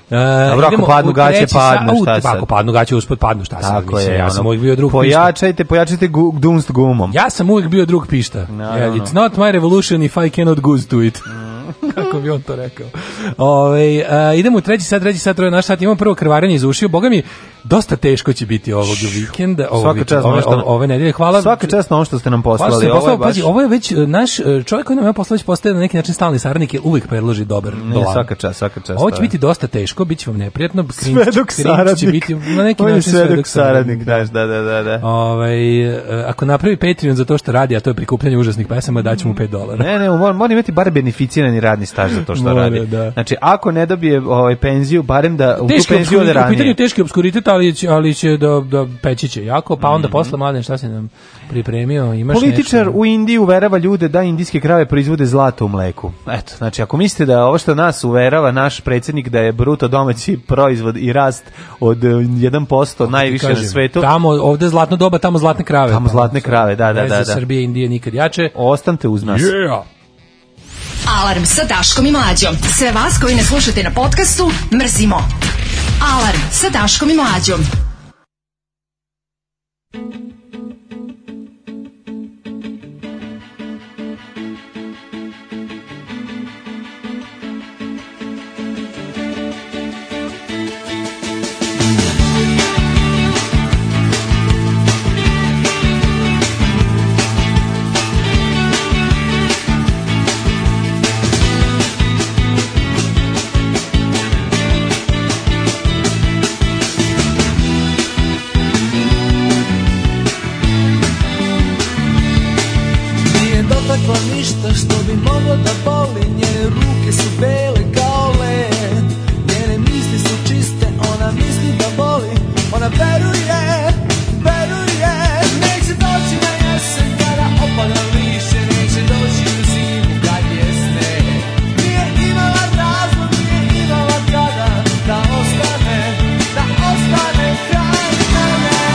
Speaker 7: Uh,
Speaker 8: Dobro, ako
Speaker 7: idemo
Speaker 8: padnu
Speaker 7: u
Speaker 8: gaće,
Speaker 7: treći sa-
Speaker 8: padnu,
Speaker 7: au,
Speaker 8: šta
Speaker 7: pa
Speaker 8: sad?
Speaker 7: Ako padnu gaće, uspod padnu, šta sad?
Speaker 8: Tako
Speaker 7: mislim,
Speaker 8: je,
Speaker 7: ja
Speaker 8: ono,
Speaker 7: sam uvijek bio drug pišta.
Speaker 8: Pojačajte, pojačajte gu, dunst gumom.
Speaker 7: Ja sam uvijek bio drug pišta. Yeah,
Speaker 8: Naravno.
Speaker 7: it's not my revolution if I cannot goose to it.
Speaker 8: Mm.
Speaker 7: Kako bi on to rekao. Ove, a, idemo u treći sat, treći sat, troje naš sat. Imamo prvo krvarenje iz ušiju. Boga mi, dosta teško će biti ovog vikenda. Ovo
Speaker 8: Svaka
Speaker 7: vikenda,
Speaker 8: čast na
Speaker 7: ove,
Speaker 8: ono što-
Speaker 7: ove nedelje. Hvala.
Speaker 8: Svaka čast na ono što ste nam
Speaker 7: Hvala
Speaker 8: poslali.
Speaker 7: što ste
Speaker 8: ovo je
Speaker 7: poslali,
Speaker 8: baš-
Speaker 7: pazi, ovo je već e, naš e, čovjek koji nam je poslao već postaje na neki način stalni saradnik jer uvijek predloži dobar
Speaker 8: Ne,
Speaker 7: dolar.
Speaker 8: svaka čast, svaka čast.
Speaker 7: Ovo će
Speaker 8: da.
Speaker 7: biti dosta teško, bit će vam neprijatno. cringe-
Speaker 8: Svedok
Speaker 7: cringe će
Speaker 8: saradnik.
Speaker 7: biti na neki
Speaker 8: On je
Speaker 7: način
Speaker 8: svedok saradnik, znaš, da, da, da. da.
Speaker 7: Ovaj, e, ako napravi Patreon za to što radi, a to je prikupljanje užasnih pesama, daćemo 5 dolara.
Speaker 8: Ne, ne, mora, mora imati bar beneficirani radni staž za to što
Speaker 7: Mora,
Speaker 8: radi.
Speaker 7: da.
Speaker 8: Znači, ako ne dobije ovaj, penziju, barem da u tu
Speaker 7: Teški
Speaker 8: penziju ode
Speaker 7: obskuritet, u pitanju
Speaker 8: ranije.
Speaker 7: je teški obskuritet, ali će, ali će da, da peći će jako, pa onda posle mladen šta se nam pripremio, imaš
Speaker 8: Mhm. Političar
Speaker 7: nešto.
Speaker 8: u Indiji uverava ljude da indijske krave proizvode zlato u mleku. Eto, znači ako mislite da ovo što nas uverava naš predsjednik da je bruto domaći proizvod i rast od e, 1% najviše na
Speaker 7: Kažem,
Speaker 8: svetu,
Speaker 7: Tamo, ovde je zlatno doba, tamo zlatne krave.
Speaker 8: tamo zlatne krave, da, da,
Speaker 7: Veze
Speaker 8: da. da.
Speaker 7: Srbije i Indije nikad jače.
Speaker 8: Ostanite uz nas.
Speaker 7: Yeah!
Speaker 13: Alarm sa Daškom i Mlađom. Sve vas koji ne slušate na podcastu, mrzimo. Alarm sa Daškom i Mlađom.
Speaker 9: Nije dotakla ništa što bi moglo da boli Njene ruke su bele kao led Njene misli su čiste, ona misli da voli Ona veruje, veruje Neće doći na jesen kada opada lišće Neće doći na zimu kad je sneg Nije imala razlog, nije imala kada Da ostane, da ostane kraj mene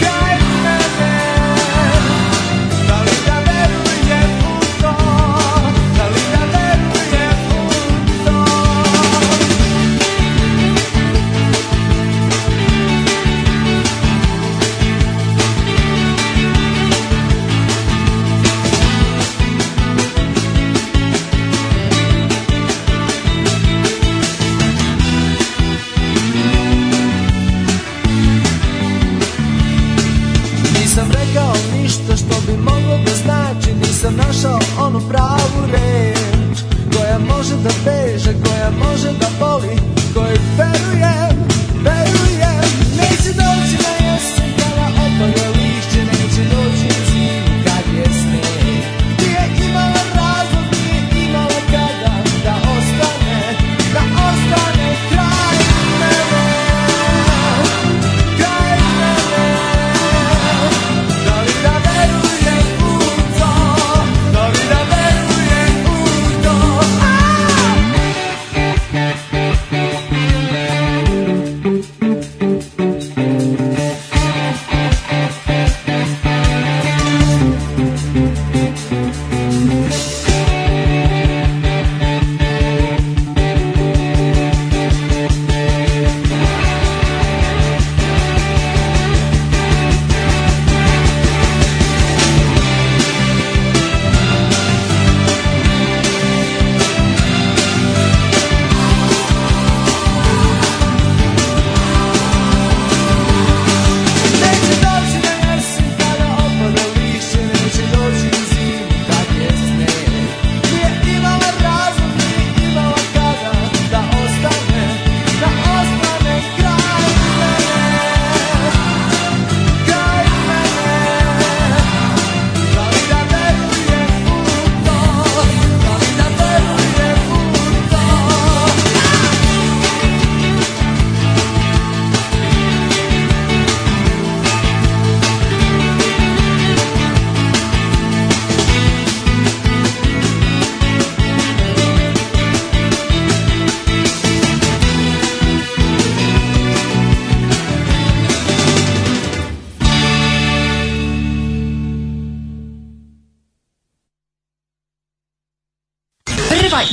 Speaker 9: Kraj mene da li da verujem u to? Da li da verujem u to? Nisam rekao ništa što bi moglo da znači Nisam našao onu pravu reč Koja može da beže, koja može da boli Kojoj verujem, verujem Neće doći na jesen kada opada lišće Neće doći u zimu kad je snijeg Nije imala razlog, nije imala kada Da ostane, da ostane kraj mene Kraj mene da li da verujem u to? Da li da verujem u to? A!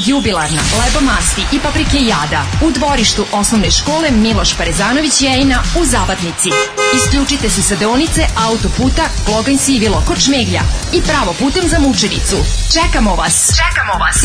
Speaker 5: jubilarna, lebomasti i paprike jada u dvorištu osnovne škole Miloš Parezanović Jejna u Zabatnici. Isključite se sa deonice autoputa Kloganj Sivilo kod Šmeglja i pravo putem za Mučenicu. Čekamo vas! Čekamo vas!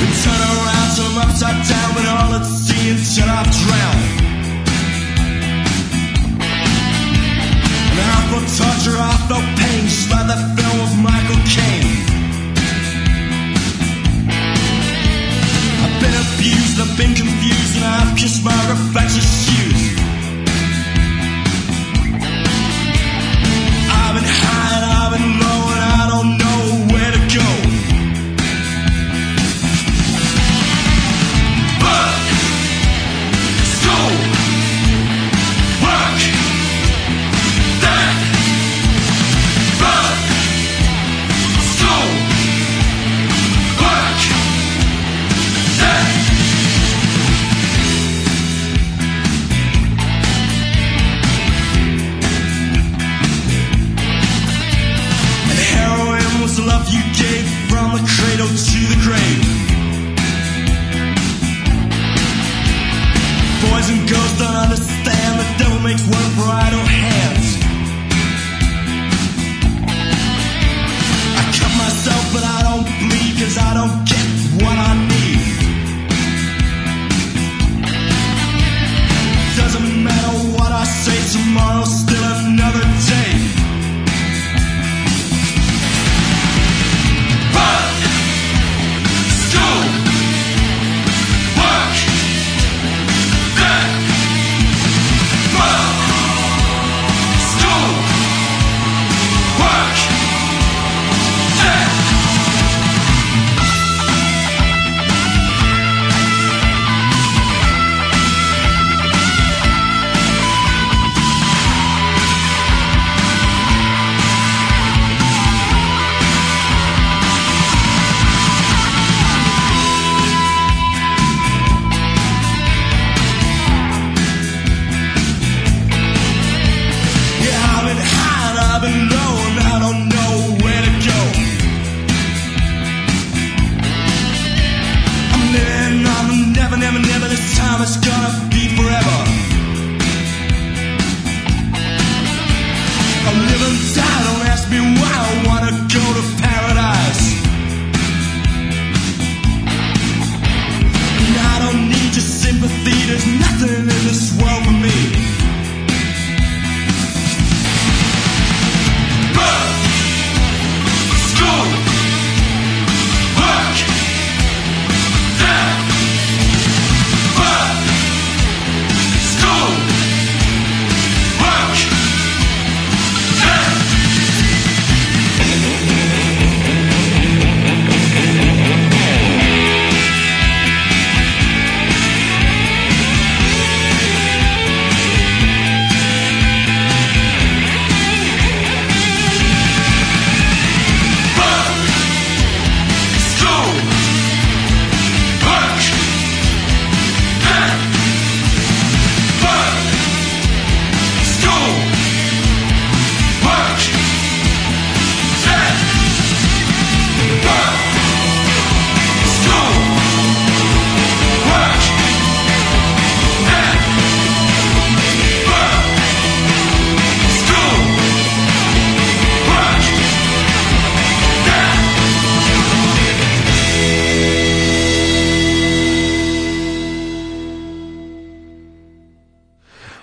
Speaker 11: We turn around, so I'm upside down, but all I see is shut up, drown. And I will torture off no pain, just like that film with Michael Caine. I've been abused, I've been confused, and I've kissed my reflection's shoes. I've been high and I've been low, and I don't know where to go. Work, school, work, then work, school, work, then. And heroin was the love you gave from the cradle to the grave. Boys and girls don't understand the devil makes one for idle hands. I cut myself, but I don't bleed, cause I don't get what I need. Doesn't matter what I say, tomorrow's still another day. Work, school, work. Yeah, I've been high and I've been low and I don't know where to go. I'm living on the never, never, never. This time it's gonna be forever. I'm living die, don't ask me why. I wanna go to paradise. And I don't need your sympathy, there's nothing in this world for me.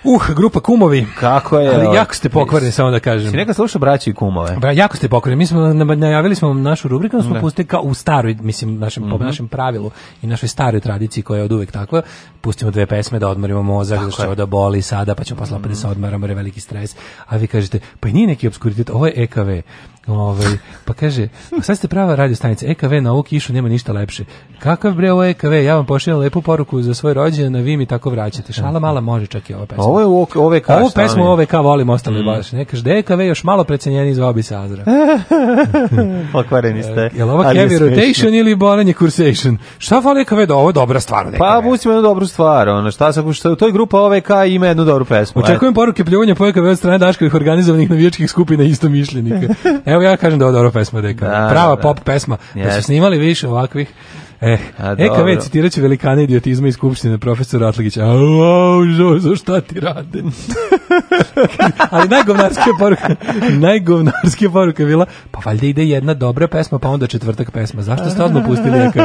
Speaker 7: Uh, grupa kumovi.
Speaker 8: Kako je? ovaj,
Speaker 7: Ali jako ste pokvareni, samo da kažem.
Speaker 8: Si nekad slušao braći i kumove?
Speaker 7: Bra, jako ste pokvareni. Mi smo nam- najavili smo vam našu rubriku, onda smo
Speaker 8: Ovaj. Da.
Speaker 7: pustili kao u staroj, mislim, našem, po
Speaker 8: Mhm.
Speaker 7: našem pravilu i našoj staroj tradiciji koja je od uvek takva. Pustimo dve pesme da odmorimo mozak, da će ovo da boli sada, pa ćemo posle opet da
Speaker 8: Mhm.
Speaker 7: se odmaramo, jer je veliki stres. A vi kažete, pa i nije neki obskuritet, ovo je EKV. Ovaj, pa kaže, "Pa sad ste prava radio stanica, EKV na ovu kišu nema ništa lepše. E Kakav bre ovo EKV, ja vam pošaljem lepu poruku za svoj rođendan, a vi mi tako vraćate. Šala mala može čak i ova pesma.
Speaker 8: Mhm. Ovo je OK, OVK.
Speaker 7: Ovu
Speaker 8: šta
Speaker 7: pesmu
Speaker 8: mi Mm. je?
Speaker 7: OVK volim ostali baš. Ne kaže DKV još malo precenjeni zvao bi se Azra.
Speaker 8: Pokvareni ste.
Speaker 7: Jel ovo
Speaker 8: E, ali je
Speaker 7: heavy
Speaker 8: smešno.
Speaker 7: rotation ili bolenje kursation? Šta fali KV da ovo je dobra stvar? neka.
Speaker 8: Pa pustimo jednu dobru stvar, ono šta se što u toj grupa OVK ima jednu dobru pesmu.
Speaker 7: Očekujem poruke pljuvanja po EKV od strane Daškovih organizovanih navijačkih skupina isto mišljenika. Evo ja kažem da ovo je dobra pesma DKV.
Speaker 8: Da,
Speaker 7: Prava
Speaker 8: da, da.
Speaker 7: pop pesma. Da
Speaker 8: Jeste.
Speaker 7: su snimali više ovakvih. Eh,
Speaker 8: A, dobro.
Speaker 7: EKV citirat će velikane idiotizma iz Skupštine, profesor Atlagić. Au, au, žo, za šta ti rade? Ali najgovnarska poruka, najgovnarska poruka je bila, pa valjda ide jedna dobra pesma, pa onda četvrtak pesma. Zašto ste odmah pustili E EKV?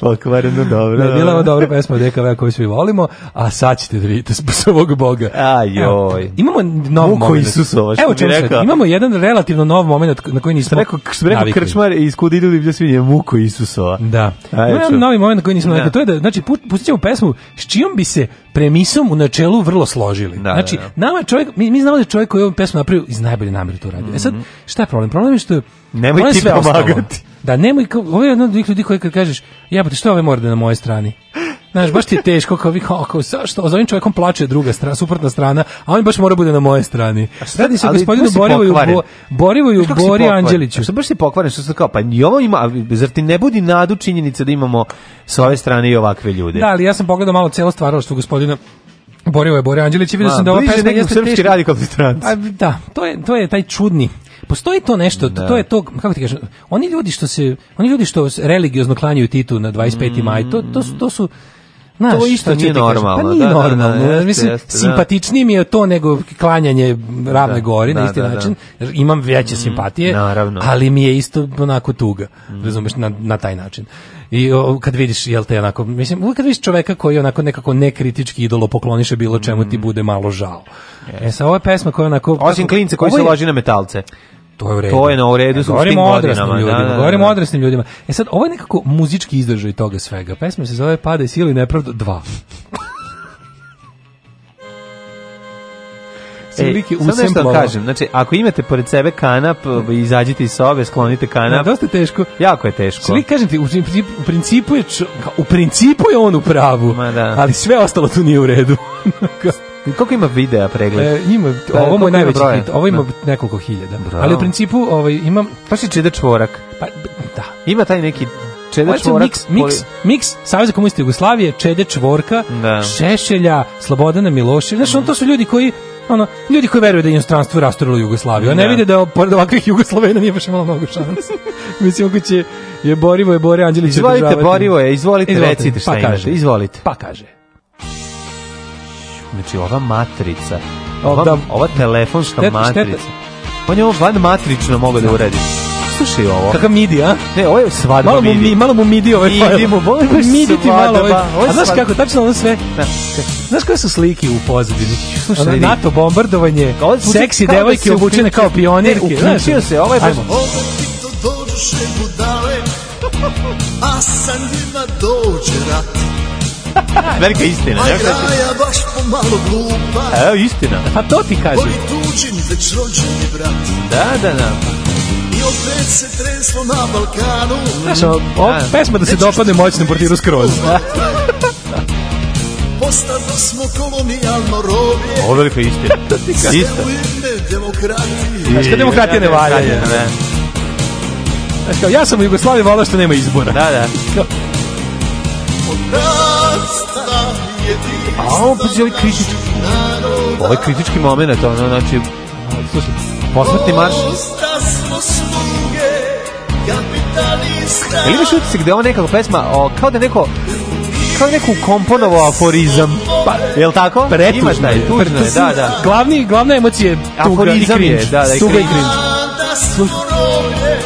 Speaker 8: Pokvareno dobro.
Speaker 7: Da, bila je ovo dobra pesma od EKV koju svi volimo, a sad ćete da vidite s ovog boga.
Speaker 8: Ajoj.
Speaker 7: Evo, imamo nov
Speaker 8: Muko
Speaker 7: moment.
Speaker 8: Isusova, što
Speaker 7: Evo
Speaker 8: bi
Speaker 7: čemu se-
Speaker 8: rekao.
Speaker 7: Imamo jedan relativno nov moment na koji nismo
Speaker 8: Rekao, što bi rekao
Speaker 7: navikli.
Speaker 8: krčmar iz kud idu divlje svinje, muko Isusova.
Speaker 7: Da.
Speaker 8: Ajde,
Speaker 7: Imamo
Speaker 8: čuj.
Speaker 7: jedan novi moment na koji nismo
Speaker 8: Da.
Speaker 7: navikli. To je da, znači, pu- pustit ćemo pesmu s čijom bi se premisom u načelu vrlo složili.
Speaker 8: Da,
Speaker 7: znači,
Speaker 8: da,
Speaker 7: nama je čovjek, mi, mi znamo da je čovjek koji je ovu pesmu napravio iz najbolje namere to radio. E sad, šta je problem? Problem je što...
Speaker 8: Mhm. Nemoj
Speaker 7: problem je
Speaker 8: ti
Speaker 7: sve ostalo.
Speaker 8: pomagati.
Speaker 7: Da, nemoj, kao- ovo je jedno od ovih ljudi koji kad kažeš, jebote, što ovaj mora da je na moje strani? Znaš, baš ti je teško, kao vi, kao, kao, zašto? Za ovim čovjekom plače druga strana, suprotna strana, a on baš mora da bude na moje strani. Radi se o
Speaker 8: Ali
Speaker 7: gospodinu
Speaker 8: tu si
Speaker 7: Borivoju,
Speaker 8: pokvaren.
Speaker 7: Bo, Borivoju
Speaker 8: Znaš kako si
Speaker 7: Bori
Speaker 8: pokvaren?
Speaker 7: Anđeliću.
Speaker 8: Što baš si pokvaren, što sam kao, pa i ovo ima, ali zar ti ne budi nadu činjenica da imamo s ove strane i ovakve ljude?
Speaker 7: Da, ali ja sam pogledao malo celo stvaralaštvo gospodina Borivoja je Bore Anđelić i vidio
Speaker 8: Ma,
Speaker 7: sam da ova
Speaker 8: bliže
Speaker 7: pesma
Speaker 8: nekim
Speaker 7: jeste
Speaker 8: srpski
Speaker 7: teška.
Speaker 8: radikalni stranci.
Speaker 7: A, da, to je, to je taj čudni. Postoji to nešto, to- to je to, kako ti kažem, oni ljudi što se, oni ljudi što se religiozno klanjaju Titu na 25. maj, to, to, su, to su Znaš,
Speaker 8: Mm. To isto
Speaker 7: šta ću
Speaker 8: nije
Speaker 7: ti kažem?
Speaker 8: normalno,
Speaker 7: Pa nije
Speaker 8: da, da, da,
Speaker 7: normalno.
Speaker 8: jeste,
Speaker 7: Mislim,
Speaker 8: jeste, da.
Speaker 7: simpatičnije mi je to nego klanjanje ravne
Speaker 8: Da,
Speaker 7: gori
Speaker 8: da,
Speaker 7: na isti
Speaker 8: da, Mm. da.
Speaker 7: način. jer Imam veće simpatije,
Speaker 8: naravno.
Speaker 7: ali mi je isto onako tuga, razumeš, na, na taj način. I o, kad vidiš, jel te, onako, mislim, uvijek kad vidiš čoveka koji onako nekako nekritički idolo pokloniše bilo čemu ti bude malo žao. E sad, ovo je pesma koja onako...
Speaker 8: Mm. Osim klince koji
Speaker 7: Ovo
Speaker 8: se
Speaker 7: je-
Speaker 8: loži na metalce.
Speaker 7: To je u redu.
Speaker 8: To je na u redu
Speaker 7: E,
Speaker 8: s tim
Speaker 7: govorimo o odraslim
Speaker 8: godinama,
Speaker 7: ljudima,
Speaker 8: da, da, da.
Speaker 7: govorimo o odraslim ljudima. E sad, ovo je nekako muzički izdržaj toga svega. Pesma se zove Pada i sili nepravdu 2.
Speaker 8: Ej,
Speaker 7: Silike
Speaker 8: E, sad nešto vam
Speaker 7: usemplova.
Speaker 8: kažem, znači, ako imate pored sebe kanap, izađite iz sobe, sklonite
Speaker 7: E. Da,
Speaker 8: kanap,
Speaker 7: dosta je teško.
Speaker 8: jako je teško.
Speaker 7: Svi kažem ti, u principu, u principu je čo- u principu je on u pravu,
Speaker 8: Ma da.
Speaker 7: ali sve ostalo tu nije u redu.
Speaker 8: Koliko ima videa pregled?
Speaker 7: e, ima,
Speaker 8: Pa,
Speaker 7: ovo mu
Speaker 8: koliko
Speaker 7: je
Speaker 8: ima
Speaker 7: najveći
Speaker 8: broja?
Speaker 7: hit, ovo ima
Speaker 8: Da.
Speaker 7: nekoliko hiljada.
Speaker 8: Bravo.
Speaker 7: Ali u principu ovaj, imam,
Speaker 8: Pa si Čeda Čvorak.
Speaker 7: pa, da,
Speaker 8: Ima taj neki Čeda
Speaker 7: Ovo je
Speaker 8: Čvorak.
Speaker 7: miks, miks, miks Saveza komunista Jugoslavije, Čede Čvorka,
Speaker 8: Da.
Speaker 7: Šešelja, Slobodana Miloševića. Znaš, on, to su ljudi koji ono, ljudi koji veruju da je inostranstvo rasturilo Jugoslaviju, a ne
Speaker 8: Da.
Speaker 7: vide da pored ovakvih Jugoslovena nije baš imalo mnogo šanse. Mislim, ako će je Borivo, je Bore Anđelić
Speaker 8: Izvolite,
Speaker 7: održavati.
Speaker 8: Borivo je, izvolite,
Speaker 7: Izvolite,
Speaker 8: recite šta
Speaker 7: pa
Speaker 8: imate.
Speaker 7: kaže.
Speaker 8: Izvolite.
Speaker 7: Pa kaže.
Speaker 8: Znači, ova matrica.
Speaker 7: O,
Speaker 8: Ova,
Speaker 7: da.
Speaker 8: ova telefonska
Speaker 7: Šteta-
Speaker 8: matrica.
Speaker 7: šteta.
Speaker 8: On je ovo van matrično mogao da uradi. Slušaj ovo.
Speaker 7: Kakav midi, a?
Speaker 8: Ne, ovo je svadba
Speaker 7: Malo mu,
Speaker 8: vidi.
Speaker 7: mi, malo mu midi ovaj
Speaker 8: Idi
Speaker 7: fajl.
Speaker 8: mu, ovo je baš
Speaker 7: Midi ti malo
Speaker 8: svadba,
Speaker 7: ovaj.
Speaker 8: ovo je
Speaker 7: A znaš
Speaker 8: svadba.
Speaker 7: kako, tačno ono sve.
Speaker 8: Da.
Speaker 7: Znaš koje su slike u pozadini?
Speaker 8: Slušaj,
Speaker 7: Ono
Speaker 8: vidi.
Speaker 7: NATO bombardovanje,
Speaker 8: Ovo zvuči
Speaker 7: seksi
Speaker 8: kao da
Speaker 7: devojke
Speaker 8: se
Speaker 7: obučene
Speaker 8: uključio-
Speaker 7: kao pionirke.
Speaker 8: Ne,
Speaker 7: znaš? ono.
Speaker 8: uključio se, ovo je baš...
Speaker 7: Ajmo.
Speaker 11: Ovdje ti to dođuše budale, a sa njima dođe rat.
Speaker 8: Velika istina.
Speaker 11: A
Speaker 8: ne?
Speaker 11: graja baš pomalo glupa,
Speaker 8: Evo, istina.
Speaker 7: Pa to ti kažem.
Speaker 11: voli tuđin već rođen je brat.
Speaker 8: Pa, Da, da, da.
Speaker 11: I opet se treslo na Balkanu,
Speaker 7: Znaš, ovo, ovo
Speaker 8: Da.
Speaker 7: pesma da se dopadne moćnom portiru skroz.
Speaker 11: postado smo kolonijalno roblje.
Speaker 8: Ovo je velika istina.
Speaker 11: Sve
Speaker 8: Isto.
Speaker 11: u ime demokratije.
Speaker 7: Znaš, kad demokratija ne valja. je.
Speaker 8: Da,
Speaker 7: Znaš, kao, ja sam u Jugoslaviji volao što nema izbora.
Speaker 8: Da, da.
Speaker 11: Rasta jedinstva
Speaker 8: A ovo pazi ovaj kritički.
Speaker 11: naroda.
Speaker 8: Ovo je kritički moment, ono, znači... Slušaj, posmrtni marš.
Speaker 11: Dosta smo sluge kapitalista.
Speaker 8: Ili imaš utisak da je ovo nekako pesma, o, kao da je neko kao da je neko ukomponovao aforizam. Pa, je li tako? Imaš
Speaker 7: Pretužno
Speaker 8: taj,
Speaker 7: je.
Speaker 8: tužno je, da, da.
Speaker 7: Glavni, glavna emocija je tuga
Speaker 8: Aforizam
Speaker 7: i
Speaker 8: je,
Speaker 7: cringe.
Speaker 8: da, da, i
Speaker 7: tuga i
Speaker 8: cringe.
Speaker 7: cringe.
Speaker 11: Mada smo roblje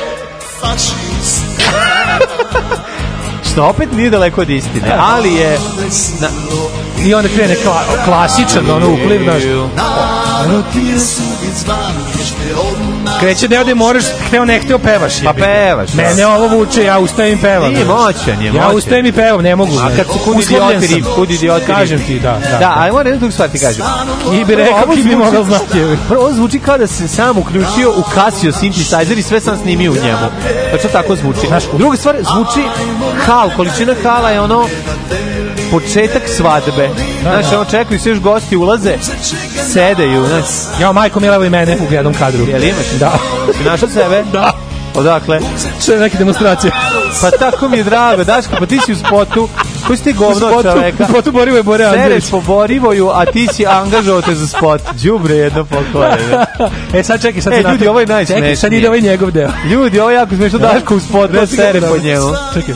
Speaker 11: fašista.
Speaker 8: Što opet nije daleko od istine, ali je... Na,
Speaker 7: I onda krene kla, klasičan, ono, upliv, znaš.
Speaker 11: Narod je suvic vanješte od nas.
Speaker 7: Kreće deo gde moraš, hteo ne hteo pevaš.
Speaker 8: Pa
Speaker 7: jebi.
Speaker 8: pevaš, da.
Speaker 7: Mene ovo vuče, ja ustajem i pevam.
Speaker 8: Nije
Speaker 7: znaš.
Speaker 8: moćan, je
Speaker 7: Ja
Speaker 8: moćan.
Speaker 7: ustajem i pevam, ne mogu.
Speaker 8: A kad su kud
Speaker 7: Uslovljen
Speaker 8: idioti
Speaker 7: sam.
Speaker 8: rib, kud idioti rib.
Speaker 7: Kažem ti, da, da.
Speaker 8: Da, ali moram jednu drugu stvar ti kažem.
Speaker 7: I bi rekao,
Speaker 8: Ovo
Speaker 7: ki bi
Speaker 8: zvuči-
Speaker 7: mogao znati. jebi.
Speaker 8: Prvo, ovo zvuči kao da se sam uključio u Casio synthesizer i sve sam snimio u njemu. Znači, Pa što tako zvuči? Druga stvar, zvuči hal, količina hala je ono početak svadbe. Znaš, ono čekaju, svi još gosti ulaze, sedeju, znaš.
Speaker 7: Ja, majko mila, evo i mene u jednom kadru.
Speaker 8: Jel imaš?
Speaker 7: Da.
Speaker 8: Si našao sebe?
Speaker 7: Da.
Speaker 8: Odakle?
Speaker 7: Što je neke demonstracije?
Speaker 8: Pa tako mi je drago, Daško, pa ti si u spotu. Koji si ti govno od čoveka?
Speaker 7: U spotu Borivo je Bore Andrević.
Speaker 8: Sereš po Borivoju, a ti si angažovao te za spot. Đubre jedno pokore.
Speaker 7: E, sad čekaj, sad
Speaker 8: E,
Speaker 7: se napravi-
Speaker 8: ljudi, ovo je najsmešnije.
Speaker 7: Čekaj, sad ide ovaj njegov deo.
Speaker 8: Ljudi, ovo je jako smiješno, Daško u spotu
Speaker 7: Reci ga,
Speaker 8: sere
Speaker 7: brate.
Speaker 8: po njemu.
Speaker 7: Čekaj.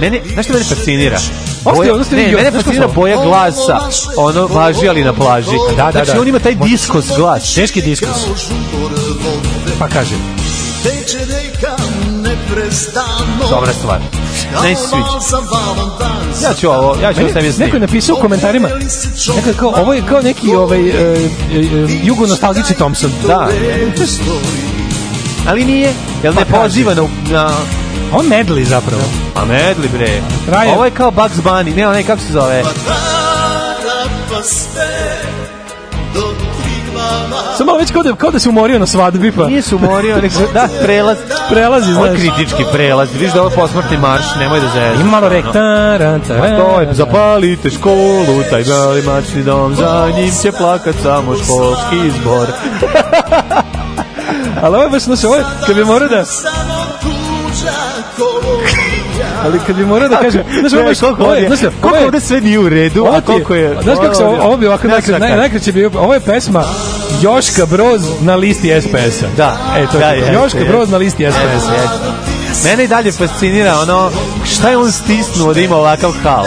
Speaker 8: Mene, znaš što mene fascinira?
Speaker 7: Ovo ste-
Speaker 8: Boja,
Speaker 7: ovo ste
Speaker 8: ne,
Speaker 7: vidio,
Speaker 8: mene
Speaker 7: znaš kako
Speaker 8: fascinira
Speaker 7: sam?
Speaker 8: boja glasa, ono, važi ali na plaži.
Speaker 7: Da, da,
Speaker 8: znači,
Speaker 7: da.
Speaker 8: on ima taj diskos glas.
Speaker 7: Teški diskus. Pa kaže.
Speaker 11: Teče reka neprestano
Speaker 8: Dobra stvar. Ne sviđa. Ja ću ovo, ja ću ovo sebi
Speaker 7: Meni- Neko je
Speaker 8: snimiti.
Speaker 7: napisao u komentarima. Neko je kao, ovo je kao neki ovaj, e, e, e, jugo nostalgici Thompson.
Speaker 8: Da. Ali nije, jel ne
Speaker 7: Pa kaže.
Speaker 8: poziva na, na
Speaker 7: On medli zapravo.
Speaker 8: Pa medli bre.
Speaker 7: Traje.
Speaker 8: Ovo je kao Bugs Bunny, ne, onaj kako se zove.
Speaker 11: Pa sve do Triglava
Speaker 7: Samo već kao da, kao da se umorio na svadbi pa.
Speaker 8: Nije se umorio, nego da prelaz.
Speaker 7: Prelazi,
Speaker 8: Ovo je
Speaker 7: znaš.
Speaker 8: kritički prelaz. Viš da ovo je posmrtni marš, nemoj da zezati.
Speaker 7: Ima malo rek. Taran, taran.
Speaker 8: To je, pa- zapalite školu, taj mali mačni dom, za njim će plakat samo školski izbor.
Speaker 7: Ali ovo je baš, znaš, ovo je, kad bi morao da,
Speaker 11: samo tuđa kolonija
Speaker 7: ali kad bi morao da kaže, znaš, ovo je, baš-
Speaker 8: koliko
Speaker 7: ovo
Speaker 8: ovdje,
Speaker 7: je, znaš, ovo
Speaker 8: koliko
Speaker 7: je,
Speaker 8: ovdje sve nije u redu,
Speaker 7: Ovo
Speaker 8: a
Speaker 7: ti je-
Speaker 8: koliko je...
Speaker 7: Znaš kako se ovo, ovo bi ovako
Speaker 8: Pa Ja
Speaker 7: najkraće,
Speaker 8: sam
Speaker 7: naj,
Speaker 8: kad-
Speaker 7: najkraće bi ovo je pesma Joška Broz na listi SPS-a.
Speaker 8: Da.
Speaker 7: E, to
Speaker 8: Da,
Speaker 7: je. to.
Speaker 8: jeste,
Speaker 7: Joška
Speaker 8: jeste.
Speaker 7: Broz na listi
Speaker 8: Jeste,
Speaker 7: SPS-a.
Speaker 8: jeste. Mene i dalje fascinira ono, šta je on stisnuo da ima ovakav hal?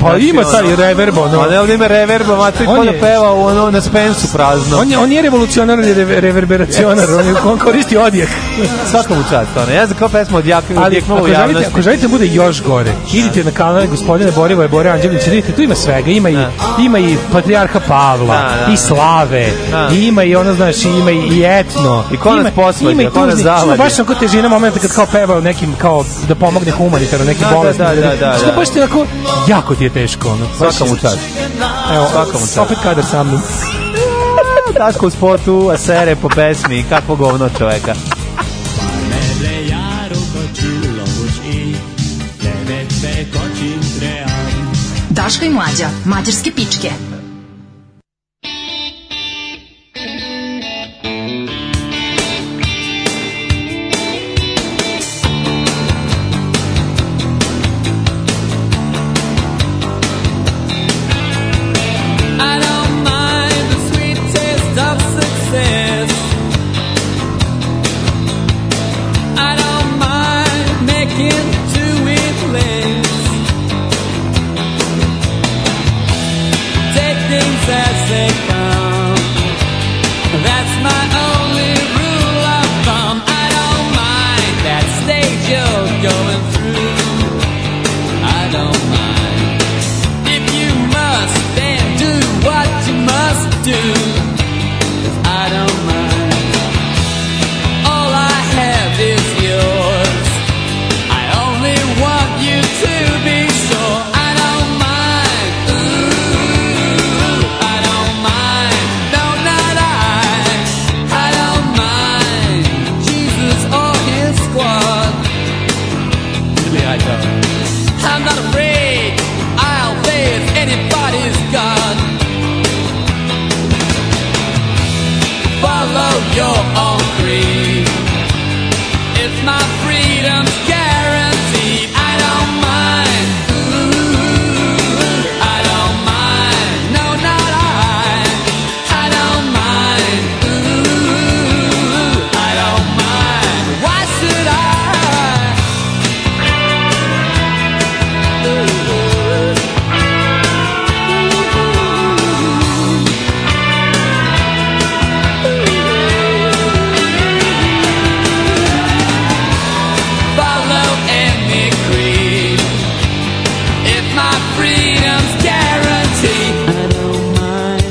Speaker 7: Pa ima
Speaker 8: ono-
Speaker 7: sad i reverb, ono.
Speaker 8: Pa ne, ovdje ima reverba, mater,
Speaker 7: On
Speaker 8: ko da
Speaker 7: je-
Speaker 8: peva u ono, na Spensu prazno.
Speaker 7: On je, on je revolucionar ili rever- reverberacionar, on, je, on koristi odjek.
Speaker 8: Svakom u čast, ono. Ja znam kao pesma od Jakima,
Speaker 7: Ali
Speaker 8: odjeknula
Speaker 7: ako
Speaker 8: u
Speaker 7: želite,
Speaker 8: javnosti.
Speaker 7: ako želite da bude još gore, idite na kanal gospodine Borivoje Bore Anđelića, vidite, tu ima svega, ima i, ima i patrijarha Pavla,
Speaker 8: Da, da.
Speaker 7: i slave,
Speaker 8: Da.
Speaker 7: i ima i ono, znaš, i ima i etno.
Speaker 8: I ko nas
Speaker 7: ima,
Speaker 8: posvađa,
Speaker 7: ima i
Speaker 8: ko nas
Speaker 7: tužni-
Speaker 8: zavadi.
Speaker 7: Ima baš onako težina momenta kad kao peva o nekim, kao da pomogne humanitarno, neki
Speaker 8: Da, da,
Speaker 7: bolest.
Speaker 8: da, da, da, da.
Speaker 7: baš ti onako, jako ti je teško, ono. baš
Speaker 8: Svaka mu
Speaker 7: je-
Speaker 8: čast.
Speaker 7: Evo,
Speaker 8: svaka mu čast.
Speaker 7: Opet kadar sa mnom.
Speaker 8: Daško u spotu, a sere po pesmi, kakvo govno čoveka.
Speaker 5: Daško i mlađa, mađarske pičke.
Speaker 9: I don't mind the sweet taste of success. I don't mind making two with less. Take things as they come. That's my only rule of thumb. I don't mind that stage you're going through. I don't mind. If you must, then do what you must do. 'Cause I don't mind. All I have is yours. I only want you to be sure. I don't mind. Ooh, I don't mind. No, not I. I don't mind. Jesus or his squad. Really, I don't. I'm not afraid. I'll face anybody's God. Follow your own creed. It's my freedom's guaranteed. I don't mind. Ooh, I don't mind. No, not I. I don't mind. Ooh, I don't mind. Why should I? follow any creed. If my freedom's guaranteed, I don't mind.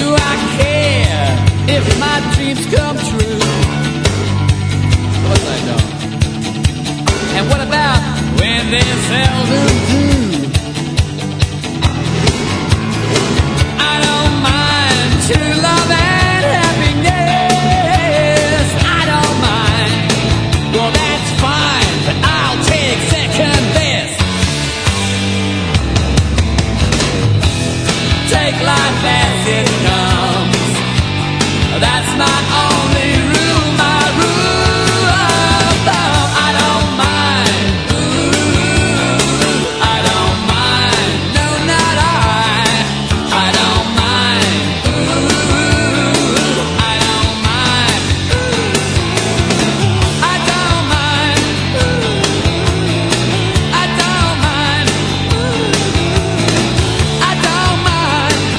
Speaker 9: Do I care if my dreams come true? Of course I don't. And what about when they seldom do? I don't mind true love and happiness.
Speaker 20: it comes. That's my only rule, my rule of thumb. I don't mind. Ooh, I don't mind. No, not I. I don't mind. Ooh, I don't mind. Ooh, I don't mind. Ooh, I don't mind. Ooh, I don't mind.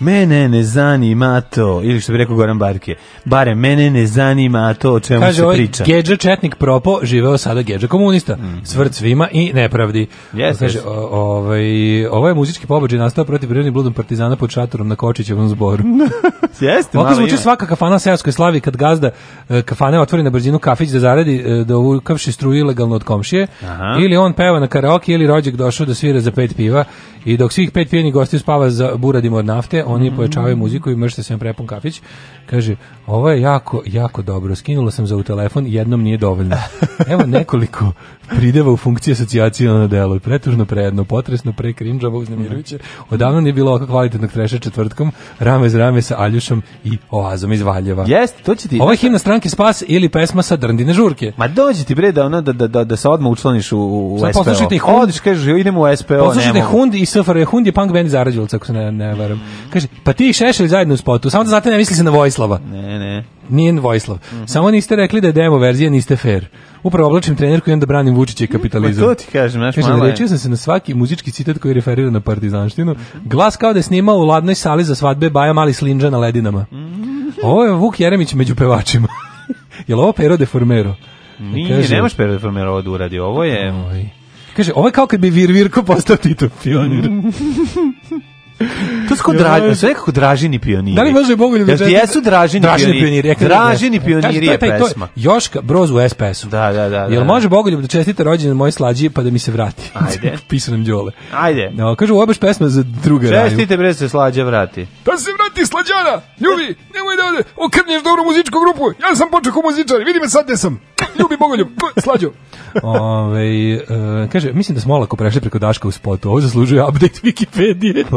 Speaker 8: Mene ne zanima to, ili što bi rekao Goran Barke, bare mene ne zanima to o čemu
Speaker 7: Kaže
Speaker 8: se
Speaker 7: ovaj
Speaker 8: priča. Mhm.
Speaker 7: Gedža Četnik Propo, živeo sada Gedža komunista. Svrt svima i nepravdi.
Speaker 8: Jes,
Speaker 7: Kaže,
Speaker 8: jes.
Speaker 7: o- ovaj, ovo je muzički pobađaj nastao protiv prirodnih bludom partizana pod šatorom na Kočićevom zboru.
Speaker 8: Jeste,
Speaker 7: Ovako
Speaker 8: malo
Speaker 7: zvuči
Speaker 8: ima.
Speaker 7: svaka kafana seoskoj slavi kad gazda e, kafane otvori na brzinu kafić da zaradi e, da uvukavši struju ilegalno od komšije
Speaker 8: Aha.
Speaker 7: ili on peva na karaoke ili rođak došao da svira za pet piva i dok svih pet pijenih gostiju spava za buradima od nafte oni
Speaker 8: Mhm.
Speaker 7: pojačavaju muziku i mršte se na prepun kafić kaže ovo je jako jako dobro skinulo sam za u telefon jednom nije dovoljno evo nekoliko prideva u funkciji asocijacije na delo pretužno prejedno potresno pre krinđavo uznemirujuće odavno nije bilo ovako kvalitetnog treša četvrtkom rame za rame sa Aljušom i Oazom iz Valjeva
Speaker 8: Jeste, to će ti...
Speaker 7: Ovo je himna stranke Spas ili pesma sa Drndine žurke.
Speaker 8: Ma dođi ti bre da, ono, da, da, da, da se odmah učlaniš u, u
Speaker 7: Sad
Speaker 8: SPO.
Speaker 7: poslušajte i Hund.
Speaker 8: Odiš, kažeš, idemo u SPO,
Speaker 7: Poslušajte
Speaker 8: ne mogu.
Speaker 7: Hund i SFRJ. Hund je punk band iz Aranđelovca, ako se ne, ne varam. Kaže, pa ti i Šešelj zajedno u spotu, samo da znate ne misli se na Vojislava.
Speaker 8: Ne, ne.
Speaker 7: Nije Vojislav. Samo niste rekli da je demo verzija, niste fair. Upravo oblačim trenerku i onda branim Vučića i kapitalizam.
Speaker 8: Ma Pa to ti kažem, znaš,
Speaker 7: Kaže,
Speaker 8: malo je.
Speaker 7: narečio sam se na svaki muzički citat koji referira na partizanštinu. Glas kao da je snimao u ladnoj sali za svadbe Baja Mali Slinđa na ledinama.
Speaker 8: Mm.
Speaker 7: Ovo je Vuk Jeremić među pevačima. Jel ovo Pero de Formero? E,
Speaker 8: Nije,
Speaker 7: Kaže-
Speaker 8: ne možeš Pedro Formero ovo da uradi, ovo je...
Speaker 7: Kaže, ovo je kao kad bi Vir Virko postao Tito pionir.
Speaker 8: Mm. To su kao dražini, sve nekako dražini pioniri.
Speaker 7: Da li može Bogoljub
Speaker 8: Jel ti
Speaker 7: Četnik-
Speaker 8: jesu dražini, pioniri?
Speaker 7: ja kažem,
Speaker 8: Dražini
Speaker 7: ne. E, Kaže,
Speaker 8: pioniri
Speaker 7: to
Speaker 8: je
Speaker 7: taj- to
Speaker 8: pesma.
Speaker 7: Joška Broz u SPS-u.
Speaker 8: Da, da, da.
Speaker 7: Jel
Speaker 8: da.
Speaker 7: može Bogoljub da čestita rođendan moje slađi pa da mi se vrati?
Speaker 8: Ajde.
Speaker 7: Pisanom đole.
Speaker 8: Ajde.
Speaker 7: No, kaže, ovo je baš pesma za druga raju.
Speaker 8: Čestite bre se slađe vrati.
Speaker 16: Da Pa se vrati slađana, ljubi, nemoj da ode, okrnješ dobru muzičku grupu, ja sam počeo ko muzičar, vidi me sad gde sam, ljubi bogoljub, slađo.
Speaker 7: Ove, e, kaže, mislim da smo olako prešli preko Daška u spotu. Ovo zaslužuje update Wikipedije.
Speaker 8: Pa,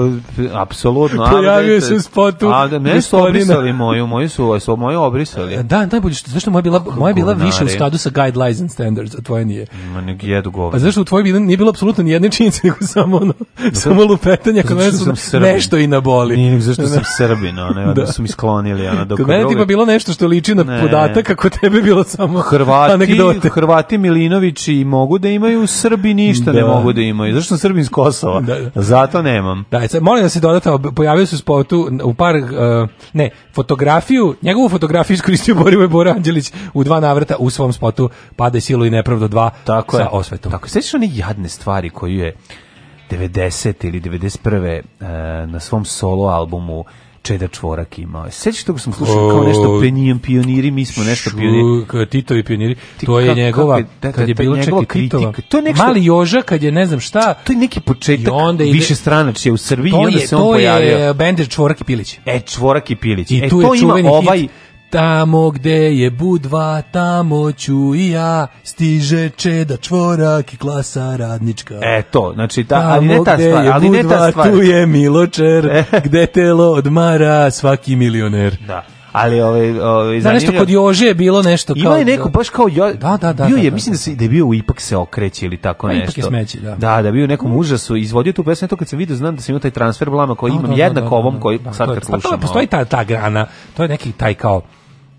Speaker 8: Apsolutno.
Speaker 7: Pojavio
Speaker 8: update-
Speaker 7: Pa se u spotu
Speaker 8: A, da, ne su
Speaker 7: gospodina. Pa,
Speaker 8: obrisali moju, moju su, su moju obrisali.
Speaker 7: Da, najbolje što, zašto moja bila, moja bila više u
Speaker 8: gurnari.
Speaker 7: skladu sa guidelines and standards, a tvoja nije.
Speaker 8: Ma nek jedu govor.
Speaker 7: Pa zašto u tvojoj bilo- nije bilo apsolutno ni jedne činjenice, nego samo ono, samo lupetanje, kod mene
Speaker 8: Zato što
Speaker 7: su
Speaker 8: sam Srbin.
Speaker 7: nešto i na boli.
Speaker 8: Nije nego zašto sam Srbin, ono, da.
Speaker 7: Da.
Speaker 8: su mi sklonili, ono, dok
Speaker 7: Kod mene
Speaker 8: drugi-
Speaker 7: tipa bilo nešto što liči na
Speaker 8: Ne.
Speaker 7: podatak, kako tebe je bilo samo
Speaker 8: Hrvati,
Speaker 7: anegdote.
Speaker 8: Hrvati Milinovići mogu da imaju, Srbi ništa ne
Speaker 7: Da.
Speaker 8: mogu da imaju. Zašto sam Srbin s Kosova? Zato nemam.
Speaker 7: Da, sad, molim da se dodata, ob- pojavio se u spotu u par, e, ne, fotografiju, njegovu fotografiju iskoristio Borivoj Bora Anđelić u dva navrata u svom spotu Pade silu i nepravdo 2
Speaker 8: Tako
Speaker 7: sa
Speaker 8: je.
Speaker 7: osvetom.
Speaker 8: Tako, sećaš one jadne stvari koju je 90. ili 91. e, na svom solo albumu Čeda Čvorak imao. Sećaš toga sam slušao kao nešto
Speaker 7: O.
Speaker 8: penijem pioniri, mi smo nešto
Speaker 7: Šu-
Speaker 8: pioniri.
Speaker 7: k- Titovi pioniri.
Speaker 8: Ti
Speaker 7: to je
Speaker 8: kako-
Speaker 7: njegova,
Speaker 8: kako je- da,
Speaker 7: kad
Speaker 8: da,
Speaker 7: je
Speaker 8: to je
Speaker 7: bilo
Speaker 8: njegova
Speaker 7: čekaj Titova.
Speaker 8: kritika. To je nešto-
Speaker 7: Mali Joža kad je ne znam šta,
Speaker 8: To je neki početak
Speaker 7: I onda ide-
Speaker 8: više stranačije u Srbiji i
Speaker 7: to
Speaker 8: onda
Speaker 7: je,
Speaker 8: se on
Speaker 7: to
Speaker 8: pojavio.
Speaker 7: je bender Čvorak i Pilić.
Speaker 8: E, Čvorak i Pilić.
Speaker 7: I
Speaker 8: e,
Speaker 7: tu
Speaker 8: to
Speaker 7: je
Speaker 8: ima
Speaker 7: čuveni
Speaker 8: ovaj...
Speaker 7: hit. Tamo gde je budva, tamo ću i ja, stiže čeda čvorak i klasa radnička.
Speaker 8: E, to, znači, ta,
Speaker 7: Tamo
Speaker 8: ali ne ta
Speaker 7: gde je
Speaker 8: stvar, ali ne ta
Speaker 7: budva,
Speaker 8: stvar. E.
Speaker 7: Tu je miločer, gde telo odmara svaki milioner.
Speaker 8: Da. Ali ovaj ovaj
Speaker 7: Da, nešto
Speaker 8: zanimljivo-
Speaker 7: kod Jože je bilo nešto Pa kao...
Speaker 8: Ima je neko baš kao jo,
Speaker 7: Da, da, da,
Speaker 8: bio
Speaker 7: da,
Speaker 8: je,
Speaker 7: da.
Speaker 8: mislim da se da je bio u ipak se okreće ili tako
Speaker 7: Pa ipak je
Speaker 8: nešto.
Speaker 7: smeće, da.
Speaker 8: Da, da bio je u nekom užasu, izvodio tu pesmu, to kad sam video znam da sam imao taj transfer blama koji
Speaker 7: Da,
Speaker 8: imam
Speaker 7: da, da,
Speaker 8: jednako
Speaker 7: da, da,
Speaker 8: ovom koji
Speaker 7: da,
Speaker 8: sad
Speaker 7: to je-
Speaker 8: kad
Speaker 7: Pa to
Speaker 8: slušam.
Speaker 7: je- postoji ta, ta grana, to je neki taj kao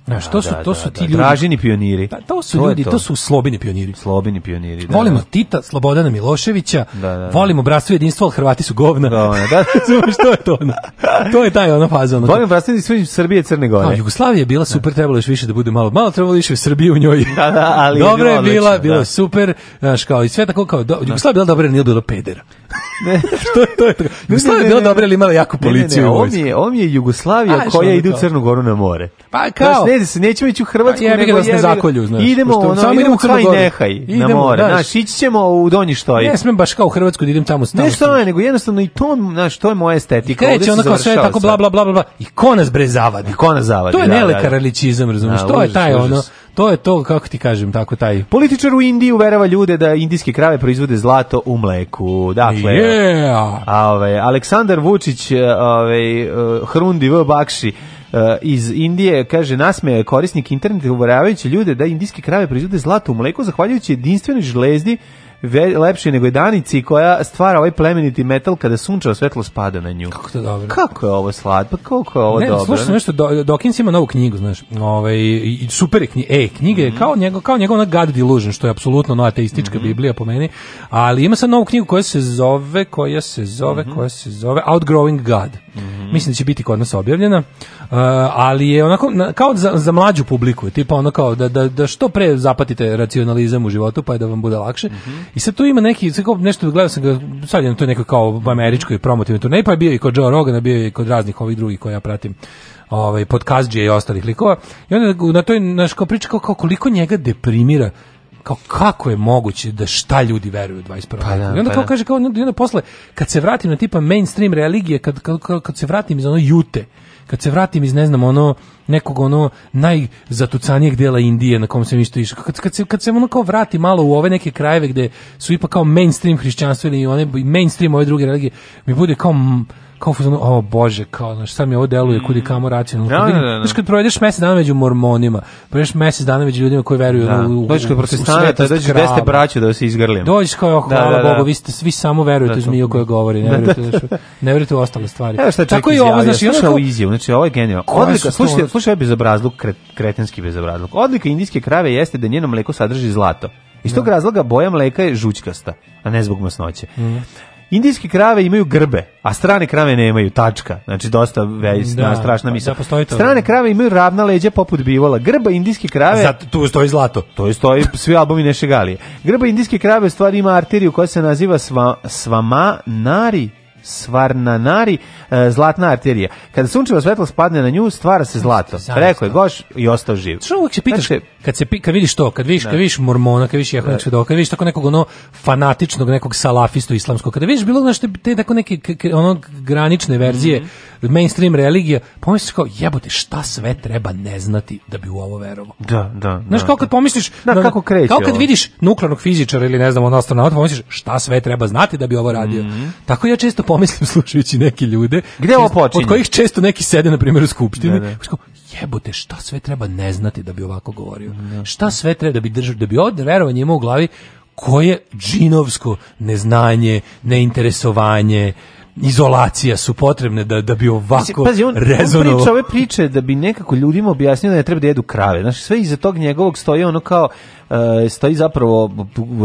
Speaker 7: Znaš, to su,
Speaker 8: da,
Speaker 7: to
Speaker 8: da,
Speaker 7: su
Speaker 8: da.
Speaker 7: ti ljudi.
Speaker 8: Dražini pioniri.
Speaker 7: Da, to su
Speaker 8: To je
Speaker 7: ljudi,
Speaker 8: to.
Speaker 7: to. su slobini pioniri.
Speaker 8: Slobini pioniri, da.
Speaker 7: Volimo Tita, Slobodana Miloševića,
Speaker 8: Da, da, da.
Speaker 7: volimo bratstvo i jedinstvo, ali Hrvati su govna. Da,
Speaker 8: da.
Speaker 7: to je to? ono? To Pa, je taj ona faza. Ono,
Speaker 8: Volimo bratstvo i sve Srbije i Crne
Speaker 7: A,
Speaker 8: Gore.
Speaker 7: Jugoslavija je bila super, trebalo je još više da bude malo. Malo trebalo je više Srbije u njoj.
Speaker 8: Da, da, ali je
Speaker 7: Dobro
Speaker 8: bilo
Speaker 7: je bila,
Speaker 8: odlično,
Speaker 7: bilo
Speaker 8: da.
Speaker 7: je super, znaš, kao i sve tako kao, do, Jugoslavija je bila dobra, jer nije bilo pedera. to, to je tako. Jugoslavija je bila dobra, ali imala jaku
Speaker 8: Ne, ne,
Speaker 7: policiju.
Speaker 8: ne,
Speaker 7: i
Speaker 8: ovo
Speaker 7: vojsku.
Speaker 8: mi je, ovo mi je Jugoslavija
Speaker 7: Znaš,
Speaker 8: koja
Speaker 7: ono
Speaker 8: ide u
Speaker 7: kao.
Speaker 8: Crnu Goru na more.
Speaker 7: Pa kao-
Speaker 8: Znaš, ne, se nećemo ići u Hrvatsku,
Speaker 7: Pa jebi ga
Speaker 8: nego
Speaker 7: da nas ne
Speaker 8: jebi ga-
Speaker 7: zakolju, znaš,
Speaker 8: Idemo,
Speaker 7: pošto
Speaker 8: ono,
Speaker 7: samo idemo
Speaker 8: idemo
Speaker 7: u Crnu
Speaker 8: kraj
Speaker 7: Goru.
Speaker 8: nehaj na
Speaker 7: Idemo,
Speaker 8: more.
Speaker 7: znaš.
Speaker 8: Znaš, ići ćemo u Donji Štoji.
Speaker 7: Ne smem baš kao u Hrvatsku da idem tamo. tamo
Speaker 8: ovaj- Ne što je, nego jednostavno i to, znaš, to je moja estetika. Ovdje
Speaker 7: kreće
Speaker 8: se
Speaker 7: ono kao sve
Speaker 8: završava
Speaker 7: tako bla bla bla bla bla i ko nas bre zavadi
Speaker 8: I ko nas zavadi,
Speaker 7: to je
Speaker 8: Pa da, da, da.
Speaker 7: nelekaraličizam razumiješ
Speaker 8: Da,
Speaker 7: to je
Speaker 8: užas,
Speaker 7: taj
Speaker 8: užas.
Speaker 7: ono to je to kako ti kažem tako taj
Speaker 8: Političar u Indiji uverava ljude da indijske krave proizvode zlato u mleku. Dakle,
Speaker 7: Yeah.
Speaker 8: a, ovaj, Aleksandar Vučić, e, ovaj, e, Hrundi V. Bakši, e, iz Indije, kaže, nasmeja je korisnik interneta uveravajući ljude da indijske krave proizvode zlato u mleku, zahvaljujući jedinstvenoj žlezdi ve, lepše nego je danici koja stvara ovaj plemeniti metal kada sunčevo svetlo spada na nju. Kako,
Speaker 7: to je dobro.
Speaker 8: je ovo slatko, Pa kako je ovo
Speaker 7: ne,
Speaker 8: dobro.
Speaker 7: slušao sam nešto, Do- Dawkins ima novu knjigu, znaš, ovaj, i i super je knjiga, e, knjige, je kao njegov, kao njegov ona God Delusion, što je apsolutno ona ateistička Biblija po meni, ali ima sad novu knjigu koja se zove, koja se zove, koja se zove Outgrowing God. Mislim da će biti kod nas objavljena, uh, ali je onako, na- kao za, za mlađu publiku, je, tipa ono kao da, da, da što pre zapatite racionalizam u životu, pa je da vam bude lakše. I sad tu ima neki, sad kao nešto, gledao sam ga, sad je na toj nekoj kao američkoj promotivnoj turneji, pa je bio i kod Joe Rogana, bio je i kod raznih ovih drugih koje ja pratim ovaj podkazđije i ostalih likova. I onda na toj naš kao priča kao, kao koliko njega deprimira kao kako je moguće da šta ljudi veruju u 21.
Speaker 8: Pa da,
Speaker 7: veku. I onda
Speaker 8: pa
Speaker 7: kao
Speaker 8: da.
Speaker 7: kaže kao i onda posle kad se vratim na tipa mainstream religije kad kad, kad, kad se vratim iz ono jute kad se vratim iz ne znam ono nekog ono najzatucanijeg dela Indije na kom sam isto išao kad, kad se kad se ono kao vrati malo u ove neke krajeve gde su ipak kao mainstream hrišćanstvo ili one mainstream ove druge religije mi bude kao m- kao u fazonu, o bože, kao, znaš, sad mi ovo deluje kudi kamo racionalno.
Speaker 8: Mm. Da,
Speaker 7: Kad vidim-
Speaker 8: da, da, da.
Speaker 7: Znaš, kad provedeš mjesec dana među mormonima, provedeš mjesec dana među ljudima koji veruju
Speaker 8: Da.
Speaker 7: u, u,
Speaker 8: Dođeš kod
Speaker 7: u
Speaker 8: protestanata,
Speaker 7: svetost
Speaker 8: dođeš gde ste
Speaker 7: krava.
Speaker 8: braću da se izgrlim.
Speaker 7: Dođeš kao, "Oh,
Speaker 8: Da,
Speaker 7: hvala
Speaker 8: da, da.
Speaker 7: Bogu, vi, ste, vi samo verujete u zmiju koja govori, ne verujete, znaš, ne verujete u ostale stvari.
Speaker 8: Evo šta čovjek
Speaker 7: Tako i
Speaker 8: izjavio,
Speaker 7: ovo, znaš, i
Speaker 8: slušaj
Speaker 7: onda kao-
Speaker 8: ovu izjavu, znači ovo je genijalno.
Speaker 7: Koja su
Speaker 8: Odlika,
Speaker 7: to-
Speaker 8: slušaj, slušaj ovaj bezobrazluk, kre, kretenski bezobrazluk. Odlika indijske krave jeste da njeno mleko sadrži zlato. Iz tog razloga boja mleka je žućkasta, a ne zbog masnoće.
Speaker 7: Mhm.
Speaker 8: Indijske krave imaju grbe, a strane krave nemaju, tačka. Znači, dosta već,
Speaker 7: Da, pa
Speaker 8: strašna
Speaker 7: da,
Speaker 8: misla.
Speaker 7: postoji to.
Speaker 8: strane krave imaju ravna leđa poput bivola. Grba indijske krave...
Speaker 7: Zato tu stoji zlato.
Speaker 8: To je stoji svi albumi Neše Galije. Grba indijske krave u stvari ima arteriju koja se naziva sva, Svamanari, Svarnanari, e, zlatna arterija. Kada sunčevo svetlo spadne na nju, stvara se zlato.
Speaker 7: Zaista.
Speaker 8: Rekao je Goš i ostao živ.
Speaker 7: Što uvijek se pitaš,
Speaker 8: Znači-
Speaker 7: kad, se, pi- kad vidiš to, kad vidiš, kad vidiš mormona, kad vidiš jehovnih svedoka, kad vidiš tako nekog ono fanatičnog, nekog salafistu islamskog, kada vidiš bilo nešto, te tako neke k- k- ono granične verzije,
Speaker 8: Mhm.
Speaker 7: mainstream religija, pomisliš kao, jebote, šta sve treba ne znati da bi u ovo verovo?
Speaker 8: Da, da.
Speaker 7: Znaš, kao kad pomisliš...
Speaker 8: Da, kako kreće
Speaker 7: Kao kad
Speaker 8: ovo?
Speaker 7: vidiš nuklearnog fizičara ili ne znam, ono astronauta, pomisliš šta sve treba znati da bi ovo radio. Tako ja često pomislim slušajući neke ljude...
Speaker 8: Mhm. Gde ovo
Speaker 7: često-
Speaker 8: počinje?
Speaker 7: Od kojih često neki sede, na primjer, u skupštini.
Speaker 8: Da, da.
Speaker 7: Znaš, kao, jebote, šta sve treba ne znati da bi ovako govorio? Šta sve treba da bi držao, da bi ovo verovanje imao u glavi koje džinovsko neznanje, neinteresovanje, izolacija su potrebne da, da bi ovako
Speaker 8: Mislim, pazi, on, on
Speaker 7: rezonovao.
Speaker 8: priča ove priče da bi nekako ljudima objasnio da ne treba da jedu krave. Znaš, sve iza tog njegovog stoji ono kao, e, stoji zapravo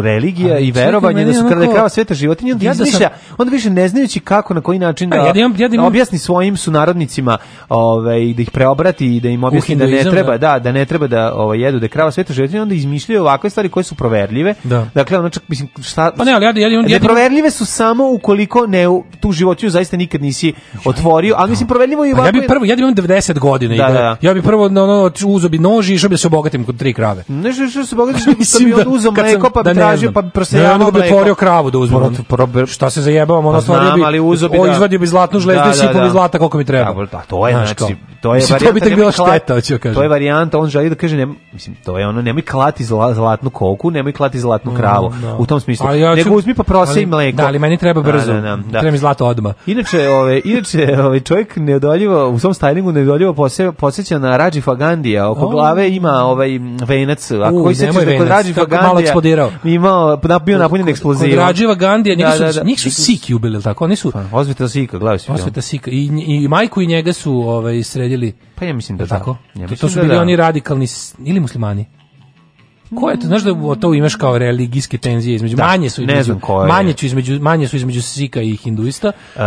Speaker 8: religija
Speaker 7: Ali
Speaker 8: i
Speaker 7: čekaj,
Speaker 8: verovanje
Speaker 7: meni
Speaker 8: da su
Speaker 7: je
Speaker 8: kada
Speaker 7: onako-
Speaker 8: krava sveta životinja, onda,
Speaker 7: Ja da sam-
Speaker 8: izmišlja, onda više ne znajući kako, na koji način da,
Speaker 7: A, ja da imam- ja da imam-
Speaker 8: objasni svojim sunarodnicima ovaj, da ih preobrati i da im objasni da ne
Speaker 7: hinduizam,
Speaker 8: treba,
Speaker 7: da.
Speaker 8: da, da ne treba da ovaj, jedu, da je krava sveta životinja, onda izmišljaju ovakve stvari koje su proverljive.
Speaker 7: Da.
Speaker 8: Dakle, ono čak, mislim, šta...
Speaker 7: Pa ne, ali ja da- ja da imam- ja da imam-
Speaker 8: E, Neproverljive su samo ukoliko ne, u- tu životinju zaista nikad nisi otvorio, ali mislim, proverljivo je i
Speaker 7: Pa
Speaker 8: ovako...
Speaker 7: ja bi
Speaker 8: je-
Speaker 7: prvo, ja bi imam 90 godina. i
Speaker 8: Da,
Speaker 7: da,
Speaker 8: da.
Speaker 7: Ja bi prvo na ono uzeo bi nož i išao bi da se obogatim kod tri krave.
Speaker 8: Nešto što se bogati što bi on uzeo
Speaker 7: kad sam-
Speaker 8: mleko, pa bi
Speaker 7: da ne
Speaker 8: tražio,
Speaker 7: znam.
Speaker 8: pa bi
Speaker 7: Ne,
Speaker 8: prosejavao
Speaker 7: onda bi
Speaker 8: mleko.
Speaker 7: otvorio kravu da uzmem.
Speaker 8: Pro- probe-
Speaker 7: Šta se zajebavam,
Speaker 8: Pa
Speaker 7: ono otvorio
Speaker 8: znam,
Speaker 7: bi,
Speaker 8: ali uzeo bi
Speaker 7: o,
Speaker 8: da-
Speaker 7: izvadio bi zlatnu žlezdu
Speaker 8: Da,
Speaker 7: i sipao
Speaker 8: da, da.
Speaker 7: bi zlata koliko mi treba.
Speaker 8: Da, da, to je
Speaker 7: Znaš
Speaker 8: znači,
Speaker 7: kao.
Speaker 8: to je
Speaker 7: Mislim,
Speaker 8: varijanta.
Speaker 7: to bi tek bila
Speaker 8: nemoj klati-
Speaker 7: šteta, hoću da
Speaker 8: To je
Speaker 7: kažem.
Speaker 8: varijanta, on želi da kaže ne, mislim, to je ono, nemoj klati zla, zlatnu koku, nemoj klati zlatnu kravu.
Speaker 7: Mm, da.
Speaker 8: U tom smislu.
Speaker 7: Ali ja ću-
Speaker 8: Nego uzmi pa prosej
Speaker 7: ali-
Speaker 8: mleko.
Speaker 7: da, ali meni treba brzo.
Speaker 8: Da, da, da.
Speaker 7: Treba mi zlato odmah.
Speaker 8: Inače, ove, inače ovaj čovjek neodoljivo u svom stylingu neodoljivo pose, poseća na Rađi Fagandija. Oko
Speaker 7: O.
Speaker 8: glave ima ovaj venac, a
Speaker 7: U,
Speaker 8: koji se
Speaker 7: nemoj
Speaker 8: da kod
Speaker 7: venac,
Speaker 8: Rađi
Speaker 7: kako je
Speaker 8: Fagandija
Speaker 7: malo eksplodirao.
Speaker 8: Imao na- bio napunjen
Speaker 7: Kod
Speaker 8: eksplozivom.
Speaker 7: Rađiva Gandija, njega
Speaker 8: Da, da,
Speaker 7: su,
Speaker 8: da. Pa,
Speaker 7: njih su Siki ubili, ili tako? Oni su,
Speaker 8: Osveta Sika, glavi si. film.
Speaker 7: Osveta Sika. I, I majku i njega su ovaj, sredili streljali.
Speaker 8: Pa ja mislim da
Speaker 7: tako.
Speaker 8: da. Ja
Speaker 7: To, to
Speaker 8: mislim
Speaker 7: su
Speaker 8: da
Speaker 7: bili
Speaker 8: da.
Speaker 7: oni radikalni s- ili muslimani. Ko je to? Znaš da u- to imaš kao religijske tenzije između
Speaker 8: Da,
Speaker 7: manje su
Speaker 8: ne
Speaker 7: između,
Speaker 8: znam ko je.
Speaker 7: manje su između manje su između Sika i hinduista
Speaker 8: E,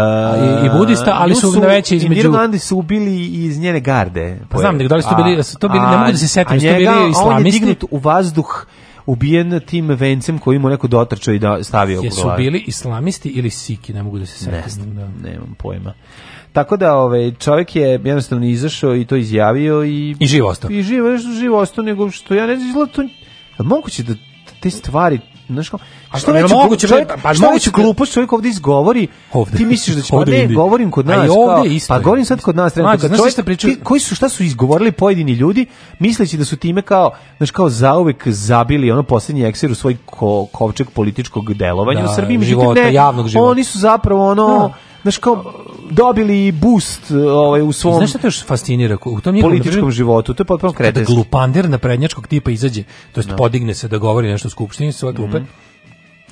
Speaker 7: i, i budista, ali
Speaker 8: Nju
Speaker 7: su, na veće između
Speaker 8: Indiru Gandhi su ubili iz njene garde.
Speaker 7: Pa znam, nego da li su to
Speaker 8: A-
Speaker 7: bili- su to bili- ne
Speaker 8: a-
Speaker 7: mogu da se setim,
Speaker 8: a
Speaker 7: su to bili
Speaker 8: njega- a on je
Speaker 7: islamisti?
Speaker 8: dignut u vazduh ubijen tim vencem koji mu neko dotrčao i da stavio oko
Speaker 7: Jesu
Speaker 8: glave.
Speaker 7: bili islamisti ili siki, ne mogu da se
Speaker 8: Ne
Speaker 7: setim. Da.
Speaker 8: Nemam pojma. Tako da ovaj čovjek je jednostavno izašao i to izjavio i
Speaker 7: I živ ostao.
Speaker 8: I živo, nešto živo ostao nego što ja ne znam izgleda to. Jel moguće da te stvari znaš kao,
Speaker 7: A
Speaker 8: što
Speaker 7: Pa jel
Speaker 8: veću
Speaker 7: moguće,
Speaker 8: glup- čovjek,
Speaker 7: bre, pa
Speaker 8: što
Speaker 7: moguće
Speaker 8: veću
Speaker 7: da-
Speaker 8: glupost čovjek ovdje izgovori, ti misliš da će, pa
Speaker 7: Ovde u
Speaker 8: ne,
Speaker 7: Indiji.
Speaker 8: govorim kod
Speaker 7: A i
Speaker 8: nas,
Speaker 7: ovde
Speaker 8: kao,
Speaker 7: isto
Speaker 8: pa
Speaker 7: je.
Speaker 8: govorim sad kod nas, trenutno,
Speaker 7: Mlađe,
Speaker 8: kad
Speaker 7: znaš
Speaker 8: čovjek,
Speaker 7: šta pričaju-
Speaker 8: ti- koji su, šta su izgovorili pojedini ljudi, misleći da su time kao, znaš kao, zauvek zabili ono posljednji ekser u svoj ko, kovčeg političkog delovanja
Speaker 7: Da,
Speaker 8: u Srbiji, međutim,
Speaker 7: života,
Speaker 8: ne,
Speaker 7: javnog života.
Speaker 8: oni su zapravo ono, znaš kao, dobili boost ovaj, u svom
Speaker 7: Znaš šta te još fascinira? U tom njihovom
Speaker 8: političkom životu, to je potpuno
Speaker 7: Kada
Speaker 8: kretenski.
Speaker 7: glupander naprednjačkog tipa izađe, to jest podigne se da govori nešto u skupštini sa svoje
Speaker 8: Mhm.
Speaker 7: klupe,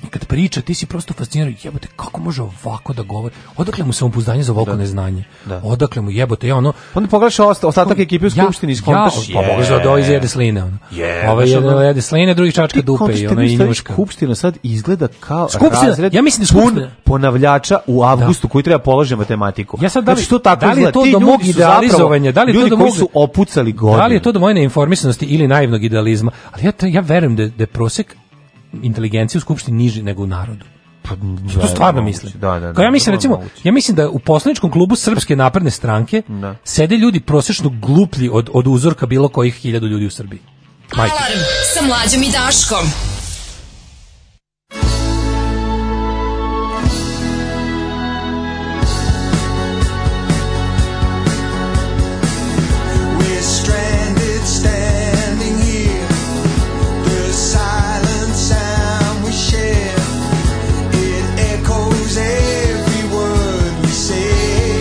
Speaker 7: i kad priča, ti si prosto fasciniran, jebote, kako može ovako da govori? Odakle mu samopouzdanje za ovoliko neznanje?
Speaker 8: Da.
Speaker 7: Odakle mu jebote, ja ono...
Speaker 8: Onda pogledaš osta- ostatak ekipe u skupštini i skontaš,
Speaker 7: Ja, pa mogu da
Speaker 8: je.
Speaker 7: ovo izjede sline. ono.
Speaker 8: Je,
Speaker 7: Ovaj
Speaker 8: znaš,
Speaker 7: jede,
Speaker 8: ono-
Speaker 7: jede sline, drugi čačka dupe i
Speaker 8: Kontaš,
Speaker 7: ona
Speaker 8: vi
Speaker 7: i
Speaker 8: stavite,
Speaker 7: njuška.
Speaker 8: Skupština sad izgleda kao
Speaker 7: Skupština,
Speaker 8: razred
Speaker 7: ja mislim da
Speaker 8: pun
Speaker 7: skupština-
Speaker 8: ponavljača u avgustu koji treba polaže matematiku.
Speaker 7: Ja sad da li,
Speaker 8: znači, što tako
Speaker 7: da li je
Speaker 8: izgleda?
Speaker 7: to
Speaker 8: Ti
Speaker 7: do
Speaker 8: ljudi
Speaker 7: mog
Speaker 8: su
Speaker 7: idealizovanja,
Speaker 8: zapravo
Speaker 7: da li je to
Speaker 8: ljudi
Speaker 7: do
Speaker 8: koji
Speaker 7: mog
Speaker 8: su opucali godine.
Speaker 7: Da li je to do moje neinformisanosti ili naivnog idealizma? Ali ja, ja verujem da, je- da je prosek inteligencije u skupštini niži nego u narodu.
Speaker 8: Pa, da,
Speaker 7: to stvarno
Speaker 8: moguće.
Speaker 7: mislim.
Speaker 8: Da, da, da,
Speaker 7: Kao ja mislim,
Speaker 8: vrlo
Speaker 7: recimo,
Speaker 8: moguće.
Speaker 7: ja mislim da u poslaničkom klubu Srpske napredne stranke sede ljudi prosječno gluplji od, od uzorka bilo kojih hiljadu ljudi u Srbiji. Majke.
Speaker 5: Alarm sa mlađom i Daškom.
Speaker 11: We're stranded standing here. The silent sound we share, it echoes every word we say.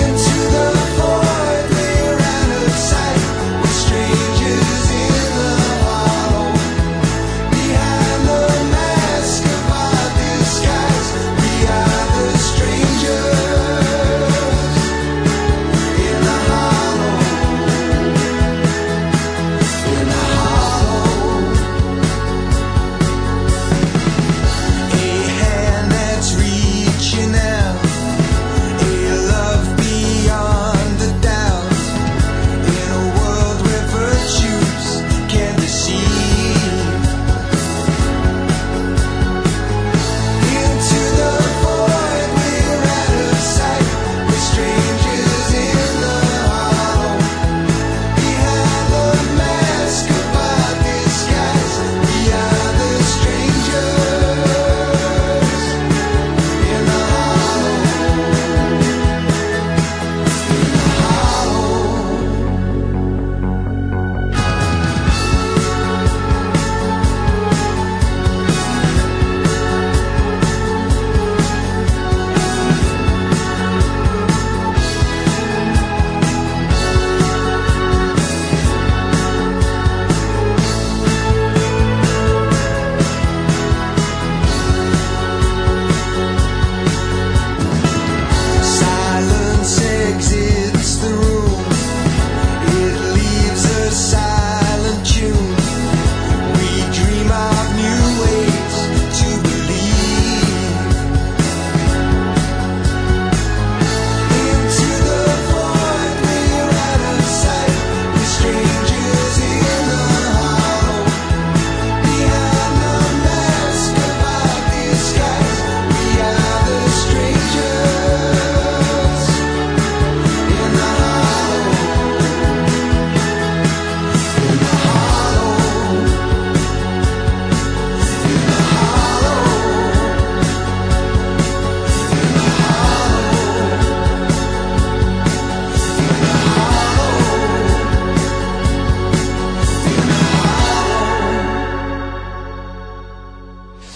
Speaker 11: Into the void, we're out of sight. We're stranded.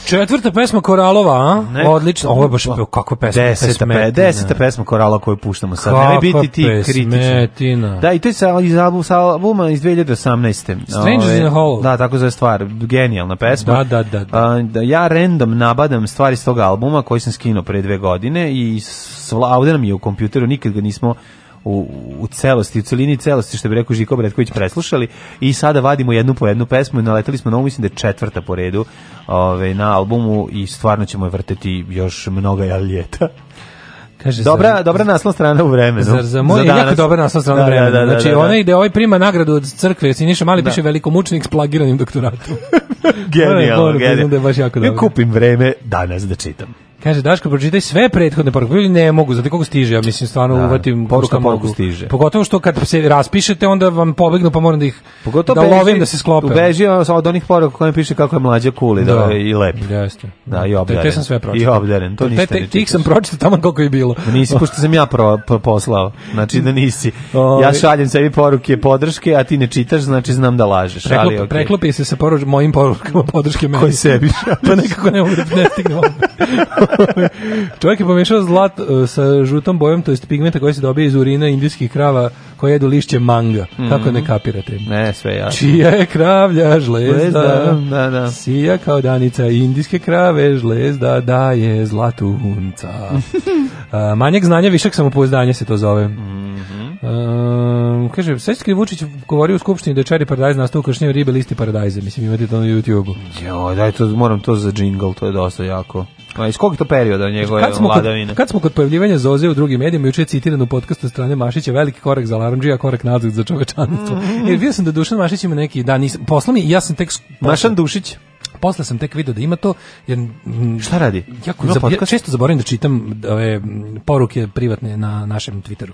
Speaker 7: Četvrta pesma Koralova, a? Odlično. Ovo je baš kakva pesma.
Speaker 8: Pa, Deseta, pe,
Speaker 7: pesmetina.
Speaker 8: deseta pesma korala koju puštamo sad. Ne
Speaker 7: Kakva
Speaker 8: biti ti kritičan.
Speaker 7: pesmetina.
Speaker 8: Da, i to je sa, iz album, sa albuma iz 2018.
Speaker 7: Strangers
Speaker 8: Ove,
Speaker 7: in a Hole.
Speaker 8: Da, tako zove stvar. Genijalna pesma.
Speaker 7: Da, da, da, da.
Speaker 8: A, da ja random nabadam stvari s tog albuma koji sam skinuo pre dve godine i sla, ovde nam je u kompjuteru, nikad ga nismo u, u celosti, u celini celosti, što bi rekao Žiko Bretković, preslušali i sada vadimo jednu po jednu pesmu i naletali smo na ovu, mislim da je četvrta po redu ove, na albumu i stvarno ćemo je vrteti još mnoga ljeta.
Speaker 7: Kaže,
Speaker 8: dobra,
Speaker 7: zar-
Speaker 8: dobra naslovna strana u vremenu.
Speaker 7: Zar za moj je
Speaker 8: danas.
Speaker 7: jako dobra naslovna strana
Speaker 8: Da, da,
Speaker 7: vremena.
Speaker 8: da, da,
Speaker 7: znači,
Speaker 8: da, da.
Speaker 7: onaj gde ovaj prima nagradu od crkve, Siniša Mali
Speaker 8: Da.
Speaker 7: piše velikomučnik s plagiranim doktoratom.
Speaker 8: Genijalno,
Speaker 7: Moram priznati
Speaker 8: genijalno.
Speaker 7: da je baš jako
Speaker 8: Ja
Speaker 7: dobro.
Speaker 8: kupim vreme danas da čitam.
Speaker 7: Kaže, Daško, pročitaj sve prethodne poruke. Ljudi, Ne mogu, znate koliko stiže, ja mislim, stvarno
Speaker 8: Da,
Speaker 7: uvatim
Speaker 8: poruka
Speaker 7: koliko
Speaker 8: poruku
Speaker 7: mogu.
Speaker 8: stiže.
Speaker 7: Pogotovo što kad se raspišete, onda vam pobegnu, pa moram da ih da
Speaker 8: beži-
Speaker 7: lovim da se sklope.
Speaker 8: Beži ono od onih poruka kojim piše kako je mlađa cool i, da.
Speaker 7: Da.
Speaker 8: i lep.
Speaker 7: Jeste.
Speaker 8: Da, i
Speaker 7: Te-
Speaker 8: obdaren.
Speaker 7: Te sam sve pročitao.
Speaker 8: I obdaren, to
Speaker 7: Te-
Speaker 8: ništa
Speaker 7: te-
Speaker 8: ne
Speaker 7: Tih
Speaker 8: čitaš.
Speaker 7: sam pročitao tamo koliko je bilo.
Speaker 8: Ma Nisi, pošto sam ja pro, pro- poslao, znači da nisi.
Speaker 7: Ovaj.
Speaker 8: Ja šaljem sebi poruke podrške, a ti ne čitaš, znači znam da lažeš.
Speaker 7: Preklop,
Speaker 8: ali, okej.
Speaker 7: Preklopi se sa poruč, mojim porukama podrške meni.
Speaker 8: Koji sebi?
Speaker 7: pa nekako ne mogu da ne stignem. Čovjek je pomešao zlat e, sa žutom bojom, to jest pigmenta koji se dobije iz urina indijskih krava koje jedu lišće manga.
Speaker 8: Mhm.
Speaker 7: Kako ne kapirate?
Speaker 8: Ne, sve ja.
Speaker 7: Čija je kravlja žlezda,
Speaker 8: Žlezda, da, da.
Speaker 7: sija kao danica indijske krave, žlezda daje zlatu hunca. A, manjak znanja, višak samopouzdanja se to zove.
Speaker 8: Mhm.
Speaker 7: Um, kaže, sveći kad je Vučić govorio u skupštini da je Cherry Paradise nastao u kršnjoj ribe listi paradajza, mislim imate to na YouTube-u.
Speaker 8: Jo, daj to, moram to za jingle, to je dosta jako. A iz kog je to perioda njegove
Speaker 7: Kad smo, kod,
Speaker 8: Pa vladavine?
Speaker 7: kad smo kod pojavljivanja Zoze u drugim medijima, juče je citiran u podcastu od strane Mašića, veliki korak za Laramđija, korak nazad za čovečanstvo.
Speaker 8: Mm.
Speaker 7: Jer vidio sam da Dušan Mašić ima neki, da, nisam, posla mi, i ja sam tek... s-
Speaker 8: Mašan Dušić.
Speaker 7: Posle sam tek video da ima to, jer... mm,
Speaker 8: Šta radi?
Speaker 7: Jako,
Speaker 8: Ima
Speaker 7: zab, ja
Speaker 8: podcast?
Speaker 7: često zaboravim da čitam ove mm, poruke privatne na našem Twitteru.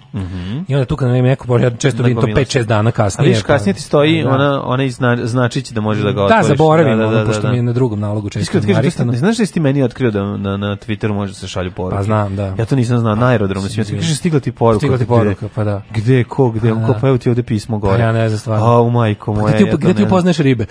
Speaker 7: I onda tu kad nam je neko, poruka, ja često vidim to
Speaker 8: Nagomila se.
Speaker 7: 5-6 dana
Speaker 8: Mhm. A
Speaker 7: kasnije. pa-
Speaker 8: vidiš, kasnije ti stoji
Speaker 7: Da.
Speaker 8: ona, ona i zna, značić da možeš da ga
Speaker 7: Da,
Speaker 8: otvoriš.
Speaker 7: zaboravim, ono, pošto mi je na drugom nalogu često
Speaker 8: Iskreno ti kažem,
Speaker 7: narisano.
Speaker 8: ti- znaš da si ti meni otkrio da na, na Twitteru može da se šalju poruke?
Speaker 7: Pa znam, da. Pa,
Speaker 8: Ja to nisam znao, na aerodromu si mi otkrio. Kaže, stigla ti poruka.
Speaker 7: Stigla ti
Speaker 8: Gde-
Speaker 7: poruka, pa da.
Speaker 8: Gde, ko, gde,
Speaker 7: Pa da.
Speaker 8: ko, pa evo ti ovde pismo gore.
Speaker 7: Pa ja ne znam stvarno. Pa
Speaker 8: A, u majko moja.
Speaker 7: Gde ti,
Speaker 8: ja to
Speaker 7: gde ti
Speaker 8: ne znam.
Speaker 7: upoznaš ribe?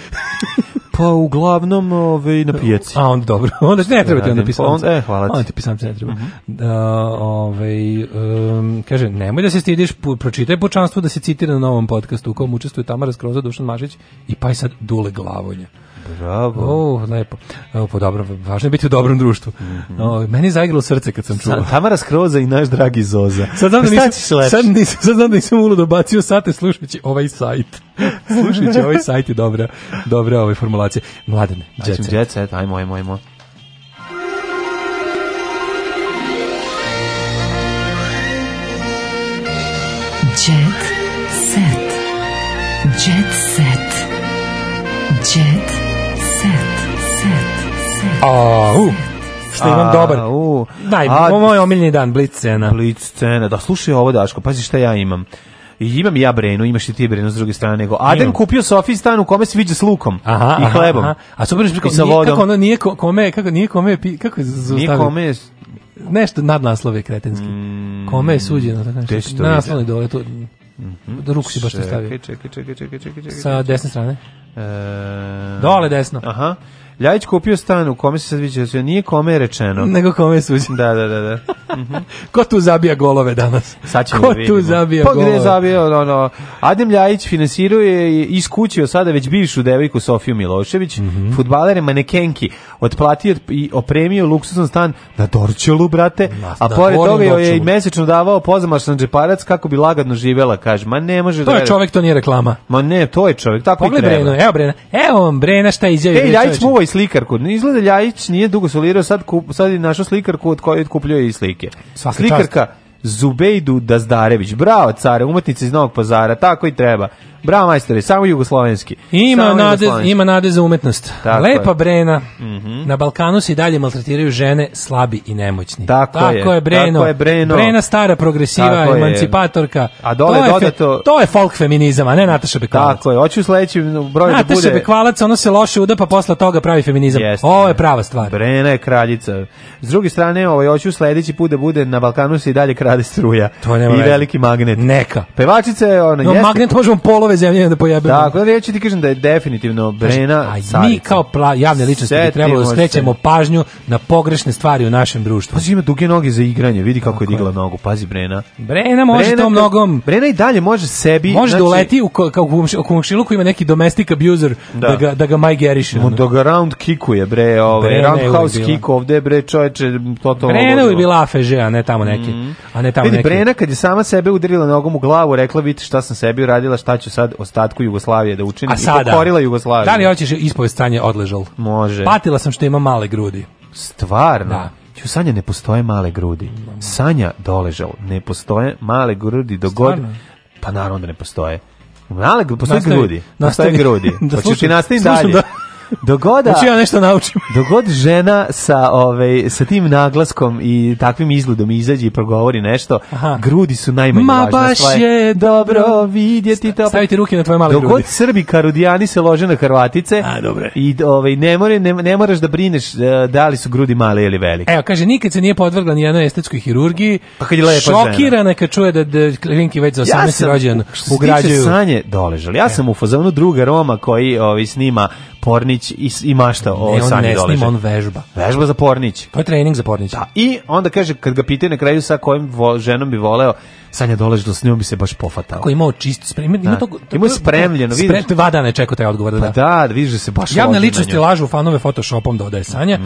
Speaker 8: Pa uglavnom ovaj, na pijaci.
Speaker 7: A onda dobro, onda ne treba ti onda
Speaker 8: Radim.
Speaker 7: pisamca.
Speaker 8: Onda- e, hvala ti. Mhm.
Speaker 7: Onda ti pisamca ne treba. Da, ovaj, em, kaže, nemoj da se stidiš, pu- pročitaj pučanstvo da se citira na novom podcastu u kom učestvuju Tamara Skroza, Dušan Mašić i pa i sad Dule Glavonja.
Speaker 8: Bravo.
Speaker 7: O, lepo. Evo, po dobro, važno je biti u dobrom društvu.
Speaker 8: Mhm.
Speaker 7: O, meni je zaigralo srce kad sam čuo.
Speaker 8: Sa- Tamara Skroza i naš dragi Zoza.
Speaker 7: Sad znam da
Speaker 8: E, Šta
Speaker 7: nisam,
Speaker 8: ćeš lepše?
Speaker 7: sad nisam, sad znam da nisam uludo dobacio sate slušajući ovaj sajt. slušajući ovaj sajt je dobra, dobra ove formulacije. Mladene,
Speaker 8: Jet
Speaker 7: djece.
Speaker 8: set. Jet set, ajmo, ajmo, ajmo.
Speaker 3: Jet set. Jet set. Jet set. Set. Set.
Speaker 7: A, u, što imam
Speaker 8: A,
Speaker 7: dobar.
Speaker 8: u.
Speaker 7: Daj,
Speaker 8: A,
Speaker 7: ovo je moj omiljeni dan, Blitz cena.
Speaker 8: Blic scena. Da, slušaj ovo, Daško, pazi šta ja imam. I imam i ja Brenu, imaš i ti Brenu s druge strane, nego Adem
Speaker 7: Imam.
Speaker 8: kupio Sofi stan u kome se viđa s lukom i hlebom.
Speaker 7: aha. A super,
Speaker 8: I
Speaker 7: što
Speaker 8: sa
Speaker 7: sa vodom. Kako
Speaker 8: vodom.
Speaker 7: ono nije ko- kome, kako nije kome, pi- kako je
Speaker 8: Nije
Speaker 7: zaustavio?
Speaker 8: kome je...
Speaker 7: Nešto nadnaslov je kretenski. Kome je suđeno? Tako
Speaker 8: gde si
Speaker 7: nešto.
Speaker 8: to Mhm.
Speaker 7: Naslov je dole, to, da ruku si baš to
Speaker 8: Čekaj,
Speaker 7: stavio.
Speaker 8: Mm, čekaj, čekaj, čekaj, čekaj, čekaj.
Speaker 7: Sa desne strane.
Speaker 8: E,
Speaker 7: Dole desno.
Speaker 8: Aha. Ljajić kupio stan u kome se sad viđa, nije kome je rečeno.
Speaker 7: Nego kome je suđeno.
Speaker 8: Da, da, da, da.
Speaker 7: Ko tu zabija golove danas?
Speaker 8: Sad ćemo
Speaker 7: Ko
Speaker 8: da vidimo.
Speaker 7: tu zabija
Speaker 8: pa
Speaker 7: golove?
Speaker 8: gde je zabio, ono, ono, Adem Ljajić finansiruje i iskućio sada već bivšu devojku Sofiju Milošević,
Speaker 7: Mhm.
Speaker 8: fudbalere manekenki, otplatio i opremio luksuzan stan na Dorčelu, brate, a
Speaker 7: na
Speaker 8: pored
Speaker 7: Gornjem
Speaker 8: toga joj je i
Speaker 7: Dorćolu.
Speaker 8: mesečno davao pozamašan džeparac kako bi lagadno živela, kaže, ma ne može da
Speaker 7: To je
Speaker 8: veruješ.
Speaker 7: čovek, to nije reklama.
Speaker 8: Ma ne, to je čovjek, tako
Speaker 7: Pogledaj
Speaker 8: i treba.
Speaker 7: Brenu, evo Brena. Evo vam Brena šta izjavi.
Speaker 8: Ej,
Speaker 7: bre,
Speaker 8: Ljajić
Speaker 7: čoveče.
Speaker 8: mu i slikarku. Ne Izgleda Ljajić nije dugo solirao, sad, kup, sad je našao slikarku od koje otkupljuje i slike.
Speaker 7: Svaka
Speaker 8: Slikarka Zubejdu Dazdarević. Bravo, care, umetnica iz Novog pazara, tako i treba. Bravo, majstore, samo jugoslovenski.
Speaker 7: Ima
Speaker 8: Samo
Speaker 7: nade,
Speaker 8: jugoslovenski.
Speaker 7: ima nade za umetnost.
Speaker 8: Tako
Speaker 7: Lepa
Speaker 8: je. Mhm.
Speaker 7: Brena. Na Balkanu se i dalje maltretiraju žene slabi i nemoćni.
Speaker 8: Tako je,
Speaker 7: Breno.
Speaker 8: tako je, Breno.
Speaker 7: Brena stara progresiva,
Speaker 8: Tako je.
Speaker 7: emancipatorka.
Speaker 8: A dole
Speaker 7: to je, fe-
Speaker 8: dodato-
Speaker 7: to je folk feminizam, a ne Nataša Bekvalac.
Speaker 8: Tako je, hoću u sledećem broju da
Speaker 7: Nataša
Speaker 8: bude...
Speaker 7: Bekvalac, ono se loše uda, pa posle toga pravi feminizam.
Speaker 8: Jeste.
Speaker 7: Ovo je prava stvar.
Speaker 8: Brena je kraljica. S druge strane, ovaj, hoću sledeći put da bude na Balkanu se i dalje krade struja.
Speaker 7: To nema
Speaker 8: I
Speaker 7: veze.
Speaker 8: veliki magnet.
Speaker 7: Neka.
Speaker 8: Pevačica je ona,
Speaker 7: No,
Speaker 8: jeste-
Speaker 7: magnet možemo polove ove zemlje da pojebemo.
Speaker 8: Tako, da ja ću ti kažem da je definitivno Brena
Speaker 7: A mi kao pla, javne ličnosti bi trebalo da skrećemo pažnju na pogrešne stvari u našem društvu.
Speaker 8: Pazi, ima duge noge za igranje, vidi kako je digla nogu, pazi Brena.
Speaker 7: Brena može to
Speaker 8: kad-
Speaker 7: mnogom.
Speaker 8: Brena i dalje može sebi...
Speaker 7: Može da
Speaker 8: znači,
Speaker 7: uleti u, ko- kao u komš- u komšiluku ima neki domestic abuser da,
Speaker 8: Da.
Speaker 7: ga, da ga majgeriše. ono.
Speaker 8: mu da ga round kickuje, bre, ovaj,
Speaker 7: Brena je
Speaker 8: roundhouse
Speaker 7: uvijek bila.
Speaker 8: kick ovde, bre, čoveče, totalno...
Speaker 7: Brena je
Speaker 8: ludilo.
Speaker 7: bila AFŽ, a ne tamo neki. A ne tamo
Speaker 8: Mhm. Vidi,
Speaker 7: neki.
Speaker 8: Brena kad je sama sebe udarila nogom u glavu, rekla vidite šta sam sebi uradila, šta ću sad ostatku Jugoslavije da učinim.
Speaker 7: A sada?
Speaker 8: I pokorila Jugoslaviju.
Speaker 7: Da li Pa hoćeš ispovest stanje odležal?
Speaker 8: Može.
Speaker 7: Patila sam što ima male grudi.
Speaker 8: Stvarno?
Speaker 7: Da.
Speaker 8: Ju, Sanja ne postoje male grudi. Sanja doležal. Ne postoje male grudi dok god...
Speaker 7: Stvarno?
Speaker 8: Pa naravno da ne postoje. Male grudi, postoje
Speaker 7: Nastavi,
Speaker 8: grudi. Postoje
Speaker 7: nastavi.
Speaker 8: grudi.
Speaker 7: Da
Speaker 8: Hoćeš ti
Speaker 7: slušam,
Speaker 8: nastavim
Speaker 7: slušam
Speaker 8: dalje.
Speaker 7: da-
Speaker 8: Dogoda,
Speaker 7: Hoću ja nešto naučim.
Speaker 8: dogod žena sa, ovaj, sa tim naglaskom i takvim izgledom izađe i progovori nešto, grudi su najmanje
Speaker 7: Ma
Speaker 8: važna
Speaker 7: baš
Speaker 8: stvar.
Speaker 7: je dobro
Speaker 8: vidjeti to.
Speaker 7: Stavite ruke na tvoje male
Speaker 8: Dok
Speaker 7: grudi.
Speaker 8: god Srbi karudijani se lože na Hrvatice i ovaj, ne, more, ne, ne moraš da brineš eh, da li su grudi male ili velike.
Speaker 7: Evo, kaže, nikad se nije podvrgla ni jednoj estetskoj hirurgiji.
Speaker 8: Pa kad je lepa žena.
Speaker 7: Šokirana je kad čuje da, da klinki već za 18
Speaker 8: sam,
Speaker 7: rođen
Speaker 8: što se tiče
Speaker 7: ugrađuju. E.
Speaker 8: Sanje doležali. Ja sam u fazonu druga Roma koji ovaj, snima Pornić i, s- i mašta o
Speaker 7: Ne, E, on
Speaker 8: Sanji
Speaker 7: ne
Speaker 8: Doležali.
Speaker 7: snima, on vežba.
Speaker 8: Vežba za Pornić.
Speaker 7: To je trening za pornića.
Speaker 8: I onda kaže, kad ga pitaju na kraju sa kojim vo- ženom bi voleo, Sanja doležala, s njom bi se baš pofatao.
Speaker 7: Ako je imao čist sprem, ima, ima
Speaker 8: Da.
Speaker 7: to...
Speaker 8: Imao je spremljeno, vidiš.
Speaker 7: Spre, dva dana je čekao taj odgovor, da.
Speaker 8: Pa
Speaker 7: da.
Speaker 8: da, da vidiš da se baš
Speaker 7: Javne
Speaker 8: loži na Mhm.
Speaker 7: ličnosti
Speaker 8: nju.
Speaker 7: lažu fanove Photoshopom dodaje Sanja.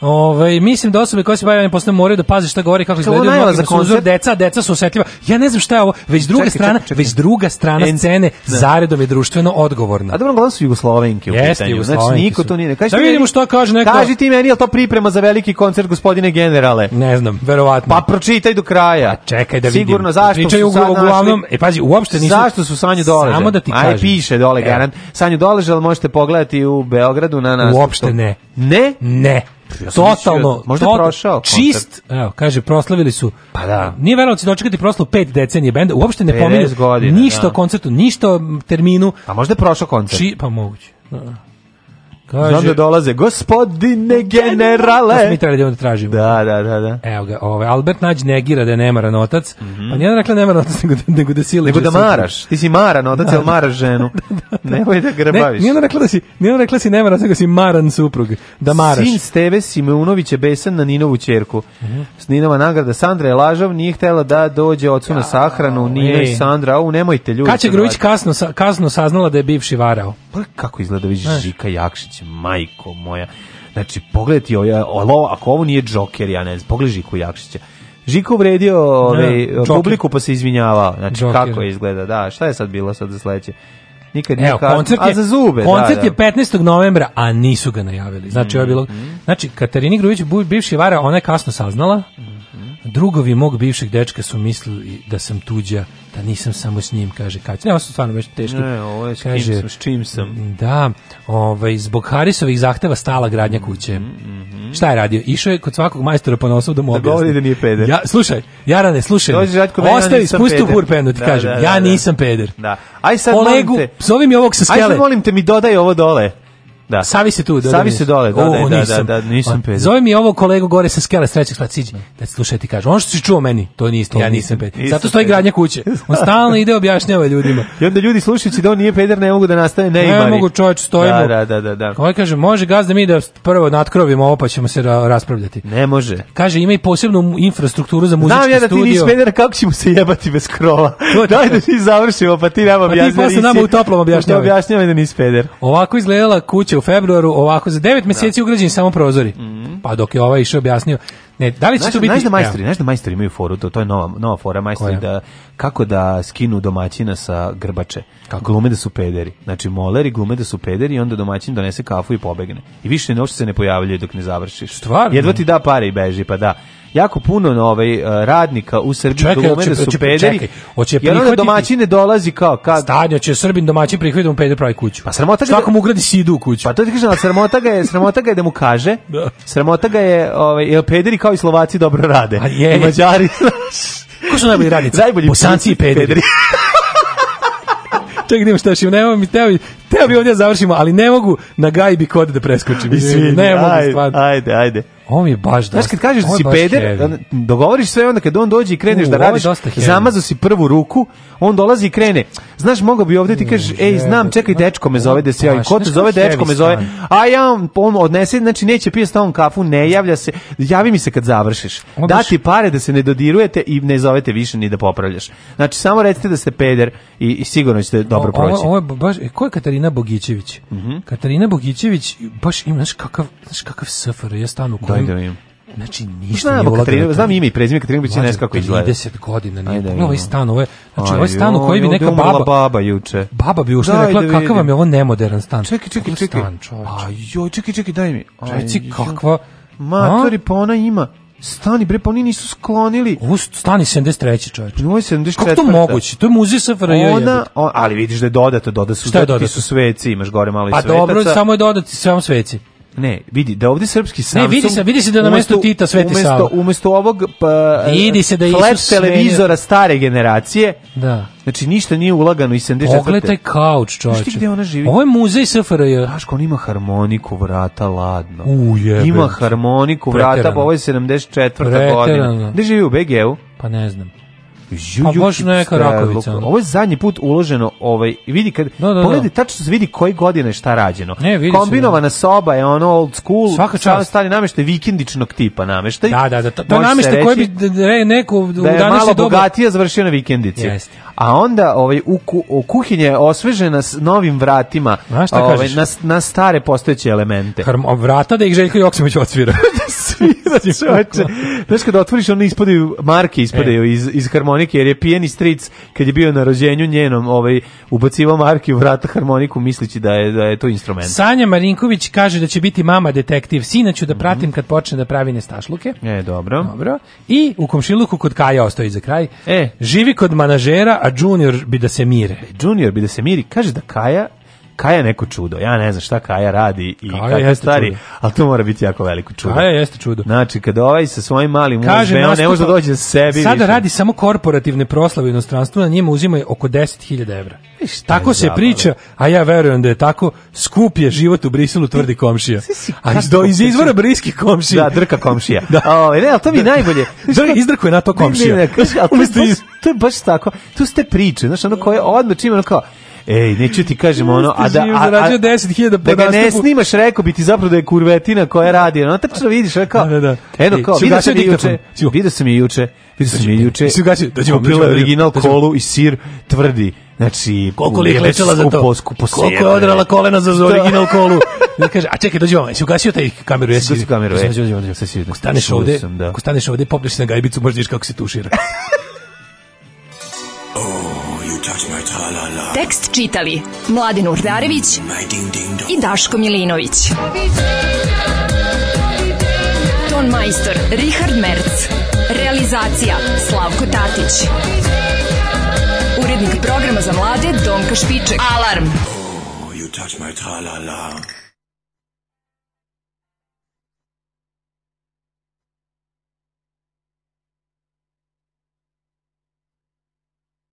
Speaker 7: Ovaj, mislim da osobe koje se bave ovim poslom moraju da paze šta govori, kako
Speaker 8: Kao
Speaker 7: izgledaju,
Speaker 8: najava
Speaker 7: mnogima
Speaker 8: za
Speaker 7: su uzor
Speaker 8: koncert.
Speaker 7: deca, a deca su osetljiva. Ja ne znam šta je ovo, već druga
Speaker 8: Čekaj,
Speaker 7: strana,
Speaker 8: čekaj, čekaj.
Speaker 7: već druga strana
Speaker 8: En-
Speaker 7: scene
Speaker 8: da.
Speaker 7: zaredom je društveno odgovorna.
Speaker 8: A dobro, uglavnom su Jugoslovenke u
Speaker 7: Jeste,
Speaker 8: pitanju. Znači,
Speaker 7: Jugoslovenke
Speaker 8: niko
Speaker 7: su.
Speaker 8: to nije.
Speaker 7: Da
Speaker 8: ti
Speaker 7: vidimo
Speaker 8: meni-
Speaker 7: šta kaže neko-
Speaker 8: Kaži ti meni, je li to priprema za veliki koncert gospodine generale?
Speaker 7: Ne znam, verovatno.
Speaker 8: Pa pročitaj do kraja.
Speaker 7: Pa Čekaj da vidim.
Speaker 8: Sigurno, zašto
Speaker 7: Pričaju
Speaker 8: su sad našli-
Speaker 7: uglavnom, e pazi, uopšte nisu...
Speaker 8: Zašto su Sanju Doležal?
Speaker 7: Samo da ti
Speaker 8: Aj,
Speaker 7: kažem. E.
Speaker 8: piše dole,
Speaker 7: Evo,
Speaker 8: garant. Sanju Doležal možete pogledati u Beogradu na nas.
Speaker 7: Uopšte ne.
Speaker 8: Ne?
Speaker 7: Ne.
Speaker 8: Ja sam
Speaker 7: Totalno.
Speaker 8: mislio, možda je
Speaker 7: tot-
Speaker 8: prošao koncert.
Speaker 7: Čist, evo, kaže, proslavili su.
Speaker 8: Pa da.
Speaker 7: Nije verovalo da će dočekati proslavu pet decenije benda, uopšte ne
Speaker 8: 50
Speaker 7: pominju
Speaker 8: godina,
Speaker 7: ništa
Speaker 8: da.
Speaker 7: o koncertu, ništa o m, terminu.
Speaker 8: A možda je prošao koncert.
Speaker 7: Či, pa moguće. Da.
Speaker 8: Znam da
Speaker 7: Kaže,
Speaker 8: dolaze. Gospodine
Speaker 7: to smo mi
Speaker 8: generale.
Speaker 7: trebali da onda tražimo.
Speaker 8: Da, da, da, da.
Speaker 7: Evo ga, ovaj, Albert Nađ negira da je nemaran otac, pa nije rekla nemaran otac, nego, da- nego da siliđe.
Speaker 8: Mhm. Nego da
Speaker 7: sutra.
Speaker 8: maraš. Ti si maran, odac, jel maraš ženu? Nemoj da
Speaker 7: Ne,
Speaker 8: grbaviš.
Speaker 7: nije ona rekla da si, nije ona rekla da si nemaran, nego da si maran suprug, da maraš. Mhm.
Speaker 8: Sin Steve Simeunović je besan na Ninovu čerku. S Ninova nagrada Sandra je lažov, nije htela da dođe ocu na sahranu, Nina
Speaker 7: ej.
Speaker 8: i Sandra, au, nemojte ljudi.
Speaker 7: Kaća
Speaker 8: sad
Speaker 7: Grujić
Speaker 8: radite.
Speaker 7: kasno, sa- kasno saznala da je bivši varao.
Speaker 8: Pa kako izgleda već Žika Jakšić, majko moja. Znači, pogledaj ti ovo, ja- ovo, ako ovo nije Joker, ja ne znam, pogledaj Žiku Jakšića. Žiko uvredio ovaj,
Speaker 7: Joker.
Speaker 8: publiku pa se izvinjavao. Znači,
Speaker 7: Joker.
Speaker 8: kako je izgleda, da. Šta je sad bilo sad za sledeće? Nikad nije
Speaker 7: Evo,
Speaker 8: kasno.
Speaker 7: koncert je,
Speaker 8: A za zube,
Speaker 7: koncert
Speaker 8: da, da.
Speaker 7: je 15. novembra, a nisu ga najavili. Znači, ovo je bilo...
Speaker 8: Mhm.
Speaker 7: Znači, Katarini Grujić, bu- bivši vara, ona je kasno saznala.
Speaker 8: Mhm.
Speaker 7: Drugovi mog bivšeg dečka su mislili da sam tuđa, da nisam samo s njim, kaže Kaća. Ne, ovo su stvarno već teški.
Speaker 8: Ne, ovo je s kim
Speaker 7: Kaže,
Speaker 8: sam, s čim sam.
Speaker 7: Da, ovaj, zbog Harisovih zahteva stala gradnja
Speaker 8: Mhm,
Speaker 7: kuće. Šta je radio? Išao je kod svakog majstora po nosu da mu
Speaker 8: Da
Speaker 7: objasni.
Speaker 8: govori da nije peder.
Speaker 7: Ja, slušaj, Jarane, slušaj. me.
Speaker 8: Dođe Žatko, meni, ja
Speaker 7: Ostavi,
Speaker 8: nisam
Speaker 7: spusti u
Speaker 8: peder.
Speaker 7: burpenu, ti
Speaker 8: Da,
Speaker 7: kažem.
Speaker 8: da,
Speaker 7: Ja
Speaker 8: da, da.
Speaker 7: nisam peder.
Speaker 8: Da. Aj sad, molim
Speaker 7: Kolegu,
Speaker 8: te.
Speaker 7: zove mi ovog sa
Speaker 8: Aj
Speaker 7: skele.
Speaker 8: sad, molim te, mi dodaj ovo dole. Da.
Speaker 7: Savi se tu, da.
Speaker 8: Savi
Speaker 7: da,
Speaker 8: se
Speaker 7: nisam.
Speaker 8: dole, da,
Speaker 7: O,
Speaker 8: da, da,
Speaker 7: nisam.
Speaker 8: da, da, nisam
Speaker 7: A,
Speaker 8: peder.
Speaker 7: Zove mi ovo kolegu gore sa skele s trećeg sprata, siđi. Da ti slušaj ti kažem. Ono što si čuo meni, to nije isto, ja nisam
Speaker 8: nisam,
Speaker 7: peder.
Speaker 8: nisam
Speaker 7: Zato stoji
Speaker 8: peder.
Speaker 7: gradnja kuće. On stalno ide objašnjava ljudima.
Speaker 8: I onda ljudi slušajući da on nije peder, ne mogu da nastane
Speaker 7: Ne
Speaker 8: neimari.
Speaker 7: mogu, čoveč, stojimo.
Speaker 8: Da, da, da, da. da.
Speaker 7: Ovaj kaže, može gazda mi da prvo natkrovimo ovo pa ćemo se ra- raspravljati.
Speaker 8: Ne može.
Speaker 7: Kaže, ima i posebnu mu- infrastrukturu za muzički
Speaker 8: Znam ja da ti
Speaker 7: studio.
Speaker 8: nisi peder, kako ćemo se jebati bez krova?
Speaker 7: To ti-
Speaker 8: Daj da ti završimo, pa ti nam
Speaker 7: ti
Speaker 8: objasni.
Speaker 7: posle nama u toplom objašnjavaj.
Speaker 8: Objašnjavaj da nisi peder.
Speaker 7: Ovako izgledala kuća u februaru, ovako za devet mjeseci ugrađeni samo prozori. Pa dok je ovaj išao objasnio. Ne, da li će
Speaker 8: Mhm. Znaš,
Speaker 7: to biti...
Speaker 8: znaš da majstori,
Speaker 7: Evo.
Speaker 8: znaš da majstori imaju foru, to, to je nova, nova fora majstori,
Speaker 7: Koja?
Speaker 8: da, kako da skinu domaćina sa grbače. Kako? Glume da su pederi. Znači, moleri glume da su pederi i onda domaćin donese kafu i pobegne. I više ne uopšte se ne pojavljaju dok ne završiš.
Speaker 7: Stvarno?
Speaker 8: Jedva ti da pare i beži, pa da. Jako puno na ovaj, eh, radnika u Srbiji
Speaker 7: Čekaj,
Speaker 8: glume
Speaker 7: hoće-
Speaker 8: da su
Speaker 7: hoće-
Speaker 8: pederi.
Speaker 7: čekaj, hoće
Speaker 8: jer onda
Speaker 7: prihvatiti-
Speaker 8: domaćin ne dolazi kao... Kad,
Speaker 7: Stanje, će Srbin domaćin prihvatiti da mu peder pravi kuću.
Speaker 8: Pa sramota ga
Speaker 7: Svakom
Speaker 8: da-
Speaker 7: ugradi sidu u kuću.
Speaker 8: Pa to ti kažem, ali sramota ga je, sramota ga je da mu kaže.
Speaker 7: Da.
Speaker 8: Sramota ga je, ovaj, jer pederi kao i Slovaci dobro rade.
Speaker 7: A je.
Speaker 8: I Mađari, znaš.
Speaker 7: Ko su najbolji radnici?
Speaker 8: Najbolji
Speaker 7: Bosanci i pederi. Čekaj, nemo šta još ima, nemoj mi teo, Teo bi ovdje da završimo, ali ne mogu na gajbi kod da preskočim. Mislim, ne mogu
Speaker 8: ajde,
Speaker 7: stvarno.
Speaker 8: Ajde, ajde.
Speaker 7: Ovo mi je baš dosta.
Speaker 8: Znaš, kad kažeš da
Speaker 7: Ovo je
Speaker 8: si
Speaker 7: baš
Speaker 8: peder,
Speaker 7: heavy.
Speaker 8: onda dogovoriš sve onda kad on dođe i kreneš
Speaker 7: U,
Speaker 8: da
Speaker 7: ovo je
Speaker 8: radiš,
Speaker 7: dosta heavy.
Speaker 8: zamazu si prvu ruku, on dolazi i krene. Znaš, mogao bi ovdje ti kažeš, ej, znam, čekaj, dečko me zove da se javim.
Speaker 7: Mm, baš,
Speaker 8: Ko te
Speaker 7: znaš
Speaker 8: zove,
Speaker 7: kako je
Speaker 8: dečko
Speaker 7: heavy
Speaker 8: me zove.
Speaker 7: stan.
Speaker 8: A ja, on- on odnese, znači, neće pije s on kafu, ne javlja se, javi mi se kad završiš.
Speaker 7: Onda
Speaker 8: Da
Speaker 7: š-
Speaker 8: ti pare da se ne dodirujete i ne zovete više ni da popravljaš. Znači, samo recite da ste peder i, i sigurno ćete dobro
Speaker 7: Ovo-
Speaker 8: proći.
Speaker 7: Ovo je baš, e, ko je Katarina Bogićević?
Speaker 8: Mhm.
Speaker 7: Katarina Bogićević baš ima, znaš kakav, znaš kakav sfr, ja stan u kojem...
Speaker 8: Daj da vidim.
Speaker 7: Znači, ništa
Speaker 8: Znamo
Speaker 7: nije ulagano.
Speaker 8: Katarinu-
Speaker 7: u to.
Speaker 8: znam ime i prezime Katarine Bogićević,
Speaker 7: Mlađe,
Speaker 8: ne znam kako izgleda.
Speaker 7: 30 godina nije.
Speaker 8: Ajde,
Speaker 7: Pogledaj ovaj
Speaker 8: vidimo.
Speaker 7: stan, ovo je, znači,
Speaker 8: Aj,
Speaker 7: ovaj stan u kojem bi
Speaker 8: joj,
Speaker 7: neka
Speaker 8: ovdje umrla
Speaker 7: baba...
Speaker 8: baba juče.
Speaker 7: Baba bi ušla i
Speaker 8: Daj,
Speaker 7: rekla,
Speaker 8: da
Speaker 7: kakav vam
Speaker 8: vidim.
Speaker 7: je ovo nemodern stan.
Speaker 8: Čekaj, čekaj,
Speaker 7: Kakav
Speaker 8: čekaj.
Speaker 7: Stan, čoveče.
Speaker 8: Aj, joj, čekaj, čekaj, daj mi. Aj,
Speaker 7: Reci
Speaker 8: joj.
Speaker 7: kakva...
Speaker 8: Matori, pa ona ima. Stani, bre, pa oni nisu sklonili.
Speaker 7: Ovo su- stani 73. čoveče.
Speaker 8: Ovo je 74.
Speaker 7: Kako to moguće? To je muzej SFRJ.
Speaker 8: Ona, o- ali vidiš da je dodato, doda su,
Speaker 7: Šta je
Speaker 8: dodati
Speaker 7: dodato?
Speaker 8: su sveci, imaš gore malo i
Speaker 7: Pa
Speaker 8: svetaca.
Speaker 7: dobro, samo je dodati sve vam sveci.
Speaker 8: Ne, vidi, da ovdje srpski Samsung...
Speaker 7: vidi se- vidi se da je na mestu
Speaker 8: umesto-
Speaker 7: Tita Sveti
Speaker 8: umesto-
Speaker 7: Sava.
Speaker 8: Umesto ovog pa,
Speaker 7: Vidi se da je
Speaker 8: flat
Speaker 7: Isus
Speaker 8: televizora
Speaker 7: smenio-
Speaker 8: stare generacije,
Speaker 7: Da.
Speaker 8: znači ništa nije ulagano i 74.
Speaker 7: Pogledaj kauč, čoveče.
Speaker 8: Znaš ti gde ona živi?
Speaker 7: Ovo je muzej SFRJ.
Speaker 8: Daško, on ima harmoniku vrata ladno.
Speaker 7: U, jebe.
Speaker 8: Ima harmoniku vrata,
Speaker 7: Preterano.
Speaker 8: pa ovo je 74.
Speaker 7: Preterano.
Speaker 8: godina. Gde živi u BG-u?
Speaker 7: Pa ne znam.
Speaker 8: Ju,
Speaker 7: Pa
Speaker 8: ju,
Speaker 7: baš neka
Speaker 8: ste,
Speaker 7: Rakovica,
Speaker 8: lupa.
Speaker 7: ono.
Speaker 8: Ovo je zadnji put uloženo, ovaj, vidi kad,
Speaker 7: Da, da, da.
Speaker 8: pogledaj, tačno se vidi koje godine je šta rađeno.
Speaker 7: Ne, vidi se,
Speaker 8: Kombinovana soba je ono old school,
Speaker 7: Svaka
Speaker 8: samo
Speaker 7: čast.
Speaker 8: stari nameštaj vikendičnog tipa nameštaj.
Speaker 7: Da, da, da. To, to
Speaker 8: Može se
Speaker 7: namještaj koji bi
Speaker 8: reći
Speaker 7: d- d- re- neko
Speaker 8: da
Speaker 7: u
Speaker 8: je malo
Speaker 7: današnje doba...
Speaker 8: bogatija završio na vikendici.
Speaker 7: Jeste.
Speaker 8: A onda ovaj u, ku, u kuhinje je osvežena s novim vratima,
Speaker 7: Znaš šta
Speaker 8: ovaj,
Speaker 7: kažeš?
Speaker 8: na, s- na stare postojeće elemente.
Speaker 7: Harmo, vrata da ih Željko Joksimović odsvira.
Speaker 8: Svira, čoveče. Znaš kada otvoriš, ono ispadaju, marke ispadaju
Speaker 7: E.
Speaker 8: iz, iz harmonike, jer je pijeni stric, kad je bio na rođenju njenom, ovaj, ubacivao marke u vrata harmoniku, mislići da je, da je to instrument.
Speaker 7: Sanja Marinković kaže da će biti mama detektiv. Sina ću da
Speaker 8: Mhm.
Speaker 7: pratim kad počne da pravi nestašluke.
Speaker 8: E, dobro.
Speaker 7: Dobro. I u komšiluku kod Kaja ostoji za kraj.
Speaker 8: E.
Speaker 7: Živi kod manažera, a junior bi da se mire.
Speaker 8: Junior bi da se miri, kaže da Kaja Kaja je neko čudo. Ja ne znam šta Kaja radi i
Speaker 7: Kaja
Speaker 8: kako je
Speaker 7: jeste
Speaker 8: stari,
Speaker 7: čudo.
Speaker 8: ali to mora biti jako veliko čudo.
Speaker 7: Kaja jeste čudo.
Speaker 8: Znači, kada ovaj sa svojim malim
Speaker 7: Kaže,
Speaker 8: uzbeom ne može da
Speaker 7: nastupa-
Speaker 8: dođe za sebi.
Speaker 7: Sada
Speaker 8: više.
Speaker 7: radi samo korporativne proslave u inostranstvu, na njima uzimaju oko 10.000 evra.
Speaker 8: E,
Speaker 7: Tako se
Speaker 8: zabava.
Speaker 7: priča, a ja verujem da je tako. Skup je život u Briselu, tvrdi komšija.
Speaker 8: si
Speaker 7: A iz,
Speaker 8: kako
Speaker 7: iz izvora briskih komšija.
Speaker 8: Da, drka komšija.
Speaker 7: Znači, Da.
Speaker 8: Ovaj, ne, ali to mi je najbolje.
Speaker 7: Drka- izdrkuje na to komšija.
Speaker 8: Ne, ne, ne, kaže, ali to, je
Speaker 7: Umesto
Speaker 8: baš-
Speaker 7: iz-
Speaker 8: to je baš tako. Tu ste priče, znaš, ono koje odmah čim ono kao, Ej, neću ti kažem ono, a da,
Speaker 7: Jeste živ,
Speaker 8: a, a,
Speaker 7: zarađuje 10.000
Speaker 8: da
Speaker 7: po
Speaker 8: ga ne
Speaker 7: nastupu.
Speaker 8: snimaš, rekao bi ti zapravo da je kurvetina koja radi, ono, tačno vidiš, ono kao,
Speaker 7: Da, da, da.
Speaker 8: eno
Speaker 7: Ej,
Speaker 8: kao,
Speaker 7: si
Speaker 8: vidio
Speaker 7: ugasio
Speaker 8: sam je juče,
Speaker 7: diktafon? Si-
Speaker 8: vidio sam je juče, vidio sam je juče,
Speaker 7: si ugasio- dođemo,
Speaker 8: kupila
Speaker 7: dođemo,
Speaker 8: original
Speaker 7: dođemo.
Speaker 8: kolu i sir tvrdi, znači,
Speaker 7: Koliko li je
Speaker 8: bile
Speaker 7: klečala za
Speaker 8: skupo,
Speaker 7: to?
Speaker 8: skupo
Speaker 7: Koliko je
Speaker 8: sjebane.
Speaker 7: odrala kolena za original kolu? Da kaže, a čekaj, dođi vam, jesi ugasio taj kameru? Jesi
Speaker 8: Ugasio kameru, e.
Speaker 7: Dođi, dođi, dođi.
Speaker 8: Sad si vidio.
Speaker 7: Ako staneš
Speaker 8: Čuo
Speaker 7: ovde,
Speaker 8: sam, da.
Speaker 7: ako staneš ovde, popneš se na gajbicu, možda vidiš kako se tušira.
Speaker 5: Tekst čitali Mladin Urdarević i Daško Milinović. Ton majstor Richard Merc. Realizacija Slavko Tatić. Urednik programa za mlade Donka Špiček. Alarm!
Speaker 11: Oh, you touch my tra-la-la.